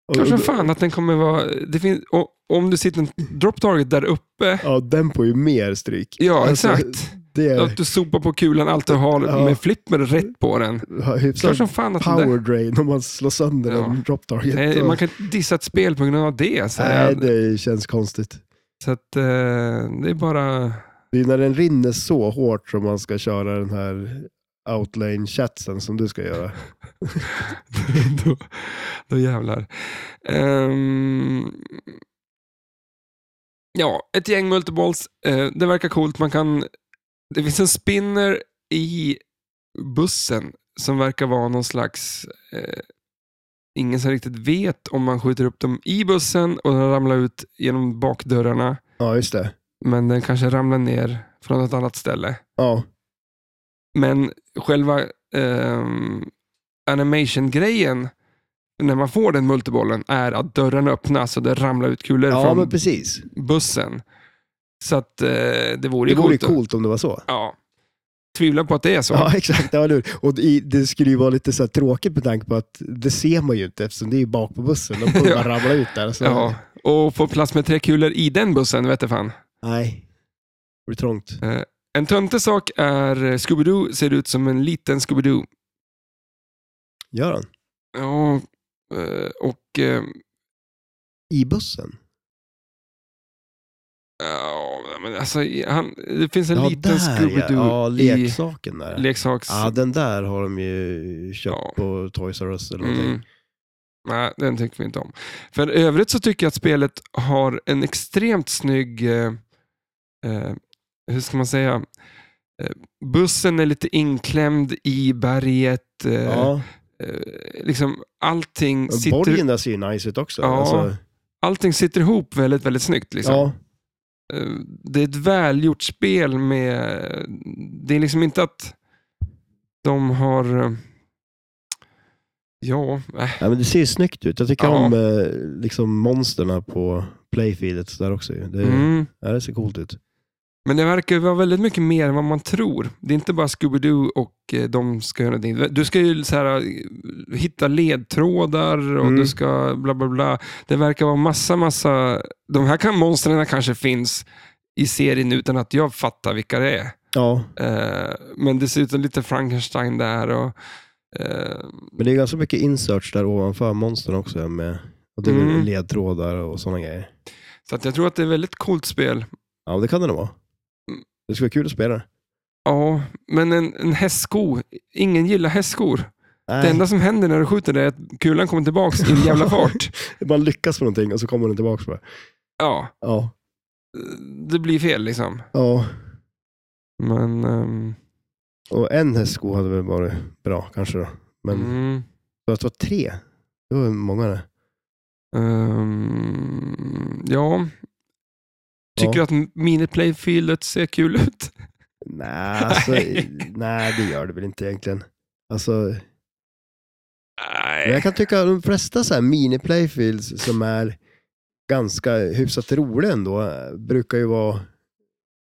Speaker 2: Och-
Speaker 1: Kanske
Speaker 2: och-
Speaker 1: fan att den kommer vara... Det finns, och, om du sitter en drop target där uppe.
Speaker 2: Ja, den får ju mer stryk.
Speaker 1: Ja,
Speaker 2: Alltså,
Speaker 1: exakt.
Speaker 2: Det
Speaker 1: Att
Speaker 2: är
Speaker 1: du sopar på kulan allt du har
Speaker 2: Ja.
Speaker 1: med flipper rätt på den.
Speaker 2: har
Speaker 1: Klart
Speaker 2: hyfsad
Speaker 1: som fan att den där...
Speaker 2: power drain om man slår sönder
Speaker 1: Ja.
Speaker 2: en drop target.
Speaker 1: Nej, man kan inte dissa ett spel på grund av det. Så, här.
Speaker 2: Nej, det känns konstigt.
Speaker 1: så att, eh, det är bara...
Speaker 2: Det är när den rinner så hårt som man ska köra den här outlane chatsen som du ska göra.
Speaker 1: då, då jävlar. Ehm, ja, ett gäng multiballs. Eh, det verkar coolt. Man kan, det finns en spinner i bussen som verkar vara någon slags... Eh, ingen som riktigt vet om man skjuter upp dem i bussen och den ramlar ut genom bakdörrarna.
Speaker 2: Ja, just det.
Speaker 1: Men den kanske ramlar ner från ett annat ställe.
Speaker 2: Ja,
Speaker 1: Men själva ehm, animation-grejen när man får den multibollen är att dörren öppnas och det ramlar ut kulor
Speaker 2: ja
Speaker 1: från
Speaker 2: men precis.
Speaker 1: bussen. Så att eh, det vore
Speaker 2: Det
Speaker 1: ju
Speaker 2: vore ju
Speaker 1: coolt. då.
Speaker 2: coolt om det var så.
Speaker 1: Ja. tvivlar på att det är så.
Speaker 2: Ja, exakt. Ja, nu. Och i- det skulle ju vara lite så här tråkigt med tanke på att det ser man ju inte eftersom det är ju bak på bussen. De kommer bara ramla ut där. Så.
Speaker 1: Ja, och få plats med tre kulor i den bussen, vet du fan.
Speaker 2: Nej, det blir trångt.
Speaker 1: Eh, En töntig sak är eh, Scooby-Doo ser ut som en liten Scooby-Doo.
Speaker 2: Gör han?
Speaker 1: Ja, eh, och eh,
Speaker 2: I bussen?
Speaker 1: ja, men alltså, i- han, det finns en
Speaker 2: ja,
Speaker 1: liten
Speaker 2: där ja.
Speaker 1: Scooby-Doo
Speaker 2: Ja,
Speaker 1: i
Speaker 2: leksaken där.
Speaker 1: leksaks...
Speaker 2: ja, den där har de ju köpt
Speaker 1: Ja.
Speaker 2: på Toys R Us eller någonting.
Speaker 1: Mm. Nej, den tycker vi inte om. För övrigt så tycker jag att spelet har en extremt snygg, eh, eh, hur ska man säga, eh, bussen är lite inklämd i berget. Eh,
Speaker 2: Ja,
Speaker 1: eh, liksom allting,
Speaker 2: men
Speaker 1: sitter,
Speaker 2: borgen där ser ju nice ut också.
Speaker 1: Ja,
Speaker 2: alltså,
Speaker 1: allting sitter ihop väldigt, väldigt snyggt. Liksom.
Speaker 2: ja.
Speaker 1: Eh, det är ett välgjort spel med, det är liksom inte att de har, eh, ja, äh,
Speaker 2: ja, men det ser ju snyggt ut. Jag tycker
Speaker 1: Ja.
Speaker 2: om eh, liksom monsterna på playfieldet där också. ju. Det,
Speaker 1: mm.
Speaker 2: ja, det ser coolt ut.
Speaker 1: Men det verkar ju vara väldigt mycket mer än vad man tror. Det är inte bara Scooby-Doo och eh, de ska göra någonting. Du ska ju så här, eh, hitta ledtrådar och
Speaker 2: Mm.
Speaker 1: du ska bla bla bla. Det verkar vara massa, massa... De här kan, monstren kanske finns i serien utan att jag fattar vilka det är.
Speaker 2: Ja,
Speaker 1: Eh, men det ser ut som lite Frankenstein där. Och, eh,
Speaker 2: men det är ganska mycket inserts där ovanför monstren också. Med, och det är väl
Speaker 1: Mm.
Speaker 2: ledtrådar och sådana grejer.
Speaker 1: så att jag tror att det är ett väldigt coolt spel.
Speaker 2: Ja, det kan det nog vara.
Speaker 1: Mm.
Speaker 2: Det skulle vara kul att spela det.
Speaker 1: Ja, men en, en hästsko. Ingen gillar hästskor. Det enda som händer när du skjuter det är att kulan kommer tillbaka i en jävla fart.
Speaker 2: Man lyckas med någonting och så kommer den tillbaka. Bara.
Speaker 1: ja,
Speaker 2: Ja,
Speaker 1: det blir fel liksom.
Speaker 2: ja.
Speaker 1: Men, ehm,
Speaker 2: Och en hästsko hade väl varit bra kanske då. Men
Speaker 1: mm,
Speaker 2: för att det var tre, det var ju många det.
Speaker 1: ehm, ja. Tycker
Speaker 2: Ja.
Speaker 1: du att miniplayfieldet ser kul ut?
Speaker 2: Nej, alltså, nej, det gör det väl inte egentligen. Alltså, men jag
Speaker 1: Nej.
Speaker 2: kan tycka att de flesta så här mini-playfields som är ganska hyfsat roliga ändå eh, brukar ju vara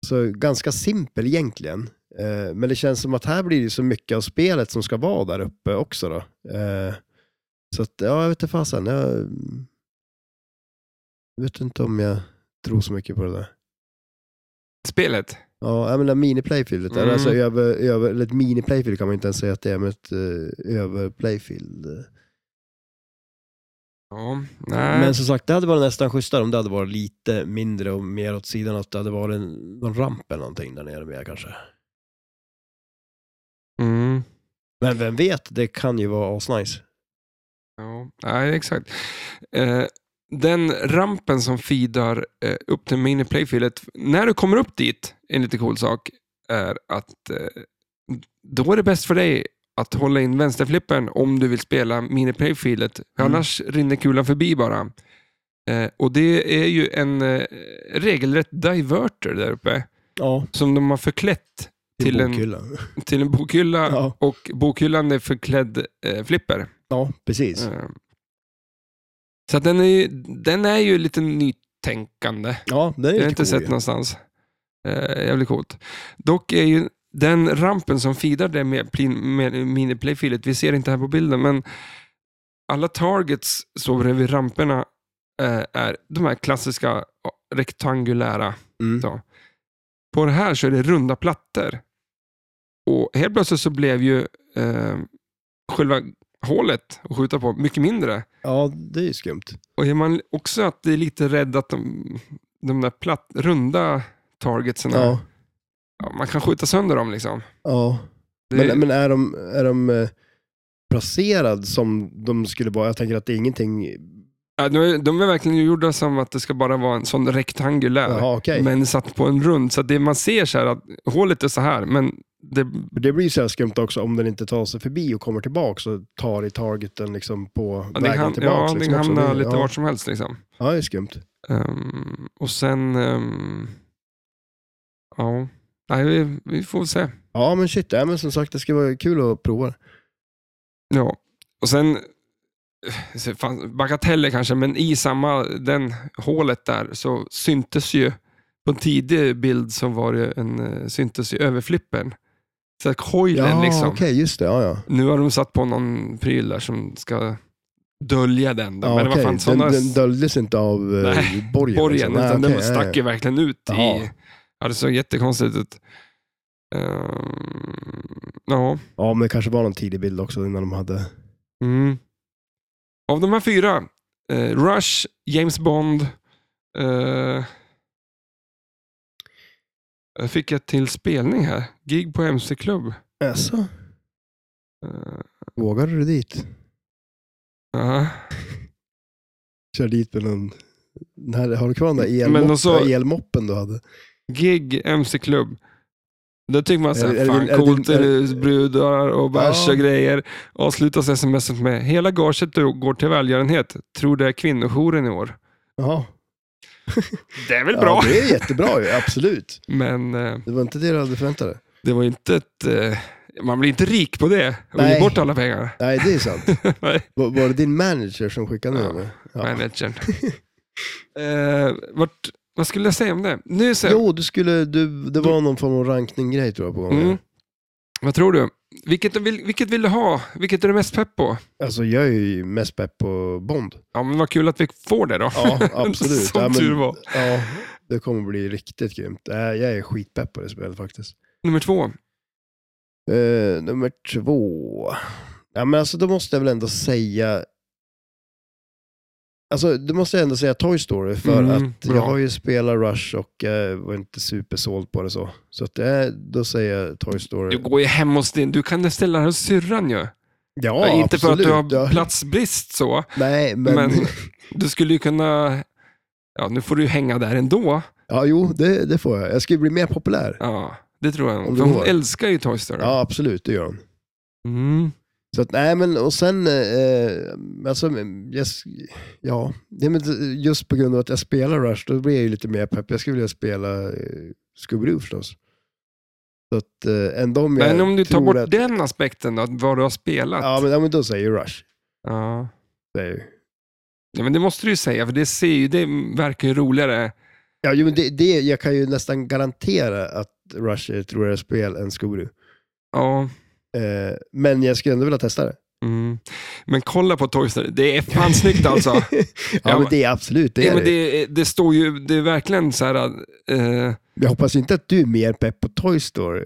Speaker 2: så ganska simpel egentligen. Eh, Men det känns som att här blir det ju så mycket av spelet som ska vara där uppe också. Då. Eh, Så att, ja, jag vet inte fasen. Jag jag vet inte om jag tror så mycket på det där.
Speaker 1: Spelet?
Speaker 2: Ja, jag menar mini-playfieldet.
Speaker 1: Mm.
Speaker 2: Eller alltså över, över, eller ett mini-playfield kan man ju inte ens säga att det är, men ett eh, över-playfield.
Speaker 1: Ja. Nej.
Speaker 2: Men som sagt, det hade varit nästan schysstare om det hade varit lite mindre och mer åt sidan, att det hade varit en, någon ramp eller någonting där nere mer kanske.
Speaker 1: Mm.
Speaker 2: Men vem vet, det kan ju vara asnice.
Speaker 1: Ja. Nej, exakt. Eh, den rampen som feedar eh, upp till miniplayfieldet, när du kommer upp dit, en lite cool sak, är att eh, då är det bäst för dig att hålla in vänsterflippen om du vill spela miniplayfieldet.
Speaker 2: Mm.
Speaker 1: Annars rinner kulan förbi bara. Eh, och det är ju en eh, regelrätt diverter där uppe
Speaker 2: Ja,
Speaker 1: som de har förklätt till en,
Speaker 2: bokhyllan.
Speaker 1: till en bokhylla
Speaker 2: Ja.
Speaker 1: och bokhyllan är förklädd eh, flipper.
Speaker 2: ja, precis.
Speaker 1: Eh, Så att den, är ju, den är ju lite nytänkande.
Speaker 2: Ja, den är
Speaker 1: Jag har
Speaker 2: ju
Speaker 1: inte
Speaker 2: cool
Speaker 1: sett
Speaker 2: ju.
Speaker 1: någonstans. Eh, jävligt coolt. Dock är ju den rampen som feedar det med, plin- med miniplayfilet, vi ser inte här på bilden, men alla targets så bredvid ramperna eh, är de här klassiska ja, rektangulära.
Speaker 2: Mm.
Speaker 1: Så. På det här så är det runda plattor. Och helt plötsligt så blev ju eh, själva hålet att skjuta på mycket mindre.
Speaker 2: Ja, det är ju skumt.
Speaker 1: Och är man också att det är lite rädd att de, de där platt, runda targetsen,
Speaker 2: Ja,
Speaker 1: ja, man kan skjuta sönder dem liksom.
Speaker 2: ja.
Speaker 1: Det,
Speaker 2: Men, men är de, är de eh, placerad som de skulle vara? Jag tänker att det är ingenting...
Speaker 1: ja, de, är, de är verkligen gjorda som att det ska bara vara en sån rektangulär,
Speaker 2: Jaha, okej.
Speaker 1: men satt på en rund. Så att det man ser så här att hålet är så här, men det,
Speaker 2: För Det blir ju så här skumt också om den inte tar sig förbi och kommer tillbaka så tar i targeten liksom på
Speaker 1: ja, det
Speaker 2: vägen
Speaker 1: kan,
Speaker 2: tillbaka.
Speaker 1: ja, det
Speaker 2: liksom
Speaker 1: kan
Speaker 2: också.
Speaker 1: hamna
Speaker 2: Det-
Speaker 1: lite
Speaker 2: ja.
Speaker 1: vart som helst. Liksom.
Speaker 2: Ja, det är skumt.
Speaker 1: Ehm, och sen, ehm, ja, nej, vi, vi får väl se.
Speaker 2: Ja, men shit. Ja, men som sagt, det ska vara kul att prova. det.
Speaker 1: Ja, och sen eh, så fanns- bagateller kanske, men i samma den hålet där så syntes ju på en tidig bild som var det en eh, syntes ju överflippen Så här, coilen
Speaker 2: Ja,
Speaker 1: liksom.
Speaker 2: okej, just det. Ja, ja.
Speaker 1: Nu har de satt på någon pryl där som ska dölja den. Då.
Speaker 2: Ja,
Speaker 1: Men det var
Speaker 2: okej.
Speaker 1: fan sådana
Speaker 2: den, den döljdes inte av eh,
Speaker 1: Nej,
Speaker 2: borgen?
Speaker 1: borgen,
Speaker 2: liksom. Nej,
Speaker 1: utan den
Speaker 2: okej, ja,
Speaker 1: stack
Speaker 2: ja.
Speaker 1: ju verkligen ut
Speaker 2: Jaha.
Speaker 1: i... Ja, det såg jättekonstigt ut. Ehm, ja.
Speaker 2: Ja, men det kanske var någon tidig bild också innan de hade...
Speaker 1: Mm. Av de här fyra, eh, Rush, James Bond, eh, jag fick jag till spelning här. Gig på MC-klubb.
Speaker 2: Jaså?
Speaker 1: Eh,
Speaker 2: Vågade du dit?
Speaker 1: ja.
Speaker 2: Kör dit med någon... Den här, har du kvar den där elmoppen,
Speaker 1: Men och så-
Speaker 2: elmoppen du hade?
Speaker 1: Gig, MC-klubb. Då tycker man
Speaker 2: Är det-
Speaker 1: såhär,
Speaker 2: är det-
Speaker 1: fan
Speaker 2: är det-
Speaker 1: coolt,
Speaker 2: är
Speaker 1: är
Speaker 2: det-
Speaker 1: det brudar och bärs
Speaker 2: Ja.
Speaker 1: och grejer. Avslutas sms et med, hela gaget då går till välgörenhet. Tror det är kvinnojouren i år.
Speaker 2: Jaha.
Speaker 1: Det är väl bra,
Speaker 2: Ja, det är jättebra ju, absolut.
Speaker 1: men eh,
Speaker 2: Det var inte det du hade förväntat dig.
Speaker 1: det var ju inte ett... Eh, man blir inte rik på det och
Speaker 2: Nej.
Speaker 1: ge bort alla pengarna.
Speaker 2: Nej, det är sant.
Speaker 1: Nej.
Speaker 2: Var, var det din manager som skickade
Speaker 1: Ja.
Speaker 2: ner den? Ja.
Speaker 1: managern. eh, vart, vad skulle jag säga om det? Nu så,
Speaker 2: Jo, du skulle, du, det var någon form av rankning-grej tror jag på gång.
Speaker 1: mm, vad tror du? Vilket, vill- vilket vill du ha? Vilket är du mest pepp på?
Speaker 2: Alltså jag är ju mest pepp på Bond.
Speaker 1: Ja, men vad kul att vi får det då.
Speaker 2: Ja, absolut.
Speaker 1: Som
Speaker 2: ja, men-
Speaker 1: tur var.
Speaker 2: Ja, det kommer bli riktigt grymt. Äh, jag är skitpepp på det spelet faktiskt.
Speaker 1: Nummer två.
Speaker 2: Eh, nummer två. Ja, men alltså då måste jag väl ändå säga... Alltså, då måste jag ändå säga Toy Story för
Speaker 1: Mm,
Speaker 2: att
Speaker 1: bra.
Speaker 2: jag har ju spelat Rush och eh, var inte supersåld på det så. Så att, eh, då säger jag Toy Story.
Speaker 1: Du går ju hem hos din... Du kan ställa den hos syrran ju.
Speaker 2: Ja,
Speaker 1: inte för att du har
Speaker 2: absolut. Ja,
Speaker 1: platsbrist så.
Speaker 2: Nej, men...
Speaker 1: Men du skulle ju kunna... Ja, nu får du ju hänga där ändå.
Speaker 2: Ja, jo, det, det får jag. Jag ska ju bli mer populär.
Speaker 1: Ja, det tror jag.
Speaker 2: Om
Speaker 1: För
Speaker 2: du
Speaker 1: hon
Speaker 2: går.
Speaker 1: älskar ju Toy Story.
Speaker 2: Ja, absolut, det gör hon.
Speaker 1: Mm.
Speaker 2: Så att, nej men och sen, eh, alltså, jag, s- ja, det, men just på grund av att jag spelar Rush, då blir jag ju lite mer pepp. Jag skulle vilja spela eh, Scooby-Doo förstås. Så att, eh, ändå om jag
Speaker 1: Men om du tar
Speaker 2: tror
Speaker 1: bort
Speaker 2: att,
Speaker 1: den aspekten då, att vad du har spelat.
Speaker 2: Ja men, ja, men då säger jag Rush.
Speaker 1: Ja.
Speaker 2: Det är ju.
Speaker 1: Ja, men det måste du ju säga, för det, ser ju, det verkar ju roligare.
Speaker 2: Ja, jo, men det, det, jag kan ju nästan garantera att Rush är ett roligare spel än Scooby-Doo.
Speaker 1: Ja.
Speaker 2: Eh, men jag skulle ändå vilja testa det.
Speaker 1: Mm. Men kolla på Toy Story, det är fan snyggt alltså.
Speaker 2: ja,
Speaker 1: Ja,
Speaker 2: men det är absolut, det
Speaker 1: ja,
Speaker 2: är
Speaker 1: men
Speaker 2: det.
Speaker 1: det, det står ju, det är verkligen så här... eh,
Speaker 2: Jag hoppas inte att du är mer pepp på Toy Story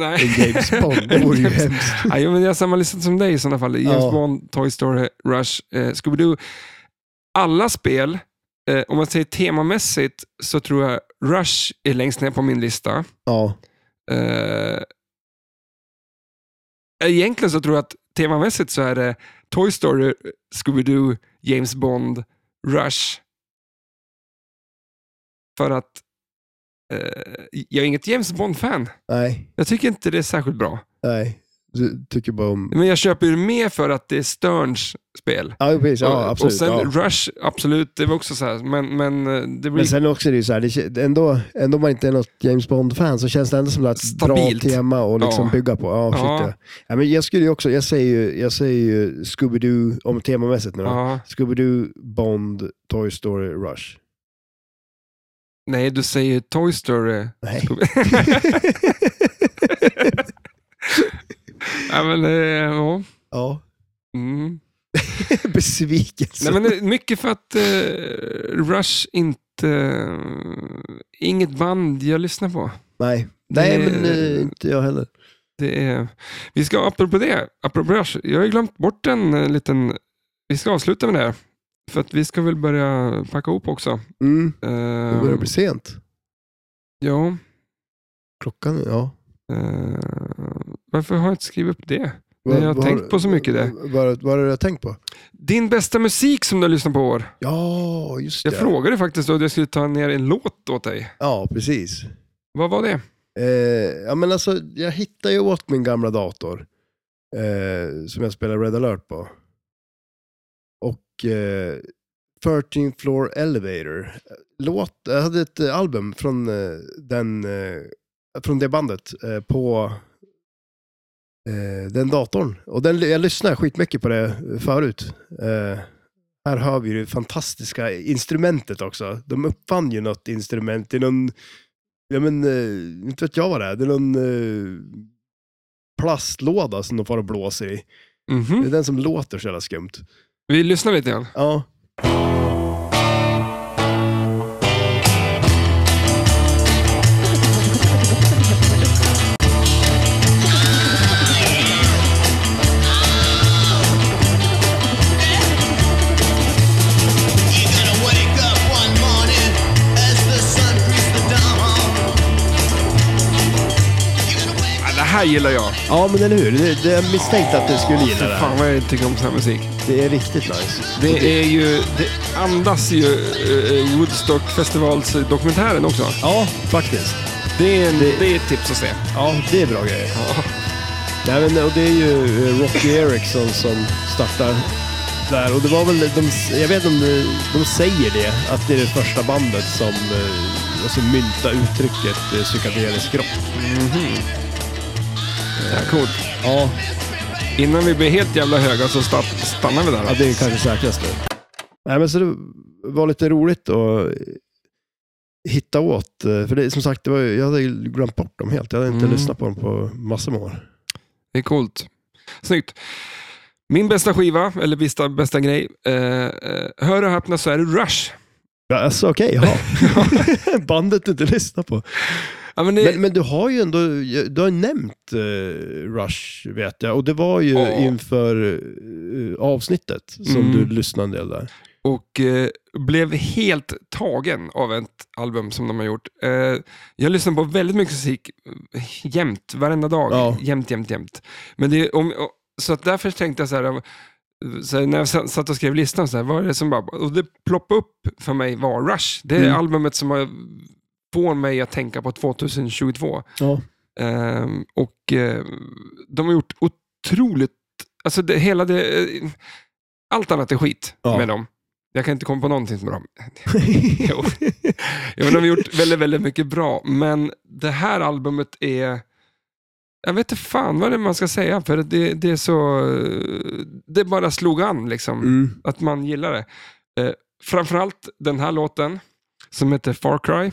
Speaker 1: nej.
Speaker 2: än James Bond. Det vore ju hemskt.
Speaker 1: Nej, men jag har samma lista som dig i sådana fall. James
Speaker 2: Ja.
Speaker 1: Bond, Toy Story, Rush, eh, Scooby-Doo. Alla spel, eh, om man säger temamässigt, så tror jag Rush är längst ner på min lista.
Speaker 2: Ja.
Speaker 1: Eh, egentligen så tror jag att temamässigt så är det Toy Story, Scooby-Doo, James Bond, Rush. För att eh, jag är inget James Bond-fan.
Speaker 2: Nej,
Speaker 1: Jag tycker inte det är särskilt bra.
Speaker 2: nej. Du tycker bara om...
Speaker 1: Men jag köper ju mer för att det är Sterns spel.
Speaker 2: Ja, precis. Ja,
Speaker 1: Och-
Speaker 2: absolut.
Speaker 1: och sen
Speaker 2: ja.
Speaker 1: Rush, absolut, det var också så här, men, men eh, det blir...
Speaker 2: Men sen också är det ju så här, det, kän- ändå, ändå om man inte är något James Bond-fan så känns det ändå som ett
Speaker 1: Stabilt.
Speaker 2: bra tema att liksom
Speaker 1: Ja.
Speaker 2: bygga på. Ja, shit,
Speaker 1: Ja.
Speaker 2: ja. Ja, men jag skulle ju också, jag säger ju, jag säger ju Scooby-Doo, om temamässigt nu då.
Speaker 1: ja.
Speaker 2: Scooby-Doo, Bond, Toy Story, Rush.
Speaker 1: Nej, du säger Toy Story.
Speaker 2: Nej.
Speaker 1: ja, men, eh, ja.
Speaker 2: ja,
Speaker 1: Mm.
Speaker 2: besvikelse.
Speaker 1: Nej, men, eh, mycket för att eh, Rush inte... eh, inget band jag lyssnar på.
Speaker 2: Nej, nej men
Speaker 1: Det-
Speaker 2: eh, inte jag heller.
Speaker 1: Det är, vi ska, apropå det, apropå Rush, jag har ju glömt bort en eh, liten... Vi ska avsluta med det här. För att vi ska väl börja packa ihop också.
Speaker 2: Mm, det
Speaker 1: Ehm,
Speaker 2: börjar bli sent.
Speaker 1: Eh, ja,
Speaker 2: Klockan, ja.
Speaker 1: eh, varför har jag inte skrivit upp det? Nej, jag har tänkt på så mycket det.
Speaker 2: Vad, vad har du tänkt på?
Speaker 1: Din bästa musik som du har lyssnat på i år.
Speaker 2: Ja, just det.
Speaker 1: Jag frågade faktiskt då att jag skulle ta ner en låt åt dig.
Speaker 2: Ja, precis.
Speaker 1: Vad var det?
Speaker 2: Eh, ja, men alltså, jag hittade ju åt min gamla dator eh, som jag spelar Red Alert på. Och eh, 13 Floor Elevator. Låt, jag hade ett eh, album från, eh, den, eh, från det bandet eh, på eh, den datorn. Och den, jag lyssnade skitmycket på det förut. Eh, här hör vi ju det fantastiska instrumentet också. De uppfann ju något instrument i någon Ja men, eh, inte vet jag vad det är. Det är någon eh, plastlåda som de far och blåser i. Det
Speaker 1: Mhm.
Speaker 2: är den som låter så jävla skumt.
Speaker 1: Vi lyssnar lite grann.
Speaker 2: Ja.
Speaker 4: You're gonna wake up one morning as the sun greets the dawn. You're gonna wake
Speaker 1: Ja, det här gillar jag.
Speaker 2: ja, men eller hur? Det, det jag misstänkte att du skulle gilla det här.
Speaker 1: Fan vad jag tycker om sån här musik.
Speaker 2: Det är riktigt nice.
Speaker 1: Det är ju, det andas ju eh, Woodstock-festivalsdokumentären också.
Speaker 2: Ja, faktiskt.
Speaker 1: Det är, en, det är ett tips att se.
Speaker 2: Ja, det är bra grejer. Nej, men, och det är ju eh, Rocky Erickson som startar där. Och det var väl, de, jag vet om de, de säger det, att det är det första bandet som eh, alltså, myntar uttrycket eh, psykedelisk rock.
Speaker 1: Det här är coolt.
Speaker 2: Ja,
Speaker 1: Innan vi blir helt jävla höga så sta- stannar vi där.
Speaker 2: ja
Speaker 1: va?
Speaker 2: det är kanske säkrast nu. Nej, men så det var lite roligt att hitta åt. eh, För det, som sagt, det var, ju- jag hade ju glömt bort dem helt. Jag hade inte
Speaker 1: Mm.
Speaker 2: lyssnat på dem på massor med år.
Speaker 1: Det är coolt. Snyggt. Min bästa skiva, eller bästa, bästa grej. Eh, eh, hör och häpna så är det Rush.
Speaker 2: Ja, alltså, okej, jaha. Bandet du inte lyssnar på.
Speaker 1: Ja, men det,
Speaker 2: Men, men du har ju ändå du har ju nämnt eh, Rush, vet jag. Och det var ju
Speaker 1: Ja.
Speaker 2: inför eh, avsnittet som
Speaker 1: Mm.
Speaker 2: du lyssnade en del där.
Speaker 1: Och eh, blev helt tagen av ett album som de har gjort. Eh, jag lyssnar på väldigt mycket musik eh, jämt, varenda dag.
Speaker 2: Ja.
Speaker 1: Jämt, jämt, jämt. Men det, är- om, och, så att därför tänkte jag så här, eh, så här, när jag sa- satt och skrev listan, så här, vad är det som bara... Och det ploppade upp för mig var Rush. Det är
Speaker 2: Mm.
Speaker 1: albumet som har, får mig att tänka på 2022.
Speaker 2: Ja.
Speaker 1: Ehm, och eh, de har gjort otroligt, alltså det, hela det, eh, allt annat är skit
Speaker 2: Ja.
Speaker 1: med dem. Jag kan inte komma på någonting som är bra. jo. jo, men de har gjort väldigt, väldigt mycket bra, men det här albumet är, jag vet inte fan vad det är man ska säga, för det, det är så, eh, det bara slog an liksom,
Speaker 2: Mm.
Speaker 1: att man gillar det. Eh, framförallt den här låten som heter Far Cry.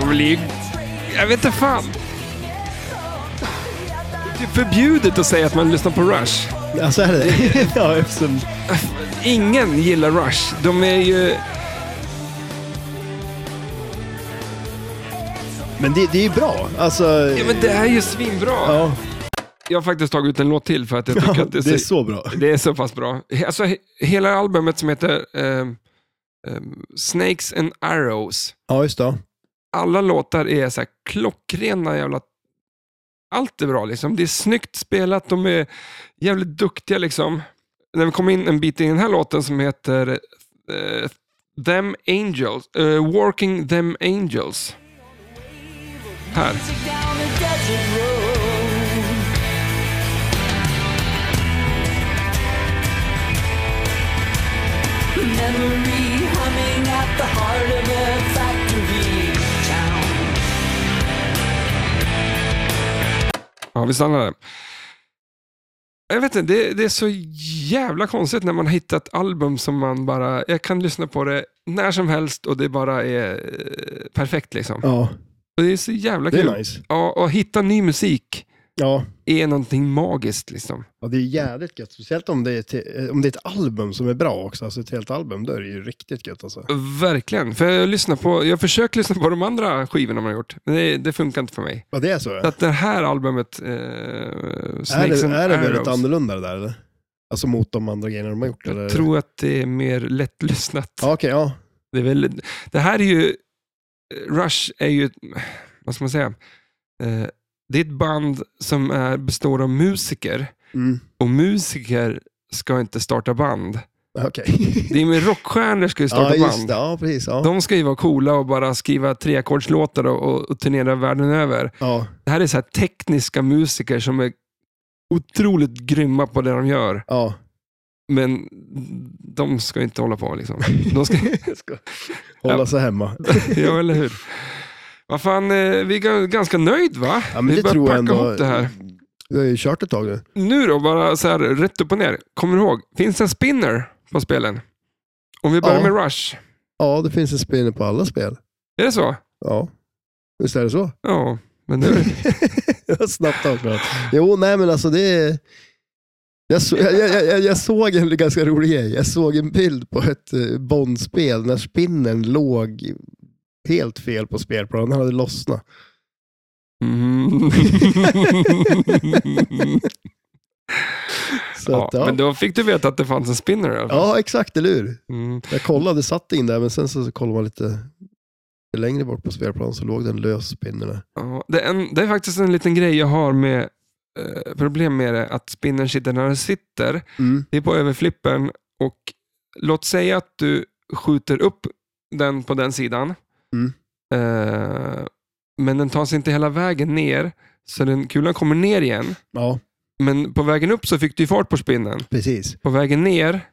Speaker 1: Man blir ju... Jag vet inte fan. Det är förbjudet att säga att man lyssnar på Rush.
Speaker 2: Alltså är det? ja, eftersom...
Speaker 1: Ingen gillar Rush. De är ju...
Speaker 2: Men det, det är ju bra. Alltså,
Speaker 1: Ja, men det är ju svinbra.
Speaker 2: ja,
Speaker 1: Jag har faktiskt tagit ut en låt till för att jag tycker att det är,
Speaker 2: det är
Speaker 1: så...
Speaker 2: så bra.
Speaker 1: Det är så pass bra. He- Alltså, he- hela albumet som heter ehm, ehm, Snakes and Arrows.
Speaker 2: Ja, just det.
Speaker 1: Alla låtar är så här klockrena jävla... Allt är bra liksom. Det är snyggt spelat, de är jävligt duktiga liksom. När vi kom in en bit in i den här låten som heter eh, Them Angels, eh, Working Them Angels. Här.
Speaker 5: down a desert road. Memory humming at the heart of a factory town.
Speaker 1: Ja, vi stannar där. Jag vet inte, det, det är så jävla konstigt när man har hittat ett album som man bara, jag kan lyssna på det när som helst och det bara är eh, perfekt liksom.
Speaker 2: Ja,
Speaker 1: Och det är så jävla
Speaker 2: det
Speaker 1: kul.
Speaker 2: är nice.
Speaker 1: Ja, och hitta ny musik
Speaker 2: Ja.
Speaker 1: är någonting magiskt liksom.
Speaker 2: Ja, det är jävligt gött. Speciellt om det är, till, om det är ett album som är bra också. Alltså ett helt album, då är det ju riktigt gött alltså.
Speaker 1: Verkligen, för jag lyssnar på, jag försöker lyssna på de andra skivorna man har gjort, men det, det funkar inte för mig.
Speaker 2: Ja, det är så.
Speaker 1: Så att det här albumet, eh,
Speaker 2: Är
Speaker 1: Snakes
Speaker 2: det,
Speaker 1: and
Speaker 2: är det väldigt
Speaker 1: Arrows,
Speaker 2: annorlunda det där eller? Alltså mot de andra grejerna de har gjort? Eller?
Speaker 1: jag tror att det är mer lättlyssnat.
Speaker 2: Ja, okej, ja.
Speaker 1: Det, är väl, det här är ju, Rush är ju, vad ska man säga, eh, det är ett band som är, består av musiker
Speaker 2: Mm.
Speaker 1: och musiker ska inte starta band.
Speaker 2: Okej.
Speaker 1: Det är med rockstjärnor ska ju starta
Speaker 2: Ja, just
Speaker 1: band.
Speaker 2: det. Ja, precis. Ja.
Speaker 1: De ska ju vara coola och bara skriva treackordslåtar och, och, och turnera världen över.
Speaker 2: Ja,
Speaker 1: Det här är så här tekniska musiker som är otroligt grymma på det de gör,
Speaker 2: ja.
Speaker 1: men de ska ju inte hålla på. Liksom. De ska,
Speaker 2: Hålla sig hemma.
Speaker 1: ja, eller hur? Vad fan, eh, vi är ga- ganska nöjd va?
Speaker 2: Ja, men
Speaker 1: vi
Speaker 2: det
Speaker 1: börjar
Speaker 2: tror jag
Speaker 1: packa
Speaker 2: ändå.
Speaker 1: ihop det här.
Speaker 2: Vi har ju kört ett tag nu.
Speaker 1: Nu då, bara så här rätt upp och ner. Kommer du ihåg? Finns det en spinner på spelen? Om vi börjar
Speaker 2: Ja.
Speaker 1: med Rush.
Speaker 2: Ja, det finns en spinner på alla spel.
Speaker 1: Är det så?
Speaker 2: Ja, visst är det så?
Speaker 1: Ja, men nu...
Speaker 2: Jag har Snabbt avklarat. Jo, nej men alltså det är... Jag, så, jag, jag, jag, jag såg en ganska rolig grej. Jag såg en bild på ett eh, Bondspel när spinnen låg helt fel på spelplanen. Han hade lossnat.
Speaker 1: Mm.
Speaker 2: Så
Speaker 1: ja,
Speaker 2: att, ja.
Speaker 1: Men då fick du veta att det fanns en spinner i alla fall.
Speaker 2: ja, exakt, eller hur?
Speaker 1: Mm.
Speaker 2: Jag kollade, satt in där, men sen så kollade man lite längre bort på spelplanen så låg den lös, spinnen. där.
Speaker 1: Ja, det, är en, det är faktiskt en liten grej jag har med eh, problem med det, att spinnern sitter när den sitter.
Speaker 2: Mm.
Speaker 1: Det är på överflippen och låt säga att du skjuter upp den på den sidan.
Speaker 2: Mm.
Speaker 1: Eh, men den tar sig inte hela vägen ner, så den, kulan kommer ner igen.
Speaker 2: Ja,
Speaker 1: Men på vägen upp så fick du ju fart på spinnen.
Speaker 2: precis.
Speaker 1: På vägen ner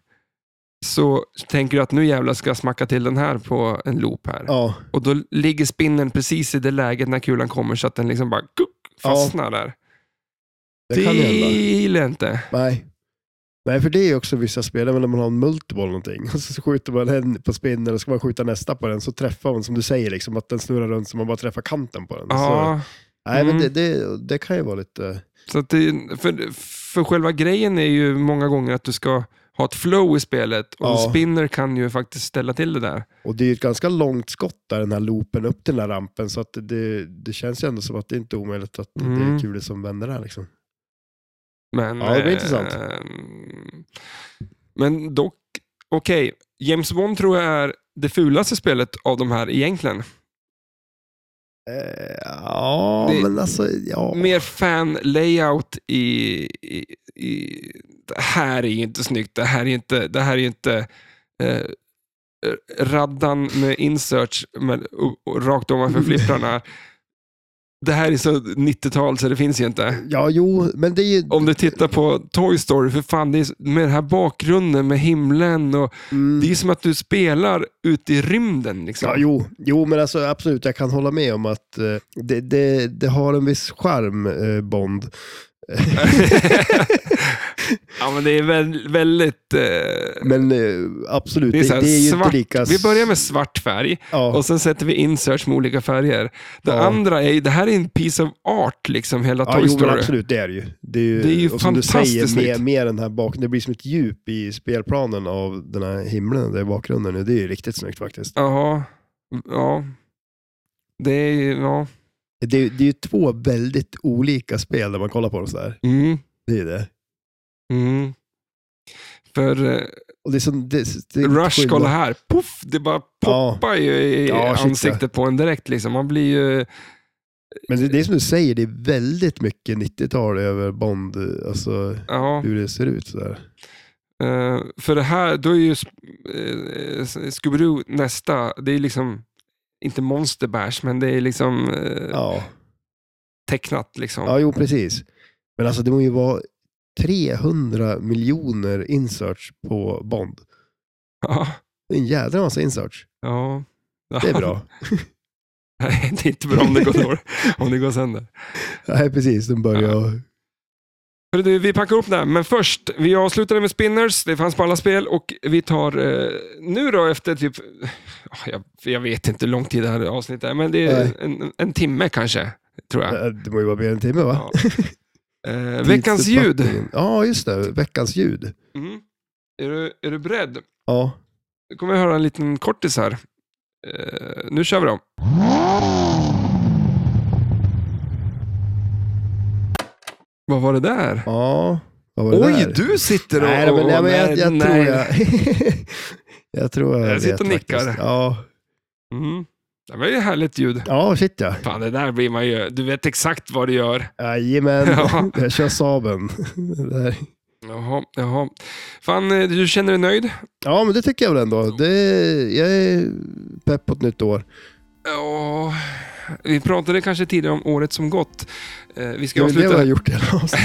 Speaker 1: så tänker du att nu jävlar ska jag smacka till den här på en loop här.
Speaker 2: Ja,
Speaker 1: Och då ligger spinnen precis i det läget när kulan kommer så att den liksom bara kuck, fastnar där.
Speaker 2: det kan hända.
Speaker 1: gillar jag inte.
Speaker 2: Nej. Nej, för det är också vissa spel, även när man har en multiball eller någonting, och så skjuter man en på spinnen och ska man skjuta nästa på den så träffar man, som du säger, liksom, att den snurrar runt så man bara träffar kanten på den. Så,
Speaker 1: Ja,
Speaker 2: nej, men
Speaker 1: Mm.
Speaker 2: det, det, det kan ju vara lite...
Speaker 1: så att det, för, för själva grejen är ju många gånger att du ska ha ett flow i spelet och
Speaker 2: Ja.
Speaker 1: en spinner kan ju faktiskt ställa till det där.
Speaker 2: Och det är ju ett ganska långt skott där, den här loopen upp till den här rampen, så att det, det känns ju ändå som att det inte är omöjligt att det
Speaker 1: Mm.
Speaker 2: är kulor som vänder där. Liksom.
Speaker 1: Men,
Speaker 2: Ja, det blir
Speaker 1: eh,
Speaker 2: intressant.
Speaker 1: Men dock, okej. James Bond tror jag är det fulaste spelet av de här egentligen.
Speaker 2: Eh, ja,
Speaker 1: Det-
Speaker 2: men alltså, ja.
Speaker 1: Mer fan-layout i, i, i... Det här är ju inte snyggt. Det här är ju inte, det här är ju inte eh, raddan med inserts med, och, och rakt ovanför flipprarna. Det här är så 90-tal så det finns ju inte.
Speaker 2: Ja, jo, men det är ju...
Speaker 1: Om du tittar på Toy Story, för fan, det är, med den här bakgrunden med himlen och
Speaker 2: Mm.
Speaker 1: det är som att du spelar ute i rymden. Liksom.
Speaker 2: Ja, jo, jo, men alltså absolut, jag kan hålla med om att eh, det, det, det har en viss charm, eh, Bond.
Speaker 1: ja, men det är väl, väldigt... Eh,
Speaker 2: Men eh, absolut,
Speaker 1: Det är
Speaker 2: det
Speaker 1: så
Speaker 2: är, det,
Speaker 1: här
Speaker 2: är ju
Speaker 1: svart.
Speaker 2: inte lika...
Speaker 1: Vi börjar med svart färg
Speaker 2: Ja,
Speaker 1: och sen sätter vi inserts med olika färger. Det
Speaker 2: Ja.
Speaker 1: andra är ju- det här är en piece of art, liksom hela
Speaker 2: ja
Speaker 1: Toy
Speaker 2: jo, men
Speaker 1: Story.
Speaker 2: absolut, det är det ju. Det är ju,
Speaker 1: Det är ju
Speaker 2: och som du
Speaker 1: fantastiskt
Speaker 2: säger, med,
Speaker 1: snyggt.
Speaker 2: med den här bak, det blir som ett djup i spelplanen av den här himlen, där i bakgrunden. nu. Det är ju riktigt snyggt faktiskt.
Speaker 1: Jaha. Ja. Det är ju- ja.
Speaker 2: Det, är- det är ju två väldigt olika spel när man kollar på dem sådär.
Speaker 1: Mm.
Speaker 2: Det är ju det.
Speaker 1: Mm. För eh,
Speaker 2: Och det är som, det, det är
Speaker 1: Rush,
Speaker 2: skillnad.
Speaker 1: kolla här. Puff, det bara poppar ju i
Speaker 2: Ja, shit,
Speaker 1: ansiktet på en direkt. Liksom. Man blir ju...
Speaker 2: Men det, det är som du säger, det är väldigt mycket 90-tal över Bond, eh, alltså
Speaker 1: Ja.
Speaker 2: hur det ser ut sådär.
Speaker 1: Eh, för det här, då är ju uh, Scooby-Doo nästa. Det är liksom, inte Monster Bash, men det är liksom eh,
Speaker 2: Ja,
Speaker 1: tecknat. Liksom.
Speaker 2: ja jo precis. Men alltså det må ju vara 300 miljoner inserts på Bond.
Speaker 1: Ja.
Speaker 2: Det är en jädra massa inserts.
Speaker 1: ja.
Speaker 2: Det är bra.
Speaker 1: Nej, det är inte bra om det går, dåligt, om det går sönder.
Speaker 2: Nej, precis. Den börjar...
Speaker 1: Hörru Du, vi packar upp det här, men först, vi avslutade med spinners, det fanns på alla spel och vi tar eh, nu då efter typ, ah, jag, jag vet inte hur lång tid det här avsnittet är, men det är
Speaker 2: Nej.
Speaker 1: en, en timme kanske, tror jag.
Speaker 2: äh, Det må ju vara mer än en timme va?
Speaker 1: Ja. Eh, veckans ljud.
Speaker 2: Tidsuppfattningen. Ja, just det. Veckans ljud.
Speaker 1: Mm. Är, du, är du beredd?
Speaker 2: Ja.
Speaker 1: Nu kommer jag höra en liten kortis här. Eh, nu kör vi då. Vad var det där?
Speaker 2: Ja. Vad var det
Speaker 1: Oj,
Speaker 2: där?
Speaker 1: du sitter och...
Speaker 2: Nej, men, nej, men jag,
Speaker 1: nej,
Speaker 2: jag tror
Speaker 1: nej.
Speaker 2: jag... jag tror jag
Speaker 1: Jag sitter
Speaker 2: vet
Speaker 1: och nickar.
Speaker 2: faktiskt. Ja.
Speaker 1: Mm. Det var ju härligt ljud.
Speaker 2: ja, shit ja.
Speaker 1: Fan, det där blir man ju... Du vet exakt vad du gör.
Speaker 2: Jajamän.
Speaker 1: Ja.
Speaker 2: Jag kör Saaben. Det där.
Speaker 1: Jaha, jaha. Fan, eh, du känner dig nöjd?
Speaker 2: Ja, men det tycker jag väl ändå. Det, jag är pepp på ett nytt år.
Speaker 1: Ja... Vi pratade kanske tidigare om året som gått. Eh, vi
Speaker 2: Det
Speaker 1: ska
Speaker 2: är väl det vi
Speaker 1: avsluta...
Speaker 2: har gjort i hela avsnittet.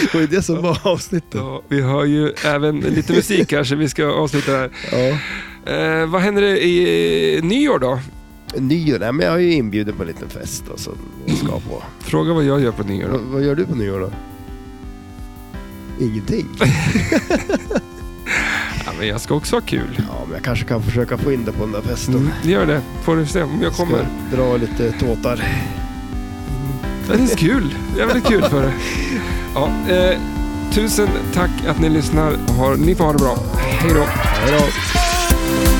Speaker 2: Det var ju det som var avsnittet.
Speaker 1: Ja, vi hör ju även lite musik här, så vi ska avsluta här.
Speaker 2: Ja.
Speaker 1: Eh, vad händer i eh, nyår då?
Speaker 2: Nyår? Nej, men jag är ju inbjuden på en liten fest då, som jag ska på.
Speaker 1: Fråga vad jag gör på nyår
Speaker 2: Vad,
Speaker 1: då.
Speaker 2: vad gör du på nyår då? Ingenting.
Speaker 1: Ja, men jag ska också ha kul.
Speaker 2: Ja, men jag kanske kan försöka få in dig på den där festen.
Speaker 1: Mm, gör det. Får du se om jag
Speaker 2: Ska
Speaker 1: kommer.
Speaker 2: dra lite tåtar.
Speaker 1: Det är kul. Det är väldigt kul för det. Ja, eh, tusen tack att ni lyssnar. Har, ni får ha det bra. Hej då.
Speaker 2: Hej då.
Speaker 4: Bye.